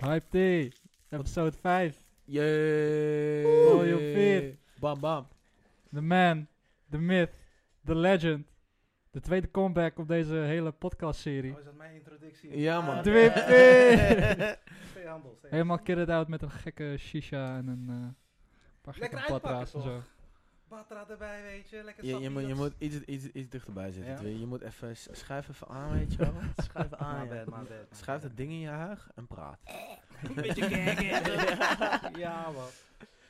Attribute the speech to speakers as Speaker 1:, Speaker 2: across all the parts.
Speaker 1: Hype T, episode 5.
Speaker 2: Jee.
Speaker 3: Oh,
Speaker 1: Mooi op veer.
Speaker 2: Bam, bam.
Speaker 1: The man, the myth, the legend. De tweede comeback op deze hele podcastserie.
Speaker 4: Oh, is dat mijn introductie? Ah,
Speaker 2: Ja, man.
Speaker 1: Twee
Speaker 4: nee. Stay humble, stay
Speaker 1: Helemaal kitted out met een gekke shisha en een eh paar gekke
Speaker 4: Lekker
Speaker 1: patra's en
Speaker 4: uitpakken,
Speaker 1: zo.
Speaker 4: humble. Batra erbij, weet je. Lekker
Speaker 2: Je, je, moet, je
Speaker 4: sappies.
Speaker 2: moet iets, iets, iets dichterbij zitten.
Speaker 4: Ja.
Speaker 2: twee. Je moet even s- schuif even aan, weet je wel.
Speaker 4: Schuif
Speaker 3: Ah,
Speaker 4: aan,
Speaker 2: ja.
Speaker 4: my bad, my bad, my
Speaker 2: Schuif
Speaker 4: bad.
Speaker 2: dat ding in je huig en praat.
Speaker 4: Een beetje kijken. ja, man.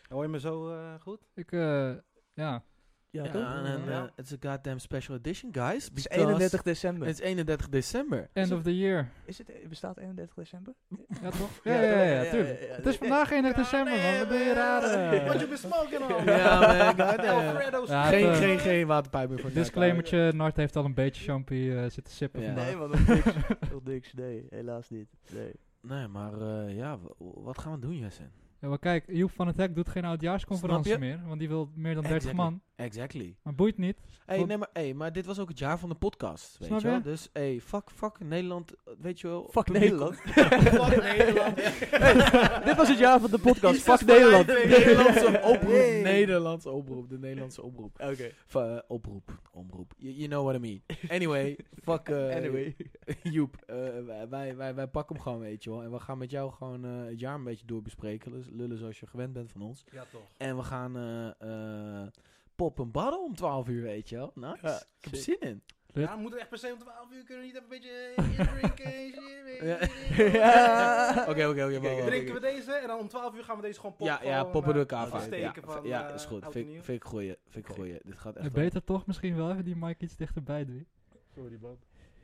Speaker 4: Hoor je me zo eh, goed?
Speaker 1: Ik, eh, ja.
Speaker 3: Ja,
Speaker 2: Ja,
Speaker 3: toch?
Speaker 2: en en,
Speaker 4: Ja.
Speaker 2: eh, it's a goddamn special edition, guys.
Speaker 3: Het is
Speaker 2: because
Speaker 3: 31 december.
Speaker 2: Het is 31 december.
Speaker 1: End of the year.
Speaker 3: Is het, bestaat 31 december?
Speaker 1: Ja, toch? Ja, ja, ja, ja, tuurlijk. Het is vandaag 31 december, man. Wat ben je raar? eh?
Speaker 4: What you been smoking on?
Speaker 2: Ja, man, goddamn.
Speaker 4: Alfredo's.
Speaker 1: Ja,
Speaker 2: Geen,
Speaker 1: het, eh,
Speaker 2: geen, geen waterpijp meer voor
Speaker 1: Disclaimertje, Nart heeft al een beetje champagne eh, zitten sippen
Speaker 2: Ja.
Speaker 1: vandaag.
Speaker 3: Nee, man, nog niks. nog niks. Nee, helaas niet. Nee.
Speaker 2: Nee, maar eh, ja, w- wat gaan we doen, Jessen?
Speaker 1: Ja, maar kijk, Joep van het Hek doet geen oudjaarsconferentie
Speaker 2: Snap
Speaker 1: meer, want die wil meer dan 30
Speaker 2: Exactly.
Speaker 1: man.
Speaker 2: Exactly.
Speaker 1: Maar boeit niet.
Speaker 2: Hey,
Speaker 1: Wat-
Speaker 2: nee, maar, hey, maar dit was ook het jaar van de podcast, weet
Speaker 1: Snap
Speaker 2: je wel?
Speaker 1: je?
Speaker 2: Dus, hey, fuck, fuck Nederland, eh, weet je wel.
Speaker 3: Fuck
Speaker 2: publiek-
Speaker 3: Nederland.
Speaker 4: Fuck Nederland.
Speaker 3: Hey, dit was het jaar van de podcast.
Speaker 2: Jezus,
Speaker 3: Fuck
Speaker 2: vanuit
Speaker 3: Nederland.
Speaker 2: De Nederlandse oproep.
Speaker 3: Hey.
Speaker 2: Nederlandse oproep. De Nederlandse oproep.
Speaker 3: Oké.
Speaker 2: Of, eh, oproep. Omroep. You, you know what I mean. Anyway, fuck eh,
Speaker 3: Anyway.
Speaker 2: Joep. eh, wij- wij, wij, wij pakken hem gewoon, weet je wel. En we gaan met jou gewoon eh, het jaar een beetje doorbespreken. Dus lullen zoals je gewend bent van ons.
Speaker 4: Ja, toch.
Speaker 2: En we gaan eh, eh, pop en barrel om 12 uur, weet je wel. Nice.
Speaker 3: Ja,
Speaker 2: ik heb zin in.
Speaker 1: Dit-
Speaker 4: Ja, we moeten echt per se om 12 uur kunnen we niet even een beetje eh, drinken en shit.
Speaker 2: Ja.
Speaker 3: Ja.
Speaker 2: Oké, oké, oké. wacht, wacht,
Speaker 4: Drinken
Speaker 2: oké.
Speaker 4: we deze en dan om 12 uur gaan we deze gewoon
Speaker 2: Ja,
Speaker 4: poppen.
Speaker 2: ja, poppen door elkaar
Speaker 4: uit.
Speaker 2: vaak. Ja,
Speaker 4: Steken van,
Speaker 2: ja,
Speaker 4: eh,
Speaker 2: is goed.
Speaker 4: oud
Speaker 2: Vind
Speaker 4: en nieuw.
Speaker 2: ik- vind ik gooien. Vind ik
Speaker 3: Oké.
Speaker 2: gooien. Dit gaat
Speaker 1: Eh,
Speaker 2: echt wel-
Speaker 1: beter toch misschien wel even die mic iets dichterbij doen.
Speaker 4: Sorry, man.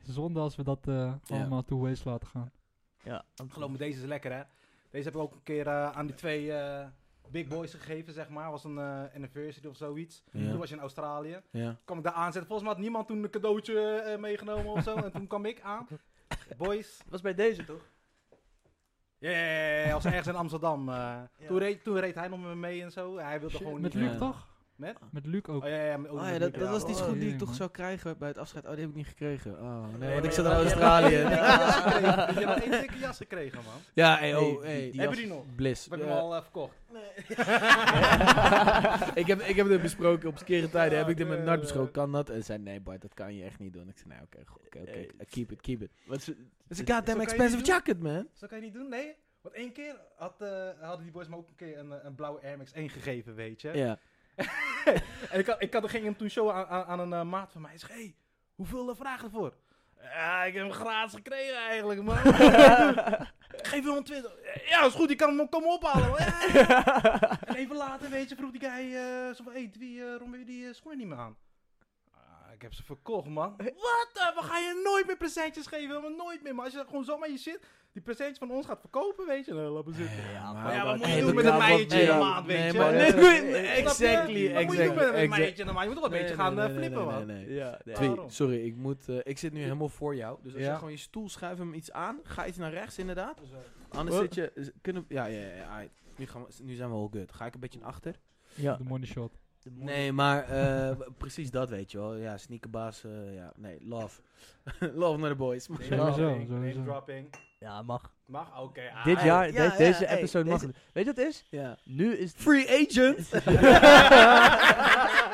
Speaker 1: Zonde als we dat eh,
Speaker 2: Ja.
Speaker 1: allemaal to waste laten gaan.
Speaker 3: Ja,
Speaker 4: Geloof me, deze is lekker, hè. Deze heb ik ook een keer eh, aan die twee eh, big boys gegeven, zeg maar. was een eh, anniversary of zoiets.
Speaker 2: Ja.
Speaker 4: Toen was je in Australië.
Speaker 2: Ja.
Speaker 4: kwam ik daar aanzetten. Volgens mij had niemand toen een cadeautje eh, meegenomen of zo. En toen kwam ik aan. Boys.
Speaker 3: was bij deze toch?
Speaker 4: Yeah, was ergens in Amsterdam. eh. toen, reed, toen reed hij nog met me mee en zo. Hij wilde
Speaker 1: Shit,
Speaker 4: gewoon
Speaker 1: met
Speaker 4: niet. eh,
Speaker 1: Luc
Speaker 2: Ja.
Speaker 1: toch?
Speaker 4: Met?
Speaker 1: Met Luc ook.
Speaker 4: Oh ja, ja, ja, met- ook
Speaker 2: Oh
Speaker 4: met
Speaker 2: ja,
Speaker 4: Luc,
Speaker 2: dat, dat was die
Speaker 3: Oh,
Speaker 2: schoen die ik
Speaker 1: jee,
Speaker 2: toch
Speaker 1: man.
Speaker 2: zou krijgen bij het afscheid. Oh, die heb ik niet gekregen. Oh, nee,
Speaker 4: Nee,
Speaker 2: want ik
Speaker 4: maar-
Speaker 2: zat in
Speaker 4: maar-
Speaker 2: Australië.
Speaker 4: Je hebt één dikke jas gekregen. Je hebt één dikke jas gekregen, man.
Speaker 2: Ja, hey, oh,
Speaker 3: Hey,
Speaker 2: hey.
Speaker 3: die- die
Speaker 4: Hebben die nog?
Speaker 2: Bliss.
Speaker 4: Ik heb hem
Speaker 2: Eh,
Speaker 4: al eh, verkocht.
Speaker 2: ik, heb, ik heb dit besproken op skere tijden. Heb ik dit met
Speaker 4: Ja,
Speaker 2: Nart
Speaker 4: eh.
Speaker 2: besproken? Kan dat? En zei nee, Bart, dat kan je echt niet doen. Ik zei nee, oké, goed, oké, oké.
Speaker 3: Hey.
Speaker 2: eh, Keep it, keep it.
Speaker 3: Wat is-
Speaker 2: It's a
Speaker 3: Zo
Speaker 2: goddamn
Speaker 4: kan je
Speaker 2: expensive
Speaker 4: niet doen.
Speaker 2: jacket, man.
Speaker 4: Zo kan je niet doen, nee. Want één keer had, eh, hadden die boys me ook een keer een, eh, een blauwe Air Max 1 gegeven, weet je.
Speaker 2: Ja.
Speaker 4: En ik, had, ik had, ging hem toen show aan, aan, aan een eh, maat van mij. Hij zegt, hey, hoeveel eh, vragen ervoor? Ja, ik heb hem gratis gekregen eigenlijk, man. Geef hem een 20. Ja, is goed, ik kan hem komen ophalen. hoor. Ja, ja, ja. En even later, weet je, vroeg die guy, eh zo van, hey, wie, eh waarom wil je die eh, schoenen niet meer aan? Ah, ik heb ze verkocht, man. Wat? eh, we gaan je nooit meer presentjes geven, maar nooit meer. Maar als je gewoon zomaar je shit, die presentjes van ons gaat verkopen, weet je, dan laat me zitten. Maar ja, wat moet je
Speaker 2: Hey, dat
Speaker 4: doen met een
Speaker 2: kan-
Speaker 4: meidje
Speaker 2: nee,
Speaker 4: in de maand,
Speaker 2: nee,
Speaker 4: weet je?
Speaker 2: maar-
Speaker 4: Nee,
Speaker 2: nee,
Speaker 3: dat-
Speaker 2: nee,
Speaker 3: nee,
Speaker 2: nee,
Speaker 4: Snap je?
Speaker 2: Exactly,
Speaker 4: Wat moet je doen
Speaker 2: exactly.
Speaker 4: met een
Speaker 2: exact-
Speaker 4: meidje? Nou, je moet wel een beetje
Speaker 2: Nee,
Speaker 4: gaan
Speaker 2: nee,
Speaker 4: eh,
Speaker 2: nee,
Speaker 4: flippen,
Speaker 2: nee,
Speaker 4: man.
Speaker 2: nee, nee.
Speaker 3: Ja, nee.
Speaker 2: Twee,
Speaker 4: Daarom.
Speaker 2: sorry, ik, moet, eh, ik zit nu helemaal voor jou. Dus als
Speaker 4: Ja.
Speaker 2: je gewoon je stoel schuift hem iets aan, ga iets naar rechts inderdaad.
Speaker 4: Zo.
Speaker 2: Anders
Speaker 3: Wat?
Speaker 2: zit je... z- Kunnen, ja, ja, ja. ja, aight. Nu, gaan we, nu zijn we all good. Ga ik een beetje naar achter?
Speaker 3: Ja.
Speaker 1: De money shot.
Speaker 2: Nee, maar eh, w- precies dat weet je wel. Ja, sneakerbaas. eh, ja, nee, love. love naar de boys. Maar-
Speaker 1: Sowieso,
Speaker 4: Dropping,
Speaker 1: sowieso.
Speaker 4: name dropping.
Speaker 3: Ja, mag.
Speaker 4: Mag? Oké. ah,
Speaker 3: Dit
Speaker 4: hey.
Speaker 3: jaar,
Speaker 2: ja,
Speaker 3: de-
Speaker 2: ja,
Speaker 3: deze
Speaker 2: hey,
Speaker 3: episode mag.
Speaker 2: deze-
Speaker 3: het. Weet je wat het is?
Speaker 2: Ja.
Speaker 3: Nu is het...
Speaker 2: Free agent!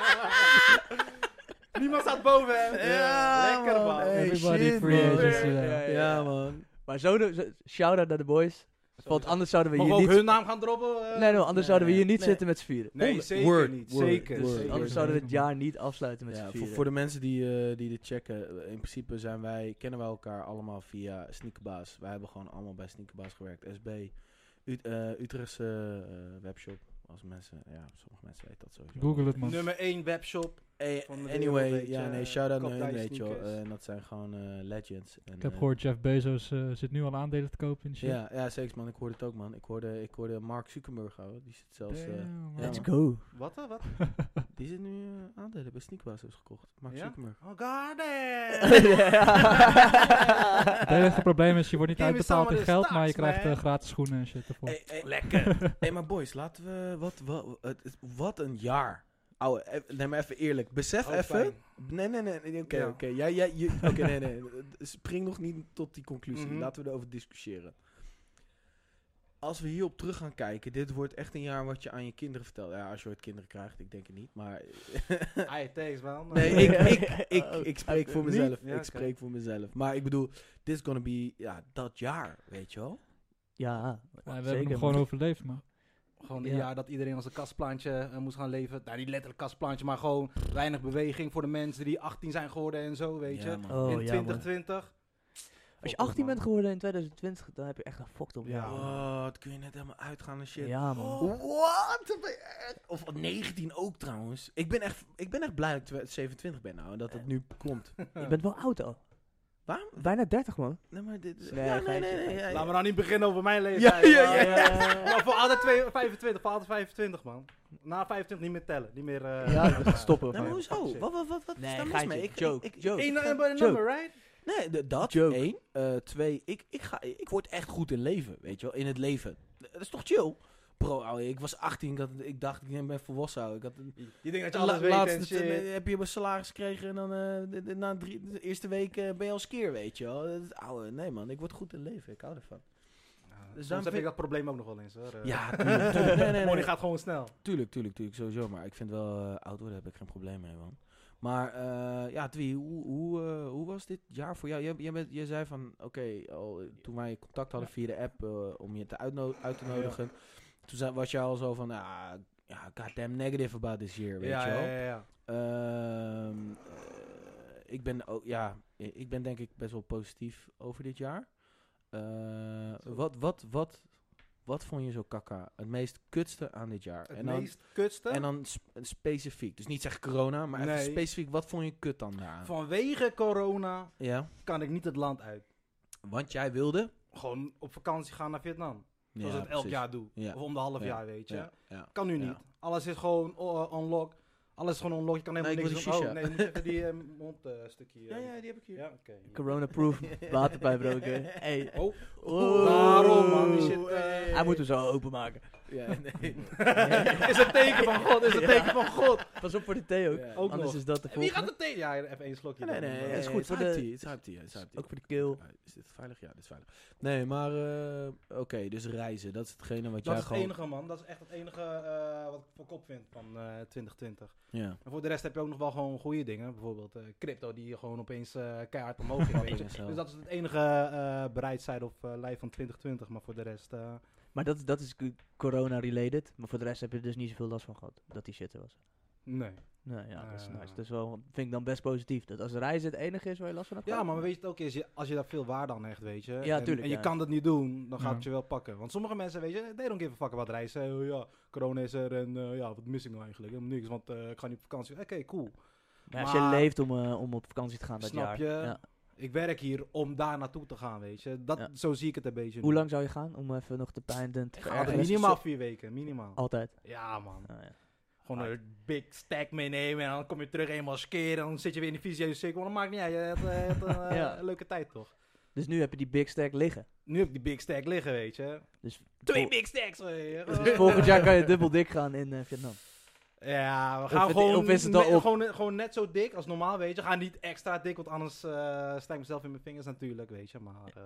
Speaker 4: Niemand staat boven hem.
Speaker 2: Ja,
Speaker 4: Lekker,
Speaker 2: man.
Speaker 4: man.
Speaker 2: Hey,
Speaker 1: Everybody
Speaker 2: shit,
Speaker 1: free
Speaker 2: man.
Speaker 1: agency. Ja,
Speaker 3: Ja, ja, ja.
Speaker 2: Ja, man.
Speaker 3: Maar zo, de- zo- shout-out naar de boys. Want anders zouden we
Speaker 4: Mogen
Speaker 3: hier
Speaker 4: we ook
Speaker 3: niet...
Speaker 4: hun naam gaan droppen? eh?
Speaker 3: Nee, no, anders
Speaker 2: Nee,
Speaker 3: zouden we hier
Speaker 2: nee,
Speaker 3: niet
Speaker 2: nee.
Speaker 3: zitten met z'n vieren. Dus
Speaker 4: Nee,
Speaker 2: Honderd.
Speaker 4: zeker
Speaker 2: Word,
Speaker 4: niet.
Speaker 2: word,
Speaker 4: zeker.
Speaker 2: word.
Speaker 4: zeker.
Speaker 3: Anders
Speaker 1: Anders
Speaker 3: zouden we het
Speaker 1: weten we.
Speaker 3: jaar niet afsluiten met
Speaker 2: Ja,
Speaker 3: z'n
Speaker 2: voor,
Speaker 3: vieren.
Speaker 2: voor de mensen die, eh, die dit checken, eh, in principe zijn wij, kennen wij elkaar allemaal via Sneakerbaas. Wij hebben gewoon allemaal bij Sneakerbaas gewerkt. SB, Ut- eh, Utrechtse eh, webshop. Als mensen, ja, sommige mensen weten dat sowieso.
Speaker 1: Google het man.
Speaker 4: Nummer 1 webshop.
Speaker 2: Hey,
Speaker 4: Van de wereld,
Speaker 2: anyway,
Speaker 4: weet
Speaker 2: ja,
Speaker 4: je,
Speaker 2: nee, shout-out naar
Speaker 4: Kopdij
Speaker 2: hun, weet je wel.
Speaker 4: sneakers.
Speaker 2: Eh, en dat zijn gewoon eh, legends. En,
Speaker 1: Ik heb
Speaker 2: eh,
Speaker 1: gehoord, Jeff Bezos eh, zit nu al aandelen te kopen in de shit.
Speaker 2: Ja, ja, zeker man. Ik hoorde het ook man. Ik hoorde, ik hoorde Mark Zuckerberg, ouwe. die zit zelfs... eh,
Speaker 1: Damn, man.
Speaker 2: ja,
Speaker 3: Let's
Speaker 2: man.
Speaker 3: go.
Speaker 4: Wat? eh, Wat?
Speaker 2: die zit nu eh, aandelen bij Sneakerbaas heeft gekocht. Mark
Speaker 4: Ja?
Speaker 2: Zuckerberg.
Speaker 4: Oh, garden.
Speaker 1: Het enige probleem is, je wordt niet
Speaker 4: Give me
Speaker 1: uitbetaald
Speaker 4: some
Speaker 1: in
Speaker 4: of the
Speaker 1: geld, maar je
Speaker 4: stocks,
Speaker 1: krijgt eh,
Speaker 4: man.
Speaker 1: gratis schoenen en shit ervoor.
Speaker 2: Hey, hey, lekker. hey, maar boys, laten we... Wat, wat, wat een jaar. Ouwe, eh, nee, maar even eerlijk. Besef
Speaker 4: Oh,
Speaker 2: even...
Speaker 4: fijn.
Speaker 2: Nee, nee, nee. nee, Oké,
Speaker 4: Ja.
Speaker 2: oké. Jij, jij, je- Oké, nee, nee. Spring nog niet tot die conclusie.
Speaker 4: Mhm.
Speaker 2: Laten we erover discussiëren. als we hierop terug gaan kijken, dit wordt echt een jaar wat je aan je kinderen vertelt. Ja, als je ooit kinderen krijgt, ik denk het niet, maar...
Speaker 4: Hey, thanks man. Eh,
Speaker 2: nee, ik, ik, ik,
Speaker 3: Oh,
Speaker 2: ik spreek voor
Speaker 3: Niet?
Speaker 2: mezelf.
Speaker 4: Ja,
Speaker 2: ik
Speaker 4: oké.
Speaker 2: spreek voor mezelf. Maar ik bedoel, dit is gonna be ja, dat jaar, weet je wel?
Speaker 3: Ja,
Speaker 1: we hebben
Speaker 3: zeker.
Speaker 1: hem gewoon overleefd, man.
Speaker 4: Gewoon een
Speaker 3: Ja.
Speaker 4: jaar dat iedereen als een kastplaantje eh, moest gaan leven. Nou, niet letterlijk kastplaantje, maar gewoon weinig beweging voor de mensen die 18 zijn geworden en zo, weet je.
Speaker 2: Ja, man.
Speaker 3: Oh,
Speaker 4: in
Speaker 3: ja, man.
Speaker 4: 2020.
Speaker 3: Als je
Speaker 4: Fok op,
Speaker 3: 18
Speaker 4: man.
Speaker 3: bent geworden in 2020, dan heb je echt een fokt op.
Speaker 4: Ja,
Speaker 3: jou.
Speaker 2: Wat, kun je net helemaal uitgaan en Oh, shit. Oh.
Speaker 3: Ja, man.
Speaker 2: What? Dat ben je echt- Of 19 ook trouwens. Ik ben echt, ik ben echt blij dat ik twe- 27 ben nou en dat het nu komt.
Speaker 3: Je bent wel oud al.
Speaker 2: Waarom?
Speaker 3: Bijna 30, man.
Speaker 2: Nee, maar dit is...
Speaker 3: Nee,
Speaker 2: ja, nee, nee,
Speaker 3: geintje,
Speaker 2: nee.
Speaker 3: geintje.
Speaker 2: ja, ja.
Speaker 4: Laten we nou niet beginnen over mijn leeftijd.
Speaker 2: Ja, ja,
Speaker 4: man.
Speaker 2: ja.
Speaker 4: Maar voor altijd twee- 25, voor altijd 25 man. Na 25 niet meer tellen, niet meer... eh,
Speaker 3: Ja, stoppen.
Speaker 2: Nee, maar hoezo?
Speaker 4: Shit.
Speaker 2: Wat, wat, wat, wat
Speaker 3: Nee,
Speaker 2: is daar mis
Speaker 3: geintje.
Speaker 2: mee? Ik,
Speaker 3: Joke,
Speaker 2: ik, ik-
Speaker 3: joke.
Speaker 4: Eén number,
Speaker 3: Joke.
Speaker 4: number, right?
Speaker 2: Nee, d- dat.
Speaker 3: Joke.
Speaker 2: Eén. Eh, twee. Ik, ik, ga, ik word echt goed in leven, weet je wel. In het leven. D- Dat is toch chill? Bro, ouwe, ik was 18. Ik, had, ik dacht, ik ben volwassen, ouwe. Ik had een-
Speaker 4: Je denkt dat je
Speaker 2: La-
Speaker 4: alles weet en
Speaker 2: laatste
Speaker 4: shit.
Speaker 2: eh, heb je mijn salaris gekregen en dan eh, de- de- na drie, de eerste week eh, ben je al skeer, weet je wel. Dat is- Ouwe, nee man, ik word goed in leven. Ik hou ervan.
Speaker 4: Ja,
Speaker 2: Dus
Speaker 4: Soms
Speaker 2: dan
Speaker 4: heb
Speaker 2: vind-
Speaker 4: ik dat probleem ook nog wel eens hoor. Eh,
Speaker 2: Ja, tuurlijk, tuurlijk. Nee, nee, nee.
Speaker 4: Morning gaat gewoon snel.
Speaker 2: Tuurlijk, tuurlijk, tuurlijk, sowieso. Maar ik vind wel, eh, oud worden heb ik geen probleem mee, man. Maar eh, ja, Dwi, hoe, hoe, eh, hoe was dit jaar voor jou? Jij, jij, bent, jij zei van, oké, al, eh, toen wij contact hadden via de app eh, om je te uitno- uit te nodigen. Toen zei- was jij al zo van, ah, ja, goddamn negative about this year, weet
Speaker 4: ja,
Speaker 2: je wel.
Speaker 4: ja, ja, ja.
Speaker 2: Ehm, eh, ik ben ook, ja, i- ik ben denk ik best wel positief over dit jaar. Eh,
Speaker 4: Zo.
Speaker 2: wat, wat, wat, wat vond je zo kakka? Het meest kutste aan dit jaar?
Speaker 4: Het
Speaker 2: en dan,
Speaker 4: meest kutste.
Speaker 2: en dan sp- specifiek. Dus niet zeggen corona, maar even
Speaker 4: Nee.
Speaker 2: specifiek. Wat vond je kut dan daaraan?
Speaker 4: Vanwege corona
Speaker 2: Ja,
Speaker 4: kan ik niet het land uit.
Speaker 2: want jij wilde.
Speaker 4: Gewoon op vakantie gaan naar Vietnam. Zoals
Speaker 2: Ja,
Speaker 4: ik het elk
Speaker 2: precies.
Speaker 4: jaar doe.
Speaker 2: Ja.
Speaker 4: Of om de half
Speaker 2: Ja.
Speaker 4: jaar, weet je.
Speaker 2: Ja, ja.
Speaker 4: Kan nu
Speaker 2: Ja.
Speaker 4: niet. Alles is gewoon eh, unlock. Alles is gewoon unlock. Je kan helemaal
Speaker 2: Nee, ik
Speaker 4: niks
Speaker 2: wil die
Speaker 4: doen. Oh, nee, moet je even die eh, mondstukje.
Speaker 2: Ja, ja, die heb ik hier.
Speaker 4: ja oké.
Speaker 3: Corona-proof waterpijp roken. Hey.
Speaker 4: Oh,
Speaker 3: Wow.
Speaker 4: daarom man. Die shit, eh,
Speaker 3: Hij moet hem zo openmaken.
Speaker 2: Ja, nee.
Speaker 4: is het teken van God, is het teken van God.
Speaker 3: Pas op voor de thee ook.
Speaker 2: Ja.
Speaker 4: Ook
Speaker 3: Anders
Speaker 4: nog.
Speaker 3: is dat de
Speaker 4: En wie gaat
Speaker 3: volgende.
Speaker 4: de thee? Ja, even één slokje.
Speaker 2: Nee, nee,
Speaker 4: dan,
Speaker 2: nee.
Speaker 4: maar-
Speaker 2: Het is goed.
Speaker 3: voor
Speaker 2: Het is
Speaker 3: de-
Speaker 2: hype tea, het is hype tea, het is hype tea.
Speaker 3: Ook voor de keel.
Speaker 2: Ja, Is dit veilig? Ja, dit is veilig. Nee, maar eh, oké, dus reizen. Dat is hetgene wat
Speaker 4: Dat
Speaker 2: jij
Speaker 4: is het
Speaker 2: gewoon...
Speaker 4: enige man. Dat is echt het enige eh, wat ik voor kop vind van eh, 2020.
Speaker 2: Ja.
Speaker 4: En voor de rest heb je ook nog wel gewoon goede dingen. Bijvoorbeeld eh, crypto die gewoon opeens eh, keihard omhoog ging. weet je.
Speaker 2: Fucking hell.
Speaker 4: Dus dat is het enige eh bereidszijde of eh lijf van 2020. Maar voor de rest... eh,
Speaker 3: Maar dat, dat is cu- corona-related. Maar voor de rest heb je er dus niet zoveel last van gehad. Dat die shit er was.
Speaker 4: nee.
Speaker 3: Nou ja, dat is
Speaker 4: Ah.
Speaker 3: nice. Dat is wel, vind ik dan best positief. Dat als reizen het enige is waar je last van hebt.
Speaker 4: Ja,
Speaker 3: gehad.
Speaker 4: maar weet je het ook is, je- als je daar veel waarde aan hecht, weet je.
Speaker 3: Ja,
Speaker 4: en,
Speaker 3: tuurlijk,
Speaker 4: En je
Speaker 3: ja.
Speaker 4: kan dat niet doen, dan gaat
Speaker 1: Ja.
Speaker 4: het je wel pakken. Want sommige mensen, weet je, they don't give a fuck about reizen. Eh, ja, corona is er en eh, ja, wat mis ik nou eigenlijk? Helemaal niks, want eh, ik ga niet op vakantie. Oké, cool.
Speaker 3: Maar als je
Speaker 4: maar-
Speaker 3: leeft om, eh, om op vakantie te gaan dat
Speaker 4: Snap
Speaker 3: jaar.
Speaker 4: je?
Speaker 3: Ja.
Speaker 4: Ik werk hier om daar naartoe te gaan, weet je. Dat,
Speaker 3: Ja.
Speaker 4: Zo zie ik het een beetje.
Speaker 3: Hoe
Speaker 4: nu.
Speaker 3: lang zou je gaan om even nog de pijn te
Speaker 4: Ja,
Speaker 3: verergeren?
Speaker 4: minimaal vier weken, minimaal.
Speaker 3: Altijd.
Speaker 4: Ja, man.
Speaker 3: Ah, ja.
Speaker 4: Gewoon een big stack meenemen en dan kom je terug eenmaal skeren. En dan zit je weer in de visio cirkel. Dat maakt niet uit, je hebt, eh, je hebt een eh,
Speaker 3: Ja.
Speaker 4: leuke tijd toch?
Speaker 3: Dus nu heb je die big stack liggen.
Speaker 4: Nu heb ik die big stack liggen, weet je.
Speaker 3: Dus
Speaker 4: Twee
Speaker 3: vol- dus
Speaker 4: big stacks! eh,
Speaker 3: volgend jaar kan je dubbel dik gaan in eh, Vietnam.
Speaker 4: Ja, we
Speaker 3: Of
Speaker 4: gaan
Speaker 3: het-
Speaker 4: gewoon,
Speaker 3: of is het al
Speaker 4: ne-
Speaker 3: op?
Speaker 4: gewoon, gewoon net zo dik als normaal, weet je. Ga niet extra dik, want anders eh sta ik mezelf in mijn vingers natuurlijk, weet je. Maar eh,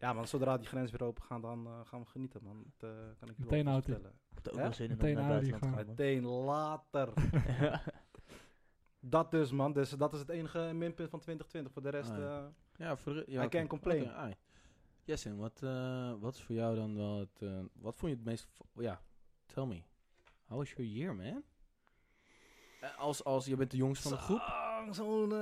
Speaker 4: ja, man, zodra die grens weer open gaan, dan eh, gaan we genieten, man. Dat eh, kan ik je
Speaker 1: Meteen
Speaker 4: wel
Speaker 1: Audi.
Speaker 4: vertellen.
Speaker 3: Ik heb er ook
Speaker 4: Ja?
Speaker 3: wel zin in om
Speaker 1: Meteen
Speaker 3: naar
Speaker 1: Audi
Speaker 3: buitenland te gaan. man.
Speaker 4: Meteen later. dat dus, man. Dus dat is het enige minpunt van 2020. Voor de rest,
Speaker 2: Ah, ja.
Speaker 4: eh,
Speaker 2: Ja, voor de re- ja,
Speaker 4: I
Speaker 2: oké.
Speaker 4: can't complain.
Speaker 2: Oké, ai. Jessin, wat, eh, wat is voor jou dan wel het... eh, wat vond je het meest... vo- Ja, tell me. How was your year, man? Eh, als, als je bent de jongste van de groep.
Speaker 4: zo- Zo'n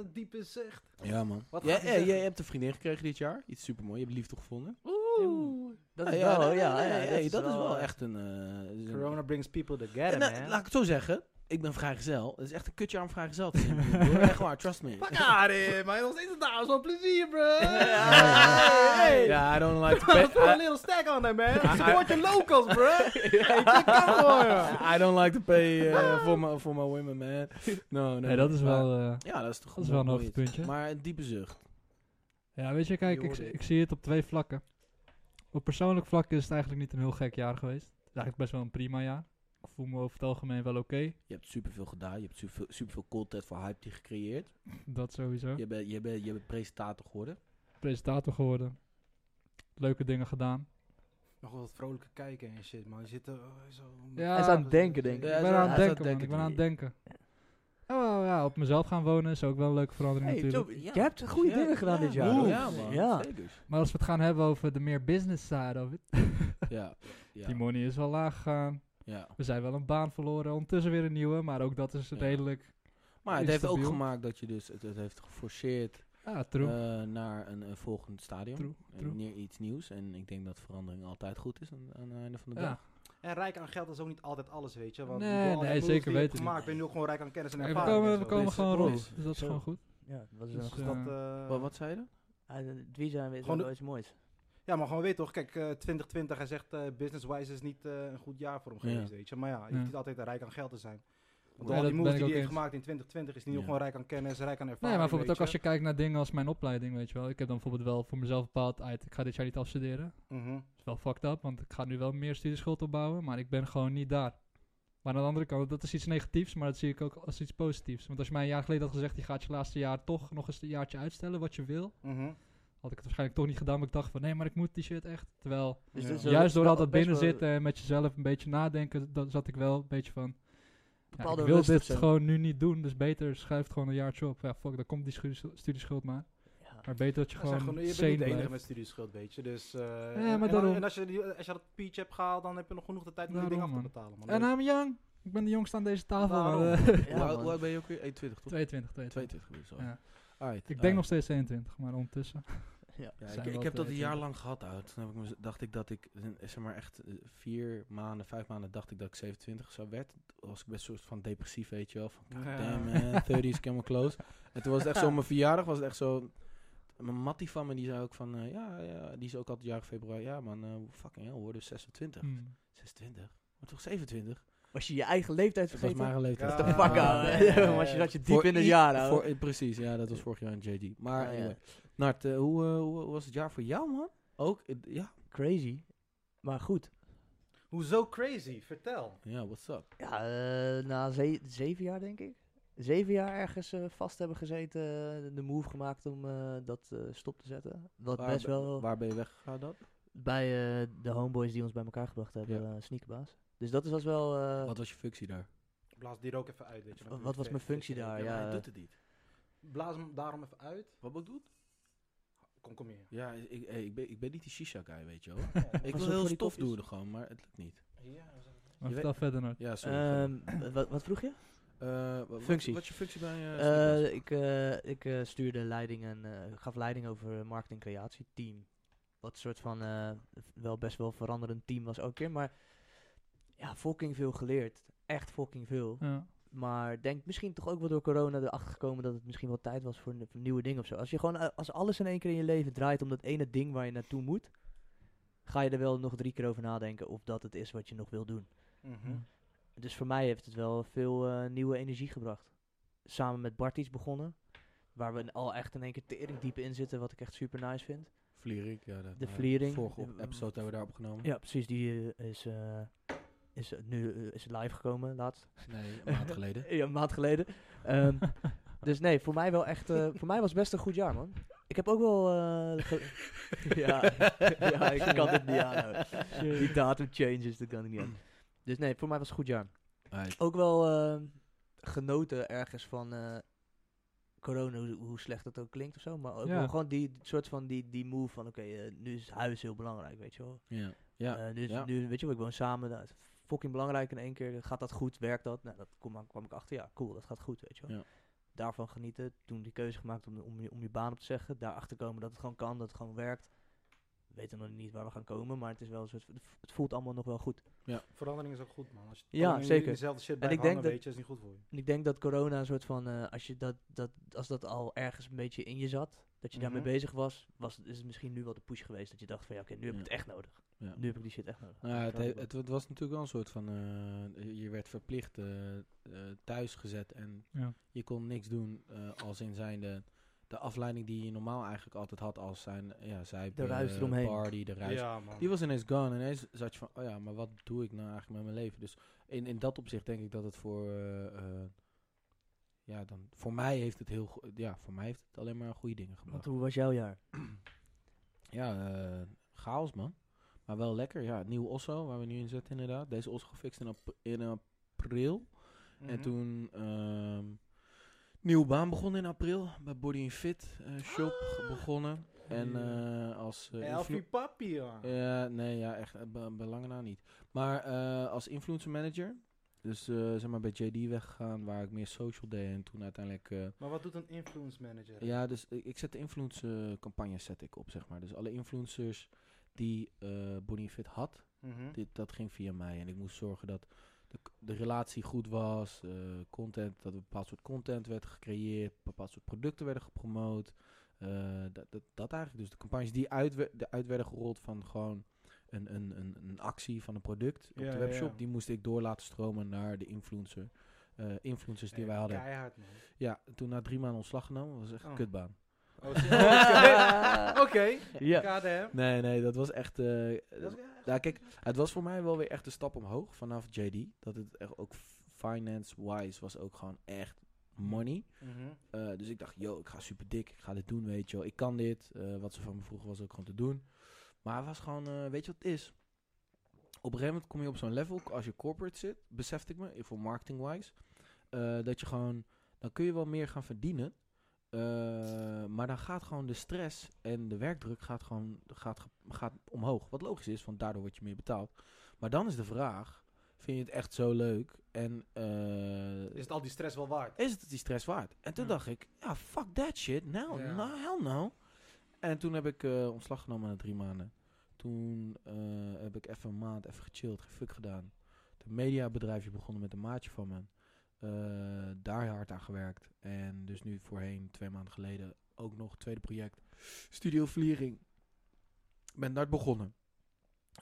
Speaker 4: eh, diepe zicht.
Speaker 2: Ja, man.
Speaker 4: Wat
Speaker 2: Jij,
Speaker 4: gaat hij
Speaker 2: eh, jij
Speaker 4: zeggen?
Speaker 2: hebt een vriendin gekregen dit jaar. Iets supermooi. Je hebt liefde gevonden.
Speaker 4: Oeh.
Speaker 3: Dat
Speaker 2: Ah,
Speaker 3: is wel,
Speaker 2: nee,
Speaker 3: ja.
Speaker 2: nee,
Speaker 3: ja,
Speaker 2: nee, hey, dat is wel
Speaker 3: eh,
Speaker 2: echt een... eh, is een-
Speaker 4: Corona brings people
Speaker 2: Eh,
Speaker 4: together,
Speaker 2: nou,
Speaker 4: man.
Speaker 2: laat ik het zo zeggen. Ik ben vrijgezel. Het is echt een kutjaar om vrijgezel te zijn. broer. echt waar, trust me.
Speaker 4: Pak haar in, maar nog steeds een dames van plezier, bro.
Speaker 2: ja.
Speaker 4: Hey.
Speaker 2: Ja, I don't like to
Speaker 4: Put
Speaker 2: pay,
Speaker 4: a
Speaker 2: I,
Speaker 4: little stack on that, man. Support your locals, bro. Hey, dat kan gewoon, joh.
Speaker 2: I don't like to pay eh, for, my, for my women, man. No,
Speaker 1: Nee, dat is wel... eh,
Speaker 2: Ja, dat is toch
Speaker 1: dat is wel een
Speaker 2: mooi
Speaker 1: hoogtepuntje.
Speaker 2: iets. Maar een diepe zucht.
Speaker 1: Ja, weet je, kijk,
Speaker 2: Je
Speaker 1: ik,
Speaker 2: hoorde het.
Speaker 1: ik zie het op twee vlakken. Op persoonlijk vlak is het eigenlijk niet een heel gek jaar geweest. Het is eigenlijk best wel een prima jaar. Ik voel me over het algemeen wel oké.
Speaker 2: Je hebt superveel gedaan. Je hebt superveel, superveel content voor Hype die gecreëerd.
Speaker 1: Dat sowieso.
Speaker 2: Je bent, je, bent, je bent presentator geworden.
Speaker 1: Presentator geworden. Leuke dingen gedaan.
Speaker 4: nog wel wat vrolijke kijken en shit, man. Je zit er oh, zo...
Speaker 1: Ja.
Speaker 3: Hij is aan het denken, denk ik.
Speaker 2: Ja,
Speaker 1: ik
Speaker 2: zo-
Speaker 1: ben aan het
Speaker 2: ja, zo
Speaker 1: denken, man.
Speaker 2: denk
Speaker 1: Ik
Speaker 2: ik
Speaker 1: ben
Speaker 2: niet.
Speaker 1: aan het denken. Ja, Oh, wel, ja, op mezelf gaan wonen is ook wel een leuke verandering
Speaker 3: Hey,
Speaker 1: natuurlijk.
Speaker 3: Toby, Je hebt goede
Speaker 2: Ja.
Speaker 3: dingen gedaan dit jaar.
Speaker 2: Ja,
Speaker 3: hoor.
Speaker 2: ja, man.
Speaker 3: Ja.
Speaker 2: Zeker.
Speaker 1: Maar als we het gaan hebben over de meer business side of it.
Speaker 2: Ja. Ja.
Speaker 1: Die money is wel laag gegaan.
Speaker 2: ja.
Speaker 1: We zijn wel een baan verloren. Ondertussen weer een nieuwe, maar ook dat is
Speaker 2: Ja.
Speaker 1: redelijk...
Speaker 2: Maar het
Speaker 1: Is
Speaker 2: heeft ook
Speaker 1: stabiel.
Speaker 2: gemaakt dat je dus, het, het heeft geforceerd
Speaker 1: Ja, Ah, true.
Speaker 2: eh, naar een, een volgend stadium.
Speaker 1: True,
Speaker 2: En
Speaker 1: true.
Speaker 2: Neer iets nieuws. En ik denk dat verandering altijd goed is aan, aan het einde van de
Speaker 1: Ja.
Speaker 2: dag.
Speaker 4: En rijk aan geld is ook niet altijd alles, weet je. Want
Speaker 1: Nee,
Speaker 4: door alle
Speaker 1: nee,
Speaker 4: moves
Speaker 1: zeker
Speaker 4: die je
Speaker 1: weten
Speaker 4: hebt
Speaker 1: niet.
Speaker 4: gemaakt ben je nu ook gewoon rijk aan kennis en
Speaker 1: Hey, we
Speaker 4: ervaring. en
Speaker 1: komen, we komen
Speaker 2: Dit
Speaker 4: zo.
Speaker 2: is
Speaker 1: gewoon
Speaker 2: het
Speaker 1: rond.
Speaker 2: moois.
Speaker 1: Dus dat is
Speaker 3: Zo.
Speaker 1: gewoon goed.
Speaker 3: Ja, dat is
Speaker 1: Dus,
Speaker 3: een
Speaker 1: eh,
Speaker 4: Dat,
Speaker 3: gestap.
Speaker 4: eh,
Speaker 2: Wat, wat zei je? dan?
Speaker 3: Ah, Wie zijn we?
Speaker 4: gewoon de-
Speaker 3: Dat is moois.
Speaker 4: Ja, maar gewoon weet toch, kijk, eh, 2020, hij zegt eh, business-wise is niet eh, een goed jaar voor hem
Speaker 2: Ja.
Speaker 4: geweest, weet je. Maar ja, je
Speaker 1: Ja.
Speaker 4: hoeft niet altijd rijk aan geld te zijn. Want
Speaker 1: Ja,
Speaker 4: al
Speaker 1: dat
Speaker 4: die moves
Speaker 1: ben ik
Speaker 4: die hij
Speaker 1: ook
Speaker 4: heeft
Speaker 1: eens.
Speaker 4: gemaakt in 2020 is hij nu
Speaker 2: Ja.
Speaker 4: gewoon rijk aan kennis, rijk aan ervaring,
Speaker 1: Nee, maar bijvoorbeeld ook
Speaker 4: weet
Speaker 1: als je kijkt naar dingen als mijn opleiding, weet je wel. Ik heb dan bijvoorbeeld wel voor mezelf bepaald, uit, ik ga dit jaar niet afstuderen. Dat
Speaker 4: Mhm.
Speaker 1: is wel fucked up, want ik ga nu wel meer studieschuld opbouwen, maar ik ben gewoon niet daar. Maar aan de andere kant, dat is iets negatiefs, maar dat zie ik ook als iets positiefs. Want als je mij een jaar geleden had gezegd, je gaat je laatste jaar toch nog eens een jaartje uitstellen wat je wil,
Speaker 4: mhm.
Speaker 1: had ik het waarschijnlijk toch niet gedaan, maar ik dacht van, nee, maar ik moet die shit echt. Terwijl,
Speaker 3: Dus
Speaker 4: Ja.
Speaker 3: dit is wel-
Speaker 1: juist door
Speaker 3: wel-
Speaker 1: altijd
Speaker 3: best
Speaker 1: binnen eh.
Speaker 3: wel
Speaker 1: zitten en met jezelf een beetje nadenken, dan zat ik wel een beetje van, ja, ik
Speaker 3: bepaalde
Speaker 1: wil
Speaker 3: rust of
Speaker 1: dit
Speaker 3: zo.
Speaker 1: gewoon nu niet doen, dus beter schuif het gewoon een jaartje op. Ja, fuck, dan komt die schu- studieschuld maar.
Speaker 3: Ja.
Speaker 1: Maar beter dat je
Speaker 4: Ja,
Speaker 1: gewoon,
Speaker 4: zeg gewoon, je bent
Speaker 1: sane
Speaker 4: niet de enige
Speaker 1: blijft.
Speaker 4: met studieschuld, weet je. Dus, eh,
Speaker 1: maar
Speaker 4: en- en, dan-
Speaker 1: daarom.
Speaker 4: en als je, die- als je dat peach hebt gehaald, dan heb je nog genoeg de tijd om die
Speaker 1: Daarom,
Speaker 4: dingen af te
Speaker 1: man.
Speaker 4: betalen, man.
Speaker 1: En
Speaker 4: Dus-
Speaker 1: I'm young. Ik ben de jongste aan deze tafel. maar,
Speaker 4: Daarom.
Speaker 1: eh,
Speaker 3: Ja,
Speaker 2: hoe, oud,
Speaker 3: man.
Speaker 2: hoe oud ben je ook weer? 21 toch?
Speaker 1: 22, 22.
Speaker 2: 22 weer, sorry.
Speaker 1: Ja.
Speaker 2: Alright,
Speaker 1: Ik denk
Speaker 2: alright.
Speaker 1: nog steeds 21, maar ondertussen.
Speaker 3: Ja.
Speaker 2: Ja,
Speaker 1: Zijn
Speaker 2: ik, ik
Speaker 1: wel
Speaker 2: heb dat een jaar
Speaker 1: 22.
Speaker 2: lang gehad, oud. Toen heb ik mez- dacht ik dat ik, eh, zeg maar echt eh, vier maanden, vijf maanden dacht ik dat ik 27 zou werd. Toen was ik best soort van depressief, weet je wel. Van,
Speaker 4: Ja.
Speaker 2: damn
Speaker 3: Eh.
Speaker 2: man, 30 is helemaal close. En toen was het echt zo, op mijn verjaardag was het echt zo... Mijn mattie van me, die zei ook van, eh, ja, ja, die is ook altijd jarig februari. Ja man, eh, fucking hell, we worden
Speaker 3: Hm.
Speaker 2: 26.
Speaker 1: Hmm.
Speaker 2: 26? Maar toch 27?
Speaker 3: Was je je eigen leeftijd
Speaker 2: Dat was
Speaker 3: vergeten?
Speaker 2: mijn eigen leeftijd.
Speaker 4: Ja.
Speaker 3: What the fuck
Speaker 4: Ah,
Speaker 3: out.
Speaker 4: ja, ja,
Speaker 3: Was
Speaker 4: ja.
Speaker 3: je zat je diep
Speaker 2: Voor
Speaker 3: in het
Speaker 2: i-
Speaker 3: jaar, ouwe.
Speaker 2: voor- eh, Precies, ja, dat was vorig jaar in JD. Maar
Speaker 3: Ah, ja.
Speaker 2: anyway. Nart, eh, hoe, eh, hoe, hoe was het jaar voor jou man? Ook, eh, ja?
Speaker 3: Crazy. Maar goed.
Speaker 4: Hoezo crazy? Vertel.
Speaker 2: Ja, what's up?
Speaker 3: Ja, eh, na ze- zeven jaar denk ik. Zeven jaar ergens eh, vast hebben gezeten. eh, De move gemaakt om eh, dat eh, stop te zetten. Wat
Speaker 2: Waar
Speaker 3: best
Speaker 2: ben-
Speaker 3: wel
Speaker 2: Waar ben je weggegaan dan?
Speaker 3: bij eh, de homeboys die ons bij elkaar gebracht hebben. eh, sneakerbaas. Dus dat is was wel... eh,
Speaker 2: Wat was je functie daar?
Speaker 4: Blaas die er ook even uit, weet je. dan
Speaker 3: Wat
Speaker 4: kun je
Speaker 3: was mijn
Speaker 4: het tegen-
Speaker 3: functie daar?
Speaker 4: maar
Speaker 3: Ja. eh,
Speaker 4: hij doet-
Speaker 2: het niet.
Speaker 4: Blaas hem daarom even uit.
Speaker 2: Wat bedoelt?
Speaker 4: Kom, kom hier.
Speaker 2: Ja, ik, eh, ik, ben, ik ben niet die shisha guy, weet je wel. ik wil
Speaker 3: Pas op
Speaker 2: heel
Speaker 3: voor die
Speaker 2: stof
Speaker 3: kopjes.
Speaker 2: doen gewoon, maar het lukt niet.
Speaker 4: Ja, we zijn-
Speaker 1: Maar
Speaker 2: Je
Speaker 1: vertel verder nooit.
Speaker 2: Ja, sorry. ga door.
Speaker 3: ehm, wat, wat vroeg je?
Speaker 2: Eh, wa- wat-
Speaker 3: functies.
Speaker 2: Wat is je functie bij je?
Speaker 3: Eh, ik eh, ik eh, stuurde leiding en eh, gaf leiding over marketing creatie team. Wat een soort van eh, wel best wel veranderend team was ook keer. Maar ja, fucking veel geleerd. Echt fucking veel.
Speaker 1: Ja.
Speaker 3: Maar ik denk misschien toch ook wel door corona erachter gekomen dat het misschien wel tijd was voor, n- voor nieuwe dingen of zo. Als je gewoon eh, als alles in één keer in je leven draait om dat ene ding waar je naartoe moet, ga je er wel nog drie keer over nadenken of dat het is wat je nog wil doen.
Speaker 4: Mhm.
Speaker 3: Dus voor mij heeft het wel veel eh, nieuwe energie gebracht. Samen met Bart iets begonnen. Waar we al echt in één keer tering diep in zitten, wat ik echt super nice vind.
Speaker 2: Vlierik, ja. dat-
Speaker 3: de
Speaker 2: eh,
Speaker 3: vliering.
Speaker 2: Vorige
Speaker 3: De-
Speaker 2: op- episode hebben we daar opgenomen.
Speaker 3: Ja, precies. Die eh, is, eh, is eh, nu eh, is live gekomen, laatst.
Speaker 2: Nee, een maand geleden.
Speaker 3: Ja, een maand geleden. Ehm, dus nee, voor mij wel echt. eh, voor mij was het best een goed jaar, man. Ik heb ook wel. eh, ge- ja, ja, ik kan dit niet aanhouden. Die datum changes, dat kan ik niet aan. Dus nee, voor mij was het een goed jaar.
Speaker 2: Alright.
Speaker 3: Ook wel eh, genoten ergens van eh, corona, hoe, hoe slecht dat ook klinkt of zo. Maar ook
Speaker 1: Ja.
Speaker 3: wel gewoon die soort van die, die move van: oké, eh, nu is huis heel belangrijk, weet je wel.
Speaker 2: Ja. Ja.
Speaker 3: Eh, dus
Speaker 2: ja.
Speaker 3: nu, weet je wel, ik woon samen. Dat is fucking belangrijk in één keer. Gaat dat goed? Werkt dat? Nou, dat kwam, kwam ik achter. Ja, cool, dat gaat goed, weet je wel.
Speaker 2: Ja.
Speaker 3: Daarvan genieten. Toen die keuze gemaakt om, om, je, om je baan op te zeggen. Daarachter komen dat het gewoon kan, dat het gewoon werkt. We weten nog niet waar we gaan komen, maar het, is wel een soort, het voelt allemaal nog wel goed.
Speaker 4: Verandering is ook goed, man. Als je
Speaker 3: Ja,
Speaker 4: alleen in
Speaker 3: zeker.
Speaker 4: dezelfde shit blijft
Speaker 3: ik denk
Speaker 4: hangen,
Speaker 3: dat-
Speaker 4: weet je, is niet goed voor je.
Speaker 3: En ik denk dat corona een soort van, eh, als, je dat, dat, als dat al ergens een beetje in je zat, dat je
Speaker 4: Mhm.
Speaker 3: daarmee bezig was, was, is het misschien nu wel de push geweest. Dat je dacht van, ja, oké, nu heb ik
Speaker 2: Ja.
Speaker 3: het echt nodig.
Speaker 2: Ja.
Speaker 3: Nu heb ik die shit echt nodig.
Speaker 2: Nou, ja, het,
Speaker 4: Kan
Speaker 2: he-
Speaker 4: ook wel.
Speaker 2: het, het was natuurlijk wel een soort van. eh, je werd verplicht eh, eh, thuis gezet en
Speaker 1: Ja.
Speaker 2: je kon niks doen. eh, als in zijn de, de afleiding die je normaal eigenlijk altijd had. Als zijn ja, zij eh,
Speaker 3: De ruis eromheen.
Speaker 2: party, de ruis.
Speaker 4: Ja, man.
Speaker 2: Die was ineens gone. En ineens zat je van: oh ja, maar wat doe ik nou eigenlijk met mijn leven? Dus in, in dat opzicht denk ik dat het voor. eh, eh, ja, dan, voor mij heeft het heel. go- Ja, voor mij heeft het alleen maar goede dingen gebracht.
Speaker 3: Want hoe was jouw jaar?
Speaker 2: Ja, eh, chaos man. Maar Maar wel lekker, ja. Nieuw Osso, waar we nu in zitten inderdaad. Deze Osso gefixt in, ap- in april.
Speaker 4: Mhm.
Speaker 2: En toen ehm nieuwe baan begonnen in april. Bij Body and Fit eh, shop begonnen. En eh, als... eh,
Speaker 4: Elfie
Speaker 2: influ-
Speaker 4: papi, man.
Speaker 2: ja, nee, ja, echt. eh, Be, be lange na niet. Maar eh, als influencer manager. Dus eh, zeg maar bij JD weggegaan, waar ik meer social deed. En toen uiteindelijk... eh,
Speaker 4: Maar wat doet een influence manager?
Speaker 2: ja, dus ik, ik zet de influencer-campagnes zet ik op, zeg maar. Dus alle influencers die eh Body and Fit had,
Speaker 4: Mhm.
Speaker 2: dit, dat ging via mij. En ik moest zorgen dat de, k- de relatie goed was. eh, content, dat er een bepaald soort content werd gecreëerd. Een bepaald soort producten werden gepromoot. eh, dat, dat, dat eigenlijk. Dus de campagnes die uit, we- de uit werden gerold van gewoon een, een, een, een actie van een product op
Speaker 4: Ja,
Speaker 2: de
Speaker 4: ja,
Speaker 2: webshop.
Speaker 4: ja.
Speaker 2: Die moest ik door laten stromen naar de influencer. eh, influencers die
Speaker 4: Eh,
Speaker 2: wij hadden.
Speaker 4: Keihard, man.
Speaker 2: Ja, toen na drie maanden ontslag genomen, was echt
Speaker 4: Oh.
Speaker 2: een kutbaan.
Speaker 4: Oh, shit. Oké, Oké,
Speaker 3: Ja.
Speaker 4: KDM.
Speaker 2: Nee, nee, dat was echt... eh,
Speaker 4: Dat is-
Speaker 2: Ja, kijk, het was voor mij wel weer echt een stap omhoog vanaf JD. Dat het echt ook f- finance-wise was ook gewoon echt money.
Speaker 4: Mhm.
Speaker 2: Eh, dus ik dacht, yo, ik ga super dik, ik ga dit doen, weet je wel. Ik kan dit. Eh, wat ze van me vroegen was ook gewoon te doen. Maar het was gewoon, eh, weet je wat het is? Op een gegeven moment kom je op zo'n level, als je corporate zit, besefte ik me, eh, voor marketing-wise, eh, dat je gewoon, dan kun je wel meer gaan verdienen. eh, maar dan gaat gewoon de stress en de werkdruk gaat gewoon gaat, ge- gaat omhoog. Wat logisch is, want daardoor word je meer betaald. Maar dan is de vraag, vind je het echt zo leuk? En eh,
Speaker 4: Is het al die stress wel waard?
Speaker 2: is het die stress waard? En toen
Speaker 4: Ja.
Speaker 2: dacht ik, ja, fuck that shit. Nou,
Speaker 4: Ja.
Speaker 2: no, hell no. En toen heb ik eh, ontslag genomen na drie maanden. Toen eh, heb ik even een maand even gechilled, gefuck gedaan. Het mediabedrijfje begonnen met een maatje van me. Eh, daar hard aan gewerkt. En dus nu voorheen, twee maanden geleden, ook nog het tweede project. Studio Vliering. Ben daar begonnen.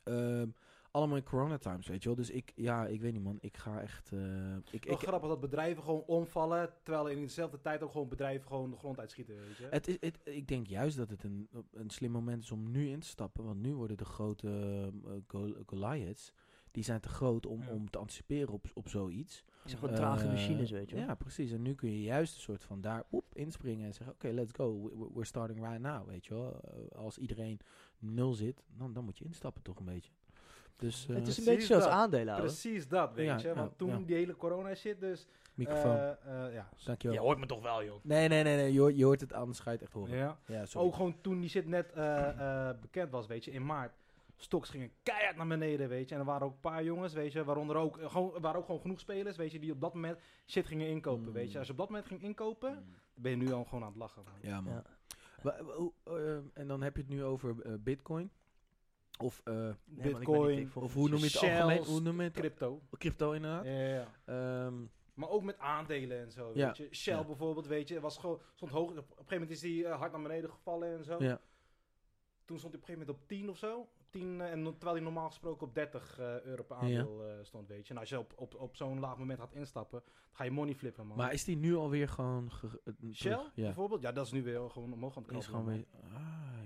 Speaker 2: Ehm, allemaal in coronatimes, weet je wel. Dus ik, ja, ik weet niet man. Ik ga echt... eh, ik,
Speaker 4: Wel
Speaker 2: ik,
Speaker 4: grappig dat bedrijven gewoon omvallen, terwijl in dezelfde tijd ook gewoon bedrijven gewoon de grond uitschieten, weet je.
Speaker 2: Het is, het, ik denk juist dat het een, een slim moment is om nu in te stappen. Want nu worden de grote eh, Gol- Goliaths, die zijn te groot om,
Speaker 1: Ja.
Speaker 2: om te anticiperen op, op zoiets.
Speaker 3: Het zijn gewoon trage
Speaker 2: Eh,
Speaker 3: machines, weet je wel.
Speaker 2: Ja, precies. En nu kun je juist een soort van daar oep, inspringen en zeggen... Oké, let's go. We- we- We're starting right now, weet je wel. Eh, als iedereen nul zit, dan, dan moet je instappen toch een beetje. Dus eh,
Speaker 3: het is een
Speaker 4: precies
Speaker 3: beetje zoals
Speaker 4: dat.
Speaker 3: aandelen houden.
Speaker 4: Precies dat, weet
Speaker 2: Ja,
Speaker 4: je. Want
Speaker 2: ja,
Speaker 4: toen
Speaker 2: ja.
Speaker 4: die hele corona shit, dus...
Speaker 2: microfoon,
Speaker 4: eh, eh, ja.
Speaker 2: dankjewel.
Speaker 4: Je hoort me toch wel, joh.
Speaker 2: Nee, nee, nee, nee. Je, hoort- je hoort het anders, ga je het echt horen. Ja,
Speaker 4: Ja.
Speaker 2: sorry.
Speaker 4: Ook gewoon toen die shit net eh, eh, bekend was, weet je, in maart. Stoks gingen keihard naar beneden, weet je. En er waren ook een paar jongens, weet je, waaronder ook, eh, gewoon, er waren ook gewoon genoeg spelers, weet je, die op dat moment shit gingen inkopen,
Speaker 2: Mm.
Speaker 4: weet je. Als je op dat moment ging inkopen, ben je nu al gewoon aan het lachen, man.
Speaker 2: Ja, man.
Speaker 3: Ja.
Speaker 2: Wa- wa- hoe- ehm, en dan heb je het nu over eh, Bitcoin. Of, eh,
Speaker 3: Nee, man, ik ben niet
Speaker 4: Bitcoin,
Speaker 3: dik voor
Speaker 2: of hoe noem je het
Speaker 4: Shells,
Speaker 2: algemeen? Hoe noem je het?
Speaker 4: crypto.
Speaker 2: Crypto, inderdaad.
Speaker 4: Ja, ja, ja.
Speaker 2: Ehm,
Speaker 4: Maar ook met aandelen en zo,
Speaker 2: Ja.
Speaker 4: weet je. Shell
Speaker 2: Ja.
Speaker 4: bijvoorbeeld, weet je, was gewoon, stond hoog. Op een gegeven moment is die eh, hard naar beneden gevallen en zo.
Speaker 2: Ja.
Speaker 4: Toen stond hij op een gegeven moment op 10 of zo. 10, eh, en no- terwijl hij normaal gesproken op 30 eh, euro per aandeel eh, stond, weet je. En als je op, op, op zo'n laag moment gaat instappen, ga je money flippen, man.
Speaker 2: maar is die nu alweer gewoon... ge- eh, terug?
Speaker 4: Shell
Speaker 2: Ja.
Speaker 4: bijvoorbeeld, ja, dat is nu weer gewoon omhoog aan het
Speaker 2: Is
Speaker 4: krabbelen,
Speaker 2: gewoon
Speaker 4: man.
Speaker 2: weer... Alright.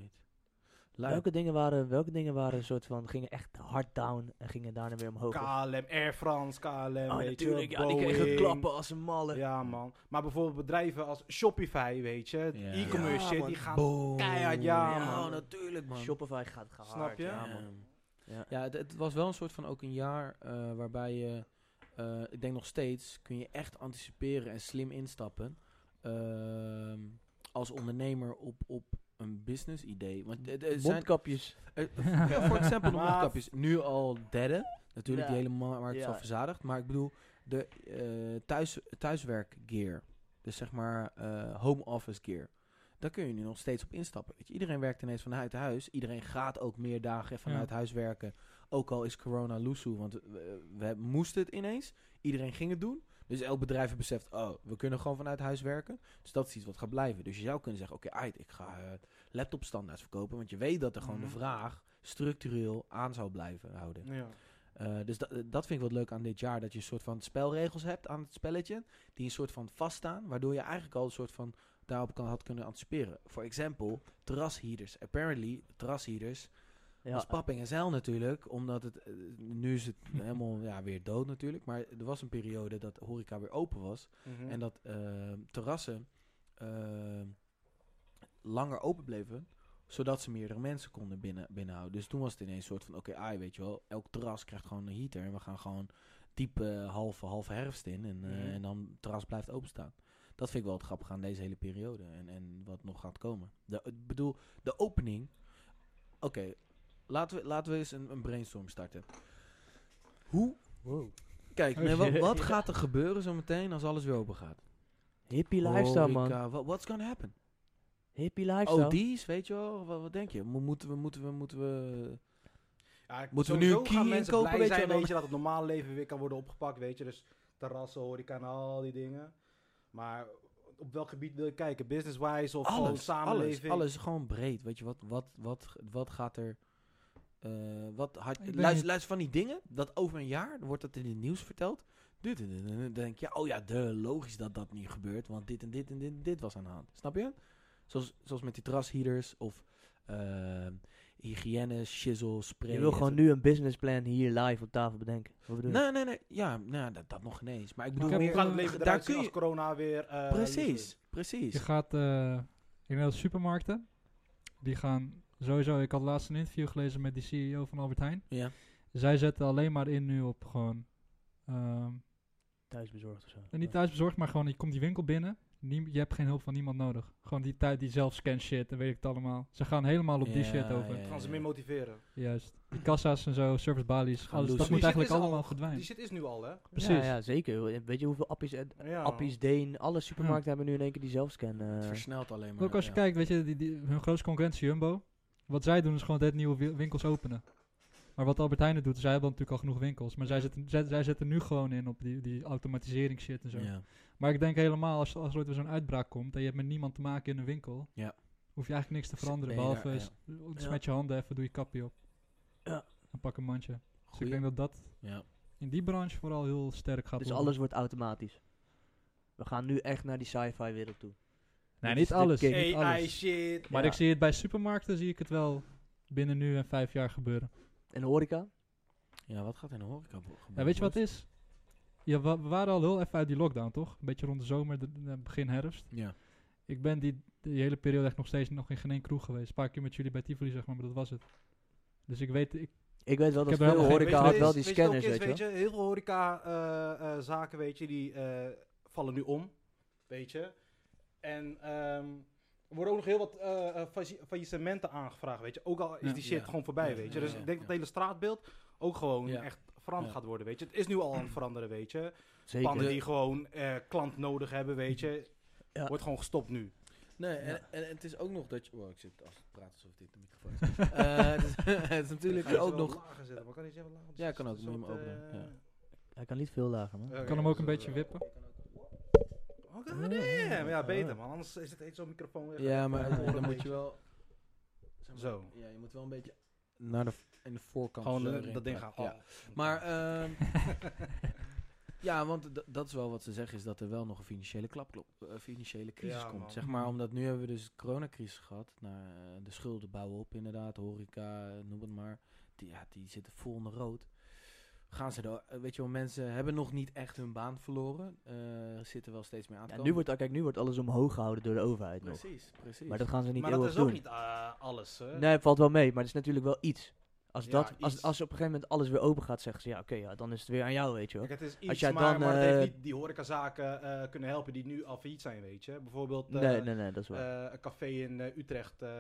Speaker 2: Lijp.
Speaker 3: Welke dingen waren, welke dingen waren een soort van, gingen echt hard down en gingen daarna weer omhoog? Of-
Speaker 4: KLM, Air France, KLM,
Speaker 3: Oh,
Speaker 4: weet je,
Speaker 3: natuurlijk, ja, die kregen
Speaker 4: Boeing.
Speaker 3: klappen als een malle.
Speaker 4: Ja, man. Maar bijvoorbeeld bedrijven als Shopify, weet je,
Speaker 2: Ja.
Speaker 4: e-commerce
Speaker 3: Ja,
Speaker 4: shit,
Speaker 3: man.
Speaker 4: die gaan
Speaker 2: Boom.
Speaker 4: keihard, ja,
Speaker 3: Ja,
Speaker 2: Oh,
Speaker 4: man.
Speaker 2: natuurlijk, man.
Speaker 3: Shopify gaat hard.
Speaker 4: Snap je?
Speaker 3: Ja, man.
Speaker 2: Damn.
Speaker 3: Ja.
Speaker 2: Ja, het, het was wel een soort van ook een jaar eh, waarbij je, eh, ik denk nog steeds, kun je echt anticiperen en slim instappen ehm, als ondernemer op, op een business idee. Want er- er zijn,
Speaker 3: Mondkapjes.
Speaker 2: eh, ja, voor example, de
Speaker 4: Maar-
Speaker 2: mondkapjes nu al derde. Natuurlijk,
Speaker 3: Ja.
Speaker 2: die hele ma- markt is
Speaker 3: Ja.
Speaker 2: al verzadigd. Maar ik bedoel, de eh thuis, thuiswerk gear, dus zeg maar eh, home office gear. Daar kun je nu nog steeds op instappen. Weet je, iedereen werkt ineens vanuit huis. Iedereen gaat ook meer dagen vanuit
Speaker 1: Ja.
Speaker 2: huis werken. Ook al is corona loesoe, want we, we moesten het ineens. Iedereen ging het doen. Dus elk bedrijf heeft beseft, oh, we kunnen gewoon vanuit huis werken. Dus dat is iets wat gaat blijven. Dus je zou kunnen zeggen, oké, uit, ik ga eh, laptop standaard verkopen. Want je weet dat er gewoon
Speaker 4: Mhm.
Speaker 2: de vraag structureel aan zou blijven houden.
Speaker 4: Ja.
Speaker 2: Eh, dus da- dat vind ik wat leuk aan dit jaar. Dat je een soort van spelregels hebt aan het spelletje. Die een soort van vaststaan. Waardoor je eigenlijk al een soort van daarop kan, had kunnen anticiperen. Voor example, terrasheaters. Apparently, terrasheaters
Speaker 3: Ja.
Speaker 2: was papping en zeil natuurlijk. Omdat het, eh, nu is het helemaal ja, weer dood natuurlijk. Maar er was een periode dat de horeca weer open was.
Speaker 4: Mhm.
Speaker 2: En dat eh, terrassen eh, langer open bleven. Zodat ze meerdere mensen konden binnen, binnenhouden. Dus toen was het ineens een soort van, oké, ai, weet je wel, elk terras krijgt gewoon een heater. En we gaan gewoon diepe halve, halve herfst in. En, eh,
Speaker 4: Mhm.
Speaker 2: en dan het terras blijft openstaan. Dat vind ik wel het grappige aan deze hele periode. En, en wat nog gaat komen. De, ik bedoel, de opening. Oké, laten, we, laten we eens een, een brainstorm starten. Hoe?
Speaker 3: Wow.
Speaker 2: Kijk,
Speaker 1: Oh
Speaker 2: nee, wat,
Speaker 1: shit.
Speaker 2: wat gaat er gebeuren zometeen als alles weer open gaat?
Speaker 3: Hippie lifestyle, man.
Speaker 2: Horeca, wa- What's gonna happen?
Speaker 3: Hippie lifestyle.
Speaker 2: OD's, weet je wel? Wat, wat denk je? Mo- Moeten we, moeten we, moeten we...
Speaker 4: Ja,
Speaker 2: Moeten we nu een
Speaker 4: sowieso gaan
Speaker 2: key
Speaker 4: mensen
Speaker 2: inkopen,
Speaker 4: blij
Speaker 2: weet je,
Speaker 4: zijn,
Speaker 2: en dan-
Speaker 4: weet je, dat het normale leven weer kan worden opgepakt, weet je. Dus terrassen, horeca en al die dingen. Maar op welk gebied wil je kijken? Business-wise of gewoon
Speaker 2: Alles, alles,
Speaker 4: samenleving?
Speaker 2: alles, gewoon breed. Weet je, wat, wat, wat, wat gaat er... eh, wat had,
Speaker 1: Ik weet
Speaker 2: luister,
Speaker 1: niet.
Speaker 2: luister van die dingen, dat over een jaar wordt dat in het nieuws verteld. Dit en dit en dit. Dan denk je, oh ja, de, logisch dat dat niet gebeurt. Want dit en dit en dit en dit was aan de hand. Snap je? Zoals, zoals met die terrasheaters of eh, hygiëne, shizzle, spray.
Speaker 3: Je wil
Speaker 2: en
Speaker 3: gewoon
Speaker 2: zo.
Speaker 3: nu een businessplan hier live op tafel bedenken. Wat bedoel je?
Speaker 2: Nee, nee, nee. Ja, nou, dat, dat nog niet eens. Maar ik bedoel,
Speaker 1: heb,
Speaker 4: Hoe
Speaker 2: meer,
Speaker 4: gaat het leven
Speaker 2: daar
Speaker 4: eruit
Speaker 2: kun
Speaker 4: zien als
Speaker 2: je-
Speaker 4: corona weer... eh, liefde is?
Speaker 2: precies,
Speaker 1: Je
Speaker 2: precies.
Speaker 1: gaat eh, in de supermarkten. Die gaan sowieso. Ik had laatst een interview gelezen met die CEO van Albert Heijn.
Speaker 2: Ja.
Speaker 1: Zij zetten alleen maar in nu op gewoon. ehm,
Speaker 3: Thuisbezorgd of zo.
Speaker 1: en niet thuisbezorgd, maar gewoon je komt die winkel binnen. Niem- je hebt geen hulp van niemand nodig. Gewoon die tijd die zelfscan shit en weet ik het allemaal. Ze gaan helemaal op die
Speaker 2: Ja,
Speaker 1: shit over.
Speaker 2: ja,
Speaker 4: Gaan ze
Speaker 2: ja.
Speaker 4: meer motiveren.
Speaker 1: Juist. Die kassa's en zo, servicebalies,
Speaker 2: Gaan
Speaker 1: alles. Dat
Speaker 2: loesen.
Speaker 1: moet
Speaker 2: Die
Speaker 4: shit
Speaker 1: eigenlijk
Speaker 4: is al-
Speaker 1: allemaal
Speaker 4: Die
Speaker 1: verdwijnen.
Speaker 4: shit is nu al, hè?
Speaker 1: Precies.
Speaker 3: Ja, ja, zeker. Weet je hoeveel appies, en
Speaker 4: Ja.
Speaker 3: appies Deen, alle
Speaker 1: Hm.
Speaker 3: supermarkten hebben nu in één keer die zelfscan.
Speaker 2: Het
Speaker 3: eh.
Speaker 2: versnelt alleen maar.
Speaker 1: Ook als je
Speaker 2: ja.
Speaker 1: kijkt, weet je, die, die- hun grootste concurrent is Jumbo. Wat zij doen is gewoon dit nieuwe wi- winkels openen. Maar wat Albert Heijn doet, zij hebben natuurlijk al genoeg winkels. Maar zij zetten, zij, zij zetten nu gewoon in op die, die automatisering shit en zo.
Speaker 2: Ja.
Speaker 1: Maar ik denk helemaal, als, als er ooit weer zo'n uitbraak komt en je hebt met niemand te maken in een winkel,
Speaker 2: Ja.
Speaker 1: hoef je eigenlijk niks te
Speaker 2: Zit-
Speaker 1: veranderen.
Speaker 2: ben je
Speaker 1: Behalve
Speaker 2: daar,
Speaker 1: s-
Speaker 3: Ja.
Speaker 1: smet je handen even, doe je kapje op.
Speaker 3: Ja.
Speaker 1: En pak een mandje. Dus ik
Speaker 2: Goeie.
Speaker 1: denk dat dat
Speaker 2: Ja.
Speaker 1: in die branche vooral heel sterk gaat
Speaker 3: Dus
Speaker 1: worden.
Speaker 3: alles wordt automatisch. We gaan nu echt naar die sci-fi wereld toe.
Speaker 1: Nee,
Speaker 3: Dit
Speaker 1: niet
Speaker 3: is de
Speaker 1: alles.
Speaker 3: king.
Speaker 1: niet
Speaker 4: AI
Speaker 1: alles.
Speaker 4: shit.
Speaker 1: Maar
Speaker 3: Ja.
Speaker 1: ik zie het bij supermarkten, zie ik het wel binnen nu en vijf jaar gebeuren.
Speaker 3: En horeca?
Speaker 2: ja, wat gaat in de horeca bo- gebeuren?
Speaker 1: Ja, weet je wat
Speaker 2: boys?
Speaker 1: het is? Ja, wa- we waren al heel even uit die lockdown, toch? Een beetje rond de zomer, de, de- begin herfst.
Speaker 2: Ja.
Speaker 1: Ik ben die, die hele periode echt nog steeds nog in geen één kroeg geweest. Een paar keer met jullie bij Tivoli, zeg maar, maar dat was het. Dus ik weet, ik,
Speaker 3: Ik weet wel dat
Speaker 1: heb er
Speaker 3: veel
Speaker 1: helemaal
Speaker 4: Weet je
Speaker 1: geen-
Speaker 3: horeca
Speaker 4: wat
Speaker 3: had
Speaker 4: het
Speaker 3: wel
Speaker 4: is?
Speaker 3: die
Speaker 4: Weet je wat
Speaker 3: scanners,
Speaker 4: het
Speaker 3: weet
Speaker 4: is,
Speaker 3: je wel.
Speaker 4: weet je? Heel veel horeca-zaken, weet je, die eh, vallen nu om. Weet je. En ehm, er worden ook nog heel wat eh, eh, failli- faillissementen aangevraagd, weet je. Ook al is
Speaker 2: Ja.
Speaker 4: die shit
Speaker 2: Ja.
Speaker 4: gewoon voorbij,
Speaker 2: Ja,
Speaker 4: weet
Speaker 2: ja,
Speaker 4: je. Dus
Speaker 2: ja,
Speaker 4: ik denk dat
Speaker 2: ja.
Speaker 4: het hele straatbeeld ook gewoon
Speaker 2: Ja.
Speaker 4: echt veranderd
Speaker 2: Ja.
Speaker 4: gaat worden, weet je. Het is nu al aan het veranderen, weet je. Pannen
Speaker 3: Zeker.
Speaker 4: die gewoon eh, klant nodig hebben, weet je.
Speaker 3: Ja.
Speaker 4: Wordt gewoon gestopt nu.
Speaker 2: Nee, en, en, en het is ook nog dat je... Wow, ik zit als ik praat alsof dit de microfoon is. Eh, het, is het is natuurlijk
Speaker 4: Ik ga
Speaker 2: ook
Speaker 4: ze wel
Speaker 2: nog...
Speaker 4: lager zetten, maar kan niet zeggen lager.
Speaker 2: Ja, kan ook,
Speaker 4: Het is
Speaker 2: moet je hem
Speaker 4: wat,
Speaker 2: open doen,
Speaker 4: eh,
Speaker 2: ja.
Speaker 3: Hij kan niet veel lager, man.
Speaker 4: oké,
Speaker 1: kan hem ook een
Speaker 4: dus,
Speaker 1: beetje
Speaker 4: eh,
Speaker 1: wippen.
Speaker 4: Oh, god damn. Ja, beter man. Anders is het echt zo'n microfoon. weer
Speaker 2: Ja,
Speaker 4: gaan
Speaker 2: maar dan
Speaker 4: horen, weet
Speaker 2: moet je wel... zeg maar,
Speaker 4: Zo.
Speaker 2: Ja, je moet wel een beetje... Naar de, v- in de voorkant.
Speaker 4: Gewoon
Speaker 2: zo
Speaker 4: eh,
Speaker 2: erin
Speaker 4: dat ding gaan.
Speaker 2: plakken,
Speaker 1: oh,
Speaker 2: Ja.
Speaker 3: eh,
Speaker 2: Maar, ehm, ja, want d- dat is wel wat ze zeggen, is dat er wel nog een financiële klap klopt, eh, financiële crisis
Speaker 4: Ja, man.
Speaker 2: komt. Zeg maar, omdat nu hebben we dus de coronacrisis gehad. Nou, eh, de schulden bouwen op inderdaad, horeca, eh, noem het maar. Die, ja, die zitten vol in de rood. Gaan ze er, eh, weet je wel, mensen hebben nog niet echt hun baan verloren. eh, zitten wel steeds meer aan te
Speaker 3: Ja,
Speaker 2: komen.
Speaker 3: nu, wordt, kijk, nu wordt alles omhoog gehouden door de overheid nog.
Speaker 2: Precies, precies.
Speaker 3: Maar dat gaan ze niet
Speaker 4: maar dat
Speaker 3: eeuwig
Speaker 4: is ook
Speaker 3: doen.
Speaker 4: niet eh, alles. hè.
Speaker 3: Nee, valt wel mee, maar het is natuurlijk wel iets. Als,
Speaker 4: Ja,
Speaker 3: dat, als,
Speaker 4: iets.
Speaker 3: als op een gegeven moment alles weer open gaat, zeggen ze ja, oké, ja, dan is het weer aan jou, weet je wel.
Speaker 4: Kijk, het is iets,
Speaker 3: Als jij
Speaker 4: maar,
Speaker 3: dan,
Speaker 4: maar het
Speaker 3: eh,
Speaker 4: heeft niet die horecazaken eh kunnen helpen die nu al failliet zijn, weet je. Bijvoorbeeld eh,
Speaker 3: Nee, nee, nee, dat is waar.
Speaker 4: eh, een café in eh, Utrecht, eh,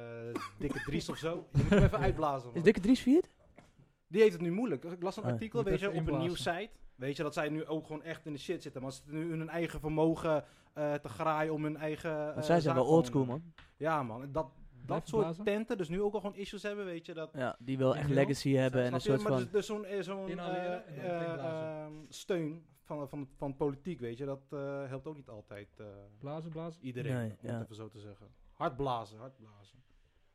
Speaker 4: Dikke Dries of zo. Je moet hem even uitblazen.
Speaker 3: is
Speaker 4: Man.
Speaker 3: Dikke Dries viert?
Speaker 4: eh, Die heeft het nu moeilijk. Ik las een
Speaker 3: Ah,
Speaker 4: artikel,
Speaker 1: moet
Speaker 4: weet je,
Speaker 1: even
Speaker 4: op een
Speaker 1: inblazen.
Speaker 4: nieuwsite. Weet je, dat zij nu ook gewoon echt in de shit zitten. Maar ze zitten nu in hun eigen vermogen eh, te graaien om hun eigen eh,
Speaker 3: Want zij zijn
Speaker 4: zaak
Speaker 3: wel
Speaker 4: gewoon,
Speaker 3: oldschool,
Speaker 4: eh,
Speaker 3: man.
Speaker 4: Ja, man. Dat, dat
Speaker 1: Blijven
Speaker 4: soort
Speaker 1: blazen?
Speaker 4: tenten, dus nu ook al gewoon issues hebben, weet je. Dat,
Speaker 3: Ja, die wel
Speaker 1: Ik
Speaker 3: echt
Speaker 1: wil.
Speaker 3: legacy hebben en een
Speaker 4: Snap
Speaker 3: soort
Speaker 4: je? Maar
Speaker 3: van...
Speaker 4: dus, dus zo'n eh, zo'n,
Speaker 1: Inhaleren en
Speaker 4: eh,
Speaker 1: dan meteen
Speaker 4: eh,
Speaker 1: blazen.
Speaker 4: ehm, steun van, van, van politiek, weet je, dat eh, helpt ook niet altijd eh,
Speaker 1: Blazen, blazen.
Speaker 4: iedereen,
Speaker 3: Nee,
Speaker 4: om het
Speaker 3: ja.
Speaker 4: even zo te zeggen. Hard blazen, hard blazen.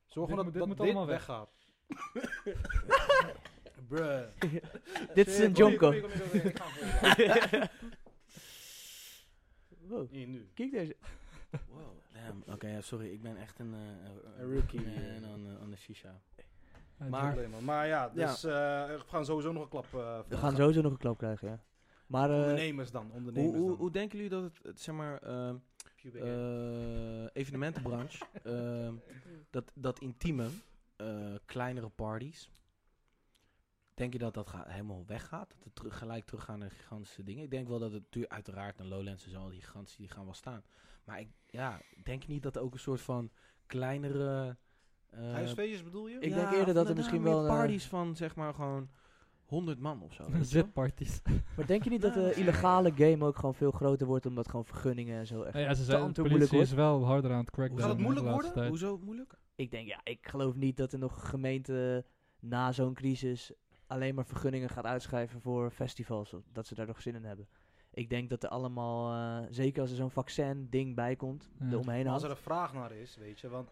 Speaker 4: Zorg
Speaker 1: Dit
Speaker 4: gewoon
Speaker 1: moet-
Speaker 4: dat
Speaker 1: dit
Speaker 4: dat
Speaker 1: moet
Speaker 4: dit
Speaker 1: allemaal weg.
Speaker 4: weggaat. Bruh.
Speaker 3: Dit is
Speaker 4: Shit,
Speaker 3: een
Speaker 4: kom hier, kom
Speaker 3: jonko.
Speaker 4: hier, kom hier, ik ga hem voor je.
Speaker 3: Wow,
Speaker 4: Hier, nu.
Speaker 3: kijk deze.
Speaker 2: Wow. Damn, Oké, ja, sorry, ik ben echt een, eh, een-
Speaker 4: Een rookie
Speaker 2: een-
Speaker 4: hier.
Speaker 2: een- aan de- aan de shisha.
Speaker 1: Eh,
Speaker 2: Maar-
Speaker 1: John-
Speaker 4: Probleem, man. Maar ja, dus eh, we gaan sowieso nog een klap. eh,
Speaker 3: We
Speaker 4: voor-
Speaker 3: gaan sowieso nog een klap krijgen, ja. Maar eh,
Speaker 4: Ondernemers dan,
Speaker 2: Hoe,
Speaker 4: ondernemers
Speaker 2: hoe,
Speaker 4: dan.
Speaker 2: hoe denken jullie dat het, het, zeg maar, ehm,
Speaker 4: Cubic. hè?
Speaker 2: eh, evenementenbranche. ehm, dat, dat intieme, eh, kleinere parties. Denk je dat dat ga- helemaal weggaat? Dat het terug, gelijk teruggaan naar gigantische dingen? Ik denk wel dat het natuurlijk uiteraard een Lowlands en zo, al die gigantische die gaan wel staan. Maar ik ja, denk je niet dat er ook een soort van kleinere... eh,
Speaker 4: Huisfeestjes bedoel je?
Speaker 3: ik- denk eerder dat er
Speaker 2: inderdaad,
Speaker 3: misschien
Speaker 2: meer
Speaker 3: wel, eh,
Speaker 2: parties van zeg maar gewoon 100 man of zo. weet je wel?
Speaker 1: Zitparties.
Speaker 3: Maar denk je niet dat de illegale game ook gewoon veel groter wordt omdat gewoon vergunningen en zo echt...
Speaker 1: Nou ja, ze
Speaker 3: Tante
Speaker 1: zijn, de
Speaker 3: moeilijk,
Speaker 1: politie is wel harder aan het crackdown.
Speaker 4: Gaat het
Speaker 1: in de
Speaker 4: moeilijk
Speaker 1: laatste tijd.
Speaker 2: Hoezo moeilijk?
Speaker 3: Ik denk, ja, ik geloof niet dat er nog een gemeente na zo'n crisis alleen maar vergunningen gaat uitschrijven voor festivals. of Dat ze daar nog zin in hebben. Ik denk dat er allemaal, eh, zeker als er zo'n vaccin-ding bij komt,
Speaker 1: Ja.
Speaker 3: er omheen
Speaker 4: Maar als
Speaker 3: hangt.
Speaker 4: er een vraag naar is, weet je, want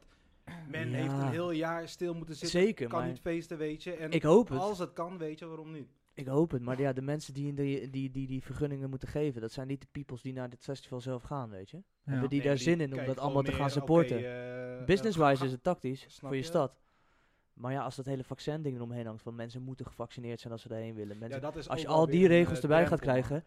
Speaker 4: men
Speaker 3: Ja.
Speaker 4: heeft een heel jaar stil moeten zitten.
Speaker 3: Zeker,
Speaker 4: kan
Speaker 3: maar
Speaker 4: niet feesten, weet je. En
Speaker 3: ik hoop het.
Speaker 4: als het kan, weet je, waarom niet?
Speaker 3: Ik hoop het, maar ja, de mensen die, in de, die, die die vergunningen moeten geven, dat zijn niet de peoples die naar dit festival zelf gaan, weet je.
Speaker 1: Ja.
Speaker 3: Hebben die
Speaker 4: Nee,
Speaker 3: daar
Speaker 4: maar
Speaker 3: zin in om
Speaker 4: kijken
Speaker 3: dat
Speaker 4: gewoon
Speaker 3: allemaal te
Speaker 4: meer,
Speaker 3: gaan
Speaker 4: oké,
Speaker 3: supporten?
Speaker 4: eh, eh,
Speaker 3: Business-wise
Speaker 4: ga-
Speaker 3: is het tactisch
Speaker 4: Snap
Speaker 3: voor je,
Speaker 4: je?
Speaker 3: stad. Maar ja, als dat hele vaccin-ding eromheen hangt, van mensen moeten gevaccineerd zijn als ze daarheen willen. Mensen,
Speaker 4: ja, dat is
Speaker 3: als je
Speaker 4: ook wel
Speaker 3: al die
Speaker 4: weer een,
Speaker 3: regels
Speaker 4: eh,
Speaker 3: erbij gaat
Speaker 4: drempel, man.
Speaker 3: krijgen,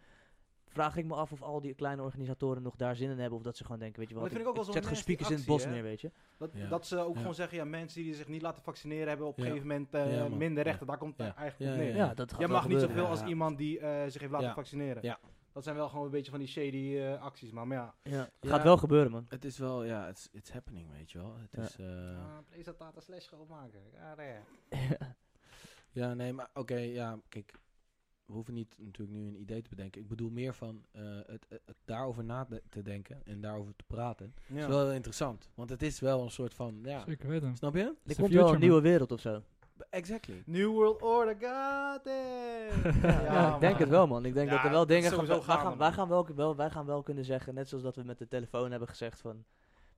Speaker 3: vraag ik me af of al die kleine organisatoren nog daar zin in hebben. Of dat ze gewoon denken, weet je
Speaker 4: Maar
Speaker 3: wat,
Speaker 4: dat
Speaker 3: ik,
Speaker 4: vind ik ook
Speaker 3: ik
Speaker 4: wel zo'n
Speaker 3: zet gewoon speakers in het
Speaker 4: nasty
Speaker 3: bos
Speaker 4: actie,
Speaker 3: neer,
Speaker 4: hè?
Speaker 3: weet je.
Speaker 4: Dat,
Speaker 2: Ja.
Speaker 4: dat ze ook
Speaker 2: Ja.
Speaker 4: gewoon zeggen, ja, mensen die zich niet laten vaccineren hebben op een
Speaker 2: Ja.
Speaker 4: gegeven moment eh,
Speaker 2: Ja, man.
Speaker 4: minder
Speaker 2: Ja.
Speaker 4: rechten. Daar komt het
Speaker 2: Ja.
Speaker 4: eigenlijk op
Speaker 2: Ja,
Speaker 4: neer.
Speaker 3: Ja,
Speaker 2: ja.
Speaker 3: dat gaat
Speaker 4: Je
Speaker 3: wel
Speaker 4: mag niet
Speaker 3: gebeuren.
Speaker 4: zoveel als
Speaker 2: Ja.
Speaker 4: iemand die eh, zich heeft laten
Speaker 2: Ja.
Speaker 4: vaccineren.
Speaker 2: Ja.
Speaker 4: Dat zijn wel gewoon een beetje van die shady eh, acties, man. Maar ja,
Speaker 3: Ja,
Speaker 2: Ja.
Speaker 3: Gaat wel gebeuren, man.
Speaker 2: Het is wel, ja, it's, it's happening, weet je wel. Het
Speaker 3: Ja.
Speaker 2: is, eh,
Speaker 4: Ah, Blaze had Tata Slash schoonmaken. Ja, nee.
Speaker 2: Ja, nee, maar oké, ja, kijk. We hoeven niet natuurlijk nu een idee te bedenken. Ik bedoel meer van eh, het, het- het daarover na te- te denken en daarover te praten.
Speaker 4: Ja.
Speaker 2: is wel heel interessant, want het is wel een soort van, ja,
Speaker 1: Zeker weten.
Speaker 2: snap je?
Speaker 1: the
Speaker 3: Dus Er komt wel
Speaker 1: future,
Speaker 3: een nieuwe wereld of zo.
Speaker 2: Exactly.
Speaker 4: New World Order, god damn.
Speaker 3: Ja, ik denk
Speaker 4: man.
Speaker 3: het wel, man. Ik denk
Speaker 4: Ja,
Speaker 3: dat er wel
Speaker 4: dat is
Speaker 3: dingen gaan,
Speaker 4: sowieso
Speaker 3: wij, gaan,
Speaker 4: gaande,
Speaker 3: wij
Speaker 4: man.
Speaker 3: gaan wel, wel- wij gaan wel kunnen zeggen, net zoals dat we met de telefoon hebben gezegd van...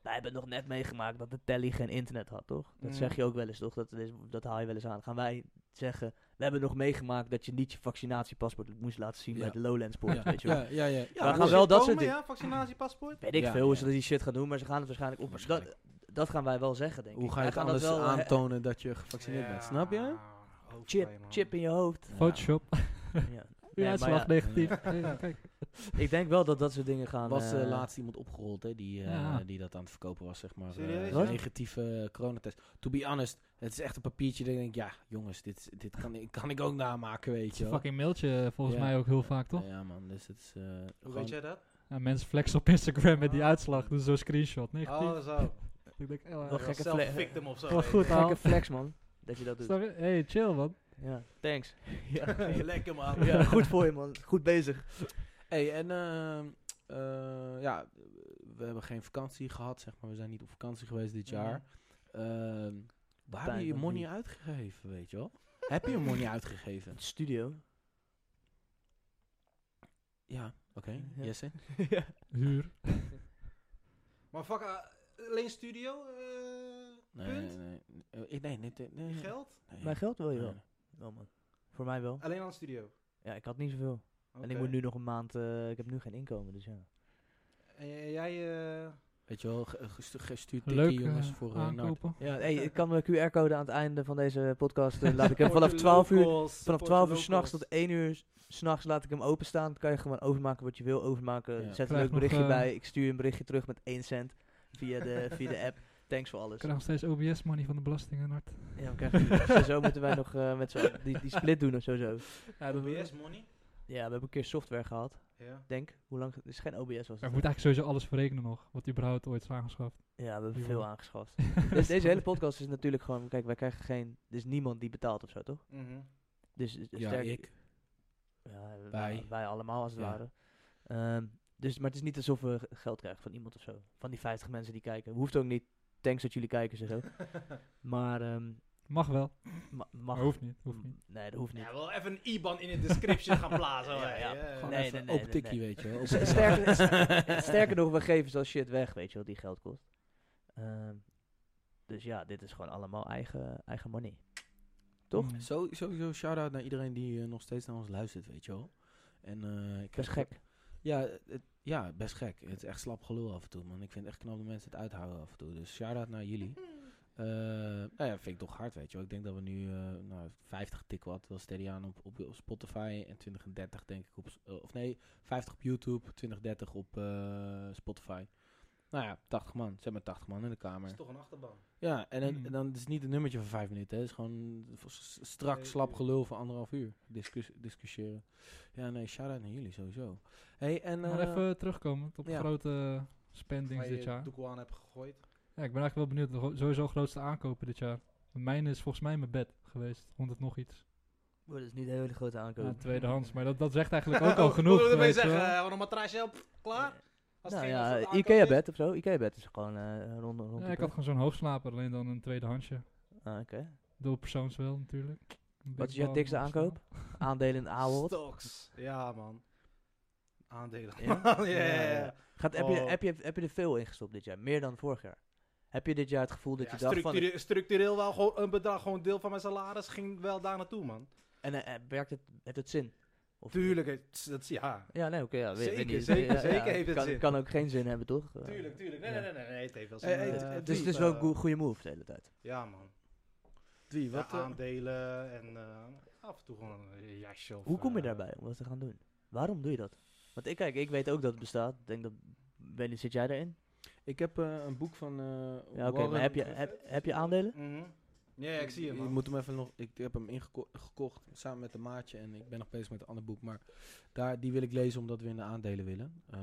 Speaker 3: Wij hebben nog net meegemaakt dat de telly geen internet had, toch? Dat
Speaker 4: Mm.
Speaker 3: zeg je ook wel eens, toch? Dat, is- dat haal je wel eens aan. Gaan wij zeggen, we hebben nog meegemaakt dat je niet je vaccinatiepaspoort moest laten zien
Speaker 2: Ja.
Speaker 3: bij de Lowlands Poort,
Speaker 2: Ja,
Speaker 3: weet je wel.
Speaker 2: ja, ja, ja.
Speaker 3: gaan
Speaker 4: moet
Speaker 3: wel
Speaker 4: je
Speaker 3: dat
Speaker 4: komen,
Speaker 3: soort dingen-
Speaker 4: Ja, vaccinatiepaspoort.
Speaker 3: Weet ik
Speaker 2: Ja,
Speaker 3: veel hoe
Speaker 2: ja.
Speaker 3: ze die shit gaan doen, maar ze gaan het waarschijnlijk op.
Speaker 2: Waarschijnlijk.
Speaker 3: Dat, dat gaan wij wel zeggen, denk ik.
Speaker 2: Hoe ga
Speaker 3: Wij
Speaker 2: je het
Speaker 3: gaan dat
Speaker 2: anders
Speaker 3: wel, eh,
Speaker 2: aantonen dat je gevaccineerd bent, snap je?
Speaker 4: Hoofdpijn,
Speaker 3: Chip,
Speaker 4: man.
Speaker 3: chip in je hoofd.
Speaker 1: Photoshop.
Speaker 3: Ja.
Speaker 1: Uw
Speaker 3: Nee, maar
Speaker 1: uitslag
Speaker 3: ja,
Speaker 1: negatief. Hey, kijk.
Speaker 3: ik denk wel dat dat soort dingen gaan...
Speaker 2: was eh,
Speaker 3: eh,
Speaker 2: laatst iemand opgerold hè, die, eh,
Speaker 1: Ja.
Speaker 2: die dat aan het verkopen was, zeg maar.
Speaker 4: Serieus,
Speaker 2: eh,
Speaker 3: Wat?
Speaker 2: negatieve coronatest. To be honest, het is echt een papiertje dat ik denk, ja, jongens, dit, dit kan, ik- kan ik ook namaken, weet je wel.
Speaker 1: Fucking mailtje eh, volgens
Speaker 2: Ja.
Speaker 1: mij ook heel vaak, toch?
Speaker 2: Ja, man, dus het is. eh,
Speaker 4: Hoe
Speaker 2: gewoon-
Speaker 4: weet jij dat?
Speaker 1: Ja, mensen flexen op Instagram met die uitslag. Dus zo'n screenshot. Negatief.
Speaker 4: Oh, zo.
Speaker 1: Ik denk, eh,
Speaker 3: Wel gekke
Speaker 4: Self
Speaker 3: fle-
Speaker 4: victim of zo.
Speaker 1: Wel
Speaker 4: weet je.
Speaker 1: goed, hè?
Speaker 3: Gekke flex, man. Dat je dat doet.
Speaker 1: snap je? Hey, chill man.
Speaker 3: Ja, thanks.
Speaker 4: Lekker man.
Speaker 3: Ja, goed voor je, man. Goed bezig.
Speaker 2: Hey, en ehm, eh, ja, we hebben geen vakantie gehad, zeg maar. We zijn niet op vakantie geweest dit jaar. Ehm waar heb je je
Speaker 3: van
Speaker 2: money
Speaker 3: wie?
Speaker 2: uitgegeven, weet je wel? heb je je money uitgegeven?
Speaker 3: Studio.
Speaker 2: Ja, oké.
Speaker 3: Ja.
Speaker 2: Jesse?
Speaker 1: Huur.
Speaker 4: Maar fuck, eh, alleen studio? eh,
Speaker 2: Nee,
Speaker 4: Punt?
Speaker 2: nee, nee. Eh, ik- Nee, nee, nee. nee,
Speaker 4: je
Speaker 2: nee.
Speaker 4: geld?
Speaker 2: Nee.
Speaker 3: Mijn geld wil je
Speaker 2: Nee.
Speaker 3: wel. Wel, man. Voor mij wel.
Speaker 4: Alleen aan het studio.
Speaker 3: Ja, ik had niet zoveel. En ik
Speaker 4: Oké.
Speaker 3: moet nu nog een maand... eh, ik heb nu geen inkomen, dus ja.
Speaker 4: En j- jij... eh,
Speaker 2: Weet je wel, ge- gestu- gestuurd
Speaker 1: Leuk
Speaker 2: tikkie, jongens,
Speaker 1: eh,
Speaker 2: voor eh Nart.
Speaker 1: aankopen.
Speaker 3: Ja, hey, ik kan mijn QR-code aan het einde van deze podcast... eh, laat ik hem
Speaker 4: support
Speaker 3: vanaf
Speaker 4: de
Speaker 3: 12 uur...
Speaker 4: locals,
Speaker 3: Vanaf
Speaker 4: support
Speaker 3: 12
Speaker 4: de
Speaker 3: uur s'nachts
Speaker 4: locals.
Speaker 3: tot 1 uur s'nachts laat ik hem openstaan. Dan kan je gewoon overmaken wat je wil overmaken.
Speaker 2: Ja.
Speaker 3: Zet een
Speaker 1: Krijg
Speaker 3: leuk
Speaker 1: nog,
Speaker 3: berichtje
Speaker 1: eh,
Speaker 3: bij. Ik stuur je een berichtje terug met 1 cent via de, via de app. Thanks voor alles.
Speaker 1: Ik krijg nog steeds OBS money van de belasting en hart.
Speaker 3: Ja, we krijgen- zo moeten wij nog eh, met z'n die, die split doen of zo. zo.
Speaker 1: Ja,
Speaker 4: OBS money?
Speaker 3: Ja, we hebben een keer software gehad.
Speaker 4: Ja.
Speaker 3: Denk, hoe lang? Het is geen OBS was.
Speaker 1: Er
Speaker 3: Het.
Speaker 1: moet eigenlijk sowieso alles verrekenen nog. Wat überhaupt ooit is aangeschaft.
Speaker 3: Ja, we hebben
Speaker 1: Ja.
Speaker 3: veel aangeschaft. dus deze hele podcast is natuurlijk gewoon, kijk, wij krijgen geen, er is niemand die betaalt of zo, toch?
Speaker 4: Mhm.
Speaker 3: Dus eh,
Speaker 2: Ja,
Speaker 3: sterk-
Speaker 2: ik.
Speaker 3: Ja, eh,
Speaker 2: Wij.
Speaker 3: nou, wij allemaal als het
Speaker 2: Ja.
Speaker 3: ware. Ehm, dus, maar het is niet alsof we g- geld krijgen van iemand of zo. Van die 50 mensen die kijken. Hoeft ook niet. Thanks dat jullie kijken en zo. maar ehm,
Speaker 1: Mag wel.
Speaker 3: ma- mag. Mm.
Speaker 1: Maar hoeft niet. Hoeft niet.
Speaker 3: Nee, dat hoeft niet.
Speaker 4: Ja, wel even een IBAN in de description gaan plaatsen.
Speaker 3: Ja,
Speaker 4: hoor.
Speaker 3: ja.
Speaker 4: Ja, ja.
Speaker 2: Gewoon
Speaker 3: Nee,
Speaker 2: even
Speaker 3: nee, nee,
Speaker 2: op tikkie,
Speaker 3: nee.
Speaker 2: weet je wel.
Speaker 3: S- sterker, s- sterker nog, we geven zoals shit weg, weet je wat die geld kost. Ehm, dus ja, dit is gewoon allemaal eigen, eigen money. Toch?
Speaker 1: Mm.
Speaker 2: Zo, sowieso shout-out naar iedereen die eh, nog steeds naar ons luistert, weet je wel. En, eh, ik
Speaker 3: Best
Speaker 2: heb-
Speaker 3: gek.
Speaker 2: Ja, het, ja, best gek. Het is echt slap gelul af en toe, man. Ik vind het echt knap dat mensen het uithouden af en toe. Dus shout-out naar jullie. Eh, nou ja, vind ik toch hard, weet je wel. Ik denk dat we nu eh, nou, 50 tikken wat wel steady aan op, op, op Spotify. En 20 en 30 denk ik op... s- eh, of nee, 50 op YouTube, 20 30 op eh, Spotify. Nou ja, 80 man. Zet maar 80 man in de kamer.
Speaker 4: is toch een achterban.
Speaker 2: Ja, en, dan-
Speaker 1: Hmm.
Speaker 2: en dan is het niet een nummertje van vijf minuten. hè. Het is gewoon v- s- strak,
Speaker 4: Twee
Speaker 2: slap
Speaker 4: uur.
Speaker 2: gelul van anderhalf uur discus- discussiëren. Ja, nee, shout-out naar jullie sowieso. hey, en...
Speaker 1: Maar
Speaker 2: eh,
Speaker 1: even terugkomen op
Speaker 2: ja.
Speaker 1: grote spendings
Speaker 4: Waar je
Speaker 1: dit jaar.
Speaker 4: Doekoan hebt gegooid.
Speaker 1: Ja, ik ben eigenlijk wel benieuwd. De gro- Sowieso grootste aankopen dit jaar. Mijn is volgens mij mijn bed geweest. 100 nog iets.
Speaker 3: Oh, dat is niet een hele grote aankoop.
Speaker 1: Ja, tweedehands. Maar dat, dat zegt eigenlijk ook al genoeg.
Speaker 4: Wat wil je
Speaker 1: weet je wel.
Speaker 4: zeggen? eh, Gewoon een matrasje op, klaar? Als
Speaker 3: nou
Speaker 4: het geen- als het
Speaker 3: ja,
Speaker 4: aankoop is.
Speaker 3: Ikea-bed of zo. Ikea-bed is gewoon eh rond,
Speaker 1: Ja,
Speaker 3: rond de
Speaker 1: ik had
Speaker 3: prijs.
Speaker 1: gewoon zo'n hoogslaper, alleen dan een tweedehandsje.
Speaker 3: Ah, Oké.
Speaker 1: Dubbelpersoons wel natuurlijk. Een
Speaker 3: Wat is
Speaker 1: bedbal,
Speaker 3: jouw dikste
Speaker 1: een
Speaker 3: aankoop? Aandelen in Ahold.
Speaker 4: Stocks. Ja, man. Aandelen.
Speaker 3: Ja?
Speaker 4: man. Ja,
Speaker 3: Ja,
Speaker 4: ja,
Speaker 3: ja,
Speaker 4: ja.
Speaker 3: ja. Gaat, heb, je,
Speaker 4: Oh.
Speaker 3: heb, je, heb je er veel in gestopt dit jaar? Meer dan vorig jaar? Heb je dit jaar het gevoel dat
Speaker 4: Ja,
Speaker 3: je dacht van...
Speaker 4: structureel- Structureel wel gewoon een bedrag, gewoon een deel van mijn salaris ging wel daar naartoe, man.
Speaker 3: En eh, eh, werkt het, heeft het zin? Of
Speaker 4: Tuurlijk, het- dat, ja.
Speaker 3: Ja, nee, oké. ja, weet- weet
Speaker 4: Zeker,
Speaker 3: niet.
Speaker 4: zeker,
Speaker 3: Ja, ja,
Speaker 4: zeker heeft het
Speaker 3: kan,
Speaker 4: zin.
Speaker 3: Kan ook geen zin hebben, toch? Eh,
Speaker 4: Tuurlijk, tuurlijk. Nee,
Speaker 3: ja.
Speaker 4: nee, nee, nee, nee, het heeft wel
Speaker 2: Eh,
Speaker 4: zin.
Speaker 2: eh,
Speaker 4: Eh,
Speaker 2: eh,
Speaker 3: dus
Speaker 2: tuurlijk,
Speaker 3: het is wel een
Speaker 4: eh,
Speaker 3: goe- goede move de hele tijd.
Speaker 4: Ja, man.
Speaker 2: Drie,
Speaker 4: Ja,
Speaker 2: wat... eh,
Speaker 4: aandelen en eh, af en toe gewoon een jasje of,
Speaker 3: Hoe kom je
Speaker 4: eh,
Speaker 3: daarbij om dat te gaan doen? Waarom doe je dat? Want ik kijk, ik weet ook dat het bestaat. Ik denk dat... Ben, zit jij daarin?
Speaker 2: ik heb eh, een boek van... eh,
Speaker 3: Ja, oké.
Speaker 2: Warren-
Speaker 3: maar heb je, heb, heb je aandelen?
Speaker 4: mhm. Ja, ja, ik zie je, man.
Speaker 2: moet hem even nog... Ik heb hem ingekocht samen met een maatje en ik ben nog bezig met een ander boek. Maar daar, die wil ik lezen omdat we in de aandelen willen. Eh,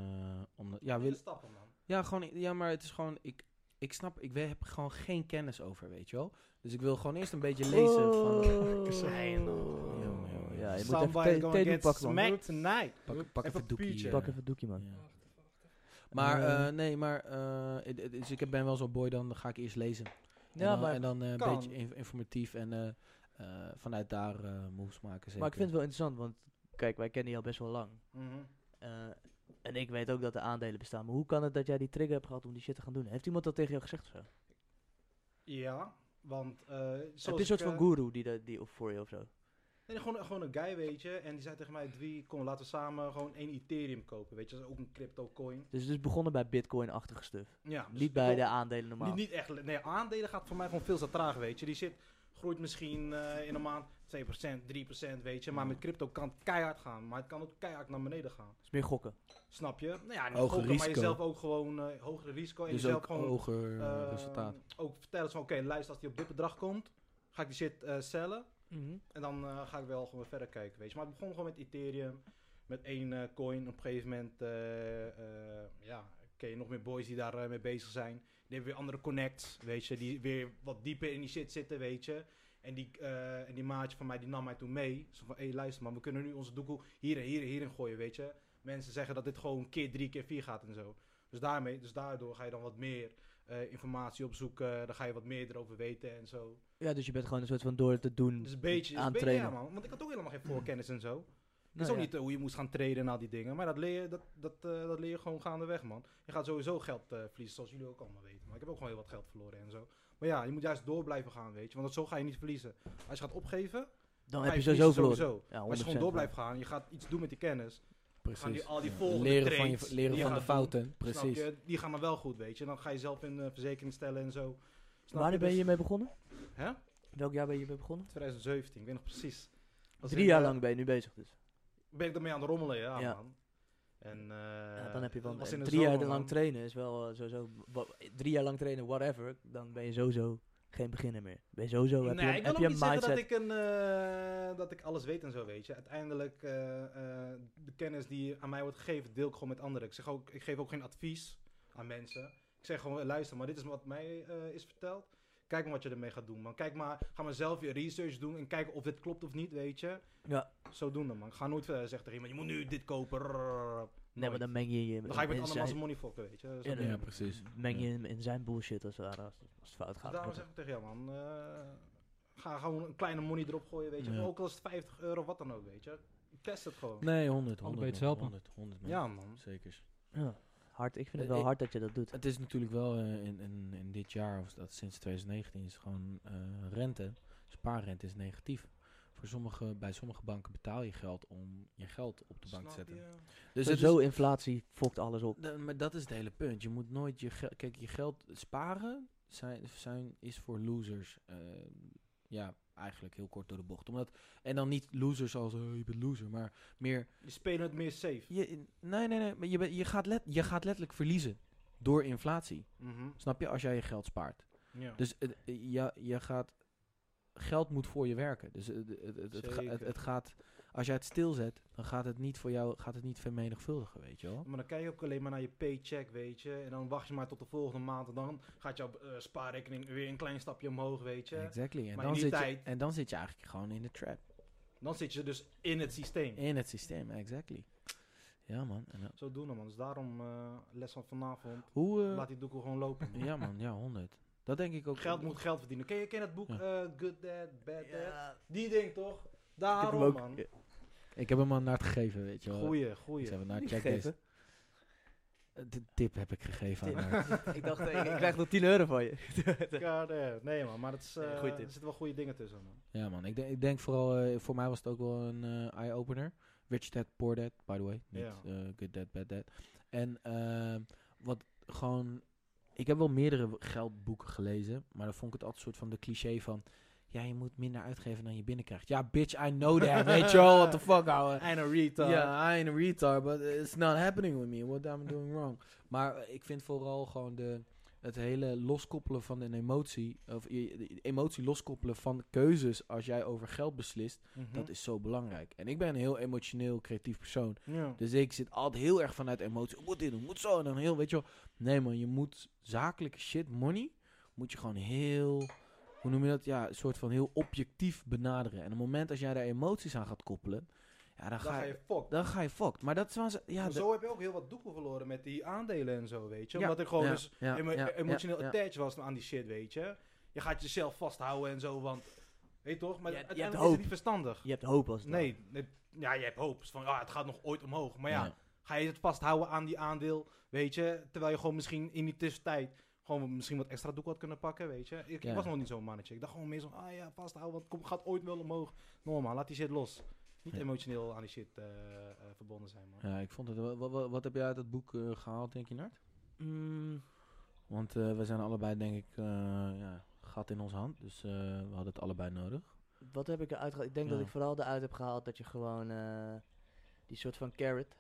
Speaker 2: omdat, ja, wil,
Speaker 4: stappen, man.
Speaker 2: Ja, gewoon, ja, maar het is gewoon, ik, ik snap, ik we- heb gewoon geen kennis over, weet je wel. Dus ik wil gewoon eerst een beetje lezen van... eh,
Speaker 3: Oh.
Speaker 4: Zijn.
Speaker 2: Jongen, jongen.
Speaker 3: Ja, je moet even
Speaker 4: Somebody
Speaker 3: te-
Speaker 4: gonna
Speaker 3: teledoek
Speaker 4: get
Speaker 3: pakken, man.
Speaker 4: smacked tonight.
Speaker 2: Pak, pak
Speaker 4: Even
Speaker 2: even, doekje.
Speaker 4: puutje.
Speaker 2: eh.
Speaker 3: Pak even het doekje, man.
Speaker 2: Ja. Maar,
Speaker 3: Eh,
Speaker 2: eh, nee, maar, eh, het- het- dus ik heb- ben wel zo'n boy, dan ga ik eerst lezen. En
Speaker 3: Ja,
Speaker 2: dan,
Speaker 3: maar,
Speaker 2: en dan eh, een
Speaker 4: kan.
Speaker 2: beetje inf- informatief en eh, eh, vanuit daar eh, moves maken, zeker.
Speaker 3: maar ik vind het wel interessant, want kijk, wij kennen je al best wel lang.
Speaker 4: Mhm.
Speaker 3: Eh, en ik weet ook dat er aandelen bestaan. Maar hoe kan het dat jij die trigger hebt gehad om die shit te gaan doen? Heeft iemand dat tegen jou gezegd of zo?
Speaker 4: Ja, want... eh zoals
Speaker 3: Heb je een
Speaker 4: ik,
Speaker 3: soort van
Speaker 4: eh,
Speaker 3: guru die, dat- die of voor je of zo?
Speaker 4: Nee, gewoon, gewoon een guy, weet je. En die zei tegen mij, Dwie, kom, laten we samen gewoon één Ethereum kopen. Weet je, dat is ook een crypto coin.
Speaker 3: Dus het is begonnen bij bitcoin-achtige stuff.
Speaker 4: Ja, dus
Speaker 3: niet bij
Speaker 4: ik wil-
Speaker 3: de aandelen normaal.
Speaker 4: Niet, niet echt. Nee, aandelen gaat voor mij gewoon veel te traag, weet je. Die shit groeit misschien eh, in een maand 2%, 3%, weet je. Maar
Speaker 3: Mm.
Speaker 4: met crypto kan het keihard gaan. Maar het kan ook keihard naar beneden gaan.
Speaker 3: Het is meer gokken.
Speaker 4: Snap je? Nou ja, niet
Speaker 2: Hoger
Speaker 4: gokken, maar
Speaker 2: risico.
Speaker 4: jezelf ook gewoon eh hogere risico. En
Speaker 2: dus
Speaker 4: jezelf
Speaker 2: ook
Speaker 4: gewoon
Speaker 2: hoger eh,
Speaker 4: eh,
Speaker 2: resultaat.
Speaker 4: ook vertellen van, oké, luister, als die op dit bedrag komt, ga ik die shit eh cellen. En dan eh, ga ik wel gewoon verder kijken, weet je. Maar het begon gewoon met Ethereum, met één eh, coin. Op een gegeven moment, eh, eh, ja, ken je nog meer boys die daar eh, mee bezig zijn. Die hebben weer andere connects, weet je. Die weer wat dieper in die shit zitten, weet je. En die, eh, en die maatje van mij, die nam mij toen mee. Zo van, hé, luister man, we kunnen nu onze doekoe hier en hier en hierin gooien, weet je. Mensen zeggen dat dit gewoon keer drie, keer vier gaat en zo. Dus, daarmee, dus daardoor ga je dan wat meer eh, informatie opzoeken. Dan ga je wat meer erover weten en zo.
Speaker 3: Ja, dus je bent gewoon een soort van door het te doen
Speaker 4: Dus een beetje, dus
Speaker 3: aan
Speaker 4: een beetje ja,
Speaker 3: trainen.
Speaker 4: man. Want ik had ook helemaal geen voorkennis en zo. Het
Speaker 3: Nou
Speaker 4: is ook
Speaker 3: ja.
Speaker 4: niet eh, hoe je moest gaan traden en al die dingen. Maar dat leer je, dat, dat, eh, dat leer je gewoon gaandeweg, man. Je gaat sowieso geld eh, verliezen, zoals jullie ook allemaal weten. Maar ik heb ook gewoon heel wat geld verloren en zo. Maar ja, je moet juist door blijven gaan, weet je. Want zo ga je niet verliezen. Als je gaat opgeven,
Speaker 3: Dan
Speaker 4: ga
Speaker 3: heb je
Speaker 4: verliezen
Speaker 3: sowieso verloren.
Speaker 4: sowieso.
Speaker 3: Ja, 100%.
Speaker 4: Maar als je gewoon door blijft gaan, je gaat iets doen met die kennis. gaan die,
Speaker 2: Precies.
Speaker 4: al die
Speaker 2: Ja.
Speaker 4: volgende
Speaker 2: Leren van, je,
Speaker 4: trades
Speaker 2: leren
Speaker 4: die je
Speaker 2: van de
Speaker 4: gaat doen,
Speaker 2: fouten,
Speaker 4: Snap
Speaker 2: precies.
Speaker 4: je? Die gaan dan wel goed, weet je. En dan ga je zelf in eh, verzekering stellen en zo. Snap
Speaker 3: Wanneer ben je
Speaker 4: Dus-
Speaker 3: hiermee begonnen?
Speaker 4: Hè?
Speaker 3: Welk jaar ben je hiermee begonnen?
Speaker 4: 2017, ik weet nog precies. Was
Speaker 3: Drie
Speaker 4: in,
Speaker 3: jaar
Speaker 4: eh,
Speaker 3: lang ben je nu bezig dus.
Speaker 4: ben ik ermee aan het rommelen, ja,
Speaker 3: Ja.
Speaker 4: man. En eh,
Speaker 3: Ja, dan heb je wel
Speaker 4: dat was
Speaker 3: en
Speaker 4: in de
Speaker 3: drie jaar
Speaker 4: zomer,
Speaker 3: lang
Speaker 4: man.
Speaker 3: trainen is wel eh, sowieso... wa- Drie jaar lang trainen, whatever, dan ben je sowieso geen beginner meer. Ben je sowieso... heb
Speaker 4: Nee,
Speaker 3: je,
Speaker 4: ik wil
Speaker 3: heb
Speaker 4: ook
Speaker 3: je
Speaker 4: niet
Speaker 3: een
Speaker 4: zeggen
Speaker 3: mindset
Speaker 4: dat ik, een, eh, dat ik alles weet en zo, weet je. Uiteindelijk, eh, eh, de kennis die aan mij wordt gegeven, deel ik gewoon met anderen. Ik, zeg ook, ik geef ook geen advies aan mensen. Ik zeg gewoon, luister, maar dit is wat mij eh, is verteld. Kijk maar wat je ermee gaat doen, man. Kijk maar, ga maar zelf je research doen en kijken of dit klopt of niet, weet je.
Speaker 3: Ja.
Speaker 4: Zodoende, man. Ik ga nooit verder zeggen tegen iemand, je moet nu dit kopen. rrrr.
Speaker 3: Nee,
Speaker 4: Nooit.
Speaker 3: maar dan meng je je
Speaker 4: Dan ga ik met andere
Speaker 3: in
Speaker 4: mensen
Speaker 3: zijn,
Speaker 4: money fokken, weet je. Zo
Speaker 3: Ja,
Speaker 4: ben ik.
Speaker 3: nee.
Speaker 2: Ja, precies.
Speaker 3: meng je
Speaker 2: Ja.
Speaker 3: hem in zijn bullshit als, het ware, als, als het fout
Speaker 4: Dus
Speaker 3: gaat.
Speaker 4: daarom zeg ik tegen jou, man. eh, ga gewoon een kleine money erop gooien, weet je.
Speaker 2: Ja.
Speaker 4: Ook al is het 50 euro, wat dan ook, weet je. Test het gewoon.
Speaker 2: Nee, 100, 100,
Speaker 1: Allebei
Speaker 2: 100,
Speaker 1: hetzelfde.
Speaker 2: 100, 100 man.
Speaker 4: Ja, man.
Speaker 2: Zekers.
Speaker 3: Ja. Hard, ik vind het
Speaker 2: Eh,
Speaker 3: wel
Speaker 2: ik-
Speaker 3: hard dat je dat doet.
Speaker 2: Het is natuurlijk wel eh, in, in, in dit jaar, of dat sinds 2019, is gewoon eh, rente. Spaarrente is negatief. Voor sommige, bij sommige banken betaal je geld om je geld op de bank te zetten. Dus het
Speaker 3: Sowieso
Speaker 2: is-
Speaker 3: inflatie fokt alles op.
Speaker 2: da- maar dat is het hele punt. Je moet nooit je geld. Kijk, je geld sparen zijn, zijn, is voor losers. eh, ja, eigenlijk heel kort door de bocht. Omdat, en dan niet losers als eh, je bent loser, maar meer
Speaker 4: Je spelen het meer safe.
Speaker 2: Je, nee, nee, nee. Maar je, ben- je, gaat let, je gaat letterlijk verliezen. door inflatie.
Speaker 4: Mhm.
Speaker 2: Snap je? Als jij je geld spaart.
Speaker 4: Ja.
Speaker 2: Dus het- je, je gaat... Geld moet voor je werken. Dus het, het, het, het, ga- het,
Speaker 4: Zeker.
Speaker 2: het gaat... Als jij het stilzet, dan gaat het niet voor jou... Gaat het niet vermenigvuldigen, weet je wel?
Speaker 4: Maar dan kijk je ook alleen maar naar je paycheck, weet je. En dan wacht je maar tot de volgende maand. En dan gaat jouw eh, spaarrekening weer een klein stapje omhoog, weet je.
Speaker 2: Exactly. En
Speaker 4: Maar
Speaker 2: dan,
Speaker 4: in
Speaker 2: zit
Speaker 4: die
Speaker 2: je,
Speaker 4: tijd-
Speaker 2: en dan zit je eigenlijk gewoon in de trap.
Speaker 4: Dan zit je dus in het systeem.
Speaker 2: In het systeem, exactly. Ja, man. En, dan-
Speaker 4: Zo doen we, man. Dus daarom eh, les van vanavond.
Speaker 2: hoe... eh,
Speaker 4: Laat die doekel gewoon lopen. man.
Speaker 2: ja, man. Ja, 100. Dat denk ik ook.
Speaker 4: Geld moet geld verdienen. Ken je, ken je dat boek
Speaker 2: Ja.
Speaker 4: eh, Good Dad, Bad Dad?
Speaker 3: Ja.
Speaker 4: Die ding toch?
Speaker 3: Ik heb hem
Speaker 4: Daarom,
Speaker 3: ook-
Speaker 4: man.
Speaker 2: Ik heb hem al naar het gegeven, weet je wel.
Speaker 4: Goeie,
Speaker 2: Ik
Speaker 4: goeie.
Speaker 2: heb hem naar
Speaker 3: Niet
Speaker 2: check deze.
Speaker 3: gegeven.
Speaker 2: De tip heb ik gegeven aan haar.
Speaker 3: ik dacht, ik, ik krijg nog 10 euro van je.
Speaker 4: God, eh, Nee, man. Maar het is,
Speaker 3: Nee,
Speaker 4: eh,
Speaker 3: goeie
Speaker 4: er
Speaker 3: tip.
Speaker 4: zitten wel goede dingen tussen, man.
Speaker 2: Ja, man. Ik, denk- ik denk vooral, eh, voor mij was het ook wel een eh, eye-opener. Rich Dad, Poor Dad, by the way. Niet
Speaker 4: Ja.
Speaker 2: eh, Good Dad, Bad Dad. En ehm, wat gewoon... Ik heb wel meerdere w- geldboeken gelezen, maar dan vond ik het altijd een soort van de cliché van... Ja, je moet minder uitgeven dan je binnenkrijgt. Ja, bitch, I know that, weet je wel. What the fuck, ouwe.
Speaker 4: En een retard.
Speaker 2: Ja, I ain't a retard, but it's not happening with me. What I'm doing wrong. Maar eh, ik vind vooral gewoon de, het hele loskoppelen van een emotie, of je- de emotie loskoppelen van keuzes als jij over geld beslist,
Speaker 4: Mhm.
Speaker 2: dat is zo belangrijk. En ik ben een heel emotioneel, creatief persoon.
Speaker 4: Ja.
Speaker 2: Dus ik zit altijd heel erg vanuit emotie. Ik moet dit doen, ik moet zo. En dan heel, weet je wel. Nee man, je moet zakelijke shit, money, moet je gewoon heel, hoe noem je dat? Ja, een soort van heel objectief benaderen. En op het moment als jij daar emoties aan gaat koppelen, ja, dan
Speaker 4: Dan
Speaker 2: ga
Speaker 4: ga
Speaker 2: je
Speaker 4: je fuck.
Speaker 2: dan ga je fokt. Maar dat was. Ja,
Speaker 4: Maar
Speaker 2: dat-
Speaker 4: zo heb je ook heel wat doekoe verloren met die aandelen en zo, weet je.
Speaker 2: Ja.
Speaker 4: Omdat ik gewoon
Speaker 2: ja,
Speaker 4: dus
Speaker 2: ja,
Speaker 4: emo-
Speaker 2: ja,
Speaker 4: emotioneel
Speaker 2: ja, ja.
Speaker 4: attached was aan die shit, weet je. Je gaat jezelf vasthouden en zo, want... Weet je toch? Maar
Speaker 3: Je- je
Speaker 4: uiteindelijk
Speaker 3: hebt
Speaker 4: is
Speaker 3: hoop.
Speaker 4: het niet verstandig.
Speaker 3: Je hebt hoop als het ware.
Speaker 4: Nee, nee, ja, je hebt hoop. Is Van, ah, het gaat nog ooit omhoog. Maar ja,
Speaker 2: Ja.
Speaker 4: ga je het vasthouden aan die aandeel, weet je. Terwijl je gewoon misschien in die tussentijd... Gewoon misschien wat extra doek had kunnen pakken, weet je. Ik, ik
Speaker 2: Ja.
Speaker 4: was nog niet zo'n mannetje. Ik dacht gewoon meer zo, ah ja, vasthouden, want het komt- gaat ooit wel omhoog. Normaal, laat die shit los. Niet
Speaker 2: Ja.
Speaker 4: emotioneel aan die shit eh, eh, verbonden zijn, man.
Speaker 2: Ja, ik vond het. Wat, wat, wat heb jij uit dat boek eh, gehaald, denk je, Nart?
Speaker 3: Mm,
Speaker 2: Want eh, we zijn allebei, denk ik, eh, ja, gat in onze hand. Dus eh, we hadden het allebei nodig.
Speaker 3: wat heb ik eruit gehaald? Ik denk
Speaker 2: Ja.
Speaker 3: dat ik vooral eruit heb gehaald dat je gewoon eh, die soort van carrot,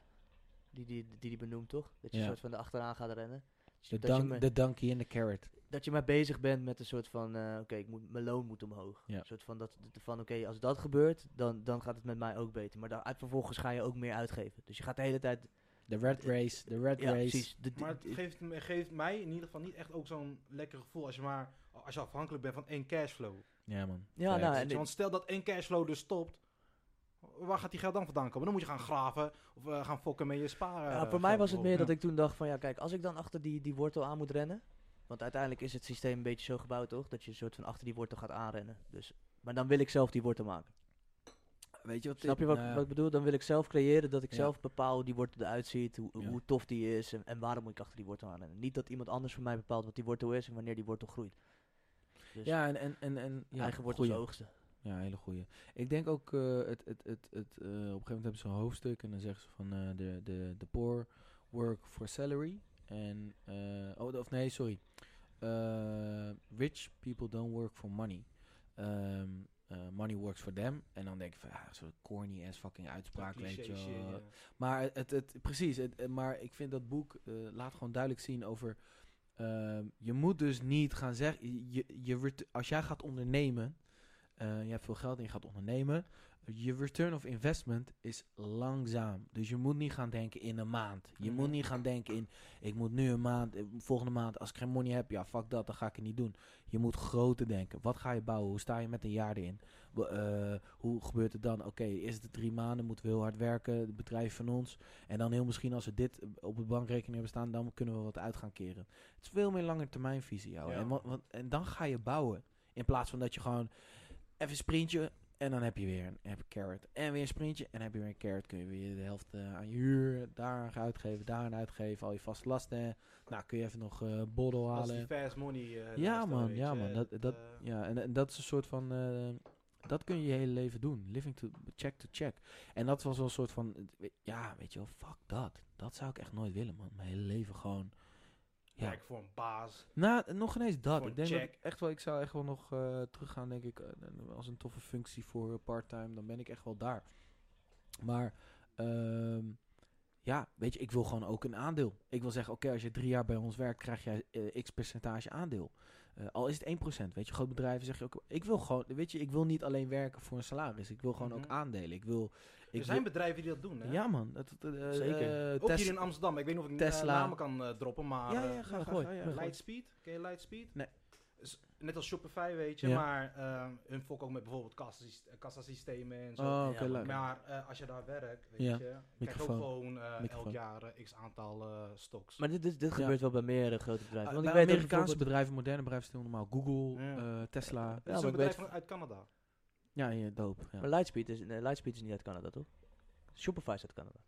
Speaker 3: die die, die, die benoemt toch? Dat je
Speaker 2: Ja.
Speaker 3: een soort van de achteraan gaat rennen. Dus
Speaker 2: De,
Speaker 3: dat, je
Speaker 2: dank,
Speaker 3: me-
Speaker 2: de donkey en de carrot.
Speaker 3: dat je maar bezig bent met een soort van, eh, oké, ik moet, mijn loon moet omhoog.
Speaker 2: Ja.
Speaker 3: Een soort van, dat, dat- van oké, als dat gebeurt, dan, dan gaat het met mij ook beter. Maar daaruit vervolgens ga je ook meer uitgeven. Dus je gaat de hele tijd...
Speaker 2: De red race. De red
Speaker 3: ja,
Speaker 2: race.
Speaker 3: precies. De-
Speaker 4: Maar
Speaker 3: de-
Speaker 4: het geeft, me- geeft mij in ieder geval niet echt ook zo'n lekker gevoel als je maar als je afhankelijk bent van één cashflow.
Speaker 2: Ja, man.
Speaker 3: Ja,
Speaker 2: Facts.
Speaker 3: nou,
Speaker 4: Weet
Speaker 3: en
Speaker 4: je, want stel dat één cashflow dus stopt, waar gaat die geld dan vandaan komen? Dan moet je gaan graven of eh, gaan fokken met je sparen.
Speaker 3: Ja,
Speaker 4: eh,
Speaker 3: voor mij
Speaker 4: geld
Speaker 3: was het meer dat
Speaker 4: bijvoorbeeld.
Speaker 3: ik toen dacht van ja, kijk, als ik dan achter die, die wortel aan moet rennen. Want uiteindelijk is het systeem een beetje zo gebouwd, toch? Dat je een soort van achter die wortel gaat aanrennen. Dus, maar dan wil ik zelf die wortel maken.
Speaker 2: Weet je wat
Speaker 3: Snap je wat,
Speaker 2: nou,
Speaker 3: wat ik bedoel? Dan wil ik zelf creëren dat ik
Speaker 2: Ja.
Speaker 3: zelf bepaal hoe die wortel eruit ziet, hoe,
Speaker 2: Ja.
Speaker 3: hoe tof die is en, en waarom moet ik achter die wortel aanrennen. Niet dat iemand anders voor mij bepaalt wat die wortel is en wanneer die wortel groeit. Dus
Speaker 2: Ja, en. en, en, en ja,
Speaker 3: eigen wortels
Speaker 2: goeie.
Speaker 3: oogsten.
Speaker 2: Ja, hele goeie. Ik denk ook, eh, het, het, het, het, eh, op een gegeven moment hebben ze een hoofdstuk en dan zeggen ze van eh, de, de, de poor work for salary. En, eh, oh, de- of nee, sorry. Eh, rich people don't work for money. Ehm, eh, money works for them. En dan denk ik van, ja, zo'n corny ass fucking uitspraak, weet je
Speaker 4: Cliché shit,
Speaker 2: wel.
Speaker 4: ja.
Speaker 2: Maar het, het, precies, het, eh, maar ik vind dat boek eh, laat gewoon duidelijk zien over. ehm, je moet dus niet gaan zeggen. Je, je ret- als jij gaat ondernemen, eh, je hebt veel geld en je gaat ondernemen. Je return of investment is langzaam. Dus je moet niet gaan denken in een maand. Je moet
Speaker 4: Mhm.
Speaker 2: niet gaan denken in. Ik moet nu een maand, eh, volgende maand. Als ik geen money heb, ja, fuck dat, dan ga ik het niet doen. Je moet grote denken. Wat ga je bouwen? Hoe sta je met een jaar erin? Wa- eh, hoe gebeurt het dan? Oké, is het de drie maanden? Moeten we heel hard werken? Het bedrijf van ons. En dan heel misschien als we dit eh, op de bankrekening hebben staan, dan kunnen we wat uit gaan keren. Het is veel meer lange termijnvisie, jou.
Speaker 4: Ja.
Speaker 2: En, wa- want- en dan ga je bouwen. In plaats van dat je gewoon even sprintje en dan heb je weer een, heb je carrot. En weer een sprintje en dan heb je weer een carrot. Kun je weer de helft eh, aan je huur, daar aan gaan uitgeven, daar aan uitgeven. Al je vaste lasten. Nou, kun je even nog eh borrel
Speaker 4: Dat is
Speaker 2: halen.
Speaker 4: die fast money. eh,
Speaker 2: Ja
Speaker 4: lifestyle,
Speaker 2: man,
Speaker 4: weet
Speaker 2: ja
Speaker 4: je.
Speaker 2: man. Dat, dat,
Speaker 4: eh,
Speaker 2: ja, en, en dat is een soort van... eh, dat kun je je hele leven doen. Living to check to check. En dat was wel een soort van... eh, we- Ja, weet je wel, fuck dat. Dat zou ik echt nooit willen, man. Mijn hele leven gewoon... Ja.
Speaker 4: werk voor een baas.
Speaker 2: Nou, nog ineens dat.
Speaker 4: Voor
Speaker 2: Ik denk dat
Speaker 4: check.
Speaker 2: ik echt wel... Ik zou echt wel nog eh, teruggaan, denk ik. eh, en als een toffe functie voor eh, part-time. Dan ben ik echt wel daar. Maar... ehm, Ja, weet je, ik wil gewoon ook een aandeel. Ik wil zeggen, oké, als je drie jaar bij ons werkt, krijg jij eh, x percentage aandeel. Eh, al is het 1%, weet je, groot bedrijven zeggen ook, ik wil gewoon, weet je, ik wil niet alleen werken voor een salaris. Ik wil gewoon
Speaker 4: Mhm.
Speaker 2: ook aandelen. Ik wil, ik
Speaker 4: er zijn
Speaker 2: wil-
Speaker 4: bedrijven die dat doen, hè?
Speaker 2: ja man, dat, dat, eh,
Speaker 3: Zeker.
Speaker 2: eh,
Speaker 4: Ook
Speaker 2: Tes-
Speaker 4: hier in Amsterdam. Ik weet niet of ik eh,
Speaker 2: Tesla.
Speaker 4: namen kan eh, droppen, maar...
Speaker 2: ja,
Speaker 4: eh,
Speaker 2: ja, ga,
Speaker 3: ja,
Speaker 2: ga,
Speaker 3: gooi.
Speaker 2: ga, ja,
Speaker 3: Ja,
Speaker 2: gooi.
Speaker 4: Lightspeed, ken je Lightspeed?
Speaker 2: Nee.
Speaker 4: Is Net als Shopify, weet je,
Speaker 2: Ja.
Speaker 4: maar ehm, hun fokken ook met bijvoorbeeld kassasys- eh, kassasystemen en zo.
Speaker 2: Oh, oké,
Speaker 3: Ja,
Speaker 2: leuk.
Speaker 4: Maar eh, als je daar werkt, weet
Speaker 2: Ja.
Speaker 4: je, krijg je ook
Speaker 2: Microfoon.
Speaker 4: gewoon eh, elk
Speaker 2: Microfoon.
Speaker 4: jaar eh, x aantal eh, stocks.
Speaker 3: Maar dit, dit, dit
Speaker 2: Ja.
Speaker 3: gebeurt wel bij meerdere grote bedrijven.
Speaker 2: Eh,
Speaker 3: Want
Speaker 2: bij
Speaker 3: ik weet dat
Speaker 2: Amerikaanse
Speaker 3: bijvoorbeeld-
Speaker 2: bedrijven, moderne bedrijven, doen normaal Google,
Speaker 4: Ja.
Speaker 2: eh, Tesla.
Speaker 4: dat is
Speaker 3: maar
Speaker 4: een
Speaker 3: ik
Speaker 4: bedrijf
Speaker 3: weet-
Speaker 4: van- uit Canada.
Speaker 2: Ja, ja doop. Ja.
Speaker 3: Maar Lightspeed is, nee, Lightspeed is niet uit Canada, toch? Shopify is uit Canada.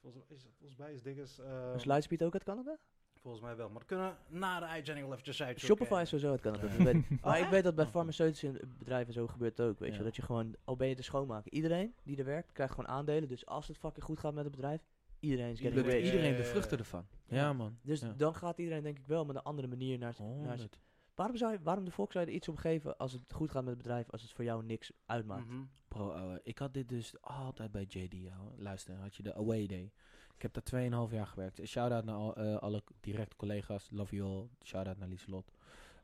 Speaker 4: Volgens, is, volgens mij is Diggers...
Speaker 3: Is Lightspeed ook uit Canada?
Speaker 4: volgens mij wel, maar dat kunnen we na de uitzending wel eventjes uitzoeken.
Speaker 3: Shopify is sowieso uit Canada. dat weet ik. Maar ik weet dat bij
Speaker 2: Oh.
Speaker 3: farmaceutische bedrijven zo gebeurt het ook, weet je.
Speaker 2: Ja.
Speaker 3: Dat je gewoon, al ben je de schoonmaker, iedereen die er werkt, krijgt gewoon aandelen. Dus als het fucking goed gaat met het bedrijf, iedereen is getting
Speaker 2: Lukt
Speaker 4: Iedereen-
Speaker 3: rich.
Speaker 2: iedereen
Speaker 4: Ja,
Speaker 2: de
Speaker 4: ja,
Speaker 2: vruchten
Speaker 4: ja.
Speaker 2: ervan.
Speaker 3: Ja.
Speaker 2: Ja, man.
Speaker 3: Dus
Speaker 2: ja.
Speaker 3: dan gaat iedereen denk ik wel met een andere manier naar, z- naar z-
Speaker 2: 100.
Speaker 3: Waarom, zou je, waarom de volk zou je er iets om geven als het goed gaat met het bedrijf, als het voor jou niks uitmaakt?
Speaker 4: Mhm.
Speaker 2: Bro, ouwe, ik had dit dus altijd bij JD, ouwe. Luister, had je de Away Day. Ik heb daar 2,5 jaar gewerkt. Shout-out naar al, eh, alle directe collega's. Love you all. Shout-out naar Lieselot.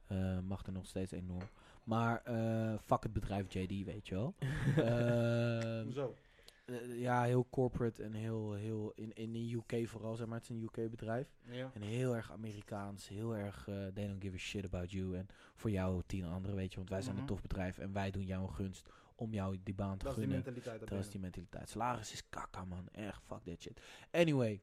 Speaker 2: Eh mag er nog steeds enorm. Maar eh, fuck het bedrijf JD, weet je wel. Ehm,
Speaker 4: Hoezo?
Speaker 2: eh, ja, heel corporate en heel, heel in, in de UK vooral, zeg maar. Het is een UK bedrijf.
Speaker 4: Ja.
Speaker 2: En heel erg Amerikaans, heel erg eh, they don't give a shit about you. En voor jou tien anderen, weet je, want wij zijn
Speaker 4: Mhm.
Speaker 2: een tof bedrijf en wij doen jou een gunst om jou die baan te
Speaker 4: Dat is die
Speaker 2: gunnen.
Speaker 4: mentaliteit
Speaker 2: Dat is
Speaker 4: daarbinnen.
Speaker 2: die mentaliteit. Salaris is kakka, man. Echt, fuck that shit. Anyway.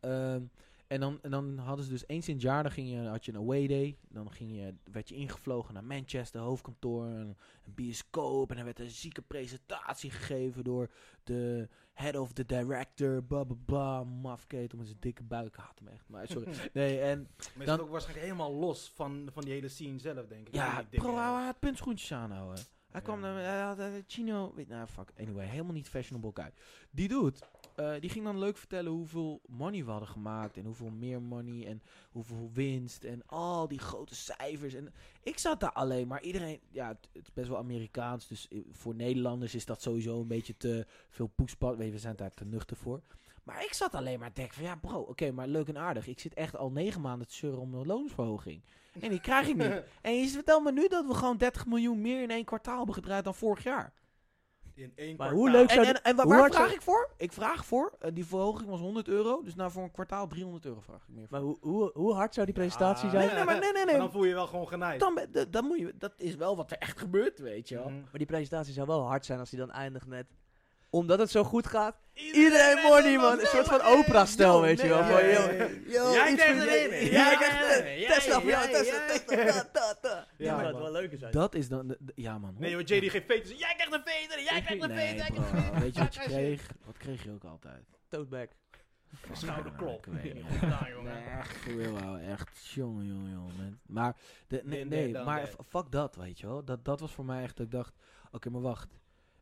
Speaker 2: Ehm, en, dan, en dan hadden ze dus eens in het jaar, dan ging je, had je een away day. Dan ging je, werd je ingevlogen naar Manchester, hoofdkantoor, een, een bioscoop. En dan werd een zieke presentatie gegeven door de head of the director, bla bla bla. Mafkeet om zijn dikke buik. Ik haat hem echt, maar sorry. Nee, en
Speaker 4: Maar is
Speaker 2: Dan-
Speaker 4: het ook waarschijnlijk helemaal los van, van die hele scene zelf, denk ik.
Speaker 2: ja,
Speaker 4: Die dingen.
Speaker 2: bro, hij had puntschoentjes aan, ouwe. Hij kwam
Speaker 4: Ja.
Speaker 2: naar hij had eh, chino, weet nou, fuck. Anyway, helemaal niet fashionable guy. Die dude, eh, die ging dan leuk vertellen hoeveel money we hadden gemaakt en hoeveel meer money en hoeveel winst en al die grote cijfers. En ik zat daar alleen, maar iedereen, ja, het, het is best wel Amerikaans, dus eh, voor Nederlanders is dat sowieso een beetje te veel poespad. Weet je, we zijn daar te nuchter voor. Maar ik zat alleen maar te denken van, ja bro, oké, maar leuk en aardig. Ik zit echt al negen maanden te zeuren om een loonsverhoging. En die krijg ik niet. En je vertelt me nu dat we gewoon 30 miljoen meer in één kwartaal hebben gedraaid dan vorig jaar.
Speaker 4: In één
Speaker 3: Maar
Speaker 4: kwartaal.
Speaker 3: hoe leuk
Speaker 2: En,
Speaker 3: zou
Speaker 2: en, en wa-
Speaker 3: hoe
Speaker 2: waar,
Speaker 3: hard
Speaker 2: vraag
Speaker 3: zou-
Speaker 2: ik voor? Ik vraag voor, eh, die verhoging was 100 euro, dus nou voor een kwartaal 300 euro vraag ik meer. voor.
Speaker 3: Maar hoe, hoe, hoe hard zou die presentatie
Speaker 4: Ah. Ja.
Speaker 3: zijn?
Speaker 2: Nee, nee, maar nee, nee,
Speaker 4: Maar
Speaker 2: nee.
Speaker 4: dan voel je je wel gewoon genaaid.
Speaker 2: Dan, ben- dat- dat moet je, dat is wel wat er echt gebeurt, weet je wel.
Speaker 4: Mhm.
Speaker 3: Maar die presentatie zou wel hard zijn als die dan eindigt met... Omdat het zo goed gaat,
Speaker 4: Iedereen
Speaker 3: iedereen money
Speaker 4: helemaal
Speaker 3: man. Een soort van
Speaker 4: mellow.
Speaker 3: Oprah-stijl,
Speaker 2: yo,
Speaker 3: weet je wel.
Speaker 2: nee,
Speaker 3: Van,
Speaker 4: ja,
Speaker 3: yo,
Speaker 4: ja,
Speaker 3: yo,
Speaker 4: Jij
Speaker 3: iets
Speaker 4: krijgt
Speaker 3: voor
Speaker 4: erin,
Speaker 3: jou.
Speaker 4: jij
Speaker 3: Jij
Speaker 4: krijgt
Speaker 3: krijgt
Speaker 4: erin, jij,
Speaker 3: erin. Tesla voor jou,
Speaker 4: jij,
Speaker 3: Tesla,
Speaker 4: jij.
Speaker 3: Tesla, da, da, da.
Speaker 4: Ja,
Speaker 3: Ja, maar het
Speaker 4: man.
Speaker 3: wel leuker zijn.
Speaker 2: Dat is dan, de- de- ja man.
Speaker 4: Nee, joh, JD geeft veters. Jij krijgt een veter, jij krijgt een veter,
Speaker 2: Nee,
Speaker 4: jij
Speaker 2: bro,
Speaker 4: krijgt een veter.
Speaker 2: weet je wat je
Speaker 4: Jij krijgt een
Speaker 2: kreeg? Wat kreeg je ook altijd?
Speaker 3: Toadbag.
Speaker 4: veter. Schouderklop.
Speaker 2: Ja, ik weet
Speaker 4: Niet
Speaker 2: het.
Speaker 4: goed gedaan,
Speaker 2: Nee,
Speaker 4: jongen.
Speaker 2: echt, voor real, ouwe, echt, jongen, jongen, jongen. man. Maar, de, nee,
Speaker 4: Then
Speaker 2: nee,
Speaker 4: that, done
Speaker 2: maar
Speaker 4: that.
Speaker 2: f- fuck dat, weet je wel. Dat, dat was voor mij echt, dat ik dacht, oké, maar wacht.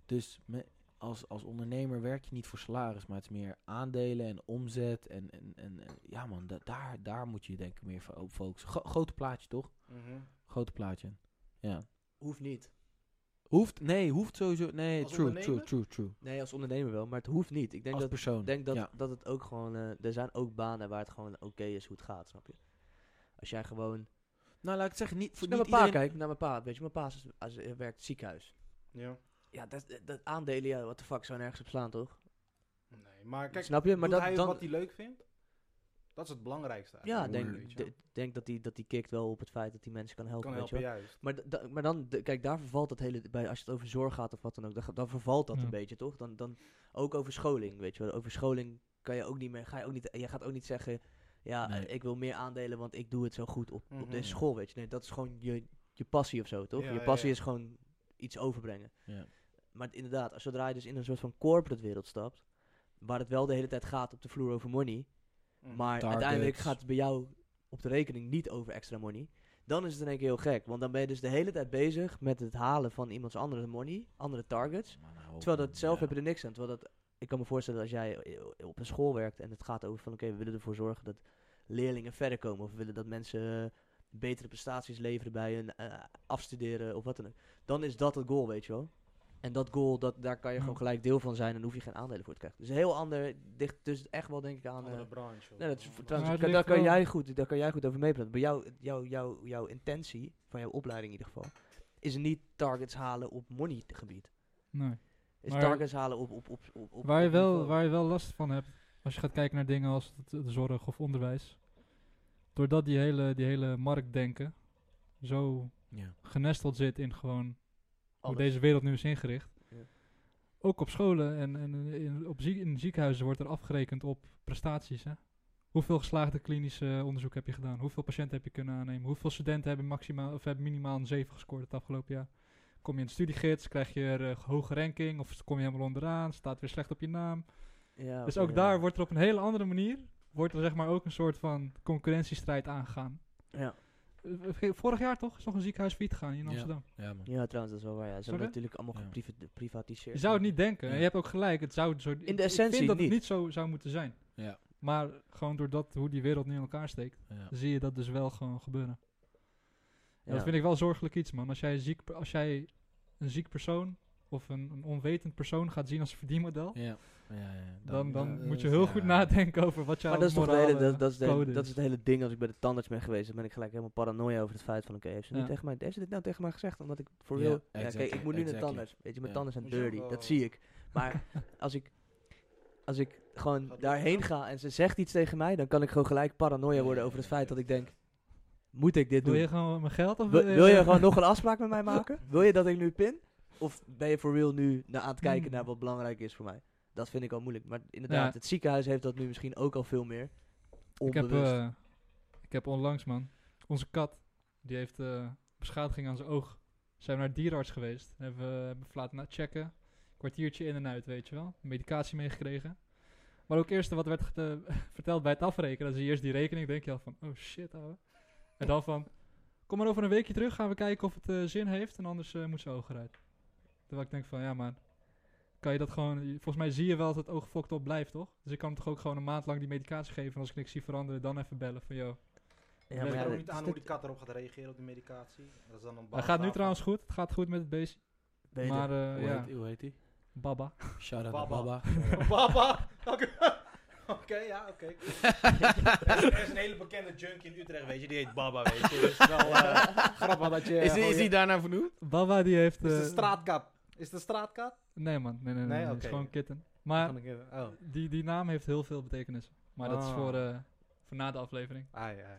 Speaker 2: Dus me- als, als ondernemer werk je niet voor salaris, maar het is meer aandelen en omzet. En, en, en, en- ja man, da- daar, daar moet je je denk ik meer van op focussen. Gro- grote plaatje, toch?
Speaker 4: Mhm.
Speaker 2: Grote plaatje. Ja.
Speaker 3: Hoeft niet.
Speaker 2: Hoeft, nee, hoeft sowieso, nee,
Speaker 4: Als
Speaker 2: true, true,
Speaker 4: ondernemer?
Speaker 2: true, true.
Speaker 3: Nee, als ondernemer wel, maar het hoeft niet. Ik denk
Speaker 2: Als
Speaker 3: dat,
Speaker 2: persoon.
Speaker 3: ik denk dat,
Speaker 2: ja.
Speaker 3: dat het ook gewoon... eh, er zijn ook banen waar het gewoon oké is hoe het gaat, snap je? Als jij gewoon...
Speaker 2: Nou, laat ik het zeggen, niet,
Speaker 3: Als ik
Speaker 2: voor
Speaker 3: naar
Speaker 2: niet
Speaker 3: mijn pa
Speaker 2: iedereen...
Speaker 3: kijk, naar mijn pa. Weet je, mijn pa is, als, hij werkt in het ziekenhuis.
Speaker 4: Ja.
Speaker 3: Ja, dat, dat aandelen, ja, what the fuck, zou nergens op slaan, toch?
Speaker 4: Nee, maar kijk,
Speaker 3: Snap je? Maar
Speaker 4: doet
Speaker 3: dat,
Speaker 4: hij
Speaker 3: dan,
Speaker 4: wat hij leuk vindt? Dat is het belangrijkste
Speaker 3: Ja,
Speaker 4: eigenlijk,
Speaker 3: ik denk,
Speaker 4: weet je wel.
Speaker 3: de- denk dat, die, dat die kikt wel op het feit dat die mensen kan helpen.
Speaker 4: Kan
Speaker 3: weet je
Speaker 4: helpen,
Speaker 3: wel.
Speaker 4: juist.
Speaker 3: Maar, da- da- maar dan, de- kijk, daar vervalt dat hele, bij, als je het over zorg gaat of wat dan ook, dan, ga- dan vervalt dat
Speaker 1: Ja.
Speaker 3: een beetje, toch? Dan, dan ook over scholing, weet je wel. Over scholing kan je ook niet meer, ga je ook niet, je gaat ook niet zeggen, ja,
Speaker 2: Nee.
Speaker 3: eh, ik wil meer aandelen, want ik doe het zo goed op, op
Speaker 4: Mhm.
Speaker 3: deze school, weet je. Nee, dat is gewoon je, je passie of zo, toch?
Speaker 4: Ja,
Speaker 3: je
Speaker 4: ja,
Speaker 3: passie
Speaker 4: ja.
Speaker 3: is gewoon iets overbrengen.
Speaker 2: Ja.
Speaker 3: Maar inderdaad, als zodra je dus in een soort van corporate wereld stapt, waar het wel de hele tijd gaat op de vloer over money,
Speaker 4: Mhm.
Speaker 3: maar
Speaker 2: Targets.
Speaker 3: uiteindelijk gaat het bij jou op de rekening niet over extra money. Dan is het in één keer heel gek. Want dan ben je dus de hele tijd bezig met het halen van iemands andere money, andere targets.
Speaker 2: Man, hou op,
Speaker 3: Terwijl
Speaker 2: man,
Speaker 3: dat zelf
Speaker 2: Oh, ja.
Speaker 3: heb je er niks aan. Terwijl dat, ik kan me voorstellen als jij eh, op een school werkt en het gaat over van oké, we willen ervoor zorgen dat leerlingen verder komen. Of we willen dat mensen eh, betere prestaties leveren bij hun eh, afstuderen of wat dan ook. Dan is dat het goal, weet je wel. En dat goal, dat, daar kan je gewoon
Speaker 1: Ja.
Speaker 3: gelijk deel van zijn en hoef je geen aandelen voor te krijgen. Dus een heel ander, dicht, dus echt wel denk ik aan... eh,
Speaker 4: Andere branche.
Speaker 3: nee, dat is,
Speaker 4: Andere
Speaker 3: trouwens,
Speaker 1: het
Speaker 3: kan- daar,
Speaker 1: ligt
Speaker 3: kan
Speaker 1: wel-
Speaker 3: jij goed, daar kan jij goed over meepraten. Maar jouw, jouw, jouw, jouw intentie, van jouw opleiding in ieder geval, is niet targets halen op money gebied.
Speaker 1: Nee.
Speaker 3: Is
Speaker 1: Maar-
Speaker 3: targets halen op... op, op, op, op
Speaker 1: Waar je,
Speaker 3: op
Speaker 1: wel,
Speaker 3: niveau.
Speaker 1: waar je wel last van hebt, als je gaat kijken naar dingen als het- de zorg of onderwijs. Doordat die hele, die hele marktdenken zo
Speaker 2: Ja.
Speaker 1: genesteld zit in gewoon hoe
Speaker 3: Alles.
Speaker 1: deze wereld nu is ingericht.
Speaker 3: Ja.
Speaker 1: Ook op scholen en, en in, op ziek, in ziekenhuizen wordt er afgerekend op prestaties. Hè? Hoeveel geslaagde klinische onderzoek heb je gedaan? Hoeveel patiënten heb je kunnen aannemen? Hoeveel studenten hebben, maximaal, of hebben minimaal een 7 gescoord het afgelopen jaar? Kom je in de studiegids, krijg je een hoge ranking of kom je helemaal onderaan? Staat weer slecht op je naam?
Speaker 3: Ja,
Speaker 1: Dus
Speaker 3: oké,
Speaker 1: ook
Speaker 3: ja.
Speaker 1: daar wordt er op een hele andere manier, wordt er zeg maar ook een soort van concurrentiestrijd aangegaan.
Speaker 3: Ja.
Speaker 1: Eh, Vorig jaar toch is nog een ziekenhuis failliet gegaan hier in
Speaker 2: Ja.
Speaker 1: Amsterdam.
Speaker 2: Ja, man.
Speaker 3: Ja, trouwens, dat is wel waar. Ja. Ze
Speaker 1: Sorry?
Speaker 3: hebben natuurlijk allemaal
Speaker 2: Ja.
Speaker 3: gepriva- geprivatiseerd.
Speaker 1: Je zou het niet denken. En
Speaker 2: Ja.
Speaker 1: je hebt ook gelijk. Het zou zo,
Speaker 3: de
Speaker 1: ik
Speaker 3: essentie
Speaker 1: vind dat
Speaker 3: niet.
Speaker 1: het niet zo zou moeten zijn.
Speaker 2: Ja.
Speaker 1: Maar gewoon doordat hoe die wereld nu in elkaar steekt,
Speaker 2: Ja.
Speaker 1: zie je dat dus wel gewoon gebeuren. En
Speaker 3: Ja.
Speaker 1: Dat vind ik wel zorgelijk iets, man. Als jij, ziek, per- als jij een ziek persoon of een, een onwetend persoon gaat zien als een verdienmodel,
Speaker 2: Ja. Ja, ja, ja.
Speaker 1: dan, dan
Speaker 2: ja,
Speaker 1: moet je
Speaker 2: dat
Speaker 1: heel
Speaker 2: is-
Speaker 1: goed
Speaker 2: ja.
Speaker 1: nadenken over wat jouw
Speaker 3: Maar dat is toch de hele,
Speaker 1: morale
Speaker 3: dat, dat is de hele-
Speaker 1: code
Speaker 3: dat is het hele ding. Als ik bij de tandarts ben geweest, dan ben ik gelijk helemaal paranoia over het feit van... Oké, heeft, ze nu
Speaker 1: Ja.
Speaker 3: tegen mij- heeft ze dit nou tegen mij gezegd? Omdat ik voor
Speaker 2: Ja,
Speaker 3: real... ja,
Speaker 2: exactly,
Speaker 3: kijk, ik moet nu naar de
Speaker 2: exactly.
Speaker 3: tandarts. Weet je, mijn
Speaker 2: Ja.
Speaker 3: tanden zijn
Speaker 4: Moet je ook
Speaker 3: dirty.
Speaker 4: wel-
Speaker 3: Dat zie ik. Maar als ik, als ik gewoon
Speaker 4: Gaat
Speaker 3: daarheen
Speaker 4: wel.
Speaker 3: ga en ze zegt iets tegen mij... dan kan ik gewoon gelijk paranoia
Speaker 2: Ja,
Speaker 3: worden
Speaker 2: ja,
Speaker 3: over het
Speaker 2: ja,
Speaker 3: feit
Speaker 2: ja.
Speaker 3: dat ik denk... Moet ik dit
Speaker 1: Wil
Speaker 3: doen?
Speaker 1: je gewoon mijn geld? Of eh,
Speaker 3: Wil, wil je gewoon nog een afspraak met mij maken? Wil je dat ik nu pin? Of ben je voor real nu na- aan het kijken
Speaker 1: Hmm.
Speaker 3: naar wat belangrijk is voor mij? Dat vind ik al moeilijk. Maar inderdaad,
Speaker 1: Ja.
Speaker 3: het ziekenhuis heeft dat nu misschien ook al veel meer.
Speaker 1: Ik heb,
Speaker 3: Onbewust.
Speaker 1: eh, ik heb onlangs, man, onze kat, die heeft eh, beschadiging aan zijn oog. Zijn we naar de dierenarts geweest. Hebben we hebben we laten na- checken. Kwartiertje in en uit, weet je wel. Medicatie meegekregen. Maar ook eerst wat werd gete- verteld bij het afrekenen. Dan zie je eerst die rekening. denk je al van, oh shit, ouwe. En dan van, kom maar over een weekje terug. Gaan we kijken of het eh, zin heeft. En anders eh, moet zijn oog eruit. Terwijl ik denk van, ja maar... Kan je dat gewoon... Volgens mij zie je wel dat het oog fokt op blijft, toch? Dus ik kan hem toch ook gewoon een maand lang die medicatie geven. En als ik niks zie veranderen, dan even bellen van, yo.
Speaker 3: ja,
Speaker 1: maar ja,
Speaker 4: Ik weet ook
Speaker 1: dat
Speaker 4: niet
Speaker 3: dat-
Speaker 4: aan hoe die
Speaker 3: dat-
Speaker 4: kat erop gaat reageren op die medicatie. Dat is dan een
Speaker 1: Hij
Speaker 4: baas
Speaker 1: gaat nu
Speaker 4: daarvan.
Speaker 1: trouwens goed. Het gaat goed met het beestje.
Speaker 3: beter.
Speaker 1: Maar eh,
Speaker 2: Hoe,
Speaker 1: ja,
Speaker 2: heet, hoe heet die?
Speaker 1: Baba.
Speaker 2: Shout out
Speaker 4: Baba.
Speaker 2: Baba.
Speaker 4: Baba! Oké, Oké, ja, oké. er, is, er is een hele bekende junkie in Utrecht, weet je. Die heet Baba, weet je. Dus het is wel eh, grappig dat je...
Speaker 2: Is,
Speaker 1: oh,
Speaker 2: die- is
Speaker 4: gewoon-
Speaker 2: die daarna vernoemd?
Speaker 1: Baba die heeft...
Speaker 4: Is de
Speaker 1: eh,
Speaker 4: straatkat. Is de straatkat?
Speaker 1: Nee man, nee, nee, nee.
Speaker 4: Nee,
Speaker 1: nee, Het
Speaker 4: oké.
Speaker 1: is gewoon kitten. Maar
Speaker 4: Van een keer- Oh.
Speaker 1: die, die naam heeft heel veel betekenis. Maar dat is
Speaker 4: Ah.
Speaker 1: voor, eh, voor na de aflevering.
Speaker 4: Ai, ai.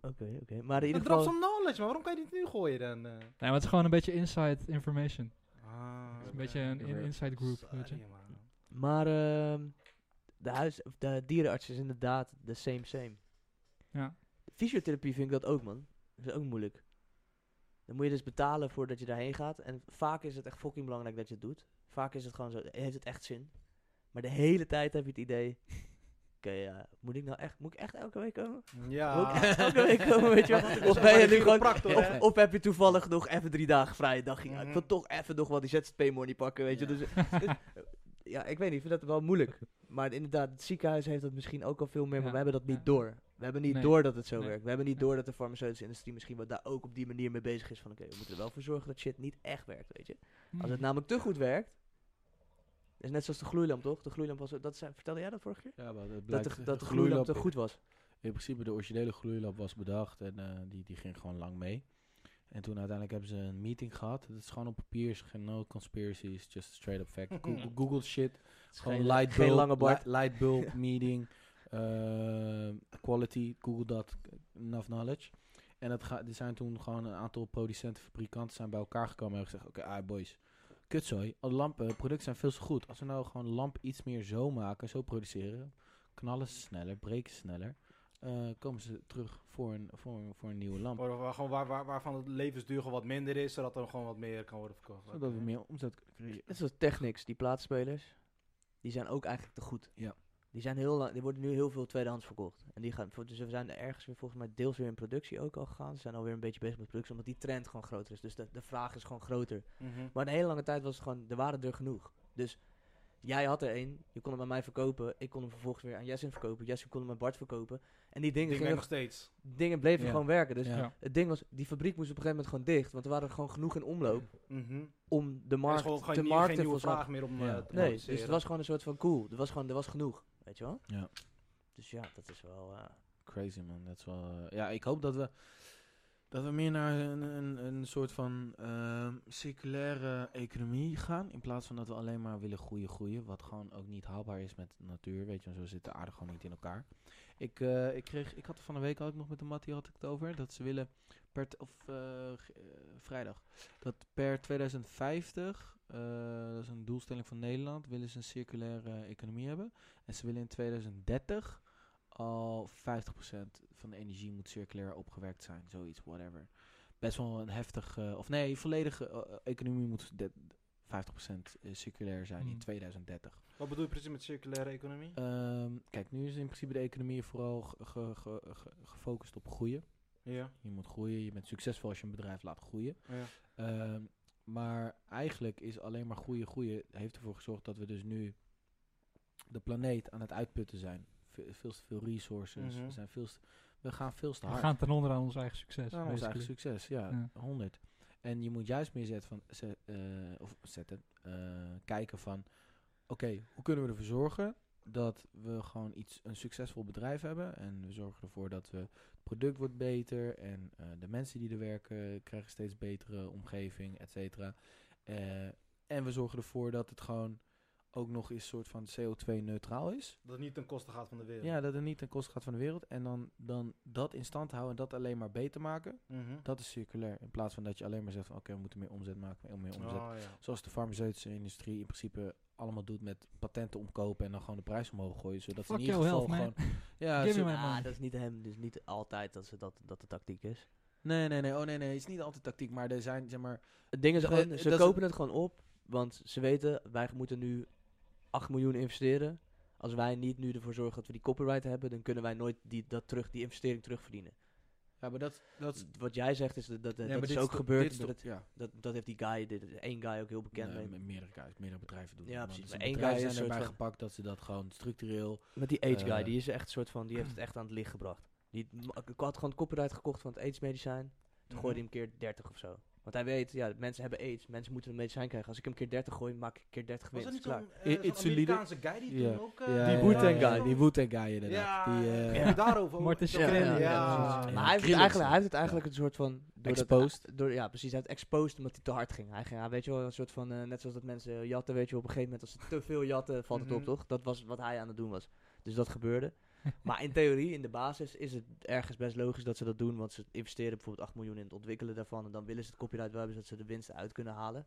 Speaker 3: Oké, oké. Maar in
Speaker 4: Dan
Speaker 3: ieder
Speaker 4: drop
Speaker 3: geval...
Speaker 4: some knowledge, maar waarom kan je dit nu gooien dan? eh?
Speaker 1: Nee, maar het is gewoon een beetje inside information.
Speaker 4: Ah,
Speaker 1: Het is
Speaker 4: oké.
Speaker 1: een beetje een in-
Speaker 2: Oké.
Speaker 1: inside group, weet je.
Speaker 4: Sorry, man.
Speaker 3: Maar ehm, de, huis, of de dierenarts is inderdaad de same same.
Speaker 1: Ja.
Speaker 3: Fysiotherapie vind ik dat ook, man. Dat is ook moeilijk. Dan moet je dus betalen voordat je daarheen gaat. En vaak is het echt fucking belangrijk dat je het doet. Vaak is het gewoon zo, heeft het echt zin. Maar de hele tijd heb je het idee... Oké, ja, moet ik nou echt, moet ik echt elke week komen? Moet ik
Speaker 4: Ja.
Speaker 3: echt elke week komen, weet je wel? Ah. Of
Speaker 4: Zeg
Speaker 3: ben
Speaker 4: maar
Speaker 3: je
Speaker 4: de
Speaker 3: nu gewoon...
Speaker 4: chiropractor,
Speaker 3: Of,
Speaker 4: hè?
Speaker 3: of heb je toevallig nog even drie dagen vrije dag? Ja, ik
Speaker 4: Mhm.
Speaker 3: wil toch even nog wel die ZZP-money pakken, weet je.
Speaker 4: Ja.
Speaker 3: Dus ja, ik weet niet, ik vind dat wel moeilijk. Maar inderdaad, het ziekenhuis heeft dat misschien ook al veel meer, maar
Speaker 1: Ja,
Speaker 3: we hebben dat niet
Speaker 1: ja.
Speaker 3: door. We hebben niet
Speaker 1: Nee.
Speaker 3: door dat het zo
Speaker 1: Nee.
Speaker 3: werkt. We hebben niet
Speaker 1: Nee.
Speaker 3: door dat de farmaceutische industrie misschien wel daar ook op die manier mee bezig is. Van oké, we moeten er wel voor zorgen dat shit niet echt werkt, weet je. Als
Speaker 1: Hmm.
Speaker 3: het nou namelijk te goed werkt, is net zoals de gloeilamp, toch? De gloeilamp was, dat zei, vertelde jij dat vorige keer?
Speaker 2: Ja, maar het
Speaker 3: Dat
Speaker 2: blijkt
Speaker 3: de, dat de gloeilamp te goed was.
Speaker 2: In principe, de originele gloeilamp was bedacht en eh, die, die ging gewoon lang mee. En toen uiteindelijk hebben ze een meeting gehad. Het is gewoon op papier, is geen no conspiracies, just straight up fact. Google, Google shit,
Speaker 3: Het is
Speaker 2: gewoon
Speaker 3: geen-
Speaker 2: light
Speaker 3: geen
Speaker 2: bulb,
Speaker 3: lange
Speaker 2: li-
Speaker 3: Bart.
Speaker 2: light bulb meeting, eh, quality, Google dat, enough knowledge. En dat ga, er zijn toen gewoon een aantal producenten, fabrikanten zijn bij elkaar gekomen en hebben gezegd, oké, ah, boys, kutzooi, al lampen, producten zijn veel te goed. Als we nou gewoon lamp iets meer zo maken, zo produceren, knallen ze sneller, breken ze sneller, eh, komen ze terug voor een, voor een, voor een nieuwe lamp.
Speaker 4: Waar- waar- gewoon waar- waar- Waarvan het levensduur gewoon wat minder is, zodat er gewoon wat meer kan worden verkocht.
Speaker 2: Zodat we meer omzet kunnen creëren.
Speaker 3: Net zoals Technics, die plaatsspelers, die zijn ook eigenlijk te goed.
Speaker 2: Ja.
Speaker 3: Die, zijn heel lang, die worden nu heel veel tweedehands verkocht. En die gaan, voor- dus we zijn er ergens weer volgens mij deels weer in productie ook al gegaan. Ze zijn alweer een beetje bezig met productie, omdat die trend gewoon groter is. Dus de, de vraag is gewoon groter.
Speaker 4: Mhm.
Speaker 3: Maar een hele lange tijd was het gewoon, er waren er genoeg. Dus Jij had er één, je kon hem aan mij verkopen. Ik kon hem vervolgens weer aan Jessin verkopen. Jessin kon hem aan Bart verkopen. En die dingen,
Speaker 4: Ik ben
Speaker 3: gingen,
Speaker 4: nog steeds.
Speaker 3: dingen bleven
Speaker 2: Ja.
Speaker 3: gewoon werken. Dus
Speaker 2: Ja.
Speaker 1: Ja.
Speaker 3: het ding was, die fabriek moest op een gegeven moment gewoon dicht. Want er waren gewoon genoeg in omloop
Speaker 4: Mhm.
Speaker 3: om de
Speaker 4: Er is
Speaker 3: markt,
Speaker 4: gewoon
Speaker 3: de
Speaker 4: geen,
Speaker 3: markt
Speaker 4: geen
Speaker 3: te
Speaker 4: nieuwe
Speaker 3: volslaan.
Speaker 4: vraag meer
Speaker 2: Ja.
Speaker 4: om eh,
Speaker 2: Nee,
Speaker 4: te
Speaker 3: Nee, dus
Speaker 4: produceren.
Speaker 3: het was gewoon een soort van cool. Er was gewoon, er was genoeg, weet je wel?
Speaker 2: Ja.
Speaker 3: Dus ja, dat is wel... eh,
Speaker 2: Crazy man, dat is wel... eh, ja, ik hoop dat we, dat we meer naar een, een, een soort van ehm, circulaire economie gaan. In plaats van dat we alleen maar willen groeien, groeien. Wat gewoon ook niet haalbaar is met de natuur, weet je. want Zo zit de aarde gewoon niet in elkaar. Ik, eh, ik, kreeg, ik had er van de week ook nog met de Mattie had ik het over. Dat ze willen, per t- of eh, g- eh, vrijdag, dat per 2050, eh, dat is een doelstelling van Nederland, willen ze een circulaire eh, economie hebben. En ze willen in 2030 al 50% van de energie moet circulair opgewerkt zijn, zoiets, whatever. Best wel een heftig, eh, of nee, volledige eh, eh, economie moet de- 50% circulair zijn in
Speaker 1: Mm.
Speaker 2: 2030.
Speaker 4: Wat bedoel je precies met circulaire economie?
Speaker 2: Ehm, kijk, nu is in principe de economie vooral ge- ge- ge- ge- gefocust op groeien.
Speaker 4: Ja.
Speaker 2: Je moet groeien, je bent succesvol als je een bedrijf laat groeien.
Speaker 4: ja.
Speaker 2: Ehm, maar eigenlijk is alleen maar groeien, groeien heeft ervoor gezorgd dat we dus nu de planeet aan het uitputten zijn. Ve- veel te veel resources,
Speaker 4: Mhm.
Speaker 2: we, zijn veel te- we gaan veel te
Speaker 1: We
Speaker 2: hard.
Speaker 1: gaan ten onder aan ons eigen succes.
Speaker 2: Aan ons eigen
Speaker 1: basically.
Speaker 2: succes, ja,
Speaker 1: Ja.
Speaker 2: 100. En je moet juist meer zetten van, ze- eh, of zetten, eh, kijken van, oké, hoe kunnen we ervoor zorgen dat we gewoon iets, een succesvol bedrijf hebben en we zorgen ervoor dat we, het product wordt beter en eh, de mensen die er werken krijgen steeds betere omgeving, et cetera. Eh, en we zorgen ervoor dat het gewoon ook nog eens soort van CO2-neutraal is.
Speaker 4: Dat het niet ten koste gaat van de wereld.
Speaker 2: Ja, dat het niet ten koste gaat van de wereld. En dan, dan dat in stand houden en dat alleen maar beter maken.
Speaker 4: Mhm.
Speaker 2: Dat is circulair. In plaats van dat je alleen maar zegt van oké, we moeten meer omzet maken, meer meer omzet.
Speaker 4: Oh, ja.
Speaker 2: Zoals de farmaceutische industrie in principe allemaal doet met patenten omkopen en dan gewoon de prijs omhoog gooien. Zodat ze
Speaker 1: Fuck
Speaker 2: in ieder
Speaker 1: your
Speaker 2: geval
Speaker 1: health, man.
Speaker 2: gewoon. Ja,
Speaker 1: Give
Speaker 2: zo-
Speaker 1: me my
Speaker 3: ah,
Speaker 1: money.
Speaker 3: dat is niet hem, dus niet altijd dat, ze dat, dat de tactiek is.
Speaker 2: nee, nee, nee. Oh nee, nee. Het is niet altijd tactiek, maar er zijn zeg maar.
Speaker 3: Het ding is
Speaker 2: Dus, eh,
Speaker 3: gewoon,
Speaker 2: eh,
Speaker 3: ze
Speaker 2: dat is-
Speaker 3: kopen het gewoon op, want ze weten, wij moeten nu 8 miljoen investeren. Als wij niet nu ervoor zorgen dat we die copyright hebben, dan kunnen wij nooit die, dat terug, die investering terugverdienen.
Speaker 2: Ja, maar dat. dat is-
Speaker 3: Wat jij zegt is dat, dat,
Speaker 2: nee,
Speaker 3: dat,
Speaker 2: maar
Speaker 3: is
Speaker 2: dit
Speaker 3: ook
Speaker 2: toch-
Speaker 3: gebeurd.
Speaker 2: dit is
Speaker 3: met
Speaker 2: toch-
Speaker 3: het-
Speaker 2: ja,
Speaker 3: dat, dat heeft die guy, dit, één guy ook heel bekend.
Speaker 2: nee,
Speaker 3: mee.
Speaker 2: met meerdere guys, meerdere bedrijven doen.
Speaker 3: Ja,
Speaker 2: dat, man.
Speaker 3: precies.
Speaker 2: Dus
Speaker 3: Maar één
Speaker 2: bedrijven
Speaker 3: guy is
Speaker 2: zijn
Speaker 3: een soort
Speaker 2: erbij
Speaker 3: van-
Speaker 2: gepakt dat ze dat gewoon structureel.
Speaker 3: Met die AIDS guy,
Speaker 2: Eh.
Speaker 3: die is echt soort van, die heeft het echt aan het licht gebracht. Die m- ik had gewoon copyright gekocht van het AIDS medicijn. Toen gooide
Speaker 4: Mhm.
Speaker 3: hij hem keer 30 of zo. Want hij weet, ja, mensen hebben AIDS, mensen moeten een medicijn krijgen. Als ik hem keer 30 gooi, maak ik keer 30
Speaker 4: Was dat
Speaker 3: winst.
Speaker 4: niet
Speaker 3: Klaar.
Speaker 4: zo'n
Speaker 2: I-
Speaker 4: eh, zo'n
Speaker 2: it's a leader-
Speaker 4: Amerikaanse guy die
Speaker 2: Ja.
Speaker 4: toen ook... eh,
Speaker 2: Ja,
Speaker 3: die
Speaker 2: ja,
Speaker 3: Wu-Tang
Speaker 2: ja,
Speaker 3: guy.
Speaker 2: ja, Die Wu-Tang guy inderdaad.
Speaker 4: Ja,
Speaker 2: Die, eh,
Speaker 4: heb je daarover?
Speaker 1: Martin
Speaker 4: Ja,
Speaker 1: Shkreli,
Speaker 4: ja,
Speaker 3: ja,
Speaker 4: ja.
Speaker 2: precies.
Speaker 3: Maar hij heeft, het
Speaker 2: Krillers,
Speaker 3: eigenlijk, hij
Speaker 2: ja.
Speaker 3: heeft het eigenlijk een soort van... Door
Speaker 2: Exposed.
Speaker 3: Dat, door, ja, precies. Hij heeft exposed omdat hij te hard ging. Hij ging, hij, weet je wel, een soort van... eh, net zoals dat mensen jatten, weet je wel. Op een gegeven moment, als ze te veel jatten, valt het
Speaker 4: Mhm.
Speaker 3: op, toch? Dat was wat hij aan het doen was. Dus dat gebeurde. maar in theorie, in de basis, is het ergens best logisch dat ze dat doen. Want ze investeren bijvoorbeeld 8 miljoen in het ontwikkelen daarvan. En dan willen ze het copyright wel hebben, zodat ze de winsten uit kunnen halen.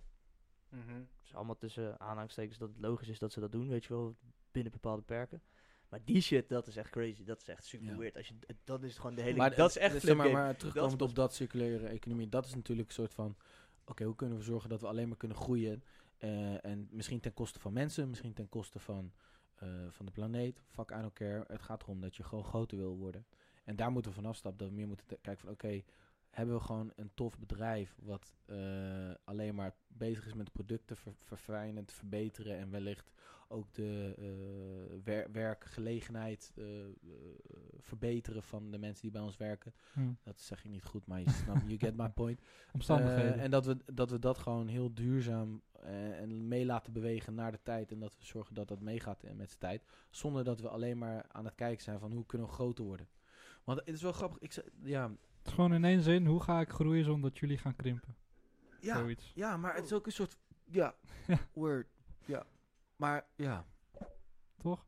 Speaker 4: Mhm.
Speaker 3: Dus allemaal tussen aanhangstekens dat het logisch is dat ze dat doen, weet je wel. Binnen bepaalde perken. Maar die shit, dat is echt crazy. Dat is echt super
Speaker 2: Ja.
Speaker 3: weird. Als je, dat is gewoon de hele...
Speaker 2: Maar
Speaker 3: dat is echt
Speaker 2: dus zeg
Speaker 3: flipgame.
Speaker 2: maar, maar terugkomend
Speaker 3: pas-
Speaker 2: op dat circulaire economie, dat is natuurlijk een soort van: oké, hoe kunnen we zorgen dat we alleen maar kunnen groeien? eh, en misschien ten koste van mensen, misschien ten koste van, eh, van de planeet. Fuck aan elkaar. Het gaat erom dat je gewoon groter wil worden. En daar moeten we vanaf stappen. Dat we meer moeten te- kijken van: oké, hebben we gewoon een tof bedrijf wat eh, alleen maar bezig is met producten ver- verfijnen, te verbeteren en wellicht ook de eh, wer- werkgelegenheid eh, eh, verbeteren van de mensen die bij ons werken.
Speaker 1: Hm,
Speaker 2: Dat zeg ik niet goed, maar je snapt, you get my point.
Speaker 1: Omstandigheden.
Speaker 2: Eh, en dat we, dat we dat gewoon heel duurzaam eh, en mee laten bewegen naar de tijd. En dat we zorgen dat dat meegaat eh, met de tijd. Zonder dat we alleen maar aan het kijken zijn van hoe kunnen we groter worden. Want het is wel grappig. Ik zei, ja,
Speaker 1: Het is gewoon in één zin, hoe ga ik groeien zonder dat jullie gaan krimpen?
Speaker 2: ja,
Speaker 1: Zoiets.
Speaker 2: ja, maar het
Speaker 4: Oh.
Speaker 2: is ook een soort, ja,
Speaker 1: Ja.
Speaker 2: word. Ja. Maar ja,
Speaker 1: Toch?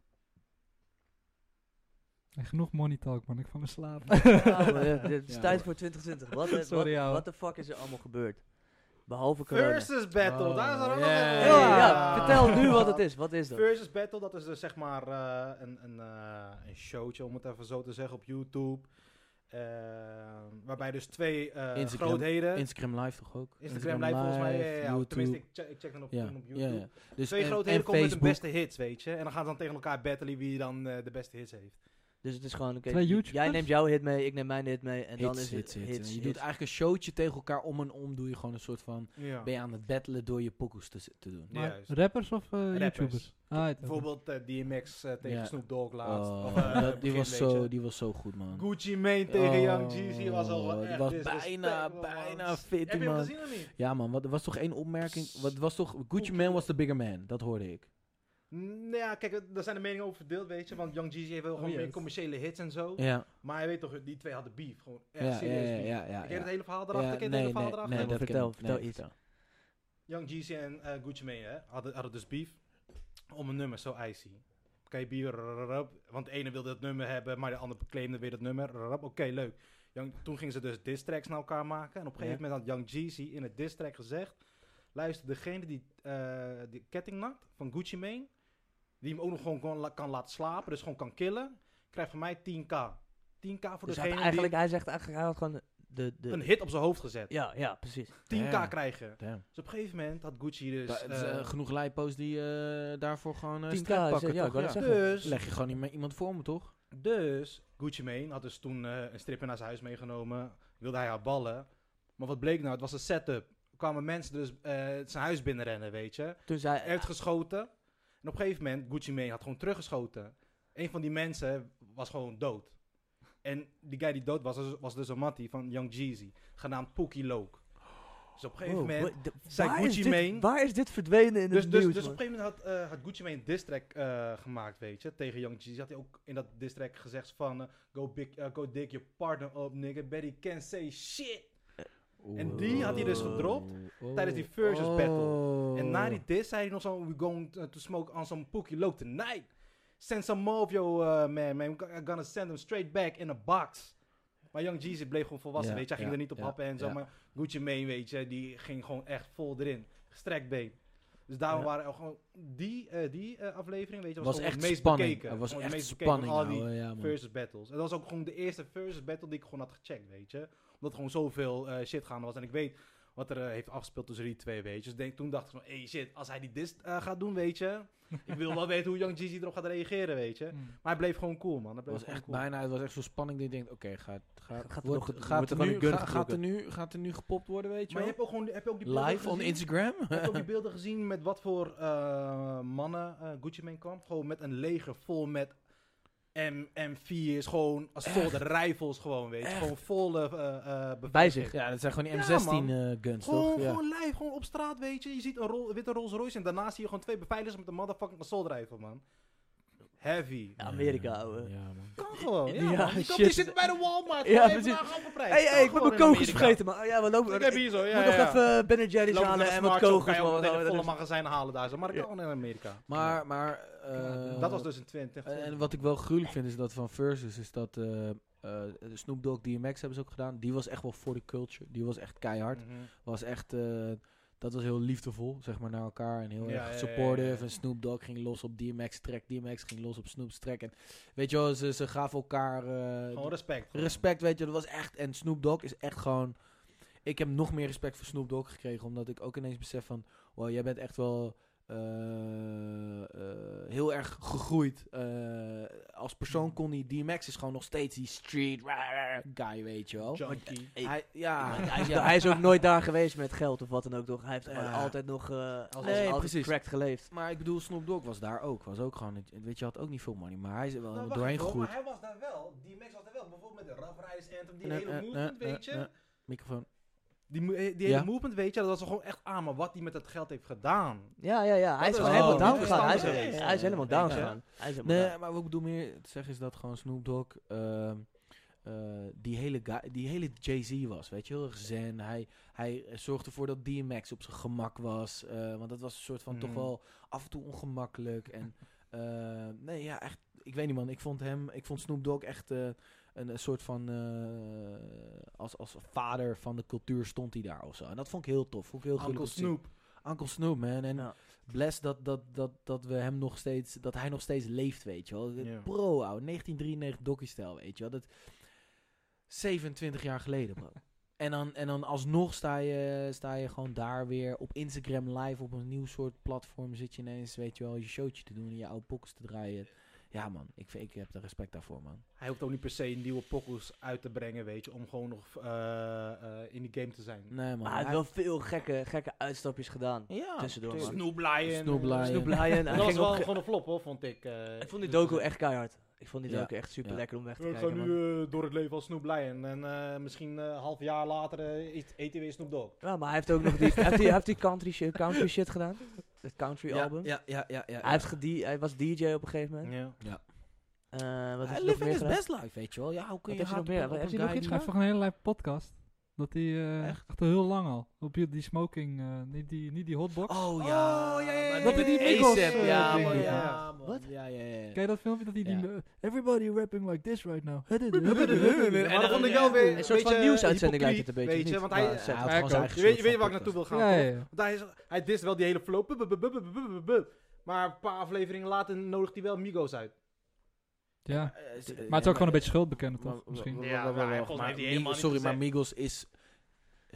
Speaker 1: En genoeg money talk, man. Ik val me slaap.
Speaker 3: Ja, maar, eh, Het is
Speaker 2: Ja,
Speaker 3: tijd
Speaker 2: hoor.
Speaker 3: voor 2020. Wat, eh,
Speaker 1: Sorry,
Speaker 3: wat,
Speaker 1: ouwe.
Speaker 3: wat de fuck is er allemaal gebeurd? Behalve corona.
Speaker 4: Versus battle,
Speaker 2: Oh,
Speaker 4: daar is er ook nog
Speaker 2: yeah.
Speaker 4: even-
Speaker 3: Ja,
Speaker 2: Hey.
Speaker 3: ja, vertel nu wat het is. Wat is dat?
Speaker 4: Versus Battle, dat is dus zeg maar eh, een, een, eh, een showtje, om het even zo te zeggen, op YouTube. Eh, waarbij dus twee eh,
Speaker 2: Instagram-
Speaker 4: grootheden...
Speaker 2: Instagram live toch ook?
Speaker 4: Instagram live volgens mij. Ja, ja, ja.
Speaker 2: YouTube.
Speaker 4: Tenminste, ik check, ik check dan op,
Speaker 2: ja,
Speaker 4: toen op
Speaker 2: ja,
Speaker 4: YouTube.
Speaker 2: ja. Dus
Speaker 4: Twee
Speaker 2: en-
Speaker 4: grote
Speaker 2: en
Speaker 4: heren komen met de
Speaker 2: Facebook.
Speaker 4: beste hits, weet je. En dan gaan ze dan tegen elkaar battelen wie dan eh, de beste hits heeft.
Speaker 3: Dus het is gewoon, oké,
Speaker 1: Twee
Speaker 3: j- jij
Speaker 1: YouTubers?
Speaker 3: neemt jouw hit mee, ik neem mijn hit mee.
Speaker 2: En
Speaker 3: En dan is het
Speaker 2: hits.
Speaker 3: hits,
Speaker 2: En je
Speaker 3: hits.
Speaker 2: doet eigenlijk een showtje tegen elkaar om en om. Doe je gewoon een soort van.
Speaker 4: Ja.
Speaker 2: Ben je aan het battelen door je pokoes te, te doen.
Speaker 1: Maar
Speaker 4: Juist.
Speaker 1: rappers of eh,
Speaker 4: Rappers.
Speaker 1: YouTubers? Ah, het-
Speaker 4: Bijvoorbeeld eh, DMX eh, tegen
Speaker 2: Ja.
Speaker 4: Snoop Dogg laatst.
Speaker 2: Oh,
Speaker 4: Of, eh,
Speaker 2: dat- die,
Speaker 4: begin,
Speaker 2: was
Speaker 4: weet
Speaker 2: zo,
Speaker 4: je.
Speaker 2: die was zo goed, man.
Speaker 4: Gucci Mane tegen Young
Speaker 2: Oh,
Speaker 4: Jeezy was al wel
Speaker 2: die
Speaker 4: echt
Speaker 2: was
Speaker 4: disrespect,
Speaker 2: bijna,
Speaker 4: man.
Speaker 2: bijna fit,
Speaker 4: Heb je hem
Speaker 2: man.
Speaker 4: gezien of niet?
Speaker 2: Ja, man, wat, er was toch één opmerking? Wat was toch. Gucci Man was de bigger man, dat hoorde ik.
Speaker 4: Nou ja, kijk, daar zijn de meningen over verdeeld, weet je. Want Young Jeezy heeft wel gewoon
Speaker 1: yes.
Speaker 4: meer commerciële hits en zo.
Speaker 2: Oh, Ja,
Speaker 4: Maar je weet toch, die twee hadden beef. Gewoon
Speaker 2: ja,
Speaker 4: echt
Speaker 2: ja, ja.
Speaker 4: serieus beef.
Speaker 2: ja, ja,
Speaker 4: ik ken
Speaker 2: ja.
Speaker 4: het hele verhaal erachter, ik ken het
Speaker 2: nee,
Speaker 4: hele verhaal
Speaker 2: nee,
Speaker 4: erachter.
Speaker 2: nee, dat
Speaker 3: Nee,
Speaker 2: ken
Speaker 3: maar vertel,
Speaker 2: ik.
Speaker 3: vertel
Speaker 2: Nee,
Speaker 3: iets.
Speaker 4: Young Jeezy en eh, Gucci Mane hè, hadden, hadden dus beef om een nummer, zo icy. Oké, bier, rrrrap. want de ene wilde dat nummer hebben, maar de ander claimde weer dat nummer. rrrrap. Oké, leuk. Young, toen gingen ze dus diss tracks naar elkaar maken. En op een gegeven moment had Young Jeezy in het diss track gezegd... Luister, degene die eh de ketting nakt van Gucci Mane... die hem ook nog gewoon kon la- kan laten slapen, dus gewoon kan killen... krijgt van mij 10k. 10k voor
Speaker 3: Dus hij had
Speaker 4: degene
Speaker 3: eigenlijk, hij zegt eigenlijk, hij had gewoon de... de
Speaker 4: die een hit op zijn hoofd gezet.
Speaker 3: ja, ja, precies.
Speaker 4: 10k
Speaker 2: Ja.
Speaker 4: krijgen.
Speaker 2: Damn.
Speaker 4: Dus op een gegeven moment had Gucci dus...
Speaker 2: Da- het is,
Speaker 4: eh,
Speaker 2: eh, genoeg lijpo's die eh, daarvoor gewoon eh
Speaker 3: 10K
Speaker 2: strijd
Speaker 3: is,
Speaker 2: pakken,
Speaker 3: eh, ja,
Speaker 2: toch?
Speaker 3: ik wou net zeggen.
Speaker 4: dus
Speaker 2: Leg je gewoon iemand- iemand voor me, toch?
Speaker 4: Dus Gucci Mane had dus toen eh, een stripper naar zijn huis meegenomen. Wilde hij haar ballen. Maar wat bleek nou? Het was een setup. Er kwamen mensen dus eh, zijn huis binnenrennen, weet je.
Speaker 3: Toen
Speaker 4: Hij
Speaker 3: zei
Speaker 4: heeft geschoten. En op een gegeven moment, Gucci Mane had gewoon teruggeschoten. Een van die mensen was gewoon dood. En die guy die dood was, was- was dus een mattie van Young Jeezy. Genaamd Pookie Loke. Dus op een gegeven
Speaker 3: Wow,
Speaker 4: moment...
Speaker 3: wa- de-
Speaker 4: zei
Speaker 3: waar,
Speaker 4: Gucci
Speaker 3: is dit,
Speaker 4: Mane-
Speaker 3: waar is dit verdwenen in
Speaker 4: Dus,
Speaker 3: het
Speaker 4: dus,
Speaker 3: nieuws,
Speaker 4: dus op
Speaker 3: man?
Speaker 4: een gegeven moment had, eh, had Gucci Mane een diss track eh, gemaakt, weet je, tegen Young Jeezy. Had hij ook in dat diss track gezegd van, eh, go, big, eh, go dick your partner up, nigga, Betty can't say shit. En die had hij dus gedropt tijdens die versus battle. En
Speaker 2: Oh.
Speaker 4: na die diss zei hij nog zo, we going to, to smoke on some pookie low tonight. Send some more of your eh, man, man, I'm gonna send him straight back in a box. Maar Young Jeezy bleef gewoon volwassen,
Speaker 2: Ja,
Speaker 4: weet je, hij ging
Speaker 2: ja,
Speaker 4: er niet op
Speaker 2: ja,
Speaker 4: happen en zo,
Speaker 2: ja.
Speaker 4: maar Gucci Mane, weet je, die ging gewoon echt vol erin, gestrekt been. Dus daarom
Speaker 2: Ja.
Speaker 4: waren er gewoon die, eh, die eh, aflevering, weet
Speaker 2: Het
Speaker 4: je, was,
Speaker 2: was
Speaker 4: gewoon
Speaker 2: echt
Speaker 4: het meest
Speaker 2: spanning.
Speaker 4: bekeken.
Speaker 2: Het was
Speaker 4: Gewoon het
Speaker 2: echt
Speaker 4: meest bekeken van
Speaker 2: spanning.
Speaker 4: al die
Speaker 2: ouwe, ja, man.
Speaker 4: versus battles. En dat was ook gewoon de eerste versus battle die ik gewoon had gecheckt, weet je. Omdat er gewoon zoveel eh, shit gaande was. En ik weet wat er eh, heeft afgespeeld tussen die twee, weet je. Dus ik denk, toen dacht ik van, hey shit, als hij die dis eh, gaat doen, weet je. ik wil wel weten hoe Young Jeezy erop gaat reageren, weet je.
Speaker 1: Mm.
Speaker 4: Maar hij bleef gewoon cool, man. Hij
Speaker 2: Het
Speaker 4: bleef
Speaker 2: was
Speaker 4: gewoon
Speaker 2: echt
Speaker 4: cool.
Speaker 2: bijna, het was echt zo'n spanning die je denkt, oké, gaat, gaat,
Speaker 3: Gaat er
Speaker 2: wordt-
Speaker 3: nog-
Speaker 2: gaat
Speaker 3: wordt
Speaker 2: er
Speaker 3: er gewoon
Speaker 2: nu,
Speaker 3: een gun
Speaker 2: ga- gaat, er
Speaker 3: getrokken?
Speaker 2: nu, gaat er nu gepopt worden, weet je
Speaker 4: Maar je
Speaker 2: wel?
Speaker 4: hebt ook gewoon, heb je ook die beelden
Speaker 2: Live on
Speaker 4: gezien?
Speaker 2: Instagram?
Speaker 4: Heb je ook die beelden gezien met wat voor eh, mannen eh, Gucci Mane kwam? Gewoon met een leger vol met M M4's, gewoon assault rifles gewoon, weet je.
Speaker 2: Echt?
Speaker 4: Gewoon volle eh, eh,
Speaker 3: Bij zich.
Speaker 2: Ja, dat zijn gewoon die
Speaker 4: Ja,
Speaker 2: M16
Speaker 4: man.
Speaker 2: eh, guns,
Speaker 4: Gewoon,
Speaker 2: toch? Ja.
Speaker 4: gewoon lijf, gewoon op straat, weet je. Je ziet een rol, witte Rolls Royce en daarnaast zie je gewoon twee beveiligers met een motherfucking assault rifle, man. Heavy.
Speaker 3: Amerika, ouwe.
Speaker 2: Ja, man.
Speaker 4: Kan gewoon, ja,
Speaker 3: Ja,
Speaker 4: man. Die,
Speaker 3: shit.
Speaker 4: kant- die zit bij de Walmart,
Speaker 3: Ja,
Speaker 4: ja, even
Speaker 3: precies.
Speaker 4: naar geprijs.
Speaker 3: Hé, hé, ik moet mijn kokos
Speaker 4: vergeten.
Speaker 3: vergeten, man. Oh ja, we lopen...
Speaker 4: Ik heb hier zo, ja,
Speaker 3: moet
Speaker 4: ja, ja.
Speaker 3: nog even eh, Ben Jerry's
Speaker 4: Lopen
Speaker 3: halen
Speaker 4: naar
Speaker 3: en wat
Speaker 4: Smartshop,
Speaker 3: kokos,
Speaker 4: kan je ook
Speaker 3: man. Oh,
Speaker 4: meteen een
Speaker 3: Dat
Speaker 4: volle
Speaker 3: is-
Speaker 4: magazijn halen daar zo. Maar dat
Speaker 3: Ja.
Speaker 4: kan gewoon in Amerika.
Speaker 2: Maar, maar... eh,
Speaker 4: dat was dus in 20.
Speaker 2: En en wat ik wel gruwelijk vind is dat van Versus is dat eh eh Snoop Dogg, DMX hebben ze ook gedaan. Die was echt wel voor de culture. Die was echt keihard.
Speaker 4: Mhm.
Speaker 2: Was echt, eh, dat was heel liefdevol, zeg maar, naar elkaar. En heel
Speaker 4: Ja, ja,
Speaker 2: erg
Speaker 4: ja,
Speaker 2: supportive.
Speaker 4: ja, ja.
Speaker 2: En Snoop Dogg ging los op DMX track. DMX ging los op Snoop's track. En weet je wel, ze, ze gaven elkaar eh,
Speaker 4: Gewoon respect. gewoon.
Speaker 2: respect, weet je. Dat was echt, en Snoop Dogg is echt gewoon... Ik heb nog meer respect voor Snoop Dogg gekregen. Omdat ik ook ineens besef van, wow, jij bent echt wel... eh, eh, heel erg gegroeid. Eh, als
Speaker 4: Mm.
Speaker 2: persoon kon hij... DMX is gewoon nog steeds die street rah, rah, guy, weet je wel.
Speaker 4: Junkie.
Speaker 3: Ik-
Speaker 2: Hij, ja,
Speaker 3: Hij is, hij is ook nooit daar geweest met geld of wat dan ook, toch? Hij heeft gewoon
Speaker 2: Ja.
Speaker 3: altijd nog eh als
Speaker 2: Nee,
Speaker 3: altijd
Speaker 2: precies.
Speaker 3: cracked geleefd.
Speaker 2: Maar ik bedoel, Snoop Dogg was daar ook. Was ook gewoon, het- weet je, had ook niet veel money. Maar hij is er wel
Speaker 4: Nou,
Speaker 3: eh,
Speaker 4: wacht
Speaker 2: doorheen
Speaker 4: even, hoor,
Speaker 2: gegroeid.
Speaker 4: Maar hij was daar wel, die Max was daar wel. Bijvoorbeeld met de Rough Riders Anthem, die
Speaker 2: Nee,
Speaker 4: hele
Speaker 3: eh,
Speaker 2: nee,
Speaker 4: movement,
Speaker 2: nee,
Speaker 4: weet
Speaker 2: nee,
Speaker 4: je.
Speaker 2: nee. Microfoon.
Speaker 4: Die, mo- eh, die hele
Speaker 2: Ja.
Speaker 4: movement, weet je, dat was er gewoon echt aan. Maar wat hij met dat geld heeft gedaan.
Speaker 3: Ja, ja, ja. Hij
Speaker 4: is
Speaker 3: is gewoon
Speaker 2: wel
Speaker 3: helemaal
Speaker 2: een
Speaker 3: down gegaan. Hij is,
Speaker 2: interessante
Speaker 3: hij is
Speaker 2: geweest.
Speaker 3: helemaal
Speaker 2: Ja.
Speaker 3: down
Speaker 2: Ja.
Speaker 3: gegaan. Hij is helemaal down.
Speaker 2: Nee, maar wat ik bedoel meer te zeggen is dat gewoon Snoop Dogg ehm, eh, die hele, guy- die hele Jay-Z was, weet je, heel erg zen. Hij, hij zorgde ervoor dat DMX op zijn gemak was, eh, want dat was een soort van toch
Speaker 4: Mhm.
Speaker 2: wel af en toe ongemakkelijk. En eh, nee, ja, echt, ik weet niet man, ik vond hem, ik vond Snoop Dogg echt eh, een, een soort van, eh, als, als vader van de cultuur stond hij daar of zo. En dat vond ik heel tof, vond ik heel
Speaker 4: Uncle
Speaker 2: gruwelijk om te zien.
Speaker 4: Snoop.
Speaker 2: Uncle Snoop, man. En
Speaker 3: Ja.
Speaker 2: bless dat, dat, dat, dat we hem nog steeds, dat hij nog steeds leeft, weet je wel.
Speaker 4: Ja.
Speaker 2: Bro, ouwe, 1993 docu-stijl, weet je wel. Dat 27 jaar geleden, bro. en, dan, en dan alsnog sta je, sta je gewoon daar weer op Instagram live op een nieuw soort platform. Zit je ineens, weet je wel, je showtje te doen en je oude pokkers te draaien. Ja man, ik, vind- ik heb er respect daarvoor man.
Speaker 4: Hij hoeft ook niet per se nieuwe pokkels uit te brengen, weet je, om gewoon nog eh, eh, in die game te zijn.
Speaker 2: Nee man.
Speaker 3: Maar hij heeft wel veel gekke, gekke uitstapjes gedaan.
Speaker 2: Ja,
Speaker 3: tussendoor, man.
Speaker 2: tuurlijk.
Speaker 4: Snoop Lion.
Speaker 2: Snoop Lion.
Speaker 3: Snoop Lion, hij
Speaker 4: Dat was
Speaker 3: ging
Speaker 4: wel
Speaker 3: op... ge-
Speaker 4: gewoon een flop hoor, vond ik. eh.
Speaker 3: Ik vond die docu echt keihard. Ik vond die
Speaker 2: Ja.
Speaker 3: docu echt super
Speaker 2: Ja.
Speaker 3: lekker om weg te
Speaker 4: Ik ga
Speaker 3: kijken,
Speaker 4: nu
Speaker 3: man.
Speaker 4: eh, door het leven als Snoop Lion. En eh, misschien eh, een half jaar later eh, eet- eet hij weer Snoop Dogg.
Speaker 3: Ja, maar hij heeft ook nog die... heeft hij, heeft die country, shi- country shit gedaan? Het country
Speaker 2: ja,
Speaker 3: album?
Speaker 2: Ja, ja, ja. ja,
Speaker 3: Hij, heeft gedi- hij was DJ op een gegeven moment.
Speaker 4: Ja.
Speaker 3: Eh, wat heeft
Speaker 2: Hij
Speaker 3: hij nog
Speaker 2: living
Speaker 3: meer
Speaker 2: is
Speaker 3: gedaan?
Speaker 2: best life, weet je wel. Ja, hoe kun
Speaker 3: Wat
Speaker 2: je haat op
Speaker 3: heeft hij nog meer?
Speaker 2: een- op
Speaker 3: Heeft
Speaker 2: een
Speaker 3: hij
Speaker 2: guy
Speaker 3: nog
Speaker 1: Hij
Speaker 2: die-
Speaker 3: iets
Speaker 1: schrijft toch een hele lijp podcast. Dat die eh,
Speaker 2: Echt?
Speaker 1: echt heel lang al. Op die, die smoking, eh, niet, die, niet die hotbox.
Speaker 2: Oh ja.
Speaker 4: Oh, ja,
Speaker 2: maar
Speaker 4: ja, ja,
Speaker 2: dat
Speaker 1: ja,
Speaker 2: met die
Speaker 1: ja, ja,
Speaker 2: ASAP,
Speaker 1: ja, ja,
Speaker 2: ja, man,
Speaker 1: ja.
Speaker 2: ja, man.
Speaker 3: Wat?
Speaker 2: Ja, ja, ja.
Speaker 1: Ken je dat filmpje dat hij die... Everybody rapping like this right now.
Speaker 4: Ja, maar dat vond ik
Speaker 2: ja.
Speaker 4: wel weer
Speaker 3: Een soort van
Speaker 4: beetje
Speaker 3: nieuwsuitzending lijkt het een
Speaker 4: hypocriet, Weet je,
Speaker 3: beetje, niet?
Speaker 4: want
Speaker 3: Ja,
Speaker 4: hij,
Speaker 3: het zijn
Speaker 2: hij
Speaker 4: hij-
Speaker 2: had gewoon zijn eigen
Speaker 4: je, weet, je
Speaker 2: soort
Speaker 4: waar
Speaker 2: van
Speaker 4: ik naartoe wil gaan?
Speaker 1: Ja,
Speaker 4: toch?
Speaker 1: ja, ja.
Speaker 4: Want hij, is, hij dist wel die hele flow. bup, bup, bup, bup, bup, bup, bup, bup. Maar een paar afleveringen later nodigt hij wel Migos uit.
Speaker 1: Ja.
Speaker 2: Eh,
Speaker 1: Maar het
Speaker 2: eh,
Speaker 1: is ook gewoon een beetje schuld bekennen,
Speaker 2: Maar-
Speaker 1: toch? Misschien.
Speaker 2: wa- wa-
Speaker 4: Ja,
Speaker 2: wa- wa-
Speaker 4: maar
Speaker 2: wa-
Speaker 4: volgens mij heeft hij
Speaker 2: Mi-
Speaker 4: helemaal niet
Speaker 2: Sorry, maar
Speaker 4: gezegd.
Speaker 2: Migos is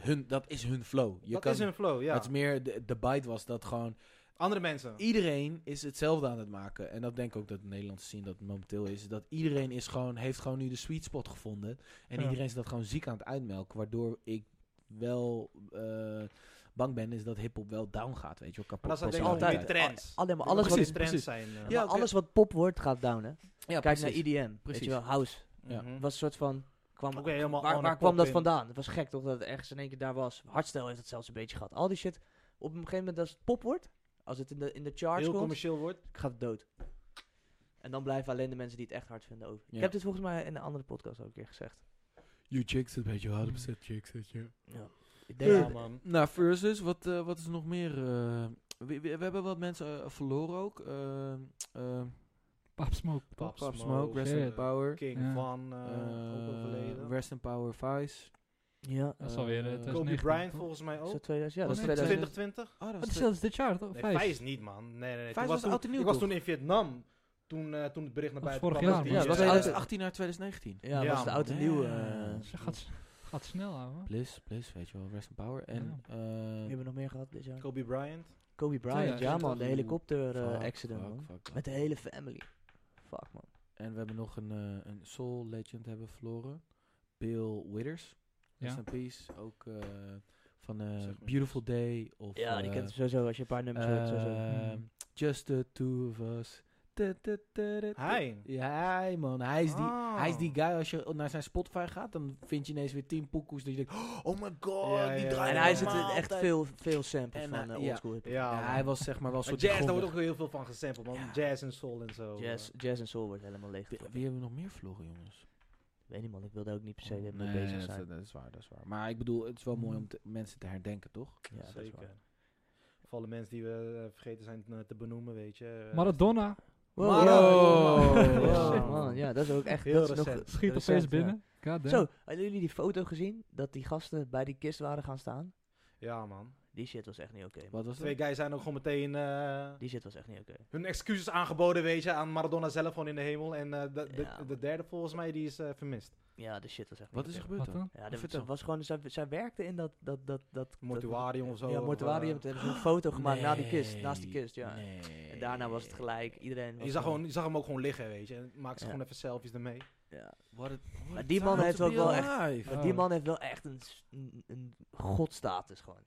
Speaker 2: hun, dat is hun flow. Je
Speaker 4: dat
Speaker 2: kan,
Speaker 4: is hun flow, ja.
Speaker 2: Het is meer, de, de bite was dat gewoon...
Speaker 4: Andere mensen.
Speaker 2: Iedereen is hetzelfde aan het maken. En dat denk ik ook dat Nederlandse zien dat momenteel is. Dat iedereen is gewoon, heeft gewoon nu de sweet spot gevonden. En
Speaker 1: Ja.
Speaker 2: iedereen is dat gewoon ziek aan het uitmelken. Waardoor ik wel... eh, bang ben is dat hip-hop wel down gaat, weet je wel, kapot.
Speaker 4: Maar dat zijn
Speaker 2: wordt
Speaker 4: denk ik
Speaker 3: altijd.
Speaker 4: meer trends.
Speaker 3: Alleen maar
Speaker 2: Ja,
Speaker 3: alles, wat,
Speaker 2: precies.
Speaker 4: is trends zijn. eh.
Speaker 2: Ja,
Speaker 3: maar
Speaker 2: oké.
Speaker 3: alles wat pop wordt gaat down, hè.
Speaker 2: Ja,
Speaker 3: Kijk
Speaker 2: precies.
Speaker 3: naar EDM, weet
Speaker 2: Precies.
Speaker 3: je wel, house.
Speaker 2: Ja.
Speaker 4: Mhm.
Speaker 3: Het was een soort van... Kwam,
Speaker 4: Ook weer helemaal
Speaker 3: waar
Speaker 4: on
Speaker 3: waar
Speaker 4: the
Speaker 3: kwam
Speaker 4: pop
Speaker 3: dat
Speaker 4: in.
Speaker 3: vandaan? Het was gek toch dat het ergens in één keer daar was. Hardstel heeft het zelfs een beetje gehad. Al die shit, op een gegeven moment als het pop wordt, als het in de, in de charts
Speaker 4: Heel
Speaker 3: komt,
Speaker 4: commercieel wordt.
Speaker 3: gaat het dood. En dan blijven alleen de mensen die het echt hard vinden over.
Speaker 2: Ja.
Speaker 3: Ik heb dit volgens mij in een andere podcast ook een keer gezegd.
Speaker 2: You chicks het beetje hard op zet, chicks het je.
Speaker 3: Ja. Ik denk
Speaker 4: Ja,
Speaker 3: dat-
Speaker 4: man.
Speaker 2: Nou, versus, wat, eh, wat is nog meer? eh, we, we- we hebben wat mensen eh, verloren ook. eh, eh,
Speaker 1: Pap Smoke.
Speaker 4: Pap
Speaker 2: Pop
Speaker 4: Smoke,
Speaker 2: Smoke, Rest in
Speaker 1: shit.
Speaker 2: Power.
Speaker 4: King
Speaker 1: Ja.
Speaker 4: van, eh, ook
Speaker 2: eh,
Speaker 4: overleden.
Speaker 2: Rest in Power Vice.
Speaker 3: Ja,
Speaker 1: Dat is alweer... eh,
Speaker 2: Kobe
Speaker 4: Kobe
Speaker 1: 2019,
Speaker 4: Bryant
Speaker 1: toch?
Speaker 4: volgens mij
Speaker 3: is
Speaker 4: ook.
Speaker 3: dat 2000? Ja, dat
Speaker 2: Was
Speaker 3: is
Speaker 2: het
Speaker 3: 2000.
Speaker 4: 2020?
Speaker 2: Oh, dat
Speaker 1: Oh, dat
Speaker 2: was
Speaker 1: is
Speaker 2: de-
Speaker 1: zelfs dit jaar, toch?
Speaker 4: Nee,
Speaker 1: Vijf.
Speaker 4: Vijs niet, man. Nee, nee, nee.
Speaker 2: Vijs
Speaker 4: Toen
Speaker 2: was
Speaker 4: toen-
Speaker 2: oud en nieuw,
Speaker 4: Ik was
Speaker 2: toch?
Speaker 4: toen in Vietnam. Toen, eh, toen het bericht naar
Speaker 1: Dat was
Speaker 4: buiten
Speaker 1: vorig
Speaker 4: kwam.
Speaker 1: jaar, man.
Speaker 4: die, eh,
Speaker 3: Ja, dat was
Speaker 2: 2018 naar 2019.
Speaker 3: Ja,
Speaker 4: Ja,
Speaker 3: was het
Speaker 4: man.
Speaker 3: oud en nieuw. eh,
Speaker 2: Ja.
Speaker 1: Ze gaat, gaat snel, ouwe.
Speaker 2: Bliss, Bliss, weet je wel. Rest in Power. En, eh,
Speaker 3: Wie hebben we nog meer gehad dit jaar?
Speaker 4: Kobe Bryant.
Speaker 3: Kobe Bryant, ja, man, de helikopter eh, accident,
Speaker 2: accident.
Speaker 3: man. Met de hele family. Fuck, man.
Speaker 2: En we hebben nog een, eh, een Soul Legend hebben we verloren. Bill Withers. Rest
Speaker 1: Ja.
Speaker 2: in Peace. Ook eh, van eh,
Speaker 4: Zeg maar
Speaker 2: Beautiful Day. Of,
Speaker 3: Ja, die
Speaker 2: eh,
Speaker 3: kent sowieso als je een paar nummers hoort. Sowieso.
Speaker 2: Ehm,
Speaker 1: Mm.
Speaker 2: Just the two of us. Da, da, da, da, da.
Speaker 4: Hij.
Speaker 2: Ja, hij, man. Hij is, die,
Speaker 4: Ah.
Speaker 2: hij is die guy, als je naar zijn Spotify gaat, dan vind je ineens weer tien poekoes dat je denkt, oh my god,
Speaker 4: Ja,
Speaker 2: die
Speaker 4: ja,
Speaker 2: draait
Speaker 3: En hij zit
Speaker 2: allemaal
Speaker 3: in echt
Speaker 2: altijd."
Speaker 3: veel, veel samples
Speaker 2: En,
Speaker 3: van
Speaker 2: eh,
Speaker 3: eh,
Speaker 2: ja.
Speaker 3: oldschool hip.
Speaker 4: Ja,
Speaker 2: Ja,
Speaker 4: man.
Speaker 2: hij was zeg maar wel
Speaker 4: Maar
Speaker 2: soort
Speaker 4: jazz, daar wordt
Speaker 2: gronde-
Speaker 4: ook heel veel van gesampled, man.
Speaker 2: Ja.
Speaker 4: Jazz en soul en zo. eh,
Speaker 3: Jazz, jazz en soul wordt helemaal leeg.
Speaker 2: Wie, wie hebben we nog meer verloren, jongens?
Speaker 3: Weet niet, man. Ik wilde ook niet per se mee
Speaker 2: Oh, Nee,
Speaker 3: bezig
Speaker 2: dat,
Speaker 3: zijn.
Speaker 2: dat is waar, dat is waar. Maar ik bedoel, het is wel mooi om
Speaker 1: Mm.
Speaker 2: te- mensen te herdenken, toch?
Speaker 3: Ja, dat is
Speaker 4: Zeker.
Speaker 3: waar.
Speaker 4: Voor alle mensen die we eh, vergeten zijn eh, te benoemen, weet je. eh,
Speaker 1: Maradona
Speaker 3: Wow,
Speaker 4: Wow.
Speaker 3: ja,
Speaker 2: Wow.
Speaker 3: ja,
Speaker 4: Shit.
Speaker 3: man. Ja, dat is ook echt...
Speaker 4: Heel
Speaker 3: dat is nog
Speaker 4: recent.
Speaker 1: schiet
Speaker 3: recent,
Speaker 1: opeens
Speaker 3: ja.
Speaker 1: binnen. God damn.
Speaker 3: Zo, hadden jullie die foto gezien? Dat die gasten bij die kist waren gaan staan?
Speaker 4: Ja, man.
Speaker 3: Die shit was echt niet oké, man.
Speaker 2: Wat was
Speaker 4: Twee
Speaker 2: dat?
Speaker 4: guys zijn ook gewoon meteen eh,
Speaker 3: Die shit was echt niet oké.
Speaker 4: hun excuses aangeboden, weet je, aan Maradona zelf gewoon in de hemel. En eh, de, de,
Speaker 3: Ja.
Speaker 4: de derde volgens mij, die is eh, vermist.
Speaker 3: Ja, de shit was echt
Speaker 2: Wat
Speaker 3: niet
Speaker 2: is er
Speaker 3: oké.
Speaker 2: gebeurd
Speaker 1: Wat
Speaker 2: dan?
Speaker 1: dan?
Speaker 3: Ja, dat-
Speaker 2: Vertel.
Speaker 3: dat was gewoon... Zij, zij werkte in dat... dat, dat, dat
Speaker 4: Mortuarium of zo.
Speaker 3: Ja,
Speaker 4: of,
Speaker 3: mortuarium.
Speaker 4: eh,
Speaker 3: Toen hebben ze een foto gemaakt na die kist.
Speaker 2: Nee,
Speaker 3: Naast die kist, ja.
Speaker 2: nee.
Speaker 3: En daarna was het gelijk. Iedereen was
Speaker 4: je, zag
Speaker 3: gewoon-
Speaker 4: gewoon, je zag hem ook gewoon liggen, weet je. En maakte ze
Speaker 3: Ja.
Speaker 4: gewoon even selfies ermee.
Speaker 3: Ja.
Speaker 2: What a- what
Speaker 3: Maar
Speaker 2: a
Speaker 3: die man
Speaker 2: time
Speaker 3: heeft
Speaker 2: to
Speaker 3: ook
Speaker 2: be
Speaker 3: wel echt-
Speaker 2: alive.
Speaker 3: Maar
Speaker 4: Oh.
Speaker 3: die man heeft wel echt een, s- een, een godstatus gewoon.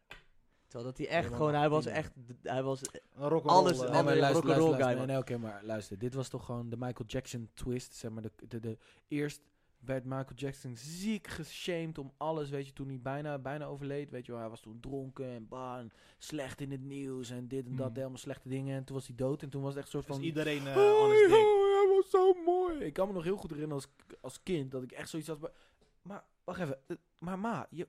Speaker 3: Terwijl dat hij echt
Speaker 4: man,
Speaker 3: gewoon... Hij was
Speaker 4: 18.
Speaker 3: echt... d- Hij was... eh,
Speaker 4: Een eh, rock
Speaker 3: Alles-
Speaker 2: Nee,
Speaker 3: alle-
Speaker 2: Oh, maar luister,
Speaker 3: rock'n'roll
Speaker 2: luister,
Speaker 3: guy,
Speaker 2: luister. Nee,
Speaker 3: man.
Speaker 2: nee, oké, maar luister. Dit was toch gewoon de Michael Jackson twist, zeg maar. De, de, de, eerst werd Michael Jackson ziek geshamed om alles, weet je, toen hij bijna, bijna overleed, weet je wel. Hij was toen dronken en bah, en slecht in het nieuws en dit en dat,
Speaker 1: Hmm.
Speaker 2: helemaal slechte dingen. En toen was hij dood en toen was het echt een soort
Speaker 4: Dus
Speaker 2: van...
Speaker 4: iedereen eh,
Speaker 2: Hoi,
Speaker 4: on his dick.
Speaker 2: hoi, Oh, hij was zo mooi. Ik kan me nog heel goed herinneren als, als kind dat ik echt zoiets had. Maar, maar wacht even. eh, Maar ma, je,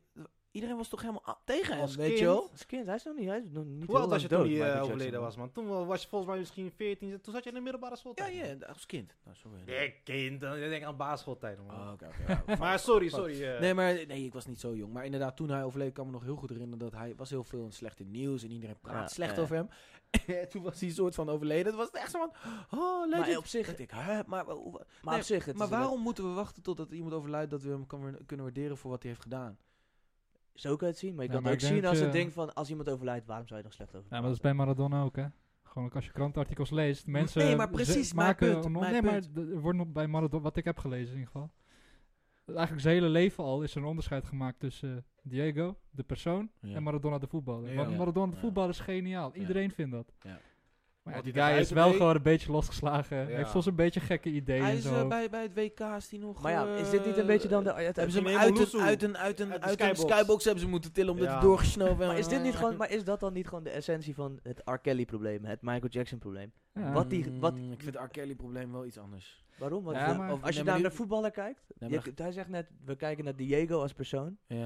Speaker 2: iedereen was toch helemaal a- tegen hem,
Speaker 4: Als
Speaker 2: weet
Speaker 4: kind?
Speaker 2: je wel?
Speaker 3: Als kind, hij is nog niet... Hij is nog
Speaker 4: Hoe
Speaker 3: niet heel
Speaker 4: oud was
Speaker 3: lang
Speaker 4: je
Speaker 3: dood,
Speaker 4: toen hij
Speaker 3: Michael
Speaker 4: eh,
Speaker 3: Jackson,
Speaker 4: overleden
Speaker 3: man.
Speaker 4: was, man? Toen wa- was je volgens mij misschien 14. Toen zat je in de middelbare
Speaker 2: Ja,
Speaker 4: schooltijd. man.
Speaker 2: ja, als kind. Nou, sorry.
Speaker 4: Nee, kind. Dan denk ik aan basisschooltijd, man.
Speaker 2: Oh, oké, oké, oké.
Speaker 4: maar sorry, sorry. eh.
Speaker 2: Nee, maar nee, ik was niet zo jong. Maar inderdaad, toen hij overleed, kan ik me nog heel goed herinneren dat hij was heel veel in slechte nieuws en iedereen praat
Speaker 3: Ja,
Speaker 2: slecht
Speaker 3: ja.
Speaker 2: over hem. En toen was hij een soort van overleden. Het was echt zo van, oh, legend.
Speaker 3: op zich-
Speaker 2: Dat ik, hè, maar, hoe-
Speaker 3: Maar
Speaker 2: Nee,
Speaker 3: op zich... Het
Speaker 2: maar
Speaker 3: is wel-
Speaker 2: waarom moeten we wachten totdat iemand overlijdt dat we hem kan- kunnen waarderen voor wat hij heeft gedaan?
Speaker 3: Zo kan je het zien, maar je
Speaker 1: Ja,
Speaker 3: kan
Speaker 1: maar
Speaker 3: het
Speaker 1: ik
Speaker 3: ook zien
Speaker 1: denk,
Speaker 3: als een
Speaker 1: eh, Nou,
Speaker 3: ding van... Als iemand overlijdt, waarom zou je er nog slecht over
Speaker 1: Ja, maar dat is
Speaker 3: praten?
Speaker 1: bij Maradona ook, hè. Gewoon ook als je krantenartikels leest, mensen
Speaker 2: Nee, maar
Speaker 1: ze-
Speaker 2: precies, mijn
Speaker 1: maken
Speaker 2: punt,
Speaker 1: nog-
Speaker 2: mijn
Speaker 1: nee,
Speaker 2: punt.
Speaker 1: maar d- er wordt nog bij Maradona, wat ik heb gelezen in ieder geval. Eigenlijk zijn hele leven al is er een onderscheid gemaakt tussen eh, Diego, de persoon,
Speaker 2: Ja.
Speaker 1: en Maradona, de voetballer.
Speaker 2: Ja.
Speaker 1: Want Maradona, de
Speaker 2: Ja.
Speaker 1: voetballer, is geniaal.
Speaker 2: Ja.
Speaker 1: Iedereen vindt dat.
Speaker 2: Ja.
Speaker 1: Maar ja,
Speaker 4: Wat
Speaker 1: die
Speaker 4: hij
Speaker 1: guy is
Speaker 4: eruit
Speaker 1: wel
Speaker 4: deed.
Speaker 1: gewoon een beetje losgeslagen.
Speaker 4: Ja.
Speaker 1: Heeft soms een beetje gekke ideeën
Speaker 2: Hij
Speaker 1: en
Speaker 2: is
Speaker 1: zo.
Speaker 2: eh, bij, bij het WK is hij nog...
Speaker 3: Maar ja, is dit niet een
Speaker 2: eh,
Speaker 3: beetje dan de... het-
Speaker 2: Hebben ze hem
Speaker 4: helemaal
Speaker 2: uit een,
Speaker 4: loesoe.
Speaker 2: uit een, uit een,
Speaker 4: Uit de
Speaker 2: uit een
Speaker 4: skybox.
Speaker 2: skybox hebben ze moeten tillen omdat
Speaker 4: Ja.
Speaker 2: hij doorgesnoven en-
Speaker 3: maar, is dit niet gewoon, maar is dat dan niet gewoon de essentie van het R. Kelly probleem, het Michael Jackson probleem?
Speaker 1: Ja.
Speaker 3: Wat die- wat-
Speaker 2: Mm, ik vind het R. Kelly probleem wel iets anders.
Speaker 3: Waarom? Want
Speaker 1: Ja,
Speaker 3: voor-
Speaker 1: maar-
Speaker 3: of als je
Speaker 2: nee,
Speaker 3: naar
Speaker 2: maar
Speaker 3: de
Speaker 2: nu-
Speaker 3: voetballer kijkt,
Speaker 2: Nee,
Speaker 3: je
Speaker 2: maar-
Speaker 3: hebt- hij zegt net, we kijken naar Diego als persoon
Speaker 2: Ja.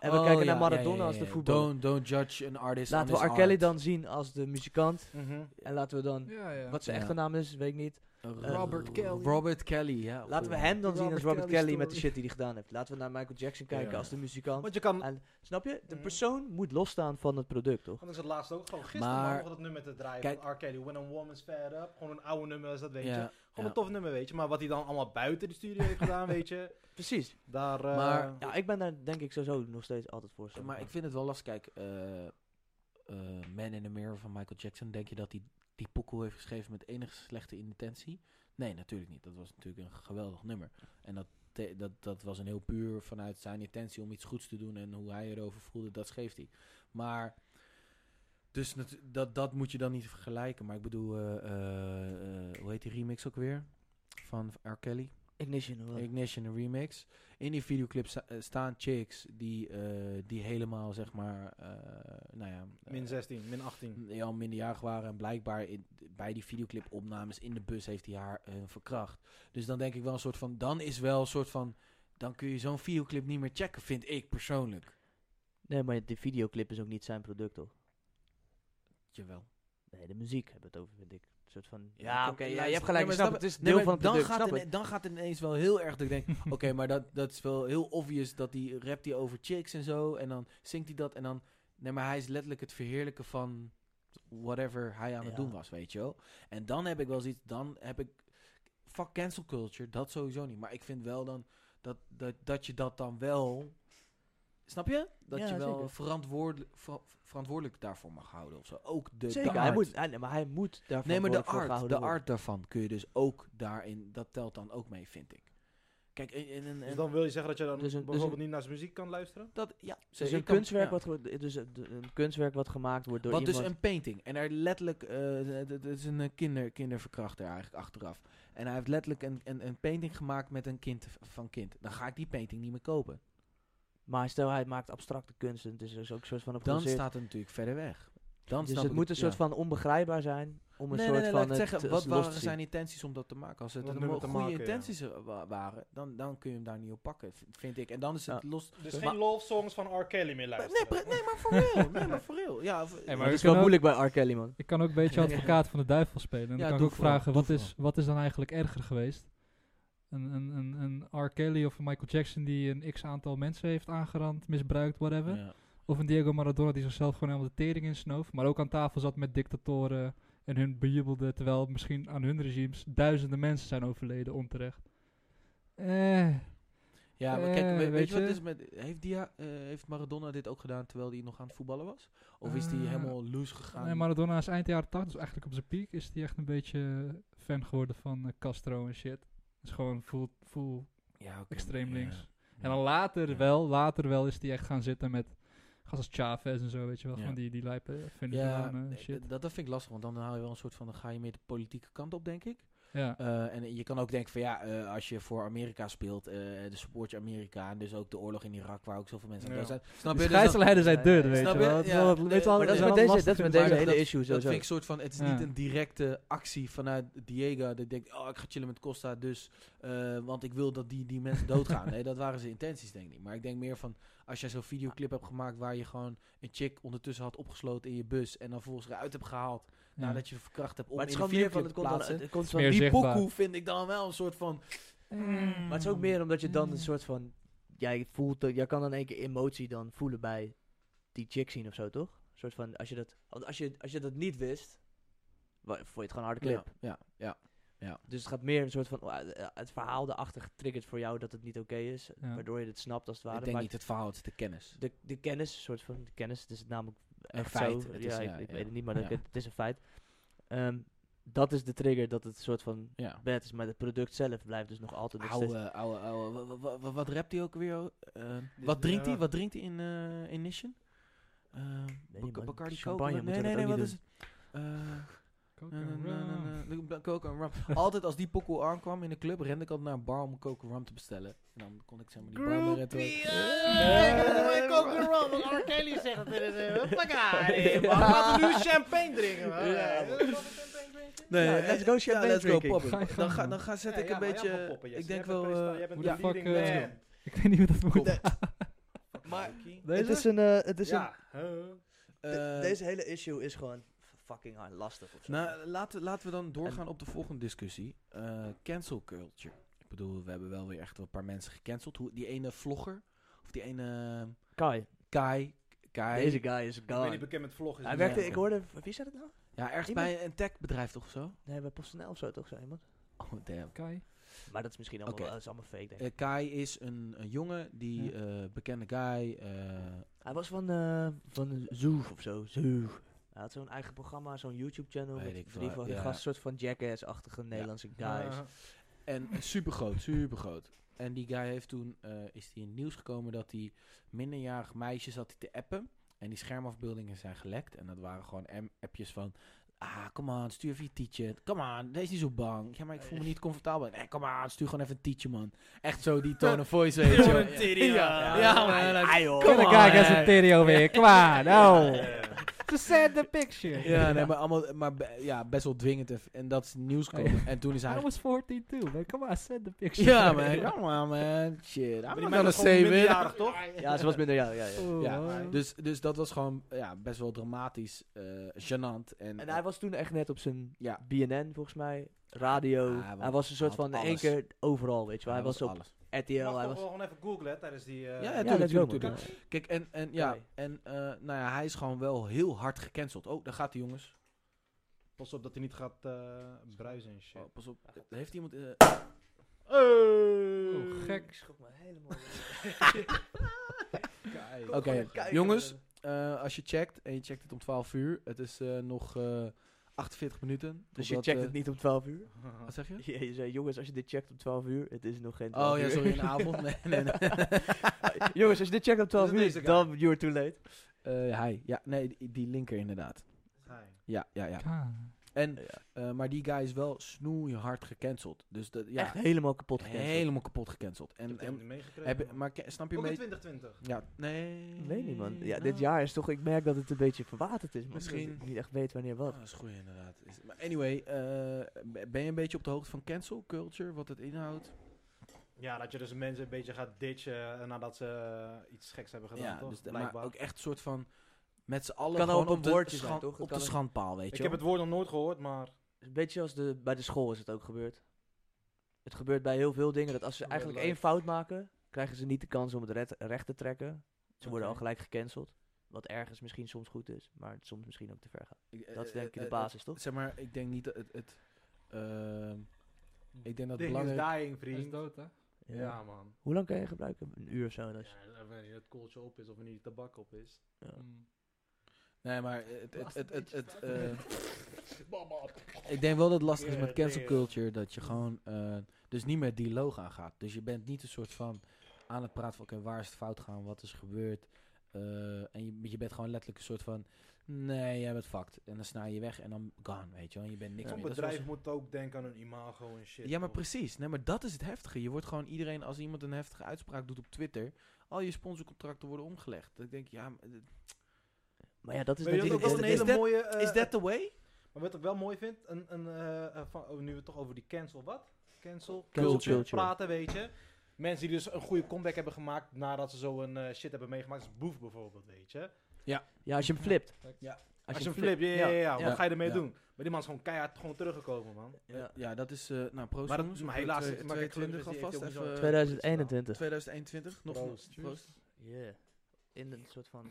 Speaker 3: en we
Speaker 2: Oh,
Speaker 3: kijken
Speaker 2: ja,
Speaker 3: naar
Speaker 2: ja,
Speaker 3: Maradona
Speaker 2: ja,
Speaker 3: als
Speaker 2: ja,
Speaker 3: de
Speaker 2: ja.
Speaker 3: voetballer.
Speaker 2: Don't, don't judge an artist on
Speaker 3: Laten we
Speaker 2: his
Speaker 3: R. Kelly
Speaker 2: art.
Speaker 3: dan zien als de muzikant
Speaker 4: Mhm.
Speaker 3: en laten we dan,
Speaker 1: Ja, ja.
Speaker 3: wat zijn
Speaker 2: Ja.
Speaker 3: echte naam is, weet ik niet.
Speaker 1: Robert Kelly.
Speaker 2: Uh, Robert Kelly, ja.
Speaker 3: Laten we
Speaker 2: Oh.
Speaker 3: hem dan zien
Speaker 1: Robert
Speaker 3: als Robert
Speaker 1: Kelly
Speaker 3: Kelly, met de
Speaker 1: story.
Speaker 3: shit die hij gedaan heeft. Laten we naar Michael Jackson kijken
Speaker 4: Ja.
Speaker 3: als de muzikant.
Speaker 4: Want je kan,
Speaker 3: En-
Speaker 4: want
Speaker 3: Snap je? De
Speaker 4: Mm.
Speaker 3: persoon moet losstaan van het product, toch?
Speaker 4: dat is het laatste ook, gewoon gisteren
Speaker 2: Maar-
Speaker 4: maar, nog dat nummer te draaien van R. Kelly, When a Woman's Fed Up. Gewoon een oude nummer is dat, weet je.
Speaker 2: Ja,
Speaker 4: Gewoon een tof nummer, weet je. Maar wat hij dan allemaal buiten de studio heeft gedaan, weet je.
Speaker 3: Precies.
Speaker 4: Daar, eh,
Speaker 2: Maar-
Speaker 3: Ja, ik ben daar denk ik sowieso nog steeds altijd voor.
Speaker 2: ja. Maar ik vind het wel lastig. Kijk, eh, eh, Man in the Mirror van Michael Jackson. Denk je dat hij die pokoe heeft geschreven met enige slechte intentie? Nee, natuurlijk niet. Dat was natuurlijk een geweldig nummer. En dat, te- dat, dat was een heel puur vanuit zijn intentie om iets goeds te doen en hoe hij erover voelde, dat schreef hij. Maar, dus natu- dat, dat moet je dan niet vergelijken. Maar ik bedoel, eh, eh, eh, hoe heet die remix ook weer? Van R. Kelly?
Speaker 3: Ignition, wat?
Speaker 2: Ignition een remix. In die videoclip sta- eh, staan chicks die, eh, die helemaal, zeg maar, eh, nou ja... eh,
Speaker 4: min 16, min 18.
Speaker 2: die al minderjarig waren en blijkbaar in, bij die videoclipopnames in de bus heeft hij haar eh, verkracht. Dus dan denk ik wel een soort van, dan is wel een soort van, dan kun je zo'n videoclip niet meer checken, vind ik persoonlijk.
Speaker 3: Nee, maar de videoclip is ook niet zijn product, toch?
Speaker 2: Jawel.
Speaker 3: Nee, de muziek hebben we het over, vind ik. Een soort van...
Speaker 2: Ja, oké, ja,
Speaker 3: je hebt gelijk,
Speaker 2: nee, maar
Speaker 3: ik snap
Speaker 2: snap-
Speaker 3: het. Het is
Speaker 2: Nee,
Speaker 3: deel
Speaker 2: maar
Speaker 3: van het
Speaker 2: dan,
Speaker 3: product,
Speaker 2: gaat
Speaker 3: snap
Speaker 2: het,
Speaker 3: het.
Speaker 2: dan gaat het ineens wel heel erg dat ik denk, oké, maar dat, dat is wel heel obvious dat hij rapt hij over chicks en zo. En dan zingt hij dat en dan... Nee, maar hij is letterlijk het verheerlijken van whatever hij aan het
Speaker 3: Ja.
Speaker 2: doen was, weet je wel. En dan heb ik wel zoiets, dan heb ik... Fuck cancel culture, dat sowieso niet. Maar ik vind wel dan dat, dat, dat je dat dan wel... Snap je? Dat
Speaker 3: Ja,
Speaker 2: je wel
Speaker 3: zeker.
Speaker 2: verantwoordelijk, ver- verantwoordelijk daarvoor mag houden of zo. Ook de, de
Speaker 3: Zeker, hij
Speaker 2: art.
Speaker 3: moet, hij- nee, maar hij moet daarvan
Speaker 2: Nee, maar de
Speaker 3: worden voor
Speaker 2: art, de
Speaker 3: gehouden worden.
Speaker 2: art daarvan kun je dus ook daarin, dat telt dan ook mee, vind ik. Kijk, en, en, en-
Speaker 4: Dus dan wil je zeggen dat je dan
Speaker 3: Dus een- dus
Speaker 4: bijvoorbeeld
Speaker 3: een-
Speaker 4: niet naar zijn muziek kan luisteren?
Speaker 2: dat, ja,
Speaker 3: Dus
Speaker 2: je
Speaker 3: een
Speaker 2: kan-
Speaker 3: kunstwerk,
Speaker 2: ja.
Speaker 3: wat, ge- dus een, een kunstwerk wat gemaakt wordt door
Speaker 2: Wat
Speaker 3: iemand...
Speaker 2: dus een painting. En er letterlijk, eh, d- d- het is een eh, kinder, kinderverkrachter eigenlijk achteraf. En hij heeft letterlijk een, een, een painting gemaakt met een kind v- van kind. Dan ga ik die painting niet meer kopen.
Speaker 3: Maar stel, hij maakt abstracte kunst en het is dus ook een soort van... een
Speaker 2: Dan
Speaker 3: geproduceerd-
Speaker 2: staat het natuurlijk verder weg. Dan
Speaker 3: Dus
Speaker 2: snap
Speaker 3: het
Speaker 2: ik
Speaker 3: moet een soort
Speaker 2: ja.
Speaker 3: van onbegrijpbaar zijn om een
Speaker 2: nee,
Speaker 3: soort
Speaker 2: nee, nee,
Speaker 3: van
Speaker 2: laat ik
Speaker 3: het
Speaker 2: zeggen,
Speaker 3: eh,
Speaker 2: wat
Speaker 3: los te
Speaker 2: waren
Speaker 3: zien.
Speaker 2: zijn intenties om dat te maken? Als het
Speaker 4: Om dat
Speaker 2: een
Speaker 4: nummer
Speaker 2: goede
Speaker 4: te maken, ja.
Speaker 2: intenties eh, wa- waren, dan, dan kun je hem daar niet op pakken, v- vind ik. En dan is het
Speaker 3: Ja.
Speaker 2: los...
Speaker 4: Dus
Speaker 2: Maar-
Speaker 4: geen love songs van R. Kelly meer
Speaker 2: Maar- Nee,
Speaker 4: luisteren?
Speaker 2: pre- nee, maar voor real. Oh, Nee, maar voor real. Ja, v-
Speaker 1: Hey, maar
Speaker 3: Maar het
Speaker 1: we
Speaker 3: is wel
Speaker 1: kunnen ook-
Speaker 3: moeilijk bij R. Kelly, man.
Speaker 1: Ik kan ook een beetje advocaat van de duivel spelen. En
Speaker 2: Ja,
Speaker 1: dan kan ik
Speaker 2: doe
Speaker 1: ook
Speaker 2: vooral,
Speaker 1: vragen,
Speaker 2: doe
Speaker 1: wat is, wat is dan eigenlijk erger geweest? Een, een, een, een R. Kelly of een Michael Jackson die een x-aantal mensen heeft aangerand, misbruikt, whatever.
Speaker 2: Ja.
Speaker 1: Of een Diego Maradona die zichzelf gewoon helemaal de tering insnoof. Maar ook aan tafel zat met dictatoren en hun bejubelde. Terwijl misschien aan hun regimes duizenden mensen zijn overleden onterecht. Eh,
Speaker 2: Ja, maar kijk, we-
Speaker 1: Eh,
Speaker 2: weet,
Speaker 1: weet
Speaker 2: je wat het
Speaker 1: je?
Speaker 2: is met... Heeft, die, heeft Maradona dit ook gedaan terwijl hij nog aan het voetballen was? Of is hij
Speaker 1: Eh,
Speaker 2: helemaal loose gegaan?
Speaker 1: nee, Maradona is eind jaren 80, dus eigenlijk op zijn piek is hij echt een beetje fan geworden van eh, Castro en shit. Dus gewoon full, full
Speaker 2: ja, oké,
Speaker 1: extreem
Speaker 2: ja.
Speaker 1: links.
Speaker 2: Ja.
Speaker 1: En dan later
Speaker 2: Ja.
Speaker 1: wel, later wel is die echt gaan zitten met gast als Chavez en zo, weet je wel.
Speaker 2: Ja.
Speaker 1: Gewoon die, die lijpen vinden
Speaker 2: Ja, eh,
Speaker 1: shit.
Speaker 2: dat, dat vind ik lastig, want dan haal je wel een soort van... Dan ga je meer de politieke kant op, denk ik.
Speaker 1: Ja.
Speaker 2: Eh, en je kan ook denken van ja, eh, als je voor Amerika speelt, eh de support je Amerika. En dus ook de oorlog in Irak, waar ook zoveel mensen aan
Speaker 4: Ja.
Speaker 2: dood zijn. Snap
Speaker 1: Dus
Speaker 2: je? Dus dan-
Speaker 1: gijzelheiders zijn deur,
Speaker 3: Nee,
Speaker 1: weet
Speaker 2: snap
Speaker 1: je
Speaker 2: je?
Speaker 1: wel. Dat is
Speaker 2: Ja,
Speaker 1: wel wat-
Speaker 2: de-
Speaker 1: weet je wel,
Speaker 3: Maar dat is
Speaker 1: wel
Speaker 3: met
Speaker 1: wat
Speaker 3: deze, dat
Speaker 1: lastig
Speaker 3: is met
Speaker 1: is.
Speaker 2: Maar
Speaker 3: deze
Speaker 2: dat-
Speaker 3: hele issue
Speaker 2: Dat
Speaker 3: sowieso.
Speaker 2: vind ik soort van, het is
Speaker 1: Ja.
Speaker 2: niet een directe actie vanuit Diego. Dat denkt, oh, ik ga chillen met Costa, dus, eh, want ik wil dat die, die mensen doodgaan. nee, dat waren zijn intenties, denk ik niet. Maar ik denk meer van, als jij zo'n videoclip hebt gemaakt waar je gewoon een chick ondertussen had opgesloten in je bus en dan vervolgens eruit hebt gehaald
Speaker 1: Ja.
Speaker 2: nadat je verkracht hebt om
Speaker 3: Maar het is
Speaker 2: in een
Speaker 3: gewoon meer van,
Speaker 2: videoclip
Speaker 3: het
Speaker 2: te
Speaker 3: komt, dan,
Speaker 2: plaatsen.
Speaker 3: het komt van...
Speaker 1: Meer
Speaker 2: Die
Speaker 1: zichtbaar.
Speaker 2: pokoe vind ik dan wel een soort van...
Speaker 3: Maar het is ook meer omdat je dan
Speaker 1: Mm.
Speaker 3: een soort van... Jij voelt, dat- jij kan dan één keer emotie dan voelen bij die chick zien of zo, toch? Een soort van, als je dat, want als je, als je dat niet wist, wa- vond je het gewoon een harde clip.
Speaker 2: Ja, ja, ja.
Speaker 3: Dus het gaat meer een soort van, oh, eh, eh, het verhaal daarachter getriggerd voor jou dat het niet oké is.
Speaker 1: Ja.
Speaker 3: Waardoor je het snapt als het ware.
Speaker 2: ik denk
Speaker 3: maar
Speaker 2: niet het verhaal, het is de kennis.
Speaker 3: de, de kennis, een soort van de kennis, het is namelijk
Speaker 2: Een
Speaker 3: echt
Speaker 2: feit,
Speaker 3: zo.
Speaker 2: het
Speaker 3: ja,
Speaker 2: is,
Speaker 3: ik,
Speaker 2: ja,
Speaker 3: ik
Speaker 2: ja.
Speaker 3: weet het niet, maar dat-
Speaker 2: Ja.
Speaker 3: het is een feit. Ehm, dat is de trigger dat het een soort van
Speaker 2: Ja.
Speaker 3: bad is. Maar het product zelf blijft dus nog altijd nog steeds...
Speaker 2: Oude, oude, oude. Wa- wa- wa- Wat rapt hij ook weer? Eh,
Speaker 4: Dit
Speaker 2: wat
Speaker 4: is-
Speaker 2: drinkt
Speaker 4: ja.
Speaker 2: hij? Wat drinkt hij in, eh in Mission? Eh, Bac-
Speaker 3: man,
Speaker 2: Bacardi
Speaker 3: champagne
Speaker 2: Coke?
Speaker 3: moeten we dat ook niet
Speaker 2: het? Eh,
Speaker 1: Coke
Speaker 2: Na,
Speaker 1: and
Speaker 2: na, na,
Speaker 1: rum.
Speaker 2: na, na, na, Coke and rum. Altijd als die pokoe aankwam in de club, rende ik altijd naar een bar om coke and rum te bestellen. En dan kon ik zeg maar die bar redden.
Speaker 4: Kelly zegt dat er is.
Speaker 3: Ja.
Speaker 4: Laten we nu champagne drinken. man.
Speaker 3: Ja,
Speaker 4: Eh,
Speaker 3: man.
Speaker 4: laten we champagne drinken.
Speaker 2: Nee,
Speaker 3: Ja,
Speaker 2: eh,
Speaker 3: let's go champagne
Speaker 2: let's go
Speaker 3: drinking.
Speaker 2: poppen.
Speaker 1: Ga je gang,
Speaker 2: Dan, ga,
Speaker 1: man.
Speaker 2: dan ga, zet
Speaker 4: Ja,
Speaker 2: ik
Speaker 4: ja,
Speaker 2: een
Speaker 4: maar jij
Speaker 2: beetje...
Speaker 4: mag wel poppen, Jesse.
Speaker 2: ik denk
Speaker 4: Jij
Speaker 2: wel...
Speaker 4: bent presenta-
Speaker 2: eh,
Speaker 4: jij bent
Speaker 1: Hoe
Speaker 4: de
Speaker 1: de fuck,
Speaker 4: leading
Speaker 1: eh,
Speaker 4: man.
Speaker 1: Ik weet niet hoe dat moet.
Speaker 2: Kom.
Speaker 4: Maar
Speaker 3: Het is een... eh, het is een
Speaker 4: ja. huh?
Speaker 2: eh,
Speaker 3: de- deze hele issue is gewoon f- fucking hard lastig of zo.
Speaker 2: nou, laten, laten we dan doorgaan op de volgende discussie. Eh, cancel culture. Ik bedoel, we hebben wel weer echt wel een paar mensen gecanceld. Hoe, die ene vlogger, of die ene eh,
Speaker 3: Kai,
Speaker 2: Kai... Kai
Speaker 3: deze guy is
Speaker 4: Ik ben niet
Speaker 3: gone.
Speaker 4: bekend met vloggen.
Speaker 3: Hij
Speaker 2: Nee,
Speaker 3: werkte,
Speaker 2: oké.
Speaker 3: ik hoorde, wie zei dat nou?
Speaker 2: ja, ergens
Speaker 3: Iemand-
Speaker 2: bij een techbedrijf toch of zo?
Speaker 3: Nee, bij PostNL of zo toch, zo iemand?
Speaker 2: Oh, damn.
Speaker 1: Kai?
Speaker 3: Maar dat is misschien allemaal,
Speaker 2: Oké.
Speaker 3: wel- dat is allemaal fake, denk ik.
Speaker 2: Eh, Kai is een, een jongen, die eh, bekende guy. eh,
Speaker 3: Hij was van, eh van Zoef of zo, Zoef. Hij had zo'n eigen programma, zo'n YouTube-channel
Speaker 2: Weet
Speaker 3: met
Speaker 2: ik
Speaker 3: drie
Speaker 2: veel,
Speaker 3: van die
Speaker 2: ja.
Speaker 3: gasten, soort van jackass-achtige Nederlandse guys.
Speaker 2: en super groot, super groot. En die guy heeft toen, eh, is die in het nieuws gekomen dat hij minderjarig meisjes had hij te appen. En die schermafbeeldingen zijn gelekt. En dat waren gewoon em- appjes van, ah, kom aan, stuur even je tietje. Kom aan, wees niet zo bang. Ja, maar ik voel me niet comfortabel. Nee, kom aan, stuur gewoon even een tietje, man. Echt zo die tone of voice, weet je wel.
Speaker 4: een titty, ja.
Speaker 2: Ja,
Speaker 3: Ah,
Speaker 2: man.
Speaker 3: ah, joh.
Speaker 2: Kom
Speaker 1: Kom
Speaker 2: on,
Speaker 1: maar kijken, als
Speaker 2: hè.
Speaker 1: een video weer. Klaar, nou. To set the picture.
Speaker 2: Ja, nee, maar, allemaal, maar be- ja, best wel dwingend. En, en dat is het nieuws gekomen. En toen is hij
Speaker 1: I was 14 too, man. Come on, set the picture.
Speaker 2: Ja, man. Come on, man. Shit. I'm
Speaker 4: Maar
Speaker 2: not
Speaker 4: die
Speaker 2: gonna
Speaker 4: man is gewoon
Speaker 2: save it.
Speaker 4: minderjarig, toch?
Speaker 3: Ja, ze was minder, ja, ja, ja.
Speaker 1: Oh,
Speaker 2: Ja,
Speaker 1: man.
Speaker 2: Dus, dus dat was gewoon ja, best wel dramatisch, eh gênant. En, eh,
Speaker 3: En hij was toen echt net op zijn
Speaker 2: Ja.
Speaker 3: BNN, volgens mij, radio.
Speaker 2: Ah, hij was-
Speaker 3: hij was een soort
Speaker 2: hij had
Speaker 3: van in één
Speaker 2: alles.
Speaker 3: keer overal, weet je wel. Hij, was, op
Speaker 2: alles.
Speaker 3: RTL,
Speaker 4: Mag
Speaker 3: hij
Speaker 4: toch
Speaker 3: was...
Speaker 4: wel gewoon even googlen hè, tijdens die...
Speaker 2: Ja,
Speaker 4: eh,
Speaker 3: Ja,
Speaker 2: ja,
Speaker 3: let's
Speaker 2: tuurlijk,
Speaker 3: go,
Speaker 2: tuurlijk,
Speaker 3: man.
Speaker 2: tuurlijk. Kijk, en, en, ja,
Speaker 3: Oké.
Speaker 2: en eh, nou ja, hij is gewoon wel heel hard gecanceld. Oh, daar gaat die jongens.
Speaker 4: Pas op dat hij niet gaat eh, bruisen en shit.
Speaker 2: Oh, pas op. Heeft iemand... eh,
Speaker 1: Oh, gek.
Speaker 3: Ik schrok me helemaal.
Speaker 2: Oké, jongens. eh, als je checkt, en je checkt het om 12 uur. Het is eh, nog eh 48 minuten.
Speaker 3: Dus je
Speaker 2: totdat,
Speaker 3: checkt
Speaker 2: eh,
Speaker 3: het niet om 12 uur?
Speaker 2: Wat zeg je?
Speaker 3: Ja, je zei, jongens, als je dit checkt om 12 uur, het is nog geen 12
Speaker 2: Oh ja,
Speaker 3: uur.
Speaker 2: sorry, in de avond. Nee, nee, nee.
Speaker 3: jongens, als je dit checkt om 12
Speaker 2: Dus het is
Speaker 3: uur,
Speaker 2: de guy.
Speaker 3: dan you're too late.
Speaker 2: Eh, hij. Ja, nee, die, die linker inderdaad.
Speaker 4: Hi.
Speaker 2: Ja, ja, ja.
Speaker 1: Ka-
Speaker 2: En,
Speaker 3: Ja.
Speaker 2: eh, maar die guy is wel snoeihard gecanceld. Dus dat, ja,
Speaker 3: Echt helemaal kapot gecanceld.
Speaker 2: helemaal kapot gecanceld.
Speaker 4: Ik heb
Speaker 2: En,
Speaker 4: het helemaal
Speaker 2: en
Speaker 4: niet meegekregen.
Speaker 2: heb,
Speaker 4: man.
Speaker 2: maar ke- snap je
Speaker 4: Ook in
Speaker 2: mee?
Speaker 4: 2020.
Speaker 2: Ja, nee.
Speaker 3: Ik weet niet, man. Ja,
Speaker 2: nou,
Speaker 3: dit jaar is toch... Ik merk dat het een beetje verwaterd is, man. Dat
Speaker 2: Misschien-
Speaker 3: ik niet echt weet wanneer
Speaker 2: Ah,
Speaker 3: wat.
Speaker 2: dat is goed inderdaad. Is- Maar anyway, eh, b- ben je een beetje op de hoogte van cancel culture, wat het inhoudt?
Speaker 4: Ja, dat je dus mensen een beetje gaat ditchen eh, nadat ze eh, iets geks hebben gedaan,
Speaker 2: ja,
Speaker 4: toch?
Speaker 2: dus, de- maar
Speaker 4: Blijkbaar.
Speaker 2: ook echt een soort van met z'n allen
Speaker 3: Kan ook
Speaker 2: gewoon
Speaker 3: een
Speaker 2: op de,
Speaker 3: woordje zijn,
Speaker 2: scha-
Speaker 3: toch? Het
Speaker 2: Op de
Speaker 3: kan ook-
Speaker 2: schandpaal, weet
Speaker 4: ik
Speaker 2: je
Speaker 4: heb
Speaker 2: wel.
Speaker 4: het woord nog nooit gehoord, maar...
Speaker 3: Een beetje als de, bij de school is het ook gebeurd. Het gebeurt bij heel veel dingen dat als ze
Speaker 4: Real
Speaker 3: eigenlijk
Speaker 4: life.
Speaker 3: één fout maken, krijgen ze niet de kans om het red- recht te trekken. Ze worden al
Speaker 4: Oké.
Speaker 3: gelijk gecanceld. Wat ergens misschien soms goed is, maar het soms misschien ook te ver gaat.
Speaker 2: Ik- eh,
Speaker 3: Dat is denk ik
Speaker 2: eh,
Speaker 3: de
Speaker 2: eh,
Speaker 3: basis, toch?
Speaker 2: Zeg maar, ik denk niet dat het... het ehm, ik denk dat het
Speaker 4: Ding is
Speaker 2: belangrijk...
Speaker 4: dying,
Speaker 1: Hij is
Speaker 4: vriend.
Speaker 1: dood, hè?
Speaker 4: Ja, man.
Speaker 3: Hoe lang kan je gebruiken? Een uur of zo. Dat is,
Speaker 4: Ja, dat wanneer het kooltje op is of wanneer die tabak op is.
Speaker 1: Mm.
Speaker 2: Nee, maar het... het, het, het, het, eh,
Speaker 4: Mama.
Speaker 2: Ik denk wel dat het lastig is met
Speaker 4: Ja,
Speaker 2: cancel
Speaker 4: ja.
Speaker 2: culture dat je gewoon eh, dus niet meer het dialoog aangaat. Dus je bent niet een soort van aan het praten van oké, waar is het fout gaan, wat is gebeurd. Eh, en je, je bent gewoon letterlijk een soort van nee, jij bent fucked. En dan snij je weg en dan gone, weet je wel. Je bent niks
Speaker 4: Zo'n
Speaker 2: meer. Dat is
Speaker 4: bedrijf
Speaker 2: wel
Speaker 4: moet ook denken aan hun imago en shit.
Speaker 2: zo- ja, maar
Speaker 4: toch?
Speaker 2: precies. Nee, maar dat is het heftige. Je wordt gewoon iedereen, als iemand een heftige uitspraak doet op Twitter, al je sponsorcontracten worden omgelegd. Dat ik denk, ja, maar, eh,
Speaker 3: maar ja, dat is
Speaker 4: Maar je had
Speaker 3: natuurlijk...
Speaker 4: ook
Speaker 2: is
Speaker 4: wel
Speaker 2: dus
Speaker 4: een
Speaker 2: dat-
Speaker 3: is
Speaker 4: hele
Speaker 2: dat-
Speaker 4: mooie... eh,
Speaker 2: is that the way?
Speaker 4: Maar wat ik wel mooi vind, een, een, eh, eh, van, oh, nu we het toch over die cancel wat? Cancel
Speaker 3: Cancel
Speaker 4: culture
Speaker 3: culture.
Speaker 4: praten, weet je. Mensen die dus een goede comeback hebben gemaakt nadat ze zo'n eh shit hebben meegemaakt. als Boef bijvoorbeeld, weet je. Als,
Speaker 3: ja, als je hem flipt.
Speaker 2: Ja.
Speaker 4: je hem flipt, ja, ja, ja, ja, Wat ga je ermee
Speaker 2: Ja.
Speaker 4: doen? Maar die man is gewoon keihard gewoon teruggekomen, man.
Speaker 3: Ja.
Speaker 2: Ja, dat is, eh nou, proost.
Speaker 4: Maar dat-
Speaker 2: jongens.
Speaker 4: maar helaas-
Speaker 2: Twee-
Speaker 4: maar kijk,
Speaker 2: 22
Speaker 4: Columbus
Speaker 2: alvast.
Speaker 4: die heeft ook niet zo'n-
Speaker 2: Even,
Speaker 3: 2021.
Speaker 2: 2021, nog een
Speaker 4: Proost.
Speaker 2: proost.
Speaker 3: Yeah. In een soort van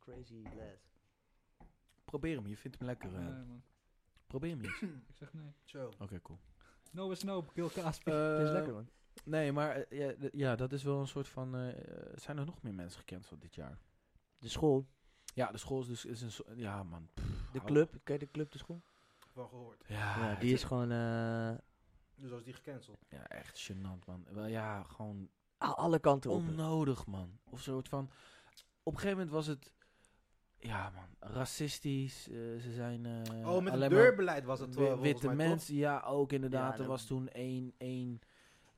Speaker 3: crazy lad.
Speaker 2: Probeer hem, je vindt hem lekker. eh.
Speaker 1: Nee, man.
Speaker 2: Probeer hem eens. Oké,
Speaker 1: Ik zeg nee.
Speaker 4: Zo.
Speaker 2: cool.
Speaker 1: No is no, Gil Casper.
Speaker 2: Eh.
Speaker 4: Eh,
Speaker 3: Dat is lekker, man.
Speaker 2: Nee, maar eh, ja, d- ja, dat is wel een soort van... eh, eh, zijn er nog meer mensen gecanceld dit jaar?
Speaker 3: De school,
Speaker 2: Ja, de school is dus... Is een, so- ja, man. pff,
Speaker 3: de
Speaker 2: hou-
Speaker 3: club. Ken je de club, de school?
Speaker 4: van gehoord.
Speaker 2: Ja,
Speaker 3: Ja, die Ah, is gewoon... eh,
Speaker 4: Dus als die gecanceld.
Speaker 2: ja, echt gênant, man. Wel ja, gewoon
Speaker 3: a- alle kanten op.
Speaker 2: onnodig, man. Of soort van... Op een gegeven moment was het... Ja, man. Racistisch. eh, ze zijn eh,
Speaker 4: oh, met het
Speaker 2: alleen maar
Speaker 4: deurbeleid was het eh,
Speaker 2: wi-
Speaker 4: volgens
Speaker 2: witte
Speaker 4: mij,
Speaker 2: mensen. Ja, ook
Speaker 3: Ja,
Speaker 2: inderdaad.
Speaker 3: en
Speaker 2: er
Speaker 3: ook-
Speaker 2: was toen één, één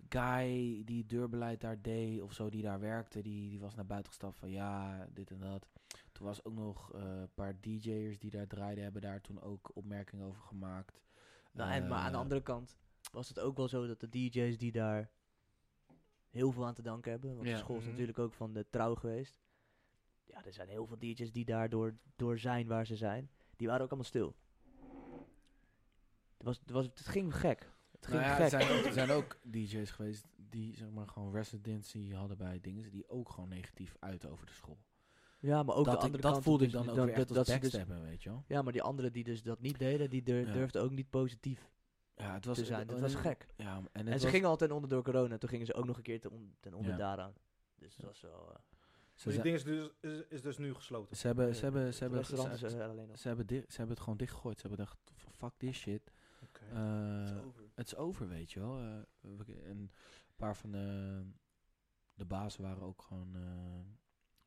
Speaker 2: guy die deurbeleid daar deed of zo, die daar werkte. Die, die was naar buiten gestapt van ja, dit en dat. Toen was ook nog eh, een paar DJ'ers die daar draaiden, hebben daar toen ook opmerkingen over gemaakt.
Speaker 3: Nou, en, maar aan de
Speaker 2: Eh,
Speaker 3: andere kant was het ook wel zo dat de DJ's die daar heel veel aan te danken hebben. Want
Speaker 2: Ja.
Speaker 3: de school is
Speaker 4: Mhm.
Speaker 3: natuurlijk ook van de trouw geweest. Ja, er zijn heel veel DJ's die daardoor door zijn waar ze zijn. Die waren ook allemaal stil. Het, was, het, was, het ging gek. Het ging
Speaker 2: Nou ja, er
Speaker 3: gek.
Speaker 2: zijn, ook, er zijn ook DJ's geweest die zeg maar gewoon residency hadden bij dingen die ook gewoon negatief uiten over de school.
Speaker 3: ja, maar ook de
Speaker 2: dat ik,
Speaker 3: andere
Speaker 2: dat
Speaker 3: kant
Speaker 2: voelde ik
Speaker 3: dus
Speaker 2: dan
Speaker 3: die-
Speaker 2: ook weer echt
Speaker 3: dat-
Speaker 2: als
Speaker 3: dat ze dus-
Speaker 2: backstabben, weet je wel.
Speaker 3: Ja, maar die anderen die dus dat niet deden, die dur-
Speaker 2: Ja.
Speaker 3: durfden ook niet positief
Speaker 2: Dus Ja, het was,
Speaker 3: te zijn. Het was gek.
Speaker 2: Ja, en, het
Speaker 3: En ze
Speaker 2: was-
Speaker 3: gingen al ten onder door corona. Toen gingen ze ook nog een keer ten, on- ten onder
Speaker 2: Ja.
Speaker 3: daaraan. Dus het was wel... eh,
Speaker 2: ze
Speaker 4: Dus die
Speaker 2: zijn-
Speaker 4: ding is dus, is, is dus nu gesloten.
Speaker 2: Eh, Ze hebben, ze hebben, ze
Speaker 3: het
Speaker 2: hebben,
Speaker 3: Eh, restaurant is
Speaker 2: ze,
Speaker 3: eh, alleen nog.
Speaker 2: ze hebben, di- ze hebben het gewoon dichtgegooid. Ze hebben gedacht, f- fuck this shit.
Speaker 4: Oké.
Speaker 2: Eh,
Speaker 3: Het is over.
Speaker 2: het is over, weet je wel. Eh, we- en een paar van de, de bazen waren ook gewoon, eh,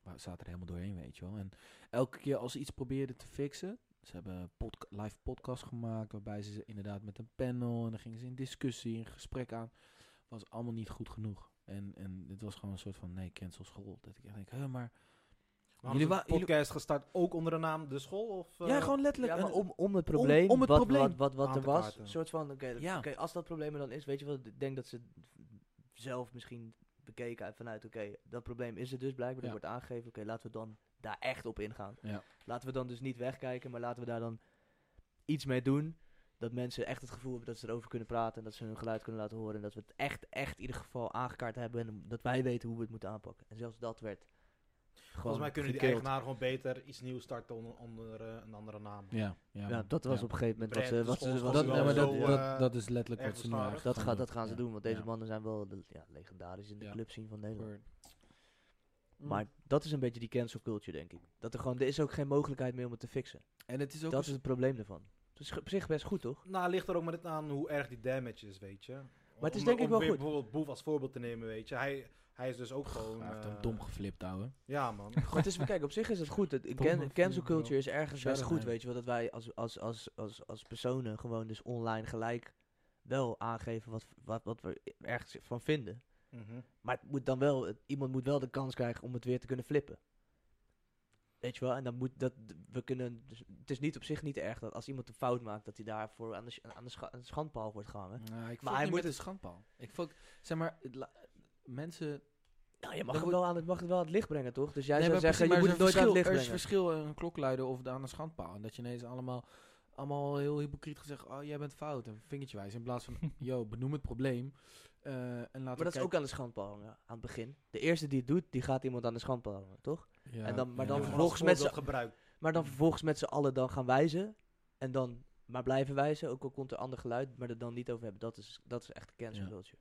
Speaker 2: wa- zaten er helemaal doorheen, weet je wel. En elke keer als ze iets probeerden te fixen, ze hebben podca- live podcast gemaakt, waarbij ze inderdaad met een panel en dan gingen ze in discussie, in gesprek aan. Was allemaal niet goed genoeg. En, en het was gewoon een soort van, nee, cancel school. Dat ik echt denk, hè, maar...
Speaker 4: Maar hadden
Speaker 2: wa-
Speaker 4: ze een podcast gestart ook onder de naam De School? Of, eh,
Speaker 2: Ja, gewoon letterlijk.
Speaker 3: Ja, maar
Speaker 2: En-
Speaker 3: om, om het probleem,
Speaker 2: om het
Speaker 3: wat,
Speaker 2: probleem
Speaker 3: wat, wat, wat
Speaker 4: aan
Speaker 3: er
Speaker 4: te
Speaker 3: was,
Speaker 4: kaarten.
Speaker 3: een soort van, oké, dat-
Speaker 2: Ja.
Speaker 3: oké, als dat probleem er dan is, weet je wat, ik denk dat ze zelf misschien bekeken uit- vanuit, oké, dat probleem is er dus blijkbaar,
Speaker 2: Ja.
Speaker 3: dat wordt aangegeven, oké, laten we dan daar echt op ingaan.
Speaker 2: Ja.
Speaker 3: Laten we dan dus niet wegkijken, maar laten we daar dan iets mee doen, dat mensen echt het gevoel hebben dat ze erover kunnen praten en dat ze hun geluid kunnen laten horen en dat we het echt, echt in ieder geval aangekaart hebben en dat wij weten hoe we het moeten aanpakken. En zelfs dat werd gewoon
Speaker 4: Volgens mij kunnen die
Speaker 3: gekild.
Speaker 4: eigenaar gewoon beter iets nieuws starten onder, onder eh, een andere naam.
Speaker 2: Ja, ja,
Speaker 3: Ja, dat was
Speaker 2: ja.
Speaker 3: op een gegeven moment wat
Speaker 4: Brand,
Speaker 3: ze, wat
Speaker 4: school
Speaker 3: ze,
Speaker 4: is
Speaker 3: wat
Speaker 2: Dat,
Speaker 3: ze
Speaker 4: wel
Speaker 2: nee, maar
Speaker 4: zo,
Speaker 2: dat,
Speaker 4: eh,
Speaker 2: dat, dat is letterlijk
Speaker 4: erg
Speaker 2: wat ze nu
Speaker 4: beschadigd.
Speaker 2: eigenlijk
Speaker 3: Dat,
Speaker 2: gaan
Speaker 3: gaat, dat gaan ze
Speaker 2: Ja,
Speaker 3: doen, want deze
Speaker 2: ja.
Speaker 3: mannen zijn wel de- ja, legendarisch in de
Speaker 2: Ja.
Speaker 3: club zien van Nederland.
Speaker 2: Word.
Speaker 3: Maar dat is een beetje die cancel culture, denk ik. Dat er gewoon, er is ook geen mogelijkheid meer om het te fixen.
Speaker 2: En het is ook...
Speaker 3: Dat is
Speaker 2: een-
Speaker 3: het probleem daarvan. Het is op zich best goed, toch?
Speaker 4: Nou, ligt er ook maar net aan hoe erg die damage is, weet je. Maar
Speaker 3: het is denk ik wel goed.
Speaker 4: bijvoorbeeld Boef als voorbeeld te nemen, weet je. Hij, hij is dus ook gewoon...
Speaker 2: Hij heeft
Speaker 4: eh,
Speaker 2: hem dom geflipt, ouwe.
Speaker 4: Ja, man. Mhm.
Speaker 3: Maar het is, kijk, op zich is het goed. Het,
Speaker 1: Domme
Speaker 3: can- cancel
Speaker 1: film,
Speaker 3: culture
Speaker 1: bro.
Speaker 3: is ergens
Speaker 2: Shout
Speaker 3: best
Speaker 2: out
Speaker 3: goed,
Speaker 2: naar
Speaker 3: weet je wel. Dat wij als, als, als, als, als personen gewoon dus online gelijk wel aangeven wat, wat, wat we ergens van vinden.
Speaker 4: Mhm.
Speaker 3: Maar het moet dan wel, het- iemand moet wel de kans krijgen om het weer te kunnen flippen. Weet je wel? En dan moet dat, d- we kunnen, dus het is niet op zich niet erg dat als iemand een fout maakt, dat hij daarvoor aan de, sch- aan de, scha- aan de schandpaal wordt gehangen.
Speaker 2: Nou, ik
Speaker 3: Maar
Speaker 2: maar
Speaker 3: hij
Speaker 2: hij
Speaker 3: moet-
Speaker 2: met een schandpaal. Ik fuck, zeg maar, het la- mensen...
Speaker 3: Nou, je mag,
Speaker 2: Dan
Speaker 3: het wel, aan het, mag het wel aan het licht brengen, toch? Dus jij
Speaker 2: Nee,
Speaker 3: zou
Speaker 2: maar
Speaker 3: zeggen,
Speaker 2: precies,
Speaker 3: je moet
Speaker 2: maar
Speaker 3: het nooit aan het licht
Speaker 2: Er is
Speaker 3: brengen.
Speaker 2: verschil in een klokluider of aan een schandpaal. En dat je ineens allemaal, allemaal heel hypocriet gezegd... Oh, jij bent fout. En vingertjewijs. In plaats van, yo, benoem het probleem. eh, en laten
Speaker 3: Maar dat
Speaker 2: we
Speaker 3: is ook aan de schandpaal hangen, aan het begin. De eerste die het doet, die gaat iemand aan de schandpaal hangen, toch?
Speaker 2: kijken. Ja,
Speaker 3: en dan- maar
Speaker 2: ja.
Speaker 3: dan
Speaker 4: Ja,
Speaker 3: vervolgens
Speaker 4: als
Speaker 3: met z'n-
Speaker 4: voorbeeld gebruikt.
Speaker 3: Maar dan vervolgens met z'n allen dan gaan wijzen. En dan maar blijven wijzen, ook al komt er ander geluid, maar er dan niet over hebben. Dat is, dat is echt de cancel
Speaker 2: Ja.
Speaker 3: culture.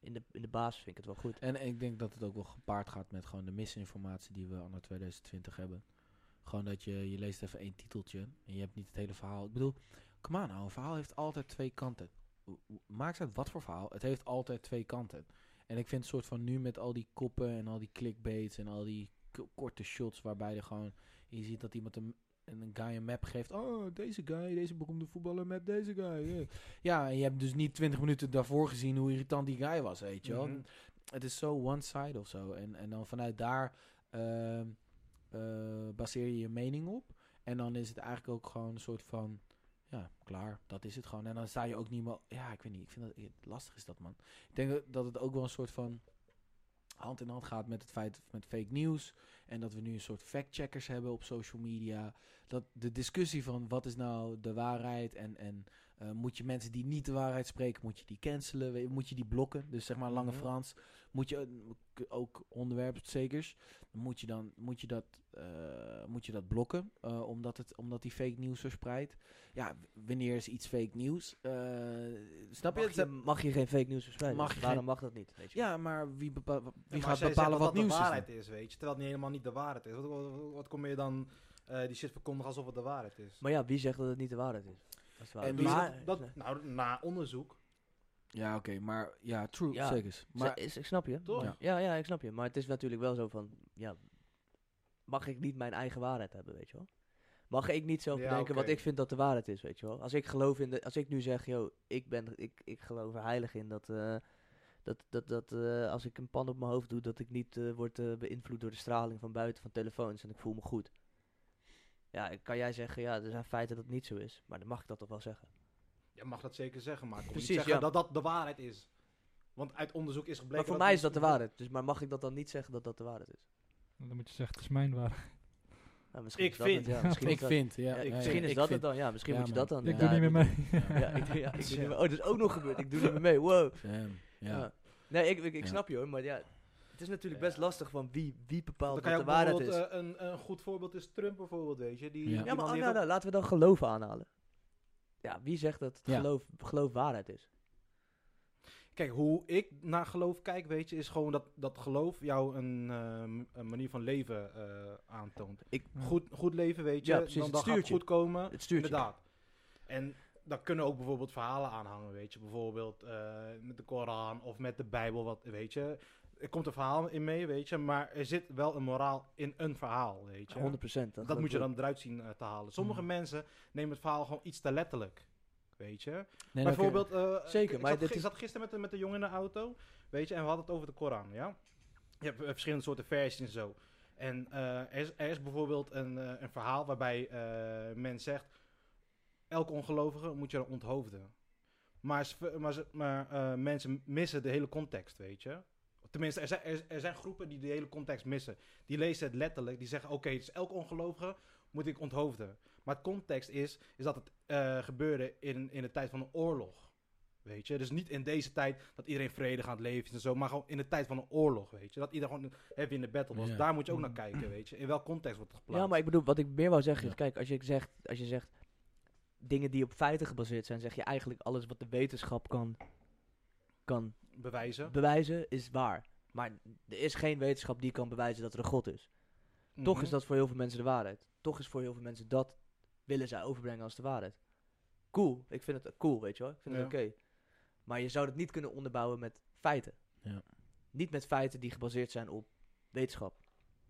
Speaker 3: In de, in de basis vind ik het wel goed.
Speaker 2: En ik denk dat het ook wel gepaard gaat met gewoon de misinformatie die we anno 2020 hebben. Gewoon dat je, je leest even één titeltje en je hebt niet het hele verhaal. Ik bedoel, come on nou, een verhaal heeft altijd twee kanten. Hoe- hoe- Maakt het uit wat voor verhaal, het heeft altijd twee kanten. En ik vind het soort van nu met al die koppen en al die clickbaits en al die k- korte shots waarbij er gewoon... Je ziet dat iemand een, een guy een map geeft. Oh, deze guy, deze beroemde voetballer map, deze guy. eh. Ja, en je hebt dus niet 20 minuten daarvoor gezien hoe irritant die guy was, weet je wel
Speaker 4: Mhm.
Speaker 2: het is zo one side of zo. En, en dan vanuit daar ehm, eh, baseer je je mening op. En dan is het eigenlijk ook gewoon een soort van. Ja, klaar. Dat is het gewoon. En dan sta je ook niet meer. Ja, ik weet niet. Ik vind dat eh, lastig is dat, man. Ik denk dat- dat het ook wel een soort van hand in hand gaat met het feit met fake nieuws. En dat we nu een soort fact-checkers hebben op social media. Dat de discussie van wat is nou de waarheid en, en eh, moet je mensen die niet de waarheid spreken, moet je die cancelen? We- Moet je die blokken? Dus zeg maar lange
Speaker 4: Mhm.
Speaker 2: Frans. Moet je eh, ook onderwerpstekers, moet je dan moet je dat, eh, moet je dat blokken eh, omdat, het, omdat die fake nieuws verspreidt? Ja, w- wanneer is iets fake nieuws? Eh, snap je?
Speaker 3: Mag
Speaker 2: het?
Speaker 3: je, mag je geen fake nieuws verspreiden?
Speaker 2: Mag je
Speaker 3: Waarom
Speaker 2: geen-
Speaker 3: mag dat niet? Weet je?
Speaker 2: Ja, maar wie, bepa- wie
Speaker 4: Ja, maar
Speaker 2: gaat
Speaker 4: als jij
Speaker 2: bepalen
Speaker 4: zegt
Speaker 2: wat
Speaker 4: dat dat
Speaker 2: nieuws is?
Speaker 4: de waarheid is, weet je. Terwijl het niet helemaal niet de waarheid is. Wat, wat, wat kom je dan eh, die shit verkondigen alsof het de waarheid is?
Speaker 3: Maar ja, wie zegt dat het niet de waarheid is? Dat is waar.
Speaker 2: En wie-
Speaker 3: maar,
Speaker 4: dat, nou, na onderzoek.
Speaker 2: Ja, oké, maar ja, true,
Speaker 3: Ja.
Speaker 2: zeker. Maar
Speaker 3: Ze- is- ik snap je.
Speaker 4: Toch?
Speaker 2: Ja.
Speaker 3: Ja, ja, ik snap je. Maar het is natuurlijk wel zo van, ja, mag ik niet mijn eigen waarheid hebben, weet je wel? Mag ik niet zelf
Speaker 4: Ja,
Speaker 3: bedenken wat
Speaker 4: oké.
Speaker 3: ik vind dat de waarheid is, weet je wel? Als ik geloof in de, als ik nu zeg, yo, ik ben, ik, ik geloof er heilig in dat, eh, dat, dat, dat eh, als ik een pan op mijn hoofd doe, dat ik niet eh, word eh, beïnvloed door de straling van buiten van telefoons en ik voel me goed. Ja, kan jij zeggen, ja, er zijn feiten dat het niet zo is, maar dan mag ik dat toch wel zeggen.
Speaker 4: Je mag dat zeker zeggen, maar ik wil niet
Speaker 3: Precies,
Speaker 4: zeggen
Speaker 3: ja.
Speaker 4: dat dat de waarheid is. Want uit onderzoek is gebleken...
Speaker 3: Maar voor mij is dat de waarheid, dus maar mag ik dat dan niet zeggen dat dat de waarheid is?
Speaker 1: Dan moet je zeggen, het is mijn waar.
Speaker 3: Nou, misschien
Speaker 4: Ik
Speaker 3: is dat het,
Speaker 4: vind-
Speaker 3: ja, misschien is
Speaker 2: ik
Speaker 3: dat-
Speaker 2: vind, ja.
Speaker 3: Ja, ik-
Speaker 2: ja,
Speaker 3: Eh,
Speaker 2: ja,
Speaker 3: misschien is
Speaker 2: ik
Speaker 3: dat
Speaker 2: vind-
Speaker 3: het dan, ja. Misschien
Speaker 2: Ja,
Speaker 3: moet je
Speaker 2: man.
Speaker 3: dat dan.
Speaker 1: ik
Speaker 3: ja,
Speaker 1: doe niet meer mee.
Speaker 3: Ja, ik, doe- ja, ik doe niet meer- Oh, dat is ook nog gebeurd. Ik doe niet meer mee. Wow.
Speaker 2: Damn,
Speaker 3: Ja.
Speaker 2: Ja.
Speaker 3: Nee, ik, ik, ik
Speaker 2: Ja.
Speaker 3: snap je hoor, maar ja. Het is natuurlijk
Speaker 4: Ja.
Speaker 3: best lastig van wie, wie
Speaker 4: Dan
Speaker 3: bepaalt wat
Speaker 4: kan je
Speaker 3: de
Speaker 4: ook
Speaker 3: waarheid
Speaker 4: bijvoorbeeld...
Speaker 3: is.
Speaker 4: eh, een, een goed voorbeeld is Trump bijvoorbeeld, weet je. Die,
Speaker 2: Ja.
Speaker 4: die
Speaker 3: ja, maar
Speaker 4: man
Speaker 3: ah,
Speaker 4: die
Speaker 3: nou,
Speaker 4: heeft
Speaker 3: nou, laten we dan geloven aanhalen. Ja, wie zegt dat het
Speaker 2: Ja.
Speaker 3: geloof, geloof waarheid is? nou.
Speaker 4: ook- Kijk, hoe ik naar geloof kijk, weet je, is gewoon dat, dat geloof jou een, eh, een manier van leven eh, aantoont.
Speaker 3: Ik-
Speaker 4: goed, goed leven, weet je,
Speaker 3: Ja, precies,
Speaker 4: dan,
Speaker 3: het
Speaker 4: dan gaat het
Speaker 3: stuurt je.
Speaker 4: goed komen.
Speaker 3: Het stuurt je.
Speaker 4: Inderdaad. En dan kunnen ook bijvoorbeeld verhalen aanhangen, weet je. Bijvoorbeeld eh, met de Koran of met de Bijbel, wat, weet je. Er komt een verhaal in mee, weet je. Maar er zit wel een moraal in een verhaal, weet je.
Speaker 3: 100 procent.
Speaker 4: dat moet je dan eruit zien eh, te halen. Sommige
Speaker 3: Mm.
Speaker 1: Hmm.
Speaker 4: mensen nemen het verhaal gewoon iets te letterlijk, weet je.
Speaker 2: Nee, dan kun je-
Speaker 4: Bijvoorbeeld, eh,
Speaker 3: Zeker,
Speaker 4: ik- ik,
Speaker 3: maar
Speaker 4: zat,
Speaker 3: dit
Speaker 4: gi-
Speaker 3: is-
Speaker 4: zat gisteren met, een- met een jongen in de auto, weet je, en we hadden het over de Koran, ja. Je hebt eh, verschillende soorten versies en zo. En eh, er, is, er is bijvoorbeeld een, eh, een verhaal waarbij eh, men zegt, elke ongelovige moet je dan onthoofden. Maar, ze ver- maar, ze- maar eh, mensen missen de hele context, weet je. Tenminste, er zijn, er, er zijn groepen die de hele context missen. Die lezen het letterlijk, die zeggen, oké, dus elke ongelovige moet ik onthoofden. Maar het context is, is dat het eh, gebeurde in, in de tijd van een oorlog. Weet je, dus niet in deze tijd dat iedereen vredig aan het leven is en zo, maar gewoon in de tijd van een oorlog, weet je. Dat iedereen gewoon heavy in de battle was.
Speaker 2: Ja.
Speaker 4: Daar moet je ook naar kijken, weet je. In welk context wordt het geplaatst.
Speaker 3: Ja, maar ik bedoel, wat ik meer wou zeggen is,
Speaker 2: Ja.
Speaker 3: kijk, als je zegt, als je zegt dingen die op feiten gebaseerd zijn, zeg je eigenlijk alles wat de wetenschap kan, kan
Speaker 4: Bewijzen.
Speaker 3: bewijzen is waar. Maar er is geen wetenschap die kan bewijzen dat er een God is. Toch
Speaker 4: Mhm.
Speaker 3: is dat voor heel veel mensen de waarheid. Toch is voor heel veel mensen dat willen zij overbrengen als de waarheid. Cool, ik vind het cool, weet je wel. Ik vind
Speaker 4: Ja.
Speaker 3: het oké. Maar je zou dat niet kunnen onderbouwen met feiten.
Speaker 2: Ja.
Speaker 3: Niet met feiten die gebaseerd zijn op wetenschap.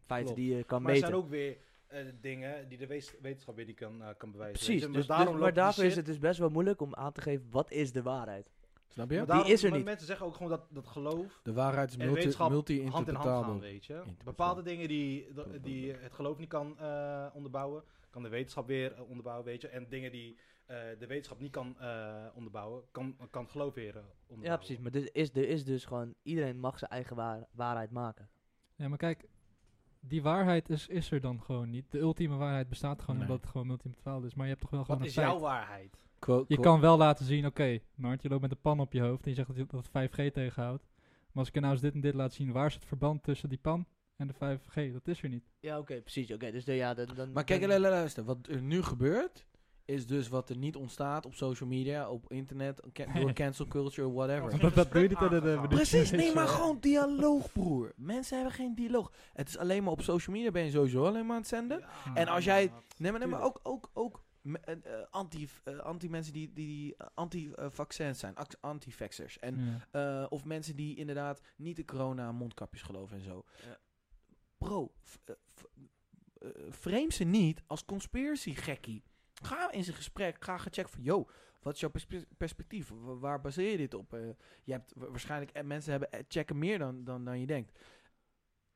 Speaker 3: Feiten
Speaker 4: Klopt.
Speaker 3: die je kan
Speaker 4: Maar er
Speaker 3: meten.
Speaker 4: zijn ook weer eh, dingen die de wees- wetenschap weer niet kan, eh, kan bewijzen. weet
Speaker 3: Precies,
Speaker 4: je.
Speaker 3: dus,
Speaker 4: Maar
Speaker 3: dus-
Speaker 4: daarom
Speaker 3: maar
Speaker 4: loopt die
Speaker 3: daarvoor is
Speaker 4: shit-
Speaker 3: het dus best wel moeilijk om aan te geven wat is de waarheid.
Speaker 2: Snap
Speaker 4: maar
Speaker 2: je?
Speaker 4: daarom-
Speaker 3: is er
Speaker 4: maar
Speaker 3: niet.
Speaker 4: Mensen zeggen ook gewoon dat, dat geloof
Speaker 2: De waarheid is
Speaker 4: en wetenschap
Speaker 2: multi-
Speaker 4: hand in hand gaan,
Speaker 2: multi-interpretabel.
Speaker 4: weet je.
Speaker 2: Interpretabel.
Speaker 4: Bepaalde dingen die, de- die het geloof niet kan eh, onderbouwen, kan de wetenschap weer eh, onderbouwen, weet je. En dingen die eh, de wetenschap niet kan eh, onderbouwen, kan, kan het geloof weer eh, onderbouwen.
Speaker 3: Ja, precies. Maar dus is, er is dus gewoon, iedereen mag zijn eigen waar- waarheid maken.
Speaker 1: Ja, maar kijk, die waarheid is, is er dan gewoon niet. De ultieme waarheid bestaat gewoon
Speaker 2: Nee.
Speaker 1: omdat het gewoon multimetaal is. Maar je hebt toch wel gewoon
Speaker 4: Wat
Speaker 1: een
Speaker 4: is
Speaker 1: feit.
Speaker 4: jouw waarheid?
Speaker 2: Quote-
Speaker 1: Je
Speaker 2: quote-
Speaker 1: kan wel laten zien, oké, Nart, je loopt met een pan op je hoofd en je zegt dat, je, dat het 5G tegenhoudt. Maar als ik je nou eens dit en dit laat zien, waar is het verband tussen die pan en de 5G? Dat is er niet.
Speaker 3: Ja, oké, precies. Oké, dus de, ja, dan, dan-
Speaker 2: Maar kijk,
Speaker 3: dan-
Speaker 2: lu- lu- luister, wat er nu gebeurt, is dus wat er niet ontstaat op social media, op internet, ca- door cancel culture,
Speaker 4: Er
Speaker 2: whatever.
Speaker 4: is een
Speaker 1: Dat- dat doe je niet
Speaker 4: gesprek
Speaker 1: aan de- de-
Speaker 4: aangegaan.
Speaker 1: de-
Speaker 2: Precies,
Speaker 1: Nee,
Speaker 2: nee,
Speaker 1: zo.
Speaker 2: maar gewoon dialoog, broer. Mensen hebben geen dialoog. Het is alleen maar op social media ben je sowieso alleen maar aan het zenden.
Speaker 4: Ja,
Speaker 2: En als jij-
Speaker 4: maat.
Speaker 2: Nee, maar, nee, maar ook, ook, ook me- eh, eh, anti, eh, anti-mensen die, die, die eh, anti-vaccins zijn, act- anti-vaxxers. En
Speaker 1: Ja.
Speaker 2: eh, of mensen die inderdaad niet de corona mondkapjes geloven en zo.
Speaker 3: Ja.
Speaker 2: Bro, v- eh, v- eh, frame ze niet als conspiracy gekkie. Ga in zijn gesprek, ga gecheckt van, yo, wat is jouw perspe- perspectief? Wa- waar baseer je dit op? Eh, je hebt wa- waarschijnlijk, eh, mensen hebben, eh, checken meer dan, dan, dan je denkt.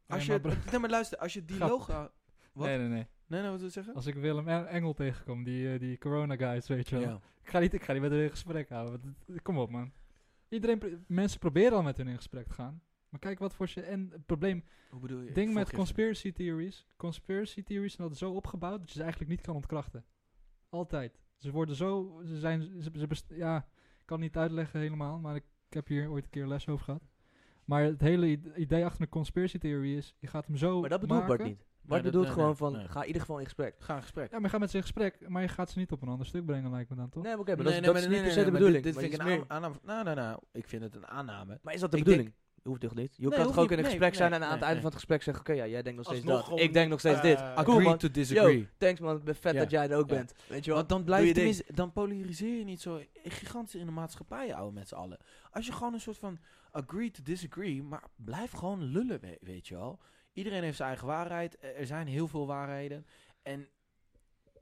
Speaker 2: Als
Speaker 1: Nee,
Speaker 2: je,
Speaker 1: maar
Speaker 2: nee, maar luister, als je dialoog... hou- Wat?
Speaker 1: Nee, nee, nee.
Speaker 2: Nee, nee, wat wil je zeggen?
Speaker 1: Als ik Willem En- Engel tegenkom, die, eh, die corona guys, weet je wel.
Speaker 2: Ja.
Speaker 1: Ik, ga niet, ik ga niet met hun in gesprek houden. want het- Kom op, man. Iedereen, pro- mensen proberen al met hun in gesprek te gaan. Maar kijk wat voor ze... En het probleem,
Speaker 2: Hoe bedoel je?
Speaker 1: ding
Speaker 2: Ik
Speaker 1: met
Speaker 2: volg je.
Speaker 1: conspiracy theories. Conspiracy theories zijn altijd zo opgebouwd dat je ze eigenlijk niet kan ontkrachten. Altijd. Ze worden zo... Ze zijn... Ze, ze best- ja, ik kan niet uitleggen helemaal, maar ik, ik heb hier ooit een keer les over gehad. Maar het hele id- idee achter een conspiracy theory is, je gaat hem zo
Speaker 3: Maar dat bedoelt
Speaker 1: maken.
Speaker 3: Bart niet. Bart
Speaker 2: dat-
Speaker 3: bedoelt
Speaker 2: nee,
Speaker 3: gewoon
Speaker 2: nee,
Speaker 3: van,
Speaker 2: nee.
Speaker 3: ga in ieder geval in gesprek.
Speaker 2: Ga in gesprek.
Speaker 1: Ja, maar je gaat met ze in gesprek, maar je gaat ze niet op een ander stuk brengen, lijkt me dan, toch?
Speaker 3: Nee, maar oké, maar
Speaker 2: Nee,
Speaker 3: dat,
Speaker 2: nee,
Speaker 3: is- dat
Speaker 2: maar
Speaker 3: is
Speaker 2: nee,
Speaker 3: niet per
Speaker 2: nee,
Speaker 3: se de
Speaker 2: nee, maar
Speaker 3: bedoeling.
Speaker 2: Dit, dit
Speaker 3: maar
Speaker 2: vind ik
Speaker 3: iets
Speaker 2: een aan-
Speaker 3: meer-
Speaker 2: aanname. Nou, nou, nou. Ik vind het een aanname.
Speaker 3: Maar is dat de
Speaker 2: Ik
Speaker 3: bedoeling? hoeft toch niet? Je
Speaker 2: Nee,
Speaker 3: kan
Speaker 2: hoeft
Speaker 3: toch ook
Speaker 2: niet.
Speaker 3: in een
Speaker 2: Nee,
Speaker 3: gesprek zijn
Speaker 2: nee,
Speaker 3: en aan het
Speaker 2: nee,
Speaker 3: einde
Speaker 2: nee.
Speaker 3: van het gesprek zeggen, oké, ja, jij denkt nog steeds
Speaker 4: Alsnog
Speaker 3: dat.
Speaker 4: gewoon
Speaker 3: Ik denk nog steeds
Speaker 4: eh,
Speaker 3: dit.
Speaker 4: Agree
Speaker 3: Ah, Cool man.
Speaker 2: to
Speaker 3: Yo, thanks man, ik ben vet
Speaker 2: Ja.
Speaker 3: dat jij er ook
Speaker 2: Ja.
Speaker 3: bent. Weet je wel?
Speaker 2: Want dan
Speaker 3: Doe
Speaker 2: blijf
Speaker 3: je
Speaker 2: je
Speaker 3: ding.
Speaker 2: tenminste, dan polariseer je niet zo gigantisch in de maatschappij, ouwe, met z'n allen. Als je gewoon een soort van agree to disagree, maar blijf gewoon lullen, we- weet je wel. Iedereen heeft zijn eigen waarheid, eh, er zijn heel veel waarheden. En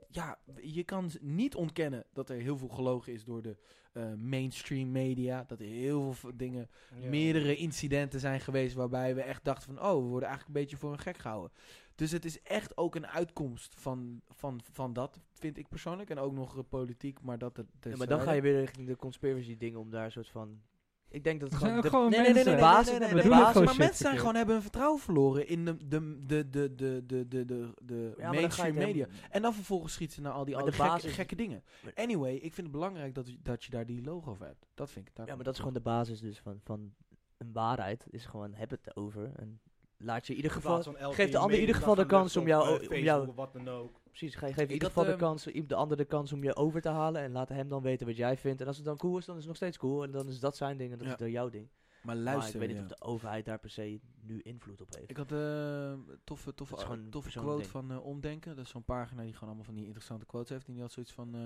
Speaker 2: ja, je kan z- niet ontkennen dat er heel veel gelogen is door de eh, mainstream media. Dat er heel veel v- dingen, meerdere incidenten zijn geweest waarbij we echt dachten van, oh, we worden eigenlijk een beetje voor een gek gehouden. Dus het is echt ook een uitkomst van, van, van dat, vind ik persoonlijk. En ook nog eh, politiek, maar dat... Het, dus, eh,
Speaker 3: Ja, maar dan ga je weer richting de conspiracy dingen om daar een soort van... Ik denk dat het
Speaker 1: Er zijn
Speaker 3: gewoon...
Speaker 1: ook
Speaker 3: de-
Speaker 1: gewoon
Speaker 3: nee, nee,
Speaker 1: mensen-
Speaker 3: nee, nee,
Speaker 1: de
Speaker 3: basis-
Speaker 2: nee, nee,
Speaker 3: de
Speaker 1: nee,
Speaker 3: basis-
Speaker 1: nee, nee,
Speaker 2: maar
Speaker 1: shit
Speaker 2: mensen zijn
Speaker 1: verkeerd.
Speaker 2: gewoon hebben hun vertrouwen verloren in de, de, de, de, de, de, de, de, de
Speaker 3: Ja, maar dan ga je het
Speaker 2: mainstream
Speaker 3: helemaal-
Speaker 2: media. En dan vervolgens schieten ze naar al die
Speaker 3: Maar
Speaker 2: oude
Speaker 3: de
Speaker 2: gekke,
Speaker 3: basis-
Speaker 2: gekke dingen.
Speaker 3: Nee.
Speaker 2: Anyway, ik vind het belangrijk dat, dat je daar die logo voor hebt. Dat vind ik. Daar
Speaker 3: Ja, maar dat is gewoon de basis dus van, van een waarheid. Is gewoon, heb het erover. En laat je in ieder geval... geeft de ander in ieder geval de kans om jou- om jou-
Speaker 4: Wat dan ook.
Speaker 3: Precies, ga je geeft in
Speaker 2: Ik
Speaker 3: ieder
Speaker 2: had,
Speaker 3: geval de,
Speaker 2: ehm,
Speaker 3: kans, de ander de kans om je over te halen. En laat hem dan weten wat jij vindt. En als het dan cool is, dan is het nog steeds cool. En dan is dat zijn ding en dat
Speaker 2: Ja.
Speaker 3: is dan jouw ding.
Speaker 2: maar
Speaker 3: maar ik
Speaker 2: luister,
Speaker 3: weet niet
Speaker 2: ja.
Speaker 3: of de overheid daar per se nu invloed op heeft.
Speaker 2: Ik had eh, een toffe, toffe,
Speaker 3: Dat is gewoon
Speaker 2: toffe
Speaker 3: persoonlijk
Speaker 2: quote van eh, Omdenken. Dat is zo'n pagina die gewoon allemaal van die interessante quotes heeft. En die had zoiets van, eh,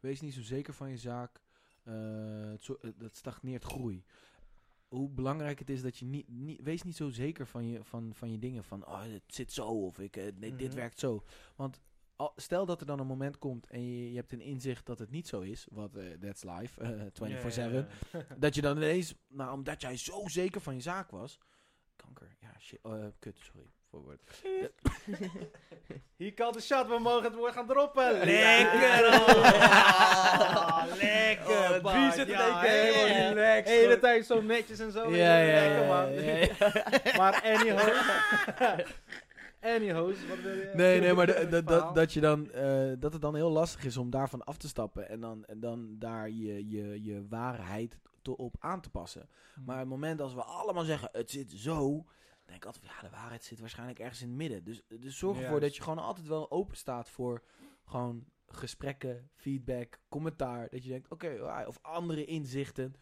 Speaker 2: wees niet zo zeker van je zaak. eh, het zo- eh, dat stagneert groei. Hoe belangrijk het is dat je niet, niet wees niet zo zeker van je, van, van je dingen. Van, oh, het zit zo of ik, eh, nee, dit
Speaker 4: Mhm.
Speaker 2: werkt zo. Want al- stel dat er dan een moment komt en je, je hebt een inzicht dat het niet zo is. Wat, eh, that's life, eh, 24-7. Dat je dan ineens, nou, omdat jij zo zeker van je zaak was. Kanker, ja, shit, eh, kut, sorry. Voor woord.
Speaker 4: Hier kan de shot, we mogen het woord gaan droppen.
Speaker 3: Lekker,
Speaker 4: hoor.
Speaker 3: hoor.
Speaker 4: Lekker,
Speaker 3: Oh,
Speaker 4: Wie
Speaker 3: Bart,
Speaker 4: zit er
Speaker 3: ja,
Speaker 4: helemaal
Speaker 3: ja.
Speaker 4: relaxed. De hele tijd zo netjes en zo. Lekker, man. Maar anyhow. anyhow, wat wil je?
Speaker 2: Nee, nee, maar de-
Speaker 4: Het
Speaker 2: dat-
Speaker 4: verhaal.
Speaker 2: dat, dat, je dan, eh, dat het dan heel lastig is om daarvan af te stappen. En dan, en dan daar je, je, je waarheid te, op aan te passen. Maar het moment als we allemaal zeggen, het zit zo. dan denk ik altijd, van, ja, de waarheid zit waarschijnlijk ergens in het midden. Dus, dus zorg ervoor dat
Speaker 4: Juist.
Speaker 2: je gewoon altijd wel open staat voor gewoon gesprekken, feedback, commentaar. Dat je denkt, oké, ah, of andere inzichten.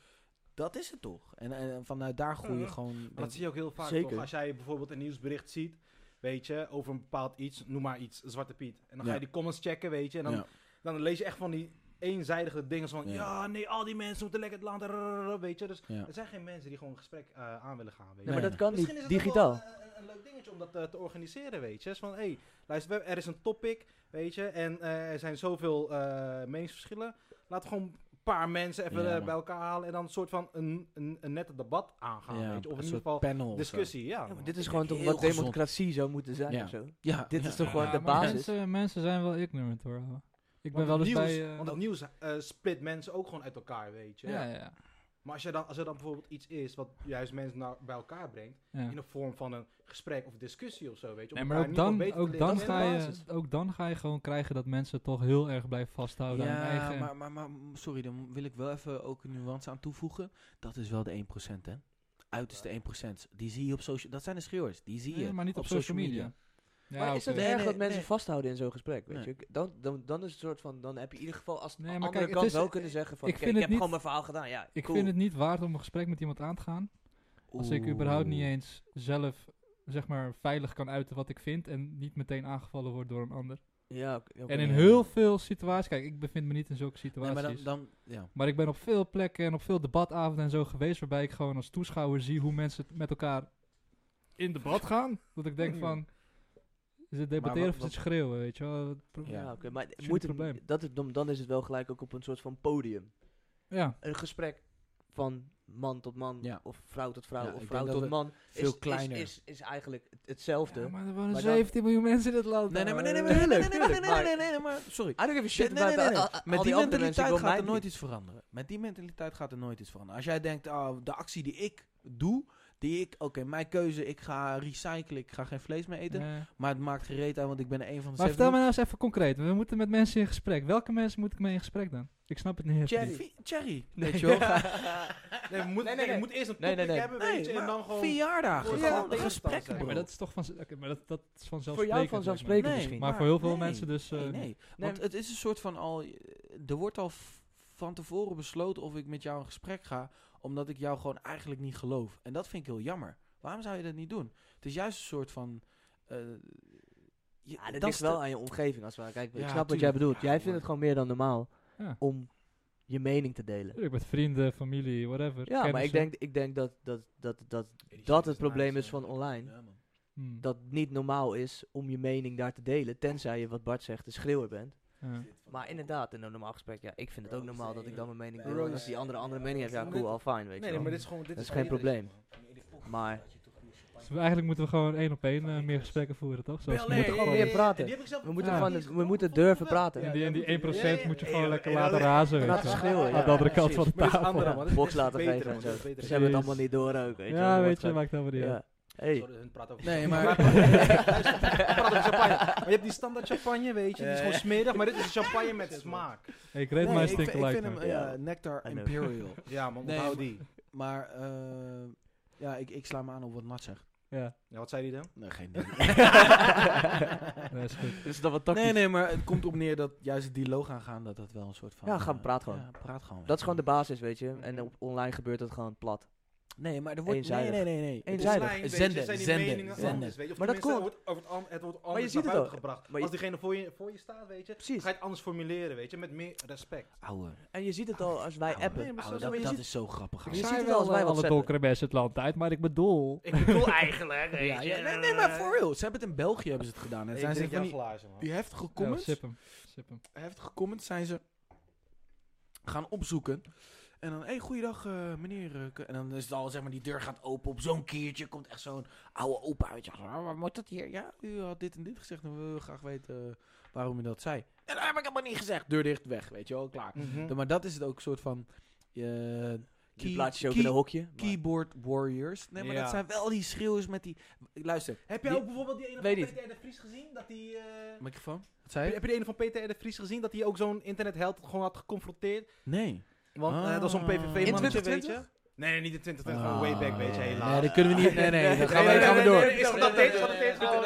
Speaker 2: Dat is het toch. En, en, en vanuit daar groei je
Speaker 4: Ja.
Speaker 2: gewoon...
Speaker 4: Maar dat zie je ook heel vaak
Speaker 3: Zeker.
Speaker 4: toch? Als jij bijvoorbeeld een nieuwsbericht ziet, weet je, over een bepaald iets, noem maar iets, Zwarte Piet. En dan
Speaker 2: Ja.
Speaker 4: ga je die comments checken, weet je. En dan,
Speaker 2: Ja.
Speaker 4: dan lees je echt van die eenzijdige dingen van,
Speaker 2: Ja.
Speaker 4: ja, nee, al die mensen moeten lekker het land, rrrr, weet je. Dus
Speaker 2: Ja.
Speaker 4: er zijn geen mensen die gewoon een gesprek eh, aan willen gaan, weet je.
Speaker 3: Nee, maar
Speaker 2: Nee.
Speaker 3: dat kan
Speaker 4: Misschien is
Speaker 3: niet.
Speaker 4: het
Speaker 3: Digitaal.
Speaker 4: Ook wel, eh, een, een leuk dingetje om dat eh, te organiseren, weet je. Is van, hé, hey, luister, we- er is een topic, weet je, en eh, er zijn zoveel eh, meningsverschillen. Laten we gewoon een paar mensen even
Speaker 2: Ja,
Speaker 4: eh,
Speaker 2: man.
Speaker 4: bij elkaar halen en dan een soort van een, een, een nette debat aangaan,
Speaker 2: Ja,
Speaker 4: weet je. Of in
Speaker 2: een
Speaker 4: ieder
Speaker 2: soort
Speaker 4: geval
Speaker 2: panel of zo.
Speaker 4: discussie, ja.
Speaker 3: Ja, maar
Speaker 4: man.
Speaker 3: dit is
Speaker 2: Ik
Speaker 3: gewoon
Speaker 2: denk
Speaker 3: toch
Speaker 2: heel
Speaker 3: wat
Speaker 2: gezond.
Speaker 3: democratie zou moeten zijn
Speaker 2: Ja.
Speaker 3: of zo.
Speaker 2: Ja,
Speaker 3: Dit
Speaker 2: ja.
Speaker 3: is toch gewoon de
Speaker 1: maar
Speaker 3: basis?
Speaker 1: Mm. Mensen, mensen zijn wel ignorant hoor. ouwe. Ik ben
Speaker 4: Want
Speaker 1: wel
Speaker 4: het
Speaker 1: eens
Speaker 4: nieuws-
Speaker 1: bij... eh,
Speaker 4: want het nieuws eh, split mensen ook gewoon uit elkaar, weet je.
Speaker 1: ja, ja, ja.
Speaker 4: Maar als, je dan, als er dan bijvoorbeeld iets is wat juist mensen nou bij elkaar brengt,
Speaker 1: ja.
Speaker 4: in de vorm van een gesprek of discussie of zo, weet je. om
Speaker 1: Nee, maar
Speaker 4: elkaar
Speaker 1: ook
Speaker 4: in ieder
Speaker 1: dan,
Speaker 4: geval beter
Speaker 1: ook,
Speaker 4: te
Speaker 1: dan
Speaker 4: leren
Speaker 1: ga je,
Speaker 4: kennen.
Speaker 1: ook dan ga je gewoon krijgen dat mensen toch heel erg blijven vasthouden aan hun
Speaker 2: Ja,
Speaker 1: Oh, eigen...
Speaker 2: maar, maar, maar m- sorry, dan wil ik wel even ook een nuance aan toevoegen. Dat is wel de 1%, hè? Uiterste 1%. Die zie je op social... Dat zijn de schreeuwers. Die zie je
Speaker 1: Nee, maar niet op, social media. Ja,
Speaker 3: maar is
Speaker 1: oké.
Speaker 3: het
Speaker 2: Nee,
Speaker 3: erg
Speaker 2: nee,
Speaker 3: dat mensen
Speaker 2: nee.
Speaker 3: vasthouden in zo'n gesprek? Weet
Speaker 2: Nee.
Speaker 3: je? Dan, dan, dan is het soort van, dan heb je in ieder geval als de
Speaker 1: Nee, maar
Speaker 3: andere
Speaker 1: kijk, het
Speaker 3: kant
Speaker 1: is-
Speaker 3: wel kunnen zeggen van,
Speaker 1: ik
Speaker 3: ik,
Speaker 1: vind
Speaker 3: ik
Speaker 1: het
Speaker 3: heb
Speaker 1: niet-
Speaker 3: gewoon mijn verhaal gedaan. Ja,
Speaker 1: Ik
Speaker 3: cool.
Speaker 1: vind het niet waard om een gesprek met iemand aan te gaan. Als ik überhaupt niet eens zelf, zeg maar, veilig kan uiten wat ik vind. En niet meteen aangevallen word door een ander.
Speaker 3: Ja, oké, oké.
Speaker 1: En in heel veel situaties, kijk, ik bevind me niet in zulke
Speaker 2: Nee,
Speaker 1: situaties.
Speaker 2: maar
Speaker 1: maar,
Speaker 2: dan... dan ja.
Speaker 1: ik ben op veel plekken en op veel debatavonden en zo geweest. Waarbij ik gewoon als toeschouwer zie hoe mensen het met elkaar in debat gaan. Dat ik denk van. Is het debatteren
Speaker 2: wat-
Speaker 1: of is het
Speaker 2: wat-
Speaker 1: schreeuwen? Weet je wel? Het pro-
Speaker 2: Ja.
Speaker 3: Ja, oké, maar
Speaker 1: is
Speaker 3: moet
Speaker 1: een
Speaker 3: het-
Speaker 1: probleem.
Speaker 3: dat het, dan, dan is het wel gelijk ook op een soort van podium.
Speaker 1: Ja.
Speaker 3: Een gesprek van man tot man,
Speaker 2: Ja.
Speaker 3: of vrouw tot vrouw,
Speaker 2: Ja, ik
Speaker 3: of
Speaker 2: denk
Speaker 3: vrouw
Speaker 2: dat
Speaker 3: tot
Speaker 2: we
Speaker 3: man.
Speaker 2: veel
Speaker 3: is,
Speaker 2: kleiner.
Speaker 3: Is, is, is eigenlijk het- hetzelfde.
Speaker 1: Ja, maar er wonen
Speaker 3: dan-
Speaker 1: 17 miljoen mensen in het land.
Speaker 2: Nee, nee, maar nee, nee,
Speaker 1: ouwe.
Speaker 2: maar- nee, nee, nee,
Speaker 3: Tuurlijk,
Speaker 2: nee, nee,
Speaker 3: tuurlijk,
Speaker 2: nee, nee,
Speaker 3: maar-
Speaker 2: nee, nee, maar sorry.
Speaker 3: I don't give a shit
Speaker 2: Nee, nee,
Speaker 3: about
Speaker 2: nee, nee.
Speaker 3: al- al-
Speaker 2: Met
Speaker 3: al
Speaker 2: die
Speaker 3: andere mensen, ik
Speaker 2: mentaliteit
Speaker 3: wil
Speaker 2: gaat er
Speaker 3: mij
Speaker 2: nooit
Speaker 3: niet-
Speaker 2: iets veranderen. Met die mentaliteit gaat er nooit iets veranderen. Als jij denkt, ah, de actie die ik doe, die ik, oké, mijn keuze, ik ga recyclen, ik ga geen vlees meer eten.
Speaker 1: Nee.
Speaker 2: Maar het maakt gereed aan, want ik ben een van de
Speaker 1: Maar
Speaker 2: zeven
Speaker 1: vertel me nou eens even concreet. We moeten met mensen in gesprek. Welke mensen moet ik mee in gesprek dan? Ik snap het niet.
Speaker 2: miljoen.
Speaker 3: Jerry.
Speaker 2: Vi- Cherry.
Speaker 3: Weet je wel,
Speaker 4: Nee, we moeten-
Speaker 3: Nee, nee,
Speaker 4: nee, je
Speaker 3: nee.
Speaker 4: moet eerst een
Speaker 3: Nee, nee,
Speaker 4: topic
Speaker 3: nee.
Speaker 4: hebben,
Speaker 2: Nee,
Speaker 4: weet je, en
Speaker 2: maar
Speaker 4: dan gewoon...
Speaker 2: verjaardagen.
Speaker 4: gewoon
Speaker 2: Gewoon
Speaker 4: een
Speaker 2: gesprekken,
Speaker 4: tegenstand,
Speaker 2: bro.
Speaker 4: zeg
Speaker 1: maar dat is toch van, oké, maar dat, dat is vanzelfsprekend.
Speaker 3: Voor jou
Speaker 1: zeg
Speaker 3: vanzelfsprekend
Speaker 1: maar.
Speaker 2: Nee,
Speaker 3: misschien.
Speaker 1: Maar, voor heel veel
Speaker 2: nee,
Speaker 1: mensen dus... eh,
Speaker 2: Nee, nee. Want
Speaker 3: maar-
Speaker 2: het is een soort van al... Er wordt al v- van tevoren besloten of ik met jou een gesprek ga... Omdat ik jou gewoon eigenlijk niet geloof. En dat vind ik heel jammer. Waarom zou je dat niet doen? Het is juist een soort van... eh, je-
Speaker 3: Ja, Ah, dat
Speaker 2: dat
Speaker 3: ligt
Speaker 2: is
Speaker 3: wel
Speaker 2: de-
Speaker 3: aan je omgeving. Als we, kijk, ik
Speaker 2: Ja,
Speaker 3: snap wat jij
Speaker 2: tuurlijk.
Speaker 3: bedoelt.
Speaker 2: Ja,
Speaker 3: Jij vindt
Speaker 2: man.
Speaker 3: het gewoon meer dan normaal
Speaker 1: Ja.
Speaker 3: om je mening te delen.
Speaker 1: Tuurlijk, met vrienden, familie, whatever.
Speaker 3: Ja, maar ik
Speaker 1: kennissen.
Speaker 3: denk, ik denk dat, dat, dat, dat
Speaker 2: shit
Speaker 3: dat
Speaker 2: is
Speaker 3: het probleem
Speaker 2: nice,
Speaker 3: is
Speaker 2: hè.
Speaker 3: van online.
Speaker 2: Ja, man.
Speaker 1: Hmm.
Speaker 3: Dat het niet normaal is om je mening daar te delen. Tenzij je, wat Bart zegt, een schreeuwer bent.
Speaker 1: Ja.
Speaker 3: Maar inderdaad, in een normaal gesprek, ja, ik vind het ook normaal dat ik dan mijn mening deel.
Speaker 4: Bro,
Speaker 3: En als
Speaker 4: is-
Speaker 3: die andere andere mening heeft, ja,
Speaker 4: Nee,
Speaker 3: cool,
Speaker 4: dit-
Speaker 3: al fijn, weet
Speaker 4: Nee,
Speaker 3: je
Speaker 4: nee,
Speaker 3: wel.
Speaker 4: maar dit is gewoon... Dit
Speaker 3: Dat is
Speaker 4: gewoon
Speaker 3: geen
Speaker 4: iedereen,
Speaker 3: Maar
Speaker 1: Dus we- eigenlijk moeten we gewoon één op één eh, meer gesprekken voeren, toch?
Speaker 4: man.
Speaker 1: Zoals we
Speaker 4: Bel-
Speaker 1: moeten
Speaker 3: gewoon
Speaker 4: eh,
Speaker 1: gewoon
Speaker 3: meer
Speaker 4: eh,
Speaker 3: praten.
Speaker 4: die heb ik zelf-
Speaker 3: we moeten,
Speaker 1: Ja.
Speaker 3: gewoon, we moeten durven praten.
Speaker 1: in die, in die 1% moet je gewoon lekker
Speaker 4: ja,
Speaker 1: laten
Speaker 4: ja,
Speaker 1: razen,
Speaker 3: En
Speaker 1: weet
Speaker 3: laten
Speaker 1: je.
Speaker 3: schreeuwen, ja.
Speaker 1: Aan de andere kant
Speaker 3: precies.
Speaker 1: van de
Speaker 4: Maar dit is
Speaker 1: tafel.
Speaker 4: andere,
Speaker 1: Ja,
Speaker 4: man. Dit is-
Speaker 3: Box
Speaker 4: dit is
Speaker 3: laten
Speaker 4: beter,
Speaker 3: geven
Speaker 4: man.
Speaker 3: en
Speaker 4: Dit
Speaker 3: zo.
Speaker 4: is beter.
Speaker 3: Ze hebben het
Speaker 1: Jezus.
Speaker 3: allemaal niet door ook, weet je wel.
Speaker 1: Ja,
Speaker 3: Dat
Speaker 1: weet je,
Speaker 3: wordt
Speaker 1: maakt helemaal niet
Speaker 3: gewoon-
Speaker 1: uit.
Speaker 3: Ja. Hey.
Speaker 4: Sorry, hun praten over
Speaker 2: Nee,
Speaker 4: champagne.
Speaker 2: maar-
Speaker 4: Luister, luister, we praten over champagne. Maar je hebt die standaard champagne, weet je. Die is gewoon smerig, maar dit is een champagne met smaak.
Speaker 1: Ik reed
Speaker 2: Nee,
Speaker 1: mijn
Speaker 2: ik, vind-
Speaker 1: stinken
Speaker 2: ik
Speaker 1: light,
Speaker 2: vind hem
Speaker 1: man.
Speaker 2: eh,
Speaker 3: Ja.
Speaker 2: Nectar
Speaker 3: I know.
Speaker 2: Imperial.
Speaker 4: Ja, man,
Speaker 2: Nee,
Speaker 4: onthoud
Speaker 2: maar-
Speaker 4: die.
Speaker 2: maar eh, ja, ik, ik sla me aan op wat Mats zegt.
Speaker 1: Ja,
Speaker 4: Ja, wat zei die dan?
Speaker 2: Nee, geen idee.
Speaker 1: dat is goed.
Speaker 3: Is dat wat
Speaker 2: nee, nee, maar het komt op neer dat juist het dialoog aangaan, dat dat wel een soort van...
Speaker 3: Ja, gaan
Speaker 2: eh,
Speaker 3: praten gewoon.
Speaker 2: Ja, praat gewoon.
Speaker 3: Dat is gewoon de basis, weet je.
Speaker 4: Mhm.
Speaker 3: En op online gebeurt dat gewoon plat.
Speaker 2: Nee, maar er wordt...
Speaker 3: Eenzijdig.
Speaker 2: Nee, nee, nee. nee. Het
Speaker 3: Eenzijdig.
Speaker 2: is
Speaker 4: Online, weet je,
Speaker 2: Zenden,
Speaker 4: zijn die
Speaker 2: zenden,
Speaker 4: meningen
Speaker 2: zenden.
Speaker 4: anders, weet je. Of
Speaker 3: Maar dat
Speaker 4: tenminste,
Speaker 3: komt.
Speaker 4: het wordt- over het an- Het wordt
Speaker 3: je
Speaker 4: anders
Speaker 3: ziet
Speaker 4: naar
Speaker 3: het
Speaker 4: buiten
Speaker 3: ook.
Speaker 4: gebracht.
Speaker 3: Maar je-
Speaker 4: Als diegene voor je, voor je staat, weet je,
Speaker 3: Precies.
Speaker 4: ga je het anders formuleren, weet je. Met meer respect.
Speaker 2: Ouwe,
Speaker 3: En je ziet het al als wij
Speaker 2: ouwe,
Speaker 3: appen. Ah,
Speaker 4: nee, maar
Speaker 2: ouwe,
Speaker 4: zo-
Speaker 2: dat,
Speaker 4: je
Speaker 2: dat
Speaker 4: ziet-
Speaker 2: is Ah, zo grappig.
Speaker 1: Ik
Speaker 3: Je
Speaker 2: ouwe.
Speaker 3: ziet
Speaker 1: zei
Speaker 3: het
Speaker 1: wel
Speaker 3: als wij
Speaker 1: alle
Speaker 3: wat zetten.
Speaker 1: donkere mensen het land uit, maar ik bedoel...
Speaker 4: Ik bedoel eigenlijk, weet
Speaker 2: Ja,
Speaker 4: je.
Speaker 2: ja, nee, nee, maar voor real. Ze hebben het in België hebben ze het gedaan. En
Speaker 4: Ik
Speaker 2: zijn ze
Speaker 4: drink
Speaker 2: van
Speaker 4: jouw
Speaker 2: die,
Speaker 4: glazen, man.
Speaker 2: die heftige
Speaker 1: Ja,
Speaker 2: comments,
Speaker 1: sip hem. Sip hem.
Speaker 2: heftige comments zijn ze gaan opzoeken. En dan, hé, hey, goeiedag eh, meneer. eh, k- en dan is het al, zeg maar, die deur gaat open op zo'n kiertje. Komt echt zo'n oude opa uit. Ja, "Ah, wat moet dat hier? Ja, u had dit en dit gezegd. En we willen graag weten eh, waarom u dat zei. En dat heb ik helemaal niet gezegd. Deur dicht, weg, weet je wel, klaar.
Speaker 4: Mhm.
Speaker 2: De- maar dat is het ook een soort van... eh,
Speaker 3: Die
Speaker 2: key-
Speaker 3: plaats Mm-hmm. je ook
Speaker 2: key-
Speaker 3: in een hokje. maar-
Speaker 2: Keyboard warriors. Nee, maar
Speaker 4: Ja.
Speaker 2: dat zijn wel die schreeuwers met die... Luister,
Speaker 4: Heb jij
Speaker 2: Die-
Speaker 4: ook bijvoorbeeld die ene
Speaker 2: Weet
Speaker 4: van
Speaker 2: niet.
Speaker 4: Peter R. de Vries gezien? Dat die... eh,
Speaker 2: microfoon. Wat zei
Speaker 4: Heb je-
Speaker 2: je?
Speaker 4: Heb je de ene van Peter R. de Vries gezien? Dat hij ook zo'n internetheld gewoon had geconfronteerd?
Speaker 2: Nee.
Speaker 4: Want eh, dat was zo'n
Speaker 2: Ah.
Speaker 4: PVV-mannetje,
Speaker 2: In
Speaker 4: weet
Speaker 3: 2020?
Speaker 4: je? Nee, nee, niet in 2020, gewoon way back, weet je,
Speaker 2: Ah.
Speaker 4: helaas.
Speaker 2: Nee, dat kunnen we niet... Nee, nee, dan gaan we, dan gaan we
Speaker 4: nee,
Speaker 2: door.
Speaker 4: nee, nee, is dat deze, is dat deze? Oh,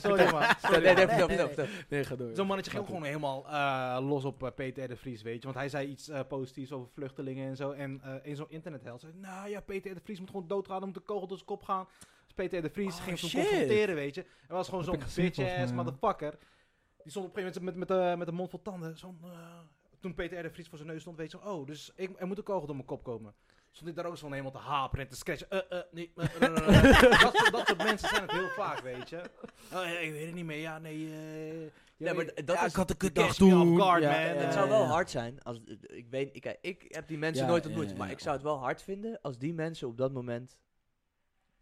Speaker 4: Sorry, man. Sorry,
Speaker 3: Nee, nee,
Speaker 4: man.
Speaker 3: vertel, vertel, vertel.
Speaker 2: Nee, ga door.
Speaker 4: Zo'n mannetje ging ook gewoon helemaal eh, los op eh, Peter R. de Vries, weet je. Want hij zei iets eh, positiefs over vluchtelingen en zo. En eh, in zo'n internetheld zei hij, nou ja, Peter R. de Vries moet gewoon doodgaan, om de kogel door zijn kop gaan. Dus Peter R. de Vries
Speaker 2: Oh,
Speaker 4: ging hem
Speaker 2: shit.
Speaker 4: confronteren, weet je. Er was gewoon
Speaker 1: Heb
Speaker 4: zo'n
Speaker 1: ik gezien, volgens
Speaker 4: bitch-ass
Speaker 1: mij, ja.
Speaker 4: motherfucker. Die stond op een gegeven moment met, met, eh, met een mond vol tanden. Zo'n, eh, toen Peter R. de Vries voor zijn neus stond, weet je. zo, Oh, dus ik, er moet een kogel door mijn kop komen. Stond hij daar ook zo'n helemaal te haperen en te scratchen. Eh, eh, nee, eh, eh, eh, eh. dat, soort- dat soort mensen zijn het heel vaak, weet je. Oh, ja, ik weet het niet meer. Ja, nee. eh, ja,
Speaker 3: Ja, maar d- dat
Speaker 2: Ja,
Speaker 3: is...
Speaker 2: ik had een
Speaker 4: catch
Speaker 2: kutdag
Speaker 4: me
Speaker 2: toen.
Speaker 4: off guard, man. Eh,
Speaker 3: Het
Speaker 4: Ja,
Speaker 3: zou wel hard zijn als... Ik weet... Ik, ik heb die mensen
Speaker 2: Ja,
Speaker 3: nooit
Speaker 2: ja,
Speaker 3: ontmoet.
Speaker 2: ja,
Speaker 3: Maar
Speaker 2: ja.
Speaker 3: ik zou het wel hard vinden als die mensen op dat moment...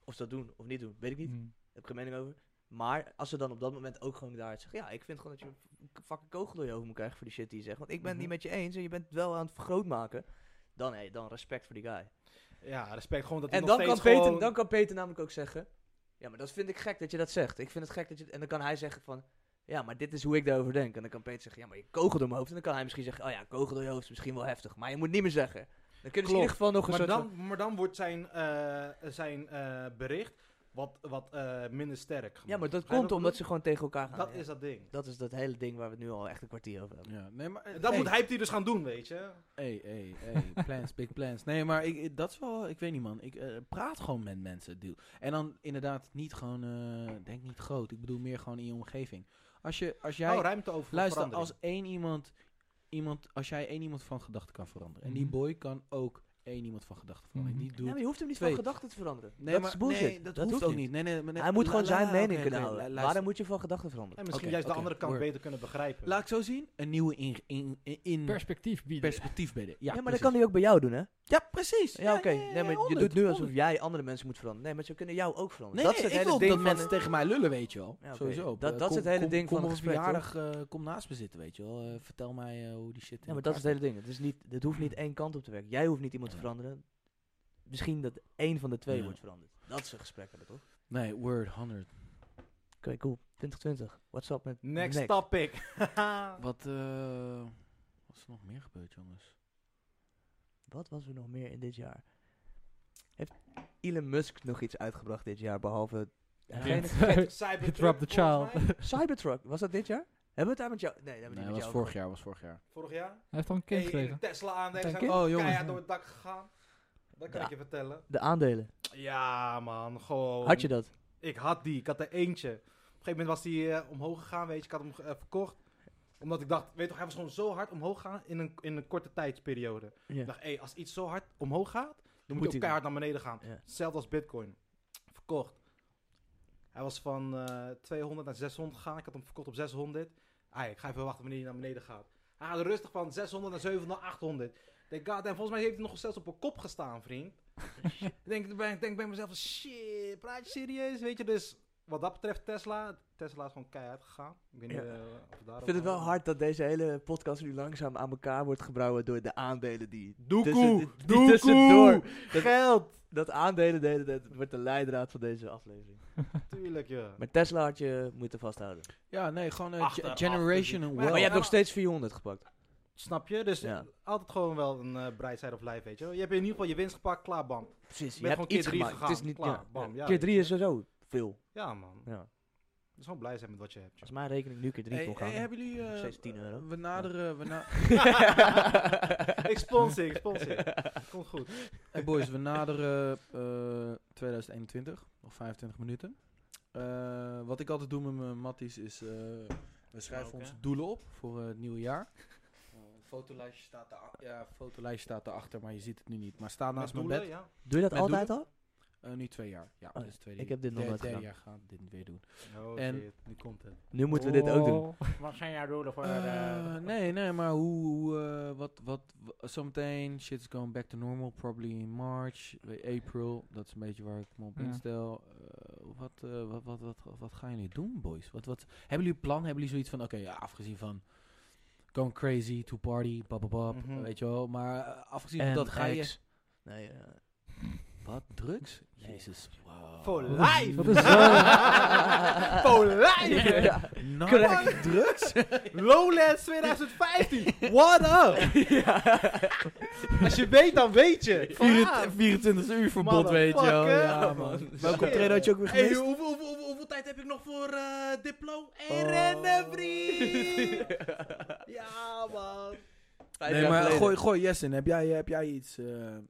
Speaker 3: Of ze dat doen of niet doen, weet ik
Speaker 4: Mm.
Speaker 3: niet.
Speaker 1: Hmm.
Speaker 3: Heb ik geen mening over. Maar als ze dan op dat moment ook gewoon daar zeggen... Ja, ik vind gewoon dat je een k- fucking kogel door je hoofd moet krijgen voor die shit die je zegt. Want ik ben het niet
Speaker 4: Mhm.
Speaker 3: met je eens en je bent het wel aan het vergrootmaken. Dan, hey, dan respect voor die guy.
Speaker 4: Ja, respect gewoon dat hij
Speaker 3: En
Speaker 4: nog
Speaker 3: dan kan,
Speaker 4: steeds
Speaker 3: Peter,
Speaker 4: gewoon...
Speaker 3: dan kan Peter namelijk ook zeggen... Ja, maar dat vind ik gek dat je dat zegt. Ik vind het gek dat je... En dan kan hij zeggen van... Ja, maar dit is hoe ik daarover denk. En dan kan Peter zeggen... Ja, maar je kogel door mijn hoofd. En dan kan hij misschien zeggen... Oh ja, kogel door je hoofd is misschien wel heftig. Maar je moet niet meer zeggen. Dan kunnen ze
Speaker 4: Klopt.
Speaker 3: in ieder geval nog een
Speaker 4: maar,
Speaker 3: soort van-
Speaker 4: dan, maar dan wordt zijn, eh, zijn eh, bericht wat, wat eh, minder sterk gemaakt.
Speaker 3: Ja, maar dat
Speaker 4: Begrijp
Speaker 3: komt
Speaker 4: je wat
Speaker 3: omdat
Speaker 4: ik
Speaker 3: ze gewoon tegen elkaar gaan.
Speaker 4: bedoel? Dat
Speaker 3: ja.
Speaker 4: is dat ding.
Speaker 3: dat is dat hele ding waar we het nu al echt een kwartier over hebben.
Speaker 2: Ja, nee, maar...
Speaker 4: Dat
Speaker 2: Eh, hey,
Speaker 4: moet hij die dus gaan doen, weet je.
Speaker 2: Hey, hey, hey, plans, big plans. Nee, maar ik, ik- dat is wel, ik weet niet man, ik eh, praat gewoon met mensen, deal. En dan inderdaad niet gewoon, eh, denk niet groot, ik bedoel meer gewoon in je omgeving. Als je, als jij,
Speaker 4: oh, ruimte over voor
Speaker 2: luister,
Speaker 4: verandering.
Speaker 2: als één iemand, iemand, als jij één iemand van gedachten kan veranderen. En
Speaker 1: Mhm.
Speaker 2: die boy kan ook één iemand van gedachten veranderen.
Speaker 1: Mhm.
Speaker 2: Die
Speaker 3: Ja,
Speaker 2: doet...
Speaker 3: maar je hoeft hem niet
Speaker 2: Twee.
Speaker 3: van gedachten te veranderen.
Speaker 2: Nee,
Speaker 3: dat
Speaker 2: maar,
Speaker 3: is bullshit.
Speaker 2: Nee, dat, hoeft, ook niet. Nee, nee, maar nee,
Speaker 3: Hij moet
Speaker 2: la-
Speaker 3: gewoon
Speaker 2: la-
Speaker 3: zijn
Speaker 2: oké,
Speaker 3: mening
Speaker 2: oké,
Speaker 3: kunnen
Speaker 2: lu-
Speaker 3: houden.
Speaker 2: luister.
Speaker 3: Waarom moet je van gedachten
Speaker 4: En
Speaker 3: veranderen?
Speaker 4: misschien
Speaker 2: Oké,
Speaker 4: juist
Speaker 2: oké,
Speaker 4: de andere kant
Speaker 2: word.
Speaker 4: beter kunnen begrijpen.
Speaker 2: Laat ik zo zien, een nieuwe in, in, in,
Speaker 1: Perspectief bieden.
Speaker 2: Hmm. perspectief bieden. Ja,
Speaker 3: Ja, maar dat
Speaker 2: precies.
Speaker 3: kan hij ook bij jou doen, hè?
Speaker 2: Ja, precies.
Speaker 3: Ja, oké.
Speaker 2: ja,
Speaker 3: Nee, maar je
Speaker 2: 100,
Speaker 3: doet nu
Speaker 2: 100.
Speaker 3: alsof jij andere mensen moet veranderen. Nee, maar ze kunnen jou ook veranderen.
Speaker 2: Nee,
Speaker 3: dat
Speaker 2: nee,
Speaker 3: is het
Speaker 2: ik wil
Speaker 3: hele ding
Speaker 2: dat
Speaker 3: van
Speaker 2: mensen tegen mij lullen, weet je wel.
Speaker 3: Ja, oké.
Speaker 2: Sowieso.
Speaker 3: Dat-
Speaker 2: Eh,
Speaker 3: dat is het hele
Speaker 2: kom,
Speaker 3: ding
Speaker 2: kom
Speaker 3: van
Speaker 2: op
Speaker 3: een gesprek,
Speaker 2: verjaardag, eh, kom naast me zitten, weet je wel. Eh, vertel mij eh, hoe die shit
Speaker 3: Ja, maar dat is het hele ding. Het, is niet, het hoeft niet één kant op te werken. Jij hoeft niet iemand te
Speaker 2: Ja.
Speaker 3: veranderen. Misschien dat één van de twee
Speaker 2: Ja.
Speaker 3: wordt veranderd. Dat is een gesprek hebben, toch? Oké,
Speaker 2: Nee, word 100.
Speaker 3: cool. 2020. What's up met
Speaker 4: Next, topic.
Speaker 2: Wat, eh, wat is er nog meer gebeurd, jongens?
Speaker 3: Wat was er nog meer in dit jaar? Heeft Elon Musk nog iets uitgebracht dit jaar, behalve... Geen-
Speaker 1: You dropped the child.
Speaker 3: Cybertruck, was dat dit jaar? Hebben we het daar met jou... Nee, dat hebben we
Speaker 2: Nee,
Speaker 3: niet met
Speaker 2: was
Speaker 3: jou
Speaker 2: vorig jaar, was vorig jaar.
Speaker 4: Vorig jaar.
Speaker 1: Hij heeft al een kind
Speaker 4: Hey, in
Speaker 1: gekregen.
Speaker 4: de Tesla aandelen
Speaker 3: Dank
Speaker 4: zijn
Speaker 3: je.
Speaker 4: ook
Speaker 2: Oh, jongens,
Speaker 4: keihard
Speaker 2: ja.
Speaker 4: door het dak gegaan. Dat kan
Speaker 3: Ja.
Speaker 4: ik je vertellen.
Speaker 3: De aandelen.
Speaker 4: Ja, man, gewoon.
Speaker 3: Had je dat?
Speaker 4: Ik had die, ik had er eentje. Op een gegeven moment was die eh, omhoog gegaan, weet je, ik had hem eh, verkocht. Omdat ik dacht, weet je toch, hij was gewoon zo hard omhoog gegaan in een, in een korte tijdsperiode.
Speaker 3: Ja.
Speaker 4: Ik dacht, hé, als iets zo hard omhoog gaat, dan moet,
Speaker 3: Oh. Nou, Moet
Speaker 4: je
Speaker 3: hij-
Speaker 4: ook keihard naar beneden gaan.
Speaker 3: Ja.
Speaker 4: Hetzelfde als bitcoin. Verkocht. Hij was van eh, 200 naar 600 gegaan. Ik had hem verkocht op 600. Ai, ik ga even wachten wanneer hij naar beneden gaat. Hij gaat rustig van 600 naar 700 naar 800. Ik Denk, god, en volgens mij heeft hij nog zelfs op een kop gestaan, vriend. ik denk, ik denk, bij mezelf, van, shit, praat je serieus? Weet je, dus wat dat betreft Tesla. Tesla is gewoon keihard gegaan. Ik weet niet
Speaker 3: Ja.
Speaker 4: eh, of we daar
Speaker 3: Ik vind het wel hard dat deze hele podcast nu langzaam aan elkaar wordt gebrouwen door de aandelen die... tussen-
Speaker 4: Doekoe,
Speaker 3: die
Speaker 4: doekoe,
Speaker 3: tussendoor. Dat-
Speaker 4: geld.
Speaker 3: Dat aandelen delen, dat wordt de leidraad van deze aflevering.
Speaker 4: Tuurlijk, ja.
Speaker 3: Maar Tesla had je moeten vasthouden.
Speaker 2: Ja, nee, gewoon een
Speaker 4: Achter-
Speaker 2: generation wealth.
Speaker 4: achter-
Speaker 3: Maar je hebt
Speaker 4: nou-
Speaker 3: nog steeds 400 gepakt.
Speaker 4: Snap je? Dus
Speaker 3: Ja.
Speaker 4: altijd gewoon wel een eh bright side of life, weet je wel. Je hebt in ieder geval je winst gepakt, klaar, bam.
Speaker 3: Precies,
Speaker 4: bent
Speaker 3: je hebt
Speaker 4: gewoon keer
Speaker 3: iets
Speaker 4: drie
Speaker 3: gemaakt. Het
Speaker 4: gegaan.
Speaker 3: is niet,
Speaker 4: Klaar,
Speaker 3: ja,
Speaker 4: bam, ja,
Speaker 3: ja. keer
Speaker 4: weet
Speaker 3: drie
Speaker 4: je.
Speaker 3: is sowieso veel.
Speaker 4: Ja, man.
Speaker 3: Ja.
Speaker 4: Dus gewoon blij zijn met wat je hebt. joh.
Speaker 3: Als mijn rekening nu keer drie
Speaker 2: Hey,
Speaker 3: kon
Speaker 2: hey,
Speaker 3: gaan.
Speaker 2: hebben jullie... eh,
Speaker 3: nog steeds 10 euro.
Speaker 2: We naderen... We na-
Speaker 4: ik sponsor, ik sponsor. Komt goed.
Speaker 2: hey boys, we naderen eh, 2021. Nog 25 minuten. Eh, wat ik altijd doe met mijn matties is... eh, we schrijven
Speaker 4: Smoken.
Speaker 2: onze doelen op voor eh, het nieuwe jaar. Eh, fotolijstje staat daar- ja, fotolijstje staat erachter, maar je ziet het nu niet. Maar staat naast mijn
Speaker 4: doelen,
Speaker 2: bed.
Speaker 4: Ja.
Speaker 3: Doe je dat
Speaker 2: Met
Speaker 3: altijd al?
Speaker 2: Eh, nu twee jaar. Ja,
Speaker 3: Oh,
Speaker 2: dit is het tweede
Speaker 3: ik
Speaker 2: jaar.
Speaker 3: heb dit nog
Speaker 2: Derde-
Speaker 3: nooit
Speaker 2: derde jaar
Speaker 3: gedaan.
Speaker 2: gaan we dit weer doen.
Speaker 4: Oh,
Speaker 2: En-
Speaker 4: shit. Nu komt het.
Speaker 3: Nu moeten we dit
Speaker 1: Oh.
Speaker 3: ook doen.
Speaker 5: Wat zijn jouw doelen voor...
Speaker 2: Eh, nee, nee, maar hoe, hoe, eh, wat, wat, w- zometeen, shit is going back to normal, probably in March, eh, April, dat is een beetje waar ik me op
Speaker 1: Ja.
Speaker 2: instel. Eh, wat, eh, wat, wat, wat, wat gaan jullie doen, boys? Wat, wat, hebben jullie een plan? Hebben jullie zoiets van, oké, ja, afgezien van going crazy, to party, bababab,
Speaker 4: Mhm.
Speaker 2: weet je wel, maar eh, afgezien van dat ga je...
Speaker 3: X. Nee, eh,
Speaker 2: Wat, drugs?
Speaker 3: Nee.
Speaker 2: Jezus, wow.
Speaker 4: Voor life!
Speaker 3: Wat is
Speaker 4: Voor life!
Speaker 3: ja.
Speaker 2: Nou,
Speaker 3: Correct.
Speaker 2: drugs?
Speaker 4: Lowlands 2015! What up? Als je weet, dan weet je.
Speaker 2: 24 uur verbod, weet je wel.
Speaker 4: Motherfucker.
Speaker 2: Ja, man.
Speaker 3: Welke
Speaker 4: Shit.
Speaker 3: optreden had je ook weer
Speaker 4: Hey,
Speaker 3: gemist?
Speaker 4: hoeveel, hoeveel, hoeveel, hoeveel tijd heb ik nog voor eh, Diplo? Hey,
Speaker 3: Oh.
Speaker 4: rennen, vriend! ja, man.
Speaker 3: Vijf
Speaker 2: Nee,
Speaker 3: jaar
Speaker 2: maar
Speaker 3: geleden.
Speaker 2: gooi, gooi yes in. Heb jij, heb jij iets... eh,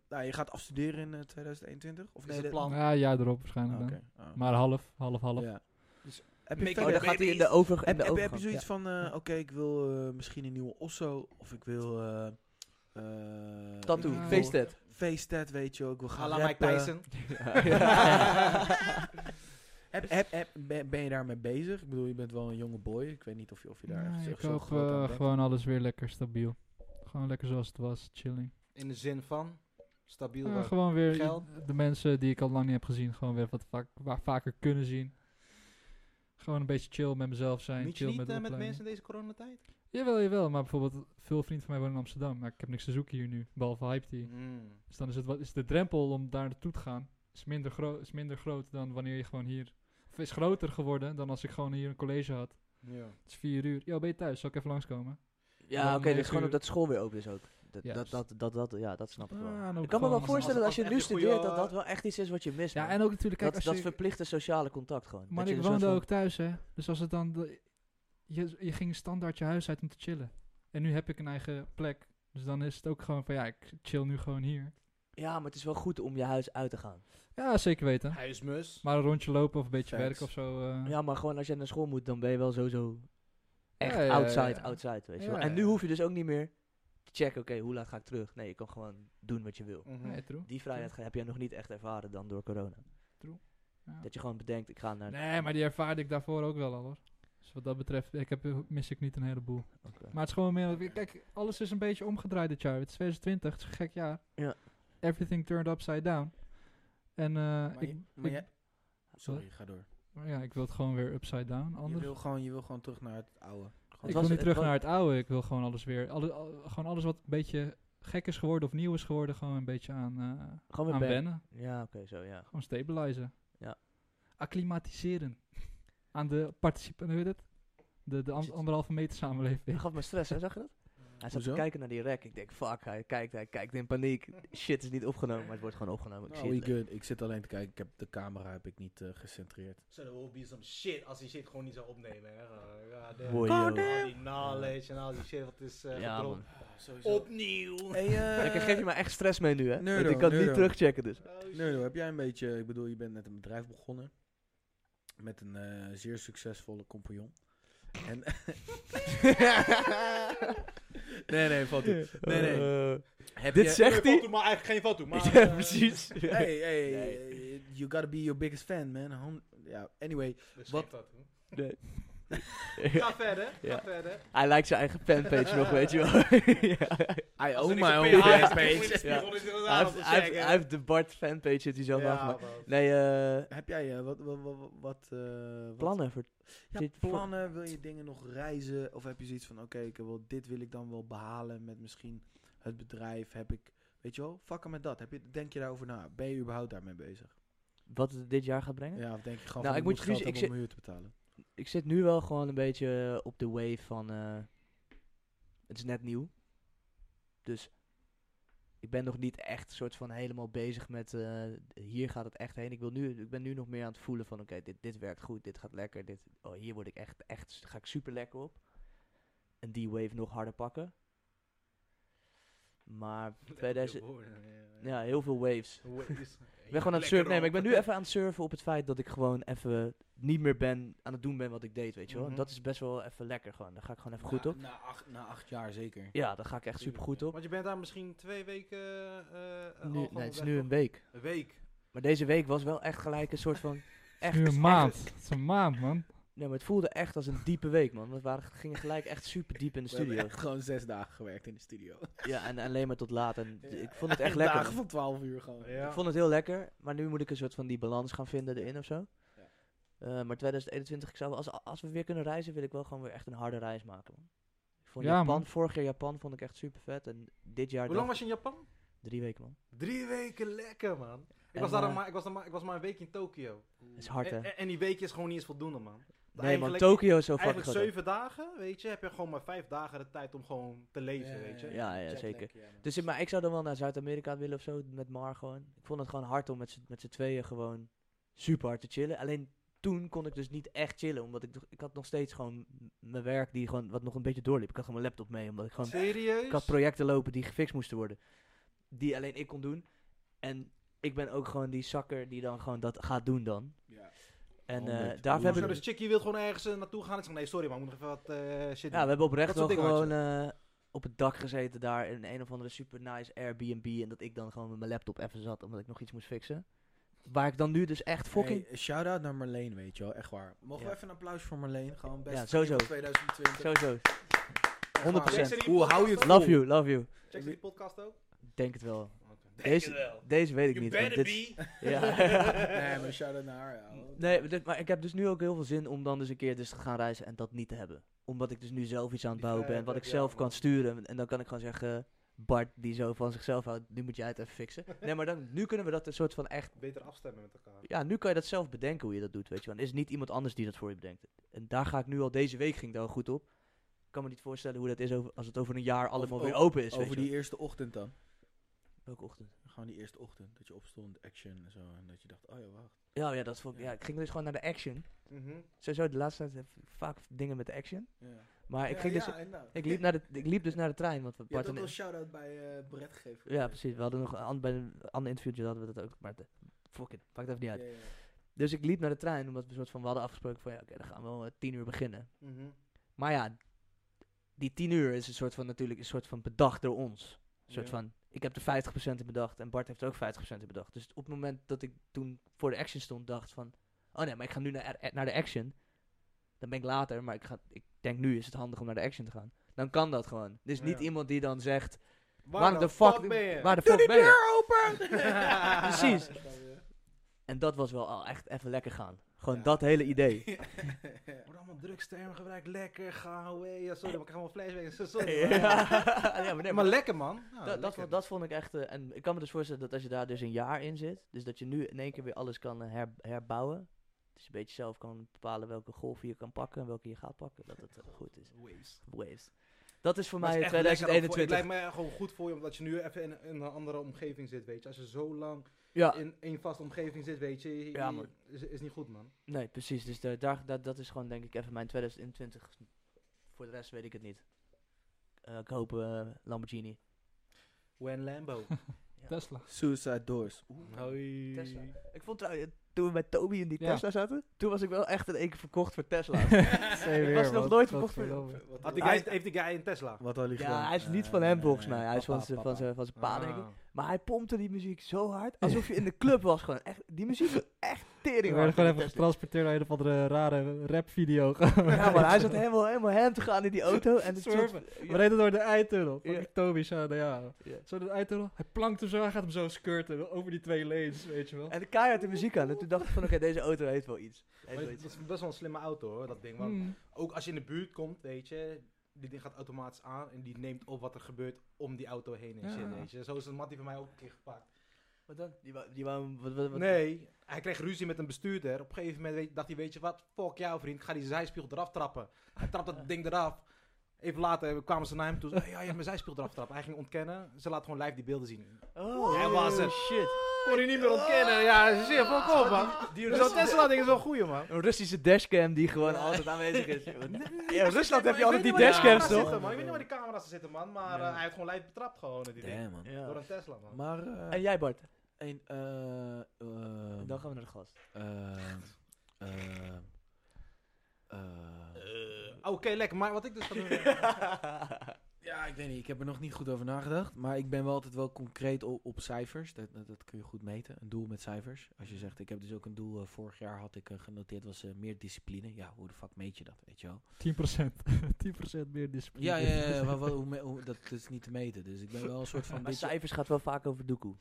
Speaker 2: nou, je gaat afstuderen in eh, 2021? Of
Speaker 4: Is
Speaker 2: nee,
Speaker 4: het
Speaker 2: dat-
Speaker 4: plan?
Speaker 3: Oh.
Speaker 1: Ja, ja, erop
Speaker 2: Ah,
Speaker 1: waarschijnlijk dan.
Speaker 2: oké. Ah.
Speaker 1: Maar half, half, half.
Speaker 2: Ja. Dus Heb je,
Speaker 4: Mickey
Speaker 3: Oh,
Speaker 2: verder-
Speaker 3: dan gaat hij in de over. in
Speaker 2: heb,
Speaker 3: de
Speaker 2: heb, heb je
Speaker 3: overgang.
Speaker 2: zoiets
Speaker 3: Ja.
Speaker 2: van... eh, Oké, ik wil eh, misschien een nieuwe Osso. Of ik wil... eh eh,
Speaker 3: Tattoo,
Speaker 2: ik wil-
Speaker 1: Ja.
Speaker 3: feestted.
Speaker 2: Facetad, weet je wel. Ik wil gaan
Speaker 4: Ala Mike
Speaker 2: rappen.
Speaker 4: Tyson.
Speaker 2: Heb, heb, heb, ben, ben je daarmee bezig? Ik bedoel, je bent wel een jonge boy. Ik weet niet of je, of je daar
Speaker 1: Nee,
Speaker 2: echt zo-
Speaker 1: ik
Speaker 2: zo
Speaker 1: hoop
Speaker 2: groot
Speaker 1: eh,
Speaker 2: aan bent.
Speaker 1: gewoon alles weer lekker stabiel. Gewoon lekker zoals het was, chilling.
Speaker 4: In de zin van stabiel.
Speaker 3: Ah,
Speaker 1: Ja,
Speaker 4: werk.
Speaker 1: gewoon weer i-
Speaker 4: Geld.
Speaker 1: de mensen die ik al lang niet heb gezien, gewoon weer wat vaak, wa- vaker kunnen zien. Gewoon een beetje chill met mezelf zijn.
Speaker 4: Moet je
Speaker 1: chill
Speaker 4: niet
Speaker 1: met, de
Speaker 4: eh, met
Speaker 1: opleiding.
Speaker 4: mensen in deze coronatijd?
Speaker 1: Jawel, jawel. Maar bijvoorbeeld veel vrienden van mij wonen in Amsterdam. Maar ik heb niks te zoeken hier nu, behalve Hype Tea.
Speaker 4: Mm.
Speaker 1: Dus dan is, het, wat- is de drempel om daar naartoe te gaan is minder, gro- is minder groot dan wanneer je gewoon hier... Of is groter geworden dan als ik gewoon hier een college had.
Speaker 4: Ja.
Speaker 1: Het is vier uur. Yo, ben je thuis? Zal ik even langskomen?
Speaker 3: Ja,
Speaker 1: Dan
Speaker 3: oké, dus
Speaker 1: negen
Speaker 3: gewoon
Speaker 1: uur.
Speaker 3: omdat school weer open is ook. Dat,
Speaker 1: Ja,
Speaker 3: dat,
Speaker 1: dus-
Speaker 3: dat, dat, dat- ja, dat snap ik wel.
Speaker 1: Ah, en ook
Speaker 3: Ik kan me wel
Speaker 1: gewoon-
Speaker 3: voorstellen dat
Speaker 4: als-
Speaker 3: je
Speaker 4: als
Speaker 3: nu
Speaker 4: echt een goeie,
Speaker 3: studeert, dat
Speaker 4: eh,
Speaker 3: dat wel echt iets is wat je mist.
Speaker 1: Ja,
Speaker 3: man.
Speaker 1: en ook natuurlijk... Kijk,
Speaker 3: dat
Speaker 1: als
Speaker 3: dat
Speaker 1: je-
Speaker 3: verplichte sociale contact gewoon.
Speaker 1: Maar
Speaker 3: Dat je
Speaker 1: ik
Speaker 3: een soort
Speaker 1: woonde
Speaker 3: van-
Speaker 1: ook thuis, hè. Dus als het dan... de- je, je ging standaard je huis uit om te chillen. En nu heb ik een eigen plek. Dus dan is het ook gewoon van, ja, ik chill nu gewoon hier.
Speaker 3: Ja, maar het is wel goed om je huis uit te gaan.
Speaker 1: Ja, zeker weten.
Speaker 4: Huismus.
Speaker 1: Maar een rondje lopen of een beetje
Speaker 2: Facts.
Speaker 1: werken of zo. eh.
Speaker 3: Ja, maar gewoon als jij naar school moet, dan ben je wel sowieso echt
Speaker 1: Ja, ja, ja,
Speaker 3: outside,
Speaker 1: ja.
Speaker 3: outside, weet je
Speaker 1: Ja,
Speaker 3: wel.
Speaker 1: ja,
Speaker 3: En nu
Speaker 1: ja.
Speaker 3: hoef je dus ook niet meer te checken, oké, hoe laat ga ik terug? Nee, je kan gewoon doen wat je wil.
Speaker 4: Mhm.
Speaker 1: Nee, true.
Speaker 3: Die vrijheid ge- heb jij nog niet echt ervaren dan door corona.
Speaker 1: True. Ja.
Speaker 3: Dat je gewoon bedenkt, ik ga naar...
Speaker 1: Nee, maar die ervaarde ik daarvoor ook wel al, hoor. Dus wat dat betreft, ik heb, mis ik niet een heleboel.
Speaker 3: Oké.
Speaker 1: Maar het is gewoon meer... Kijk, alles is een beetje omgedraaid dit jaar. Het is 2020, het is een gek jaar.
Speaker 3: Ja.
Speaker 1: Everything turned upside down. En eh
Speaker 2: Maar
Speaker 1: ik,
Speaker 2: je- maar
Speaker 1: ik-
Speaker 2: jij- Sorry, ga door.
Speaker 1: ja, ik wil het gewoon weer upside down.
Speaker 2: Je
Speaker 1: Anders
Speaker 2: wil, gewoon, je wil gewoon terug naar het oude. Gewoon-
Speaker 1: Ik
Speaker 3: was-
Speaker 1: wil niet
Speaker 3: het
Speaker 1: terug
Speaker 3: was-
Speaker 1: naar het oude. Ik wil gewoon alles weer. Alle, al- gewoon alles wat een beetje gek is geworden of nieuw is geworden, gewoon een beetje aan, eh,
Speaker 3: Gewoon weer
Speaker 1: aan
Speaker 3: ben-
Speaker 1: wennen.
Speaker 3: Ja, oké, zo, ja.
Speaker 1: Gewoon stabilizen.
Speaker 3: Ja.
Speaker 1: Acclimatiseren. Aan de participanten, hoe heet het? De, de an- anderhalve meter
Speaker 3: Dat
Speaker 1: samenleving.
Speaker 3: gaf me stress, hè, zag je dat? Hij zat
Speaker 2: Hoezo?
Speaker 3: te kijken naar die rek. Ik denk, fuck, hij kijkt, hij kijkt in paniek. Shit is niet opgenomen, maar het wordt gewoon opgenomen. Ik
Speaker 2: Nou,
Speaker 3: zie
Speaker 2: we
Speaker 3: het.
Speaker 2: good. Ik zit alleen te kijken. Ik heb de camera heb ik niet eh, gecentreerd.
Speaker 4: Zullen we ook be some shit als die shit gewoon niet zou opnemen. Hè? eh, God damn.
Speaker 3: Boy,
Speaker 4: Al
Speaker 3: yo.
Speaker 4: die knowledge en al die shit wat is eh
Speaker 3: Ja,
Speaker 4: gedropt.
Speaker 3: man.
Speaker 2: Sowieso.
Speaker 4: Opnieuw.
Speaker 2: Hey, eh,
Speaker 3: Ik geef je maar echt stress mee nu, hè?
Speaker 2: Neuro,
Speaker 3: Want ik kan het niet
Speaker 2: neuro.
Speaker 3: terugchecken, dus.
Speaker 2: Nerdo, heb jij een beetje, ik bedoel, je bent net een bedrijf begonnen met een eh, zeer succesvolle compagnon. En nee, nee, valt goed. Nee, nee.
Speaker 3: Eh,
Speaker 2: Heb
Speaker 3: dit
Speaker 2: je-
Speaker 3: zegt hij.
Speaker 4: Maar eigenlijk geen foto. Maar,
Speaker 3: Ja,
Speaker 4: eh,
Speaker 3: precies.
Speaker 2: Hey, hey, eh, you gotta be your biggest fan, man. Hon- ja, anyway.
Speaker 4: dus
Speaker 2: Wat-
Speaker 4: geef dat, hoor.
Speaker 3: Nee.
Speaker 4: Ga verder.
Speaker 3: Ja.
Speaker 4: Ga verder.
Speaker 3: Hij lijkt zijn eigen fanpage nog, weet je wel. ja.
Speaker 2: I
Speaker 4: Als er
Speaker 2: own
Speaker 4: niks
Speaker 2: my
Speaker 4: op
Speaker 2: own
Speaker 4: je
Speaker 3: Ja.
Speaker 4: huis-
Speaker 2: fanpage.
Speaker 4: Ja. Hij heeft-
Speaker 3: hij, heeft, hij, heeft, hij heeft de Bart fanpage heeft hij zelf
Speaker 4: Ja,
Speaker 3: aangemaakt.
Speaker 4: man.
Speaker 3: Nee, eh,
Speaker 2: Heb jij eh, wat, wat, wat, wat, eh, wat-
Speaker 3: plannen voor...
Speaker 2: Ja,
Speaker 3: Zit voor-
Speaker 2: plannen, wil je dingen nog reizen? Of heb je zoiets van, oké, ik wil, dit wil ik dan wel behalen met misschien het bedrijf. Heb ik, weet je wel, fucken met dat. Heb je, denk je daarover na? Ben je überhaupt daarmee bezig?
Speaker 3: Wat het dit jaar gaat brengen?
Speaker 2: Ja, of denk je gewoon, van,
Speaker 3: Nou, ik
Speaker 2: ik
Speaker 3: moet
Speaker 2: moet
Speaker 3: je
Speaker 2: geld
Speaker 3: kiezen, ik
Speaker 2: hebben om mijn huur te betalen?
Speaker 3: Ik zit nu wel gewoon een beetje op de wave van... eh, het is net nieuw. Dus ik ben nog niet echt soort van helemaal bezig met... eh, hier gaat het echt heen. Ik, wil nu, ik ben nu nog meer aan het voelen van... Oké, dit, dit werkt goed, dit gaat lekker. Dit, oh, hier word ik echt, echt, ga ik super lekker op. En die wave nog harder pakken. Maar 2000...
Speaker 4: eh,
Speaker 3: Ja, heel veel waves. Ik ben gewoon aan het surfen. Nee, maar ik ben nu even aan het surfen op het feit dat ik gewoon even niet meer ben aan het doen ben wat ik deed, weet je wel. En
Speaker 4: Mhm.
Speaker 3: Dat is best wel even lekker gewoon. Daar ga ik gewoon even goed op.
Speaker 2: Na acht, na acht jaar zeker.
Speaker 3: Ja, daar ga ik echt super goed op.
Speaker 4: Want je bent daar misschien twee weken. eh, eh, al
Speaker 3: Nu,
Speaker 4: gewoon
Speaker 3: nee, het is
Speaker 4: weg,
Speaker 3: nu
Speaker 4: toch?
Speaker 3: een week.
Speaker 4: Een week.
Speaker 3: Maar deze week was wel echt gelijk een soort van... Echt,
Speaker 1: Nu
Speaker 3: echt-
Speaker 1: een maand. Het is een maand, man.
Speaker 3: Nee, maar het voelde echt als een diepe week, man. We waren, gingen gelijk echt super diep in de
Speaker 2: We hebben
Speaker 3: studio.
Speaker 2: echt gewoon zes dagen gewerkt in de studio.
Speaker 3: Ja, en alleen maar tot laat. En d-
Speaker 2: Ja.
Speaker 3: ik vond het echt lekker.
Speaker 2: dagen van 12 uur gewoon.
Speaker 4: Ja.
Speaker 3: Ik vond het heel lekker, maar nu moet ik een soort van die balans gaan vinden erin of zo.
Speaker 2: Ja.
Speaker 3: Eh, maar 2021, ik zou wel- als, als we weer kunnen reizen, wil ik wel gewoon weer echt een harde reis maken. Man. Ik vond
Speaker 1: Ja,
Speaker 3: Japan,
Speaker 1: man.
Speaker 3: vorig jaar Japan vond ik echt super vet. En dit jaar
Speaker 4: Hoe
Speaker 3: dacht
Speaker 4: lang was je in Japan?
Speaker 3: ik- drie weken man.
Speaker 4: Drie weken lekker, man. Ik
Speaker 3: En,
Speaker 4: was, daar
Speaker 3: eh,
Speaker 4: een ma- ik, was daar maar, ik was maar een week in Tokio.
Speaker 3: is hard, hè?
Speaker 4: En, en- en die week is gewoon niet eens voldoende, man.
Speaker 3: Nee man,
Speaker 4: Nou, Eigenlijk-
Speaker 3: Tokio is zo fucking
Speaker 4: Eigenlijk
Speaker 3: groot.
Speaker 4: zeven dagen, weet je, heb je gewoon maar vijf dagen de tijd om gewoon te leven, weet je.
Speaker 3: ja, ja, zeker. Dus ik- maar ik zou dan wel naar Zuid-Amerika willen of zo, met Mar gewoon. Ik vond het gewoon hard om met z'n- met z'n tweeën gewoon super hard te chillen. Alleen toen kon ik dus niet echt chillen, omdat ik, nog- ik had nog steeds gewoon m- mijn werk die gewoon, wat nog een beetje doorliep. Ik had gewoon mijn laptop mee, omdat ik gewoon
Speaker 4: Serieus?
Speaker 3: Ik had projecten lopen die gefixt moesten worden. Die alleen ik kon doen. En ik ben ook gewoon die zakker die dan gewoon dat gaat doen dan. En eh,
Speaker 2: Honderd.
Speaker 3: daarvoor
Speaker 4: Zo,
Speaker 3: heb
Speaker 4: dus
Speaker 3: ik...
Speaker 4: Chickie wil gewoon ergens eh, naartoe gaan. Ik zeg, nee, sorry, maar ik moet nog even wat eh shit
Speaker 3: Ja, we
Speaker 4: doen.
Speaker 3: hebben oprecht
Speaker 4: Dat
Speaker 3: wel
Speaker 4: soort dingen had
Speaker 3: gewoon eh, op het dak gezeten daar in een of andere super nice Airbnb. En dat ik dan gewoon met mijn laptop even zat omdat ik nog iets moest fixen. Waar ik dan nu dus echt fucking...
Speaker 2: shout-out naar Marleen, weet je wel. Echt waar. Mogen
Speaker 3: Ja.
Speaker 2: we even een applaus voor Marleen? Gewoon best
Speaker 3: Ja, sowieso.
Speaker 2: van 2020.
Speaker 3: Sowieso.
Speaker 4: Oh.
Speaker 2: Echt waar.
Speaker 3: 100%.
Speaker 4: Check ze die
Speaker 2: Hoe hou je het
Speaker 4: podcast
Speaker 3: Love you, love you.
Speaker 4: ook? Check ze die podcast ook?
Speaker 3: Ik Denk het wel.
Speaker 4: Oké.
Speaker 3: Deze, deze weet ik niet. want dit- Ja.
Speaker 2: Nee, maar shout-out naar haar, ja.
Speaker 3: Nee, maar dit- maar ik heb dus nu ook heel veel zin om dan dus een keer dus te gaan reizen en dat niet te hebben. Omdat ik dus nu zelf iets aan het
Speaker 4: Die
Speaker 3: bouwen ben, wat
Speaker 4: vrijheid
Speaker 3: ik
Speaker 4: heb je
Speaker 3: zelf
Speaker 4: allemaal.
Speaker 3: kan sturen. En dan kan ik gewoon zeggen, Bart die zo van zichzelf houdt, nu moet jij het even fixen. Nee, maar dan, nu kunnen we dat een soort van echt...
Speaker 4: Beter afstemmen met elkaar.
Speaker 3: Ja, nu kan je dat zelf bedenken hoe je dat doet, weet je wel. Er is niet iemand anders die dat voor je bedenkt. En daar ga ik nu al, deze week ging ik daar al goed op. Ik kan me niet voorstellen hoe dat is over, als het over een jaar allemaal
Speaker 2: o-
Speaker 3: weer open is,
Speaker 2: Over
Speaker 3: weet je
Speaker 2: die
Speaker 3: wel.
Speaker 2: eerste ochtend dan.
Speaker 3: Welke ochtend?
Speaker 2: Gewoon die eerste ochtend, dat je opstond, action en zo. En dat je dacht, oh ja, wacht.
Speaker 3: Ja, oh ja, dat vond ik, ja, ik ging dus gewoon naar de action.
Speaker 4: Mhm.
Speaker 3: Sowieso, de laatste tijd heb ik vaak dingen met de action.
Speaker 2: Ja.
Speaker 3: Maar ik
Speaker 2: Ja,
Speaker 3: ging dus...
Speaker 2: ja, en nou.
Speaker 3: Ik liep, naar de, ik liep dus naar de trein, want we-
Speaker 2: Je
Speaker 3: Bart
Speaker 2: hebt
Speaker 3: en-
Speaker 2: ook al shout-out bij eh Brett gegeven.
Speaker 3: Ja, precies. We hadden nog een an- bij een ander interviewtje hadden we dat ook, maar de- fuck it, maakt even niet
Speaker 2: Ja,
Speaker 3: uit.
Speaker 2: ja, ja.
Speaker 3: Dus ik liep naar de trein, omdat we een soort van, we hadden afgesproken van, ja, oké, dan gaan we om eh, tien uur beginnen.
Speaker 4: Mhm.
Speaker 3: Maar ja, die tien uur is een soort van, natuurlijk, een soort van bedacht door ons. Een soort
Speaker 4: Ja.
Speaker 3: van, ik heb er 50% in bedacht en Bart heeft er ook 50% in bedacht. Dus op het moment dat ik toen voor de action stond, dacht van, oh nee, maar ik ga nu naar, eh, naar de action. Dan ben ik later, maar ik, ga, ik denk nu is het handig om naar de action te gaan. Dan kan dat gewoon. Dus niet
Speaker 4: Ja.
Speaker 3: iemand die dan zegt,
Speaker 4: Waar,
Speaker 3: Waar de fuck,
Speaker 4: ben je?
Speaker 3: Waar de fuck ben je? Precies.
Speaker 4: Dat is wel weer.
Speaker 3: En dat was wel al echt even lekker gaan. Gewoon
Speaker 2: Ja.
Speaker 3: dat hele idee.
Speaker 4: Wordt allemaal drugstermen gebruikt. Lekker, ga away. Ja, sorry, maar ik ga gewoon flashbacks.
Speaker 3: ja.
Speaker 4: Sorry, maar-
Speaker 3: ja, maar nee,
Speaker 4: maar
Speaker 3: maar
Speaker 4: lekker, man. Ja,
Speaker 3: dat, dat,
Speaker 4: lekker.
Speaker 3: vond, dat vond ik echt... eh, en ik kan me dus voorstellen dat als je daar dus een jaar in zit... Dus dat je nu in één keer weer alles kan eh, her- herbouwen. Dus een beetje zelf kan bepalen welke golf je kan pakken... en welke je gaat pakken. Dat het eh, goed is.
Speaker 4: Waves.
Speaker 3: Waves. Dat is voor
Speaker 4: Maar
Speaker 3: mij
Speaker 4: het is echt lekker, ook voor-
Speaker 3: 2021.
Speaker 4: Het lijkt mij gewoon goed voor je, omdat je nu even in, in een andere omgeving zit, weet je. Als je zo lang
Speaker 3: ja,
Speaker 4: in één vaste omgeving zit, weet je,
Speaker 3: Ja,
Speaker 4: je-
Speaker 3: man.
Speaker 4: Is, is niet goed, man.
Speaker 3: nee, precies. Dus daar, daar, dat, dat is gewoon denk ik even mijn 2021. Voor de rest weet ik het niet. eh, kopen eh, Lamborghini.
Speaker 4: When Lambo.
Speaker 1: Tesla.
Speaker 2: Suicide Doors.
Speaker 4: Hoi.
Speaker 3: Tesla. Ik vond trouwens, eh, toen we met Toby in die
Speaker 1: Ja.
Speaker 3: Tesla zaten, toen was ik wel echt in één keer verkocht voor Tesla.
Speaker 1: Ik
Speaker 3: was nog nooit verkocht voor-
Speaker 4: Had die
Speaker 3: Hij-
Speaker 4: guy, heeft die guy een Tesla?
Speaker 2: Ah, Wat al die
Speaker 3: ja,
Speaker 2: gewoon,
Speaker 3: hij is niet
Speaker 2: eh,
Speaker 3: van hem volgens
Speaker 2: eh,
Speaker 3: mij. Hij is
Speaker 2: papa,
Speaker 3: van zijn
Speaker 2: papa.
Speaker 3: van zijn- van zijn pa, denk ik.
Speaker 4: Ah.
Speaker 3: Maar hij pompte die muziek zo hard, alsof je in de club was gewoon. Echt, die muziek was echt
Speaker 1: Ik
Speaker 3: tering
Speaker 1: werd
Speaker 3: hard.
Speaker 1: gewoon even getransporteerd naar een of andere rare rapvideo.
Speaker 3: Ja, maar hij zat helemaal, helemaal hem te gaan in die auto. En het soort-
Speaker 1: We reden door de eitunnel.
Speaker 3: Ja.
Speaker 1: Fucking Toby zei, nou ja.
Speaker 3: Ja.
Speaker 1: Zo de eitunnel. Hij plankt hem zo, hij gaat hem zo skirten over die twee lanes, weet je wel.
Speaker 3: En de keihard de muziek aan. En toen dacht ik van, oké, deze auto heeft wel iets. Heeft
Speaker 4: Maar
Speaker 3: wel
Speaker 4: het
Speaker 3: iets.
Speaker 4: dat is best wel een slimme auto hoor, dat ding. Want
Speaker 1: Hmm.
Speaker 4: ook als je in de buurt komt, weet je, die ding gaat automatisch aan en die neemt op wat er gebeurt om die auto heen en
Speaker 1: Ja.
Speaker 4: shit, weet je. Zo is een mattie van mij ook een keer gepakt.
Speaker 3: Wat dan? Die wou, die wou, wat, wat, wat-
Speaker 4: Nee, hij kreeg ruzie met een bestuurder. Op een gegeven moment weet- dacht hij, weet je wat, fuck jou vriend, ik ga die zijspiegel eraf trappen. Hij trapt dat ding eraf. Even later kwamen ze naar hem toe, ze, "Hey, ja, je hebt mijn zijspiegel eraf trappen. Hij ging ontkennen, ze laat gewoon live die beelden zien.
Speaker 3: Oh,
Speaker 4: Hij was er.
Speaker 3: shit.
Speaker 4: Kon hij niet meer ontkennen, ja, zie je, fuck op man. Dus
Speaker 3: Die
Speaker 4: Zo'n
Speaker 3: Russische,
Speaker 4: Tesla ding is wel goeie man.
Speaker 3: een Russische dashcam die gewoon altijd aanwezig is. Ja, in Rusland heb je
Speaker 4: Ik
Speaker 3: altijd
Speaker 4: weet niet
Speaker 3: die
Speaker 4: waar
Speaker 3: dashcams,
Speaker 4: camera's
Speaker 3: toch?
Speaker 4: zitten, man. Ik weet niet waar die camera's zitten, man. Maar
Speaker 3: Ja.
Speaker 4: eh, hij heeft gewoon lijf betrapt gewoon. Die ding.
Speaker 2: Damn, man.
Speaker 4: Door
Speaker 3: Ja.
Speaker 4: een Tesla, man.
Speaker 2: Maar, eh,
Speaker 3: En jij, Bart?
Speaker 2: een, eh, ehm,
Speaker 3: Dan gaan we naar de gast.
Speaker 2: ehm, ehm, eh,
Speaker 4: Oké, lekker. Maar wat ik dus ga doen...
Speaker 2: Ja, ik weet niet. Ik heb er nog niet goed over nagedacht. Maar ik ben wel altijd wel concreet op, op cijfers. Dat, dat, dat kun je goed meten. Een doel met cijfers. Als je zegt, ik heb dus ook een doel. eh, vorig jaar had ik eh, genoteerd was eh, meer discipline. Ja, hoe de fuck meet je dat, weet je wel?
Speaker 1: 10%. 10% meer discipline.
Speaker 2: Ja, ja, ja, ja, maar wat, hoe, me- hoe- dat is niet te meten. Dus ik ben wel een soort van...
Speaker 3: Maar
Speaker 2: beetje-
Speaker 3: cijfers gaat wel vaak over doekoe.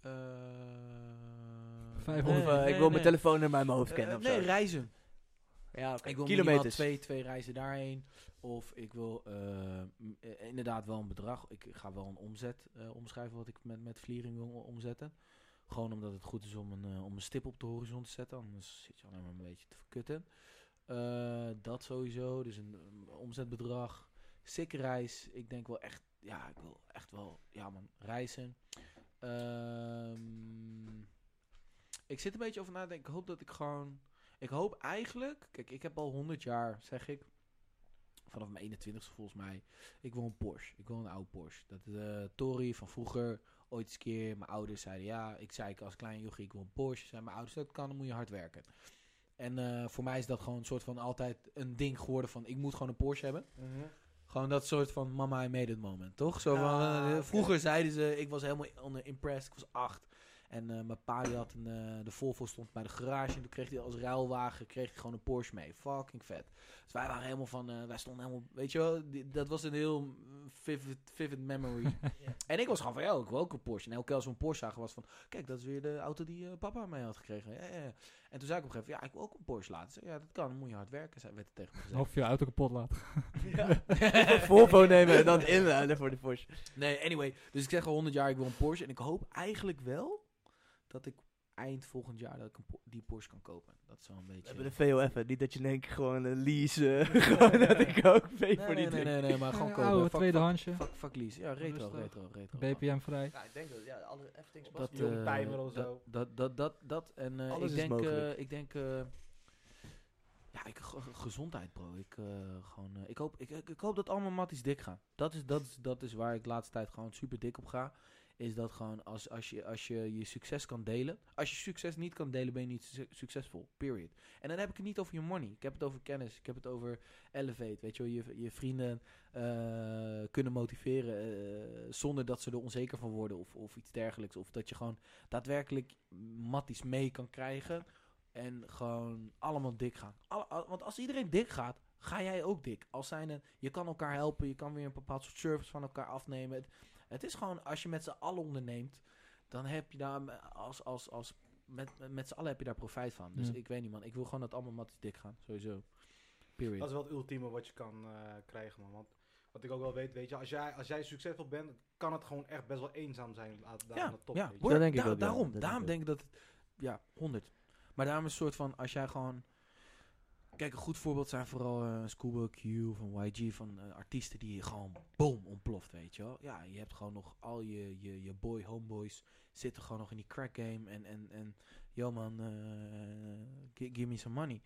Speaker 2: Eh,
Speaker 1: 500.
Speaker 3: of eh, ik wil mijn
Speaker 2: nee.
Speaker 3: telefoonnummer in mijn hoofd kennen
Speaker 2: Eh,
Speaker 3: of
Speaker 2: nee,
Speaker 3: zo.
Speaker 2: reizen.
Speaker 3: Ja, oké.
Speaker 2: Ik wil minimaal
Speaker 3: Kilometers.
Speaker 2: twee, twee reizen daarheen. Of ik wil eh, m- eh, inderdaad wel een bedrag. Ik ga wel een omzet eh, omschrijven wat ik met, met vliering wil eh, omzetten. Gewoon omdat het goed is om een, eh, om een stip op de horizon te zetten. Anders zit je alleen maar een beetje te verkutten. Eh, dat sowieso. Dus een, een omzetbedrag. Sick reis. Ik denk wel echt... Ja, ik wil echt wel... Ja man, reizen. Ehm, ik zit een beetje over na te denken. Ik hoop dat ik gewoon... Ik hoop eigenlijk... Kijk, ik heb al 100 jaar, zeg ik... Vanaf mijn 21ste volgens mij. Ik wil een Porsche. Ik wil een oude Porsche. Dat is de Tory van vroeger. Ooit eens een keer. Mijn ouders zeiden ja. Ik zei ik als klein jochie, ik wil een Porsche. Zijn mijn ouders, dat kan, dan moet je hard werken. En eh, voor mij is dat gewoon een soort van altijd een ding geworden van... Ik moet gewoon een Porsche hebben. Gewoon dat soort van mama, I made it moment, toch? Zo van,
Speaker 3: Ah,
Speaker 2: eh,
Speaker 3: oké.
Speaker 2: Vroeger zeiden ze, ik was helemaal onder impressed, ik was acht. En eh, mijn pa die had een, eh, de Volvo stond bij de garage en toen kreeg hij als ruilwagen kreeg hij gewoon een Porsche mee. Fucking vet. Dus wij waren helemaal van, eh, wij stonden helemaal, weet je wel, die- dat was een heel mm, vivid, vivid memory. En ik was gewoon van, ja, ik wil ook een Porsche. En elke keer als we een Porsche zagen was van, kijk, dat is weer de auto die eh, papa mee had gekregen. Ja, ja, ja. En toen zei ik op een gegeven moment, ja, ik wil ook een Porsche laten. Zei, ja, dat kan, dan moet je hard werken, zei- werd er tegen me gezegd.
Speaker 1: Of je auto kapot laat.
Speaker 3: Een Volvo nemen en dan inladen voor de Porsche.
Speaker 2: Nee, anyway. Dus ik zeg al 100 jaar, ik wil een Porsche. En ik hoop eigenlijk wel dat ik eind volgend jaar dat ik een Po- die Porsche kan kopen. Dat is wel een
Speaker 3: We
Speaker 2: beetje...
Speaker 3: hebben een VOF, hè. niet dat je in één keer gewoon een lease, eh, gewoon dat ik ook
Speaker 2: nee,
Speaker 3: mee
Speaker 2: nee,
Speaker 3: voor die
Speaker 2: nee,
Speaker 3: ding.
Speaker 2: nee, nee, maar gewoon
Speaker 1: Ja,
Speaker 2: kopen.
Speaker 1: oude
Speaker 2: Fuck-
Speaker 1: tweedehandsje.
Speaker 2: Fuck, fuck lease. Ja, retro,
Speaker 1: Rustig.
Speaker 2: retro, retro.
Speaker 1: BPM vrij.
Speaker 3: Ja, ik denk dat, ja, alle F-things
Speaker 2: Dat,
Speaker 4: Jong
Speaker 2: eh,
Speaker 4: Pijmer of
Speaker 2: dat-
Speaker 4: zo.
Speaker 2: Dat, dat, dat, dat. En eh,
Speaker 3: Alles
Speaker 2: ik,
Speaker 3: is
Speaker 2: denk,
Speaker 3: mogelijk.
Speaker 2: eh, ik denk... eh, ja, ik, ge- gezondheid, bro. Ik, eh, gewoon, eh, ik, hoop, ik, ik, ik hoop dat allemaal matties dik gaan. Dat is, dat, is, dat is waar ik de laatste tijd gewoon super dik op ga. Is dat gewoon als, als, je, als je je succes kan delen. Als je succes niet kan delen, ben je niet succes- succesvol. Period. En dan heb ik het niet over je money. Ik heb het over kennis. Ik heb het over elevate. Weet je wel, je, je vrienden eh, kunnen motiveren eh, zonder dat ze er onzeker van worden of, of iets dergelijks. Of dat je gewoon daadwerkelijk matties mee kan krijgen. En gewoon allemaal dik gaan. Alle- al- want als iedereen dik gaat, ga jij ook dik. Als zijnde, je kan elkaar helpen, je kan weer een bepaald soort service van elkaar afnemen. Het, het is gewoon, als je met z'n allen onderneemt, dan heb je daar me- als, als, als met, met z'n allen heb je daar profijt van. Dus
Speaker 1: Ja.
Speaker 2: ik weet niet man, ik wil gewoon dat allemaal matties dik gaan, sowieso. Period.
Speaker 4: Dat is wel het ultieme wat je kan eh, krijgen, man. Want wat ik ook wel weet, weet je, als jij, als jij succesvol bent, kan het gewoon echt best wel eenzaam zijn aan- daar aan de top. weet je.
Speaker 2: hoor,
Speaker 3: Dat denk ik
Speaker 2: da-
Speaker 3: ook, ja.
Speaker 2: daarom,
Speaker 3: Dat denk
Speaker 2: daarom
Speaker 3: ik
Speaker 2: denk ik dat het, ja, 100. Maar daarom is het soort van, als jij gewoon, kijk, een goed voorbeeld zijn vooral eh Scuba Q van YG, van eh, artiesten die gewoon boom ontploft, weet je wel. Ja, je hebt gewoon nog al je, je, je boy homeboys zitten gewoon nog in die crack game en, en, en yo man, eh, gi- give me some money.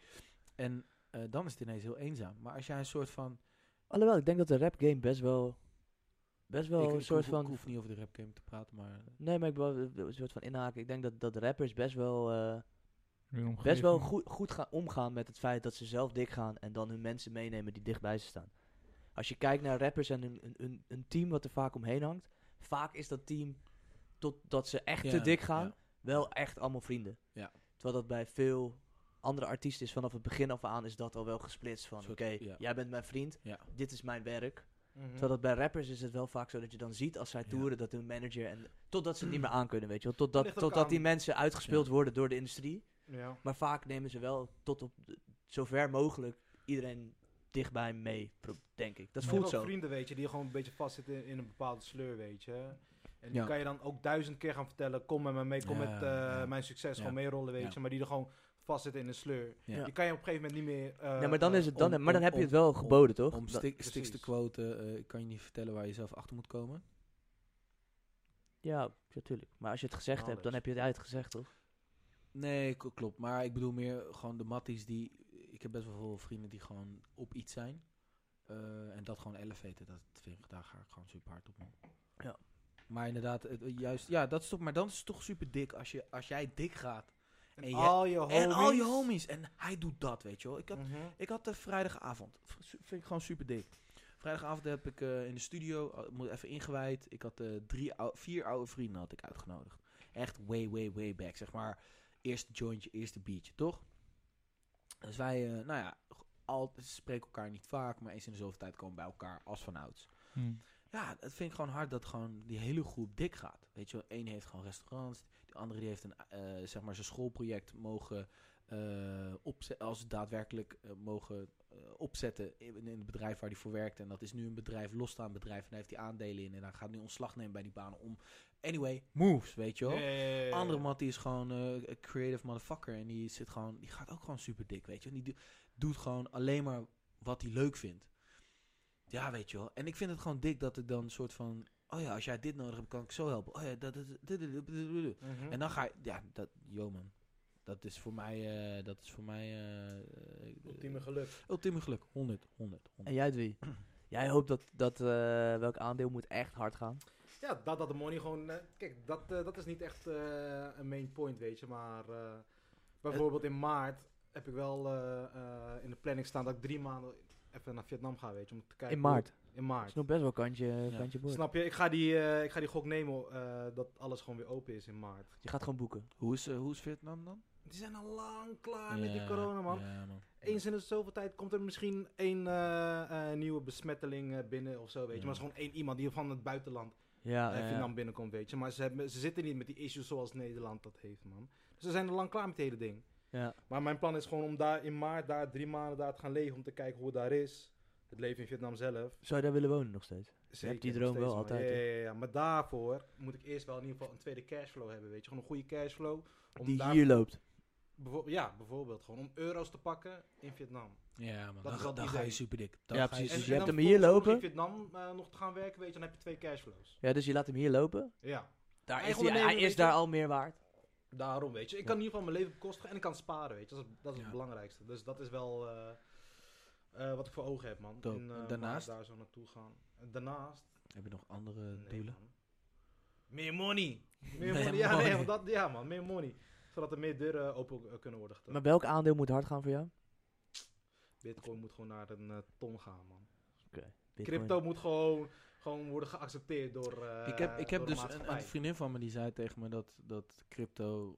Speaker 2: En eh, dan is het ineens heel eenzaam. Maar als jij een soort van
Speaker 3: Alhoewel, ik denk dat de rap game best wel. Best wel
Speaker 2: Ik- ik
Speaker 3: een soort
Speaker 2: hoef-
Speaker 3: van.
Speaker 2: Ik hoef niet over de rap game te praten, maar...
Speaker 3: Nee, maar ik wil een soort van inhaken. Ik denk dat, dat rappers best wel, eh,
Speaker 1: Weer
Speaker 3: best
Speaker 1: omgeven.
Speaker 3: wel goed, goed gaan omgaan met het feit dat ze zelf dik gaan en dan hun mensen meenemen die dichtbij ze staan. Als je kijkt naar rappers en hun, hun- hun, hun team wat er vaak omheen hangt, vaak is dat team totdat ze echt te
Speaker 2: Ja,
Speaker 3: dik gaan,
Speaker 2: ja.
Speaker 3: wel echt allemaal vrienden.
Speaker 2: Ja.
Speaker 3: Terwijl dat bij veel andere artiesten is vanaf het begin af aan is dat al wel gesplitst van oké,
Speaker 2: Soort- ja.
Speaker 3: jij bent mijn vriend,
Speaker 2: Ja.
Speaker 3: dit is mijn werk.
Speaker 4: Mhm.
Speaker 3: Terwijl dat bij rappers is het wel vaak zo dat je dan ziet als zij
Speaker 2: Ja.
Speaker 3: toeren dat hun manager en totdat ze het niet meer aan kunnen, weet je wel. Totdat,
Speaker 4: Ligt ook
Speaker 3: totdat die
Speaker 4: aan-
Speaker 3: mensen uitgespeeld worden door de industrie.
Speaker 4: Ja.
Speaker 3: Maar vaak nemen ze wel tot op de- zover mogelijk iedereen dichtbij mee, pro- denk ik. Dat
Speaker 4: Je
Speaker 3: voelt
Speaker 4: hebt ook
Speaker 3: zo.
Speaker 4: vrienden, weet je, die gewoon een beetje vastzitten in, in een bepaalde sleur, weet je. En die
Speaker 2: Ja.
Speaker 4: kan je dan ook duizend keer gaan vertellen, kom met me mee, kom
Speaker 2: Ja,
Speaker 4: met eh,
Speaker 2: ja.
Speaker 4: mijn succes,
Speaker 2: Ja.
Speaker 4: gewoon meerollen, weet
Speaker 2: Ja.
Speaker 4: je. Maar die er gewoon vastzitten in een sleur.
Speaker 2: Ja.
Speaker 4: Die kan je op een gegeven moment niet meer... eh,
Speaker 3: Ja, maar dan
Speaker 4: eh,
Speaker 3: is het dan,
Speaker 2: om-
Speaker 3: maar dan
Speaker 2: om-
Speaker 3: heb je het
Speaker 2: om-
Speaker 3: wel geboden, toch?
Speaker 2: Om
Speaker 3: Dat-
Speaker 2: stik- stiks te
Speaker 4: precies.
Speaker 2: quoten, eh, ik kan je niet vertellen waar je zelf achter moet komen.
Speaker 3: ja, natuurlijk. Maar als je het gezegd hebt, dan
Speaker 4: Alles.
Speaker 3: heb je het uitgezegd, toch?
Speaker 2: Nee, k- klopt. Maar ik bedoel meer gewoon de matties die... Ik heb best wel veel vrienden die gewoon op iets zijn. Eh, en dat gewoon elevaten. Dat vind ik, daar ga ik gewoon super hard op, man.
Speaker 3: Ja.
Speaker 2: Maar inderdaad, het, juist... Ja, dat is toch... Maar dan is het toch super dik als, je, als jij dik gaat.
Speaker 4: En
Speaker 2: en je-
Speaker 4: al je homies.
Speaker 2: En al je homies. En hij doet dat, weet je wel. Ik had
Speaker 4: Mhm.
Speaker 2: Ik had de vrijdagavond. v- su- Vind ik gewoon super dik. Vrijdagavond heb ik eh, in de studio, eh, moet even ingewijd. Ik had eh, drie ou- vier oude vrienden had ik uitgenodigd. Echt way, way, way back. Zeg maar, eerste jointje, eerste biertje, toch? Dus wij, eh, nou ja, g- al, spreken elkaar niet vaak, maar eens in de zoveel tijd komen we bij elkaar als vanouds.
Speaker 1: Hm.
Speaker 2: Ja, dat vind ik gewoon hard dat gewoon die hele groep dik gaat. Weet je wel, één heeft gewoon restaurants, de andere die heeft een, eh, zeg maar zijn schoolproject mogen eh, opzetten, als daadwerkelijk eh, mogen eh, opzetten in, in het bedrijf waar hij voor werkt. En dat is nu een bedrijf, losstaand bedrijf, en daar heeft hij aandelen in en hij gaat nu ontslag nemen bij die banen om. Anyway, moves, weet je wel.
Speaker 4: Ja, ja, ja, ja, ja.
Speaker 2: Andere man die is gewoon eh, een creative motherfucker. En die zit gewoon, die gaat ook gewoon super dik, weet je. wel. Die do- doet gewoon alleen maar wat hij leuk vindt. Ja, weet je wel. En ik vind het gewoon dik dat ik dan een soort van, oh ja, als jij dit nodig hebt, kan ik zo helpen. Oh ja, dat, dat, dat- dat- dat- dat- dat-
Speaker 4: Mhm.
Speaker 2: En dan ga je, ja, dat, yo man. Dat is voor mij, eh, dat is voor mij, eh, eh,
Speaker 4: Ultieme geluk.
Speaker 2: ultieme geluk. 100, 100,
Speaker 3: En
Speaker 2: 100.
Speaker 3: jij, wie? Jij hoopt dat, dat eh, welk aandeel moet echt hard gaan.
Speaker 4: Ja, dat, dat de money gewoon... eh, kijk, dat, eh, dat is niet echt eh, een main point, weet je. Maar eh, bijvoorbeeld in maart heb ik wel eh, eh, in de planning staan dat ik drie maanden even naar Vietnam ga, weet je. Om te kijken
Speaker 3: In
Speaker 4: hoe-
Speaker 3: maart.
Speaker 4: In maart.
Speaker 3: Dat is nog best wel kantje,
Speaker 2: Ja.
Speaker 3: kantje boord.
Speaker 4: Snap je? Ik ga die, eh, ik ga die gok nemen eh, dat alles gewoon weer open is in maart.
Speaker 3: Je gaat gewoon boeken.
Speaker 2: Hoe is, eh, hoe is Vietnam dan?
Speaker 4: Die zijn al lang klaar Ah, met die corona, man.
Speaker 2: Ja, man.
Speaker 4: Eens in de zoveel tijd komt er misschien één eh, eh, nieuwe besmetteling eh, binnen of zo, weet je.
Speaker 2: Ja.
Speaker 4: Maar het is gewoon één iemand die van het buitenland
Speaker 3: Ja,
Speaker 4: eh,
Speaker 3: ja, ja.
Speaker 4: Vietnam binnenkomt, weet je. Maar ze, hebben, ze zitten niet met die issues zoals Nederland dat heeft, man. Dus ze zijn al lang klaar met het hele ding.
Speaker 3: Ja.
Speaker 4: Maar mijn plan is gewoon om daar in maart, daar drie maanden daar te gaan leven. Om te kijken hoe het daar is. Het leven in Vietnam zelf.
Speaker 3: Zou je daar willen wonen nog steeds?
Speaker 4: Zeker,
Speaker 3: die
Speaker 4: nog
Speaker 3: droom wel
Speaker 4: man.
Speaker 3: altijd,
Speaker 4: Ja,
Speaker 3: hè?
Speaker 4: ja, ja, ja. maar daarvoor moet ik eerst wel in ieder geval een tweede cashflow hebben, weet je. Gewoon een goede cashflow. Om
Speaker 3: Die
Speaker 4: daar,
Speaker 3: hier loopt.
Speaker 4: bijvo- ja, bijvoorbeeld gewoon om euro's te pakken in Vietnam.
Speaker 2: Ja, man.
Speaker 4: Dat
Speaker 2: Dan,
Speaker 4: is wel
Speaker 2: dan
Speaker 4: het
Speaker 2: ga je
Speaker 4: idee.
Speaker 2: super dik.
Speaker 3: Ja,
Speaker 2: ga je
Speaker 3: precies.
Speaker 2: super
Speaker 3: Dus je
Speaker 2: dik.
Speaker 3: hebt hem
Speaker 4: vervolgens
Speaker 3: hier
Speaker 4: nog
Speaker 3: lopen?
Speaker 4: in Vietnam eh, nog te gaan werken, weet je. Dan heb je twee cashflows.
Speaker 3: Ja, dus je laat hem hier lopen.
Speaker 4: Ja,
Speaker 3: Daar is
Speaker 4: Eigen
Speaker 3: die, hij
Speaker 4: ondernemer,
Speaker 3: is
Speaker 4: weet je.
Speaker 3: daar al meer waard.
Speaker 4: daarom, weet je. Ik
Speaker 2: Ja.
Speaker 4: kan in ieder geval mijn leven bekostigen en ik kan sparen, weet je. Dat is, dat is
Speaker 2: Ja.
Speaker 4: het belangrijkste. Dus dat is wel eh, eh, wat ik voor ogen heb, man.
Speaker 2: Dope.
Speaker 4: En, eh,
Speaker 2: En
Speaker 4: maar
Speaker 2: daarnaast?
Speaker 4: Daar zo naartoe gaan. En Daarnaast...
Speaker 2: Heb je nog andere
Speaker 4: Nee,
Speaker 2: doelen?
Speaker 4: man. Meer money. Meer
Speaker 2: Meer
Speaker 4: money. Ja,
Speaker 2: money.
Speaker 4: nee, want dat, ja, man. Meer money. Zodat er meer deuren eh, open eh, kunnen worden getrokken.
Speaker 3: Maar welk aandeel moet hard gaan voor jou?
Speaker 4: Bitcoin moet gewoon naar een eh, ton gaan, man.
Speaker 3: Bitcoin.
Speaker 4: Crypto moet gewoon, gewoon worden geaccepteerd door. eh,
Speaker 2: ik heb, ik heb
Speaker 4: door de
Speaker 2: dus een,
Speaker 4: maatschappij.
Speaker 2: een vriendin van me die zei tegen me dat, dat crypto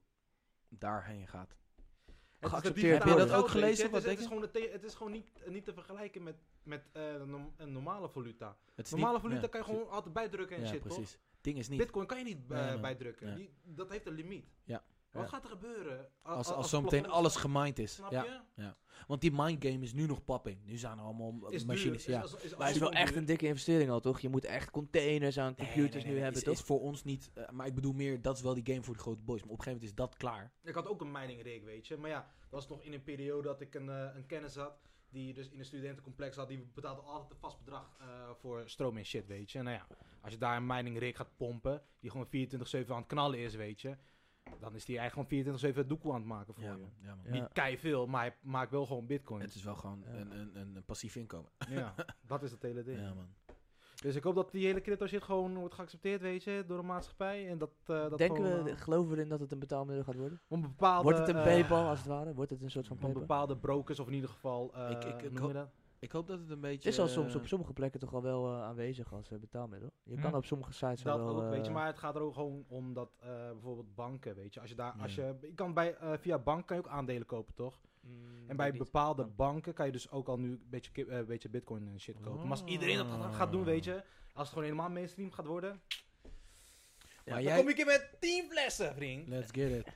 Speaker 2: daarheen gaat.
Speaker 4: Het is de
Speaker 3: geaccepteerd
Speaker 4: digitale
Speaker 3: worden. Heb je dat
Speaker 4: geld,
Speaker 2: ook
Speaker 4: weet je.
Speaker 2: gelezen?
Speaker 4: Het
Speaker 2: Wat
Speaker 4: is, het
Speaker 2: denk
Speaker 4: is
Speaker 2: je?
Speaker 4: gewoon, het te- het is gewoon niet, niet te vergelijken met, met eh, een norm- een normale valuta.
Speaker 2: Het is
Speaker 4: Normale
Speaker 2: niet-
Speaker 4: valuta
Speaker 2: ja,
Speaker 4: kan je gewoon altijd bijdrukken en
Speaker 2: ja,
Speaker 4: shit,
Speaker 2: precies.
Speaker 4: toch?
Speaker 2: Ding is niet.
Speaker 4: Bitcoin kan je niet eh,
Speaker 2: Nee, man.
Speaker 4: bijdrukken.
Speaker 2: Ja.
Speaker 4: Die, dat heeft een limiet.
Speaker 2: Ja.
Speaker 4: Wat
Speaker 2: Ja.
Speaker 4: gaat er gebeuren? a-
Speaker 2: als,
Speaker 4: a-
Speaker 2: als,
Speaker 4: het
Speaker 2: zometeen
Speaker 4: plafond-
Speaker 2: alles gemind is.
Speaker 4: Snap
Speaker 2: Ja.
Speaker 4: je?
Speaker 2: Want die mindgame is nu nog papping. Nu zijn er allemaal eh,
Speaker 4: Is duur,
Speaker 2: machines.
Speaker 4: is-
Speaker 2: ja.
Speaker 4: is- is
Speaker 3: Maar het is wel
Speaker 4: allemaal
Speaker 3: echt
Speaker 4: duur.
Speaker 3: een dikke investering al, toch? Je moet echt containers aan
Speaker 2: Nee, nee,
Speaker 3: computers
Speaker 2: nee,
Speaker 3: nu
Speaker 2: nee,
Speaker 3: hebben,
Speaker 2: is,
Speaker 3: toch?
Speaker 2: is voor ons niet. eh, maar ik bedoel meer, dat is wel die game voor de grote boys. Maar op een gegeven moment is dat klaar.
Speaker 4: Ik had ook een miningreek, weet je. Maar ja, dat was nog in een periode dat ik een, eh, een kennis had. Die dus in een studentencomplex had. Die betaalde altijd een vast bedrag eh, voor stroom en shit, weet je. Nou ja, als je daar een miningreek gaat pompen. Die gewoon 24-7 aan het knallen is, weet je. Dan is die eigenlijk gewoon 24-7 het doekoe aan het maken voor
Speaker 2: Ja,
Speaker 4: je.
Speaker 2: man. Ja, man.
Speaker 3: Ja.
Speaker 4: Niet kei veel, maar hij maakt wel gewoon bitcoin.
Speaker 2: Het is wel gewoon
Speaker 3: Ja.
Speaker 2: een, een, een, een passief inkomen.
Speaker 4: Ja, dat is het hele ding.
Speaker 2: Ja, man.
Speaker 4: Dus ik hoop dat die hele crypto shit gewoon wordt geaccepteerd, weet je, door de maatschappij. En dat, eh, dat
Speaker 3: Denken
Speaker 4: gewoon,
Speaker 3: we,
Speaker 4: eh,
Speaker 3: geloven we erin dat het een betaalmiddel gaat worden?
Speaker 4: om bepaalde,
Speaker 3: Wordt het een
Speaker 4: eh,
Speaker 3: PayPal als het ware? Wordt het een soort van
Speaker 2: om
Speaker 4: om
Speaker 3: PayPal?
Speaker 4: bepaalde brokers of in ieder geval, eh
Speaker 2: Ik- ik- ik
Speaker 4: hoe noem
Speaker 2: hoop-
Speaker 4: je dat?
Speaker 2: Ik hoop dat het een
Speaker 3: Het
Speaker 2: beetje...
Speaker 3: is al soms op
Speaker 2: eh,
Speaker 3: sommige plekken toch al wel eh, aanwezig als eh, betaalmiddel. Je
Speaker 1: Ja.
Speaker 3: kan op sommige sites al
Speaker 4: Hm. Dat
Speaker 3: wel...
Speaker 4: ook, weet je.
Speaker 3: eh,
Speaker 4: Maar het gaat er ook gewoon om dat eh, bijvoorbeeld banken, weet je. Als je daar, als
Speaker 2: Ja.
Speaker 4: je, je kan bij, eh, via bank kan je ook aandelen kopen, toch?
Speaker 3: mm,
Speaker 4: En bij
Speaker 3: weet ik niet.
Speaker 4: bepaalde
Speaker 3: Oh.
Speaker 4: banken kan je dus ook al nu een beetje, ki- eh, een beetje bitcoin en shit kopen. Maar
Speaker 3: Oh.
Speaker 4: als iedereen dat gaat-
Speaker 2: Ah.
Speaker 4: gaat doen, weet je. Als het gewoon helemaal mainstream gaat worden.
Speaker 2: Maar
Speaker 4: dan
Speaker 2: jij-
Speaker 4: kom ik hier met 10 flessen, vriend.
Speaker 2: Let's get it.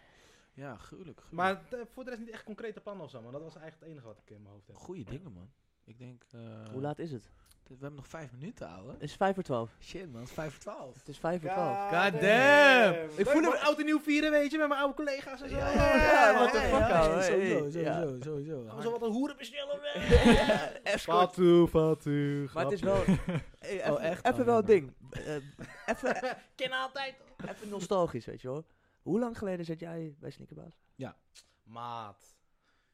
Speaker 2: Ja, gruwelijk. gruwelijk.
Speaker 4: Maar eh, voor de rest niet echt concrete plannen of zo, maar dat was eigenlijk het enige wat ik in mijn hoofd heb.
Speaker 2: Goeie dingen, man. Ik denk... eh,
Speaker 3: Hoe laat is het?
Speaker 2: We hebben nog vijf minuten, ouwe.
Speaker 3: Het is vijf voor twaalf.
Speaker 2: Shit, man. Het is vijf voor twaalf.
Speaker 3: Het is vijf voor twaalf.
Speaker 2: God damn.
Speaker 4: Ik voel me oud en nieuw vieren, weet je, met mijn oude collega's en zo.
Speaker 3: ja, what the
Speaker 4: Hey,
Speaker 3: fuck,
Speaker 4: hey.
Speaker 3: ouwe. hey,
Speaker 2: Sowieso,
Speaker 3: ja.
Speaker 2: sowieso, sowieso.
Speaker 4: Gaan we zo wat een hoeren bestellen?
Speaker 3: Escort.
Speaker 4: Fatu, fatu.
Speaker 3: Maar het is wel... Hey, even,
Speaker 2: Oh, echt?
Speaker 3: even
Speaker 2: Oh,
Speaker 3: wel
Speaker 2: ja,
Speaker 3: een ding. Eh, even,
Speaker 4: Ken altijd.
Speaker 3: even nostalgisch, weet je wel. Hoe lang geleden zat jij bij Sneakerbaas?
Speaker 4: Maat.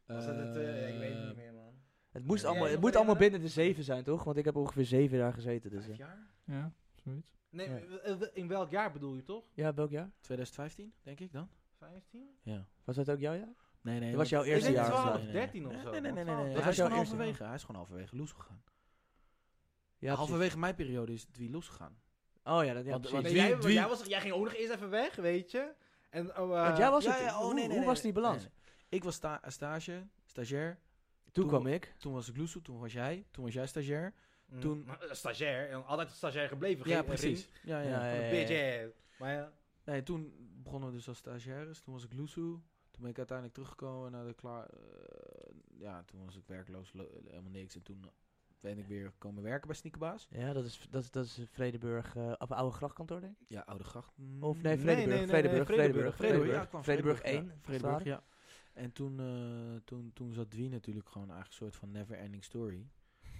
Speaker 4: Was dat het, eh, ik weet het niet meer, man.
Speaker 3: Het, moest
Speaker 4: Jij
Speaker 3: allemaal,
Speaker 4: nog
Speaker 3: het moet
Speaker 4: herinneren?
Speaker 3: allemaal binnen de zeven zijn, toch? Want ik heb ongeveer zeven jaar gezeten. Dus,
Speaker 4: Vijf
Speaker 3: eh.
Speaker 4: jaar?
Speaker 1: Ja, zoiets.
Speaker 4: Nee,
Speaker 3: Ja.
Speaker 4: w- eh, w- in welk jaar bedoel je toch?
Speaker 3: ja, welk jaar?
Speaker 2: 2015, Eh, denk ik dan?
Speaker 4: 15?
Speaker 2: Ja.
Speaker 3: Was dat ook jouw jaar?
Speaker 2: Nee, nee.
Speaker 3: Dat was jouw
Speaker 2: ik
Speaker 3: eerste
Speaker 2: denk
Speaker 3: jaar of
Speaker 2: 12,
Speaker 3: zo.
Speaker 2: nee,
Speaker 4: 13 of zo,
Speaker 2: Nee, nee, nee. nee, nee,
Speaker 4: man.
Speaker 2: nee.
Speaker 3: Dat
Speaker 2: Hij,
Speaker 3: was
Speaker 2: is
Speaker 3: jouw
Speaker 2: gewoon
Speaker 3: eerste jaar.
Speaker 2: halverwege, hij is gewoon halverwege loes gegaan.
Speaker 3: Ja, precies.
Speaker 2: halverwege mijn periode is het weer losgegaan.
Speaker 3: Oh ja, dat, ja
Speaker 2: Want-
Speaker 3: precies.
Speaker 2: want
Speaker 4: Nee,
Speaker 2: Drie-
Speaker 4: jij,
Speaker 2: drie-
Speaker 4: jij, was, jij ging ook nog eerst even weg, weet je. En, oh, eh,
Speaker 3: Want jij was
Speaker 2: Ja,
Speaker 3: het.
Speaker 2: ja, oh,
Speaker 3: hoe
Speaker 2: nee, nee,
Speaker 3: hoe
Speaker 2: nee,
Speaker 3: was
Speaker 2: nee,
Speaker 3: die
Speaker 2: nee,
Speaker 3: balans?
Speaker 2: nee. Ik was sta stage, stagiair.
Speaker 3: Toen
Speaker 2: Toen-
Speaker 3: kwam ik.
Speaker 2: Toen was ik Loeso, toen was jij, toen was jij stagiair.
Speaker 4: mm,
Speaker 2: toen-
Speaker 4: maar, eh, Stagiair, en altijd stagiair gebleven.
Speaker 2: ja,
Speaker 4: geen- eh,
Speaker 2: precies.
Speaker 4: vriend.
Speaker 2: Ja, ja.
Speaker 3: Ja, ja.
Speaker 4: Een Bitch ass. Maar ja.
Speaker 2: Nee, toen begonnen we dus als stagiaires. Toen was ik Loeso. Toen ben ik uiteindelijk teruggekomen naar de klaar. eh, ja, toen was ik werkloos, lo- helemaal niks. En toen eh, ben ik weer komen werken bij Sneakerbaas.
Speaker 3: Ja, dat is, dat, is- dat is Vredeburg, eh of oude grachtkantoor, denk ik.
Speaker 2: Ja, Oude Gracht.
Speaker 3: Of nee,
Speaker 2: Mm,
Speaker 3: Vredeburg,
Speaker 4: nee, nee,
Speaker 3: Vredeburg,
Speaker 4: nee, Vredeburg,
Speaker 3: Vredeburg,
Speaker 2: Vredeburg, ja,
Speaker 3: Vredeburg,
Speaker 2: ik kwam
Speaker 3: Vredeburg
Speaker 2: Vredeburg,
Speaker 3: 1.
Speaker 2: ja, Vredeburg, ja. En toen, eh, toen, toen zat Dwie natuurlijk gewoon eigenlijk een soort van never ending story.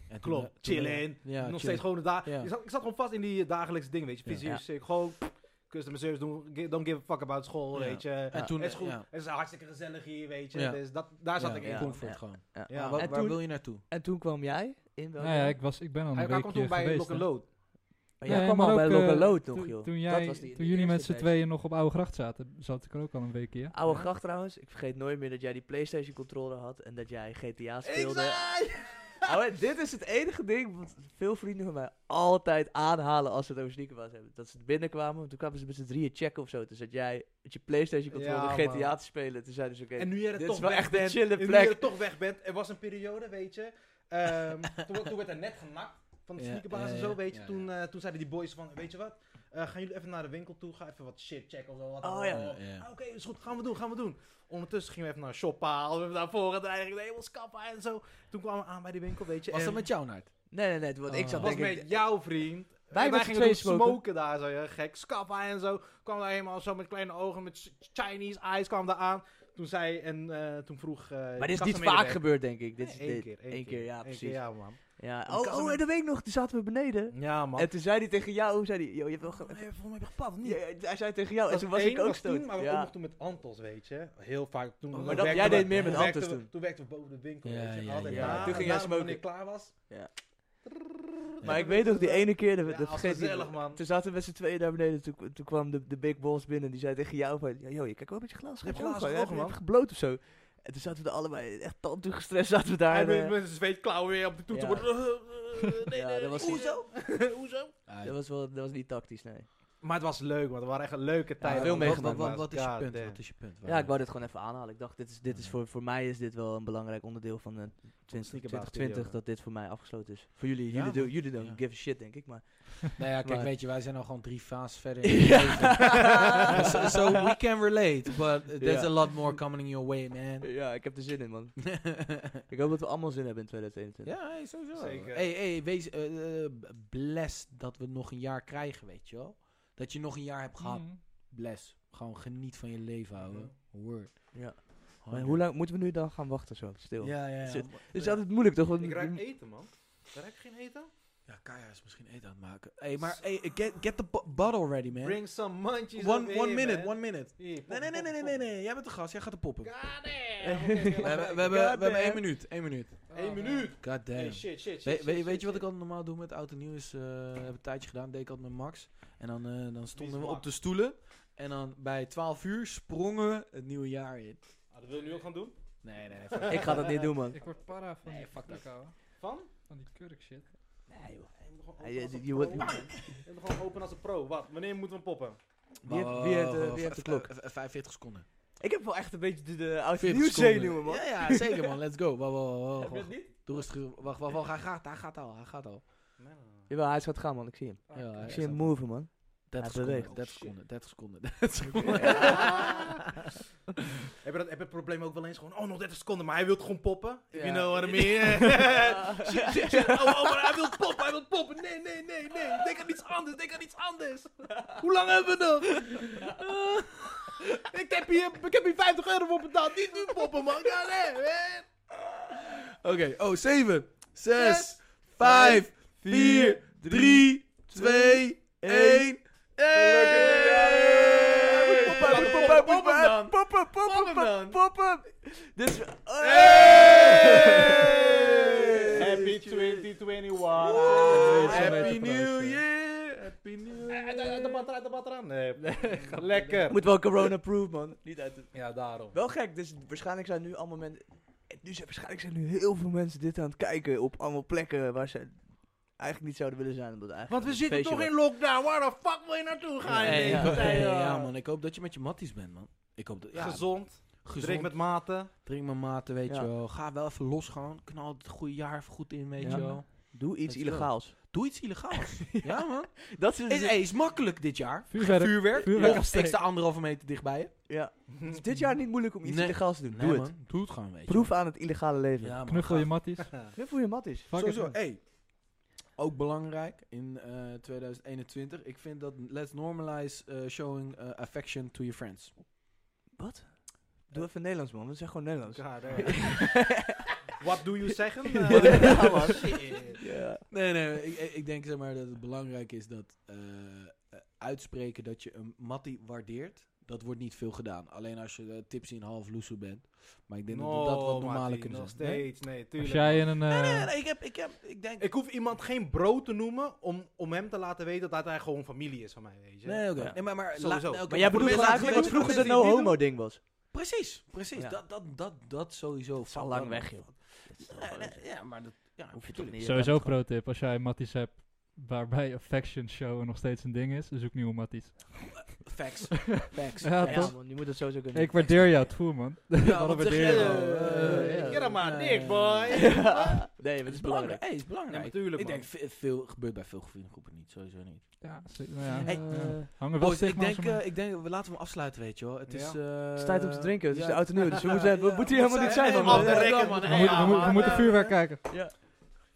Speaker 2: En toen- eh,
Speaker 4: Klopt,
Speaker 2: toen-
Speaker 4: chillen.
Speaker 2: Ja,
Speaker 4: nog
Speaker 2: chillen.
Speaker 4: steeds gewoon de dagen.
Speaker 2: Ja.
Speaker 4: Ik, zat, ik zat gewoon vast in die eh, dagelijkse ding, weet je.
Speaker 2: Ja.
Speaker 4: Fysiek, sick, gewoon pff, customer service doen. gi- Don't give a fuck about school,
Speaker 2: Ja.
Speaker 4: weet je. Het
Speaker 2: En toen, eh,
Speaker 4: is goed.
Speaker 2: ja,
Speaker 4: Het is hartstikke gezellig hier, weet je.
Speaker 2: Ja.
Speaker 4: Dus dat, daar zat
Speaker 2: ja,
Speaker 4: ik in.
Speaker 3: ja.
Speaker 4: Hij-
Speaker 2: comfort gewoon.
Speaker 3: Ja.
Speaker 4: Ja.
Speaker 2: Maar
Speaker 3: En
Speaker 2: waar, waar
Speaker 3: toen-
Speaker 2: wil je naartoe?
Speaker 3: En toen kwam jij in welk
Speaker 1: Nou ja,
Speaker 3: jaar?
Speaker 1: ik, was, ik ben al een
Speaker 4: Hij, kwam
Speaker 1: weekje
Speaker 4: toen bij
Speaker 1: geweest.
Speaker 4: Lock
Speaker 1: hè.
Speaker 4: Load.
Speaker 3: Maar Oh, jij
Speaker 1: Nee,
Speaker 3: kwam
Speaker 1: maar
Speaker 3: al bij
Speaker 1: ook, eh,
Speaker 3: Local Load nog,
Speaker 1: toen-
Speaker 3: joh.
Speaker 1: Toen,
Speaker 3: Dat
Speaker 1: jij,
Speaker 3: was die- die
Speaker 1: toen jullie met
Speaker 3: eerste
Speaker 1: z'n
Speaker 3: feest.
Speaker 1: tweeën nog op Oude Gracht zaten, zat ik er ook al een weekje. ja.
Speaker 3: Oude
Speaker 1: Ja.
Speaker 3: gracht trouwens, ik vergeet nooit meer dat jij die Playstation controller had en dat jij GTA speelde.
Speaker 4: Exact!
Speaker 3: Ouwe, dit is het enige ding wat veel vrienden van mij altijd aanhalen als ze het over sneakerbaas hebben. Dat ze binnenkwamen, want toen kwamen ze met z'n drieën checken of zo. Toen zat jij met je Playstation controller
Speaker 4: Ja,
Speaker 3: GTA
Speaker 4: man.
Speaker 3: te spelen. Toen zeiden ze oké,
Speaker 4: En nu jij er
Speaker 3: dit
Speaker 4: toch
Speaker 3: is wel
Speaker 4: weg
Speaker 3: echt een
Speaker 4: bent.
Speaker 3: chille
Speaker 4: En nu je
Speaker 3: plek.
Speaker 4: er toch weg bent, er was een periode, weet je. ehm, toen, toen werd er net genakt van de
Speaker 2: Ja,
Speaker 4: sneakerbaas
Speaker 2: ja,
Speaker 4: en zo,
Speaker 2: ja,
Speaker 4: weet je.
Speaker 2: ja,
Speaker 4: Toen, eh, toen zeiden die boys van, weet je wat, eh, gaan jullie even naar de winkel toe, ga even wat shit checken of zo. Wat
Speaker 3: Oh,
Speaker 4: dan
Speaker 3: ja.
Speaker 4: ook.
Speaker 2: Ja, ja.
Speaker 4: Ah, Oké, is goed, gaan we doen, gaan we doen. Ondertussen gingen we even naar Shoppa, hadden we daarvoor het eigenlijk helemaal skappen en zo. Toen kwamen we aan bij die winkel, weet je.
Speaker 2: Was
Speaker 4: en
Speaker 2: dat met jou, Naart?
Speaker 3: Nee, nee, nee, want ik
Speaker 1: Oh.
Speaker 3: zat
Speaker 4: was
Speaker 3: denk
Speaker 4: met
Speaker 3: ik...
Speaker 4: jouw vriend.
Speaker 3: Wij
Speaker 4: En
Speaker 3: met z'n
Speaker 4: gingen
Speaker 3: tweeën
Speaker 4: toen
Speaker 3: smoken.
Speaker 4: daar zo, ja, gek. Skappa en zo. Kwam daar helemaal zo met kleine ogen, met Ch- Chinese eyes kwam daar aan. Toen zei en eh, toen vroeg... eh,
Speaker 3: Maar dit is niet
Speaker 4: kassamedewerker-
Speaker 3: vaak gebeurd, denk ik. Dit is
Speaker 4: Nee, één
Speaker 3: dit.
Speaker 4: keer, één
Speaker 3: Eén keer, ja,
Speaker 4: Eén
Speaker 3: precies.
Speaker 4: ja, man.
Speaker 3: Ja.
Speaker 4: Een
Speaker 3: Oh,
Speaker 4: kassa
Speaker 3: oh,
Speaker 4: met-
Speaker 3: en dat weet ik nog, toen zaten we beneden.
Speaker 4: Ja, man.
Speaker 3: En toen zei hij tegen jou, zei hij, yo, je hebt wel... ge-
Speaker 4: Volgens mij heb je gepad, of niet?
Speaker 3: Ja, ja, hij zei tegen jou, en
Speaker 4: Dat
Speaker 3: toen
Speaker 4: was
Speaker 3: was ik
Speaker 4: één,
Speaker 3: ook
Speaker 4: was
Speaker 3: stoot.
Speaker 4: tien, maar we
Speaker 3: Ja.
Speaker 4: konden toen met Antos, weet je. Heel vaak. Toen
Speaker 2: Oh, maar
Speaker 4: toen
Speaker 2: dat-
Speaker 4: werkten
Speaker 2: jij
Speaker 4: we-
Speaker 3: deed meer met
Speaker 4: werkten
Speaker 3: Antos
Speaker 4: we-
Speaker 3: toen.
Speaker 4: Toen werkten we boven de winkel,
Speaker 2: Ja,
Speaker 4: weet je.
Speaker 2: ja,
Speaker 4: Altijd
Speaker 2: ja.
Speaker 4: daar.
Speaker 2: Toen
Speaker 3: ging
Speaker 4: En
Speaker 3: jij
Speaker 4: daarna, wanneer
Speaker 3: smoken.
Speaker 4: ik klaar was.
Speaker 3: Ja. Maar
Speaker 4: Ja.
Speaker 3: ik weet nog die ene keer, dat,
Speaker 4: Ja,
Speaker 3: dat
Speaker 4: als
Speaker 3: vergeet ik niet.
Speaker 4: gezellig, man.
Speaker 3: Toen zaten we met z'n tweeën daar beneden, toen, toen kwam de, de big boss binnen, die zei tegen jou van, "Ja, yo, je kijkt wel een beetje glazig
Speaker 4: Je hebt
Speaker 3: uit je ogen,
Speaker 4: glazige
Speaker 3: je hebt-
Speaker 4: ogen,
Speaker 3: je
Speaker 4: man."
Speaker 3: hebt gebloot of zo. En toen zaten we er allebei, echt tand gestrest zaten we daar.
Speaker 4: Hij
Speaker 3: en,
Speaker 4: met
Speaker 3: eh,
Speaker 4: met zijn zweetklauwen weer op de toeter.
Speaker 3: Ja.
Speaker 4: Nee,
Speaker 3: Ja,
Speaker 4: nee,
Speaker 3: dat was-
Speaker 4: hoezo? Hoezo?
Speaker 3: dat, was wel, dat was niet tactisch, nee.
Speaker 4: Maar het was leuk, want het waren echt een leuke tijden.
Speaker 3: veel
Speaker 2: wat,
Speaker 4: man.
Speaker 3: meegemaakt,
Speaker 2: wat, wat,
Speaker 4: man.
Speaker 2: wat is je
Speaker 4: God
Speaker 2: punt?
Speaker 4: damn.
Speaker 2: Wat is je punt?
Speaker 3: Ja, ik wou dit gewoon even aanhalen. Ik dacht, dit is, dit is voor, voor mij is dit wel een belangrijk onderdeel van eh,
Speaker 4: Sneakerbaas
Speaker 3: 20 2020,
Speaker 4: periode.
Speaker 3: dat dit voor mij afgesloten is. Voor jullie,
Speaker 2: Ja,
Speaker 3: jullie,
Speaker 2: man.
Speaker 3: do- jullie don't
Speaker 2: Ja.
Speaker 3: give a shit, denk ik, maar...
Speaker 2: Nou ja, kijk,
Speaker 3: Maar-
Speaker 2: weet je, wij zijn al gewoon drie fases verder. In het
Speaker 3: Ja.
Speaker 2: leven. Dus, eh, so, so we can relate, but there's
Speaker 3: Ja.
Speaker 2: a lot more coming your way, man.
Speaker 3: Ja, ik heb er zin in, man. Ik hoop dat we allemaal zin hebben in 2021.
Speaker 2: ja, hey, sowieso.
Speaker 4: Zeker.
Speaker 2: Hey, hey, wees eh, eh, b- blessed dat we nog een jaar krijgen, weet je wel. Dat je nog een jaar hebt gehad.
Speaker 1: Mm.
Speaker 2: Bless. Gewoon geniet van je leven, ouwe. Word.
Speaker 3: Ja. Maar
Speaker 2: Honderd.
Speaker 3: hoe lang moeten we nu dan gaan wachten zo? Stil.
Speaker 2: Ja, ja, ja.
Speaker 3: Zit- Het is altijd moeilijk toch? Want
Speaker 4: Ik ruik
Speaker 3: je-
Speaker 4: eten, man. Ruik ik geen eten?
Speaker 2: Ja, Kaya is misschien eten aan het maken. Hey, maar hey, get, get the bo- bottle ready, man.
Speaker 4: Bring some munchies
Speaker 2: one
Speaker 4: over
Speaker 2: one
Speaker 4: here,
Speaker 2: minute,
Speaker 4: man.
Speaker 2: one minute.
Speaker 4: Hier, pop,
Speaker 2: Nee, nee, nee,
Speaker 4: pop,
Speaker 2: nee,
Speaker 4: pop.
Speaker 2: nee, nee. Jij bent de gast, jij gaat de poppen.
Speaker 4: God
Speaker 2: We
Speaker 4: damn. Oké, laat
Speaker 2: hebben, we
Speaker 4: maar.
Speaker 2: hebben,
Speaker 4: God
Speaker 2: we hebben
Speaker 4: damn.
Speaker 2: één minuut, één minuut.
Speaker 4: Eén minuut.
Speaker 2: God damn.
Speaker 4: Hey, shit, shit, shit.
Speaker 2: We-
Speaker 4: shit,
Speaker 2: we-
Speaker 4: shit,
Speaker 2: weet je wat ik
Speaker 4: shit.
Speaker 2: altijd normaal doe met oud en nieuw? Is, eh, heb een tijdje gedaan, deed ik altijd met Max. En dan, eh, dan stonden we
Speaker 4: Max?
Speaker 2: op de stoelen. En dan bij 12 uur sprongen we het nieuwe jaar in.
Speaker 4: Ah, dat wil je nu ook gaan doen?
Speaker 2: Nee, nee, nee.
Speaker 3: Ik ga dat niet doen, man.
Speaker 1: Ik word para van
Speaker 3: Nee,
Speaker 1: die
Speaker 3: fuck dat.
Speaker 1: fuck ouwe.
Speaker 4: Van?
Speaker 1: Van die kurk shit.
Speaker 3: Nee, joh.
Speaker 4: Hey, je moet gewoon
Speaker 3: Ja,
Speaker 4: open
Speaker 2: eh,
Speaker 3: je-
Speaker 4: als een
Speaker 3: je wordt-
Speaker 4: pro. Je moet gewoon open als een pro. Wat? Wanneer moeten we hem poppen?
Speaker 3: Wie heeft- wie heeft, eh, wie heeft de klok?
Speaker 2: 45 seconden.
Speaker 3: Ik heb wel echt een beetje de, de oude
Speaker 2: 40
Speaker 3: nieuwzenuwen, man.
Speaker 2: Ja, ja, zeker man. Let's go. Wow, wow, wow,
Speaker 4: Heb
Speaker 2: wow.
Speaker 4: je het niet?
Speaker 2: Doe rustig. Wacht, wacht, wacht. Hij gaat, hij gaat al. Hij gaat al.
Speaker 4: Nee, nee, nee.
Speaker 3: Jawel, hij is aan het gaan, man. Ik zie hem.
Speaker 1: Ah,
Speaker 2: Ja,
Speaker 1: kut.
Speaker 3: Ik
Speaker 2: hij
Speaker 3: zie hem
Speaker 2: is
Speaker 3: moven, man.
Speaker 2: 30
Speaker 3: Hij
Speaker 2: seconden,
Speaker 3: beweegt.
Speaker 2: 30
Speaker 4: Oh,
Speaker 2: seconden, 30 seconden, 30 seconden.
Speaker 4: Heb je, dat, heb je het probleem ook wel eens gewoon, oh nog 30 seconden, maar hij wil gewoon poppen? If
Speaker 2: Ja.
Speaker 4: you know what I mean? shit, shit, shit. Oh, oh, maar hij wil poppen, hij wil poppen. Nee, nee, nee, nee. Denk aan iets anders, denk aan iets anders. Hoe lang hebben we nog? Eh, ik, heb hier, ik heb hier 50 euro voor betaald. Niet nu poppen, man. Ja, nee, man.
Speaker 2: Oké, oh, 7, 6, 5, 4, 3, 2, 1.
Speaker 3: Poppen, poppen, poppen, poppen, poppen, poppen, poppen. Eh. Dit is...
Speaker 4: Happy 2021.
Speaker 2: Happy
Speaker 1: weten trouwens,
Speaker 2: New
Speaker 1: ja.
Speaker 2: Year! Happy New Year!
Speaker 4: Eh, Uit, uit, uit de batra, uit de batra. Nee, lekker.
Speaker 3: Moet wel corona-proof, man. Niet uit de-
Speaker 4: Ja, daarom.
Speaker 3: Wel gek, dus waarschijnlijk zijn nu allemaal mensen... Nu zijn, waarschijnlijk zijn nu heel veel mensen dit aan het kijken op allemaal plekken waar ze eigenlijk niet zouden willen zijn. Omdat het
Speaker 4: Want
Speaker 3: eigenlijk
Speaker 4: we
Speaker 3: een
Speaker 4: zitten
Speaker 3: feestje
Speaker 4: toch in lockdown. Waar de fuck wil je naartoe gaan? in
Speaker 3: Nee,
Speaker 4: deze
Speaker 3: ja.
Speaker 4: tijd, joh?
Speaker 2: ja, man, ik hoop dat je met je matties bent, man. Ik hoop dat, ja,
Speaker 4: Gezond.
Speaker 2: gezond.
Speaker 4: Drink met mate.
Speaker 2: Drink met maten, weet
Speaker 3: Ja.
Speaker 2: je wel. Ga wel even los gewoon. Knal het goede jaar even goed in, weet
Speaker 3: Ja.
Speaker 2: je wel.
Speaker 3: wordt. Doe iets
Speaker 2: Let's go.
Speaker 3: illegaals.
Speaker 2: Doe iets illegaals. ja. man.
Speaker 3: Dat is... dus
Speaker 2: Is, hey, is makkelijk dit jaar.
Speaker 1: Vuurwerk.
Speaker 2: Vuurwerk.
Speaker 1: Vuurwerk
Speaker 2: Of
Speaker 1: afsteken.
Speaker 2: ik sta anderhalve meter dichtbij je.
Speaker 3: ja. Het is dit jaar niet moeilijk om iets
Speaker 2: Nee.
Speaker 3: illegaals te doen.
Speaker 2: Nee,
Speaker 3: Doe het.
Speaker 2: man. Doe het gewoon, weet je
Speaker 3: Proef aan het illegale leven.
Speaker 2: wel. Ja, man.
Speaker 1: Knuffel je matties.
Speaker 3: Knuffel je mat is.
Speaker 1: Fuck it,
Speaker 2: Sowieso,
Speaker 1: man.
Speaker 2: hey. Ook belangrijk in eh, 2021. Ik vind dat let's normalize eh, showing eh, affection to your friends.
Speaker 3: Wat? Doe even Nederlands, man. Dat is echt gewoon Nederlands.
Speaker 4: God, eh. What do you zeggen? Eh,
Speaker 3: Ja, man.
Speaker 4: shit.
Speaker 3: Ja.
Speaker 2: Nee, nee, ik, ik- ik denk zeg maar dat het belangrijk is dat eh, eh, uitspreken dat je een mattie waardeert, dat wordt niet veel gedaan. Alleen als je eh, tipsy en half loesoe bent. Maar ik denk dat dat wat
Speaker 4: No,
Speaker 2: normaler
Speaker 4: Mattie,
Speaker 2: kunnen
Speaker 4: Nog
Speaker 2: zijn. Nee?
Speaker 4: steeds, nee, tuurlijk.
Speaker 1: Als jij in een... eh,
Speaker 2: Nee, nee, nee, ik heb, ik heb, ik denk...
Speaker 4: Ik hoef iemand geen bro te noemen om, om hem te laten weten dat hij gewoon familie is van mij, weet je.
Speaker 2: Nee, oké.
Speaker 3: Ja.
Speaker 2: Nee, maar, maar,
Speaker 4: Sowieso.
Speaker 2: nee, oké,
Speaker 3: Maar jij
Speaker 2: voor de mensen
Speaker 3: bedoelt eigenlijk
Speaker 2: die-
Speaker 3: wat
Speaker 2: voor
Speaker 3: vroeger de
Speaker 2: mensen die het niet
Speaker 3: no-homo-ding was.
Speaker 2: doen- Precies, precies.
Speaker 3: Ja.
Speaker 2: Dat, dat, dat, dat sowieso.
Speaker 3: is al lang weg, joh.
Speaker 2: Nee, nee, ja, maar dat... Ja,
Speaker 3: Hoef je toch
Speaker 2: Eh, tuurlijk.
Speaker 3: niet.
Speaker 1: Sowieso pro tip. Als jij matties hebt waarbij affection showen nog steeds een ding is, zoek nieuwe matties.
Speaker 2: Facts. Facts.
Speaker 1: Ja,
Speaker 3: Ja,
Speaker 1: toch?
Speaker 3: man. Je moet het sowieso kunnen.
Speaker 1: Ik waardeer jou, toe man.
Speaker 2: Ja,
Speaker 1: Waarom
Speaker 2: wat zeg
Speaker 1: waardeer je
Speaker 2: jij,
Speaker 1: jou?
Speaker 2: eh,
Speaker 3: Eh,
Speaker 2: eh,
Speaker 3: ja.
Speaker 4: Get him maar, niks, boy.
Speaker 3: Ja. Nee, maar
Speaker 2: Het
Speaker 3: het is belangrijk.
Speaker 2: Hey, het is belangrijk.
Speaker 4: Ja, natuurlijk,
Speaker 2: ik
Speaker 4: man.
Speaker 2: denk, ve- veel gebeurt bij veel vriendengroepen niet, sowieso niet.
Speaker 1: Ja, ze- nou ja,
Speaker 2: Hey,
Speaker 1: ja.
Speaker 3: Eh,
Speaker 1: hangen wel
Speaker 2: Boys, ik,
Speaker 1: stigma's
Speaker 2: denk,
Speaker 1: omheen.
Speaker 2: eh, ik denk, we laten hem afsluiten, weet je wel. Het
Speaker 4: Ja.
Speaker 2: is... eh,
Speaker 3: Het is tijd om te drinken. Het is
Speaker 2: ja.
Speaker 3: de auto nieuw, dus we moeten, we moeten hier
Speaker 2: Wat
Speaker 3: helemaal niet
Speaker 2: zei-
Speaker 3: zijn,
Speaker 2: hey,
Speaker 3: man.
Speaker 4: man,
Speaker 3: Ja,
Speaker 4: rekken,
Speaker 3: man.
Speaker 1: we, moeten-
Speaker 4: eh,
Speaker 1: we
Speaker 4: ja,
Speaker 1: moeten- we
Speaker 4: man,
Speaker 1: moeten
Speaker 4: eh,
Speaker 1: vuurwerk kijken.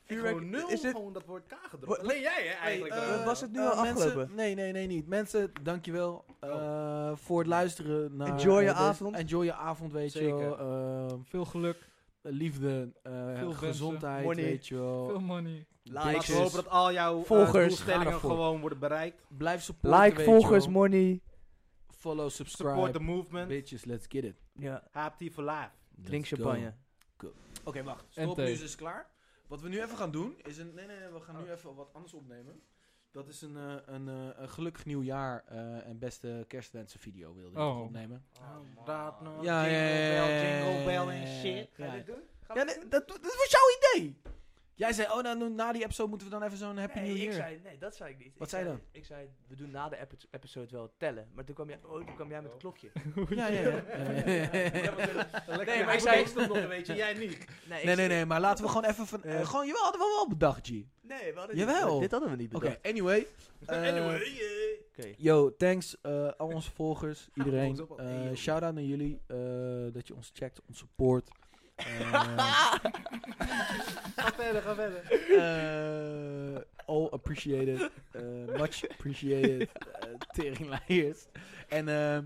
Speaker 4: Vuurwerk, gewoon nul,
Speaker 3: Is dit-
Speaker 4: gewoon dat woord K gedropt.
Speaker 3: Wat-
Speaker 4: Alleen jij, hè,
Speaker 2: Hey,
Speaker 4: eigenlijk.
Speaker 2: eh,
Speaker 4: eh,
Speaker 3: was het nu
Speaker 2: eh,
Speaker 3: al
Speaker 2: mensen-
Speaker 3: afgelopen?
Speaker 2: Nee, nee, nee, niet. Mensen, dankjewel eh,
Speaker 4: Oh.
Speaker 2: voor het luisteren naar...
Speaker 3: Enjoy je
Speaker 2: eh, deze-
Speaker 3: avond.
Speaker 2: Enjoy je avond, weet
Speaker 4: Zeker.
Speaker 2: je wel. Eh,
Speaker 1: Veel geluk,
Speaker 2: liefde, eh,
Speaker 1: wensen.
Speaker 2: gezondheid,
Speaker 3: Money.
Speaker 2: weet je wel.
Speaker 1: veel money.
Speaker 3: Likes.
Speaker 4: Laten we hopen dat al jouw eh,
Speaker 3: Volgers,
Speaker 2: ga
Speaker 4: doelstellingen
Speaker 2: ervoor.
Speaker 4: gewoon worden bereikt.
Speaker 2: Blijf supporten,
Speaker 3: Like,
Speaker 2: weet je
Speaker 3: volgers,
Speaker 2: wel.
Speaker 3: money.
Speaker 2: Follow,
Speaker 4: Support the
Speaker 2: subscribe.
Speaker 4: movement.
Speaker 2: Bitches, let's get it.
Speaker 3: Ja,
Speaker 4: Happy for life.
Speaker 3: drink
Speaker 2: Let's go.
Speaker 3: champagne.
Speaker 2: Oké, wacht.
Speaker 1: En
Speaker 2: Stop, nu
Speaker 1: thee.
Speaker 2: is het klaar. Wat we nu even gaan doen, is een... Nee, nee, nee, we gaan nu even wat anders opnemen. Dat is een, eh, een, eh, een gelukkig nieuwjaar eh, en beste kerstwensen video wilde ik
Speaker 1: Oh.
Speaker 2: nog opnemen. Oh,
Speaker 4: Praat nog.
Speaker 2: Ja, ja,
Speaker 4: jingle
Speaker 2: ja, ja,
Speaker 4: bell,
Speaker 2: ja,
Speaker 4: jingle bell
Speaker 2: ja,
Speaker 4: en
Speaker 2: ja,
Speaker 4: shit. Ga
Speaker 2: ja.
Speaker 4: je dit doen? Gaan we
Speaker 2: Ja,
Speaker 4: dit
Speaker 2: nee, dat, dat was jouw idee! Jij zei, oh, nou, na die episode moeten we dan even zo'n Happy
Speaker 3: Nee,
Speaker 2: New Year.
Speaker 3: ik zei, nee, dat zei ik niet.
Speaker 2: Wat
Speaker 3: ik
Speaker 2: zei je
Speaker 3: Ik zei, we doen na de epi- episode wel tellen. Maar toen kwam jij, oh, toen kwam jij met het klokje.
Speaker 2: Ja, ja, ja.
Speaker 4: Ja, maar lekker.
Speaker 3: Nee, maar
Speaker 4: Hij
Speaker 3: ik zei-
Speaker 4: beest hem nog, weet je. Jij niet.
Speaker 3: Nee, ik
Speaker 2: Nee, nee,
Speaker 3: zei-
Speaker 2: nee, maar laten we gewoon even van... eh, gewoon, jawel, hadden we wel bedacht, G.
Speaker 3: Nee, we hadden
Speaker 2: Jawel.
Speaker 3: Dit hadden we niet
Speaker 2: Oké,
Speaker 3: bedacht.
Speaker 2: anyway. eh,
Speaker 4: Anyway. eh.
Speaker 3: Oké.
Speaker 2: Yo, thanks eh, al onze volgers, iedereen.
Speaker 4: Volgens op-
Speaker 2: Eh,
Speaker 4: Hey, yo.
Speaker 2: Shout-out naar jullie eh, dat je ons checkt, ons support. Eh,
Speaker 4: Ga verder, ga verder.
Speaker 2: Eh, all appreciated. eh, much appreciated. eh, Teringleiers. En eh,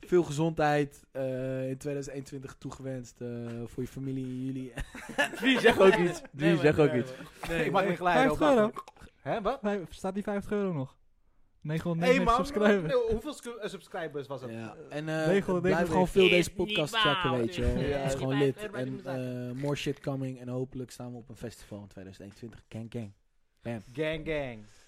Speaker 2: veel gezondheid eh, in 2021 toegewenst eh, voor je familie en jullie.
Speaker 3: Drie, zeg ook iets. Drie,
Speaker 4: Nee,
Speaker 3: zeg
Speaker 4: maar-
Speaker 3: ook iets.
Speaker 4: Nee, ik maak me gelijk.
Speaker 1: Vijf
Speaker 4: joh, maak me-
Speaker 1: euro.
Speaker 4: Hè, wat?
Speaker 1: Vijf- Staat die 50 euro nog? 999
Speaker 4: Hey man,
Speaker 1: subscribers.
Speaker 4: eh, hoeveel scu- eh, subscribers was het?
Speaker 2: Ja. En eh
Speaker 1: Regel- regel
Speaker 2: blijf gewoon
Speaker 1: even.
Speaker 2: veel
Speaker 5: Is
Speaker 2: deze
Speaker 5: niet
Speaker 2: podcast
Speaker 5: waar,
Speaker 2: checken, weet je
Speaker 5: dit.
Speaker 2: wel.
Speaker 3: Ja.
Speaker 2: Het is gewoon
Speaker 5: Ja.
Speaker 2: lit.
Speaker 5: Ja.
Speaker 2: En eh, more shit coming. En hopelijk staan we op een festival in 2021. Gang, gang.
Speaker 4: Gang, gang.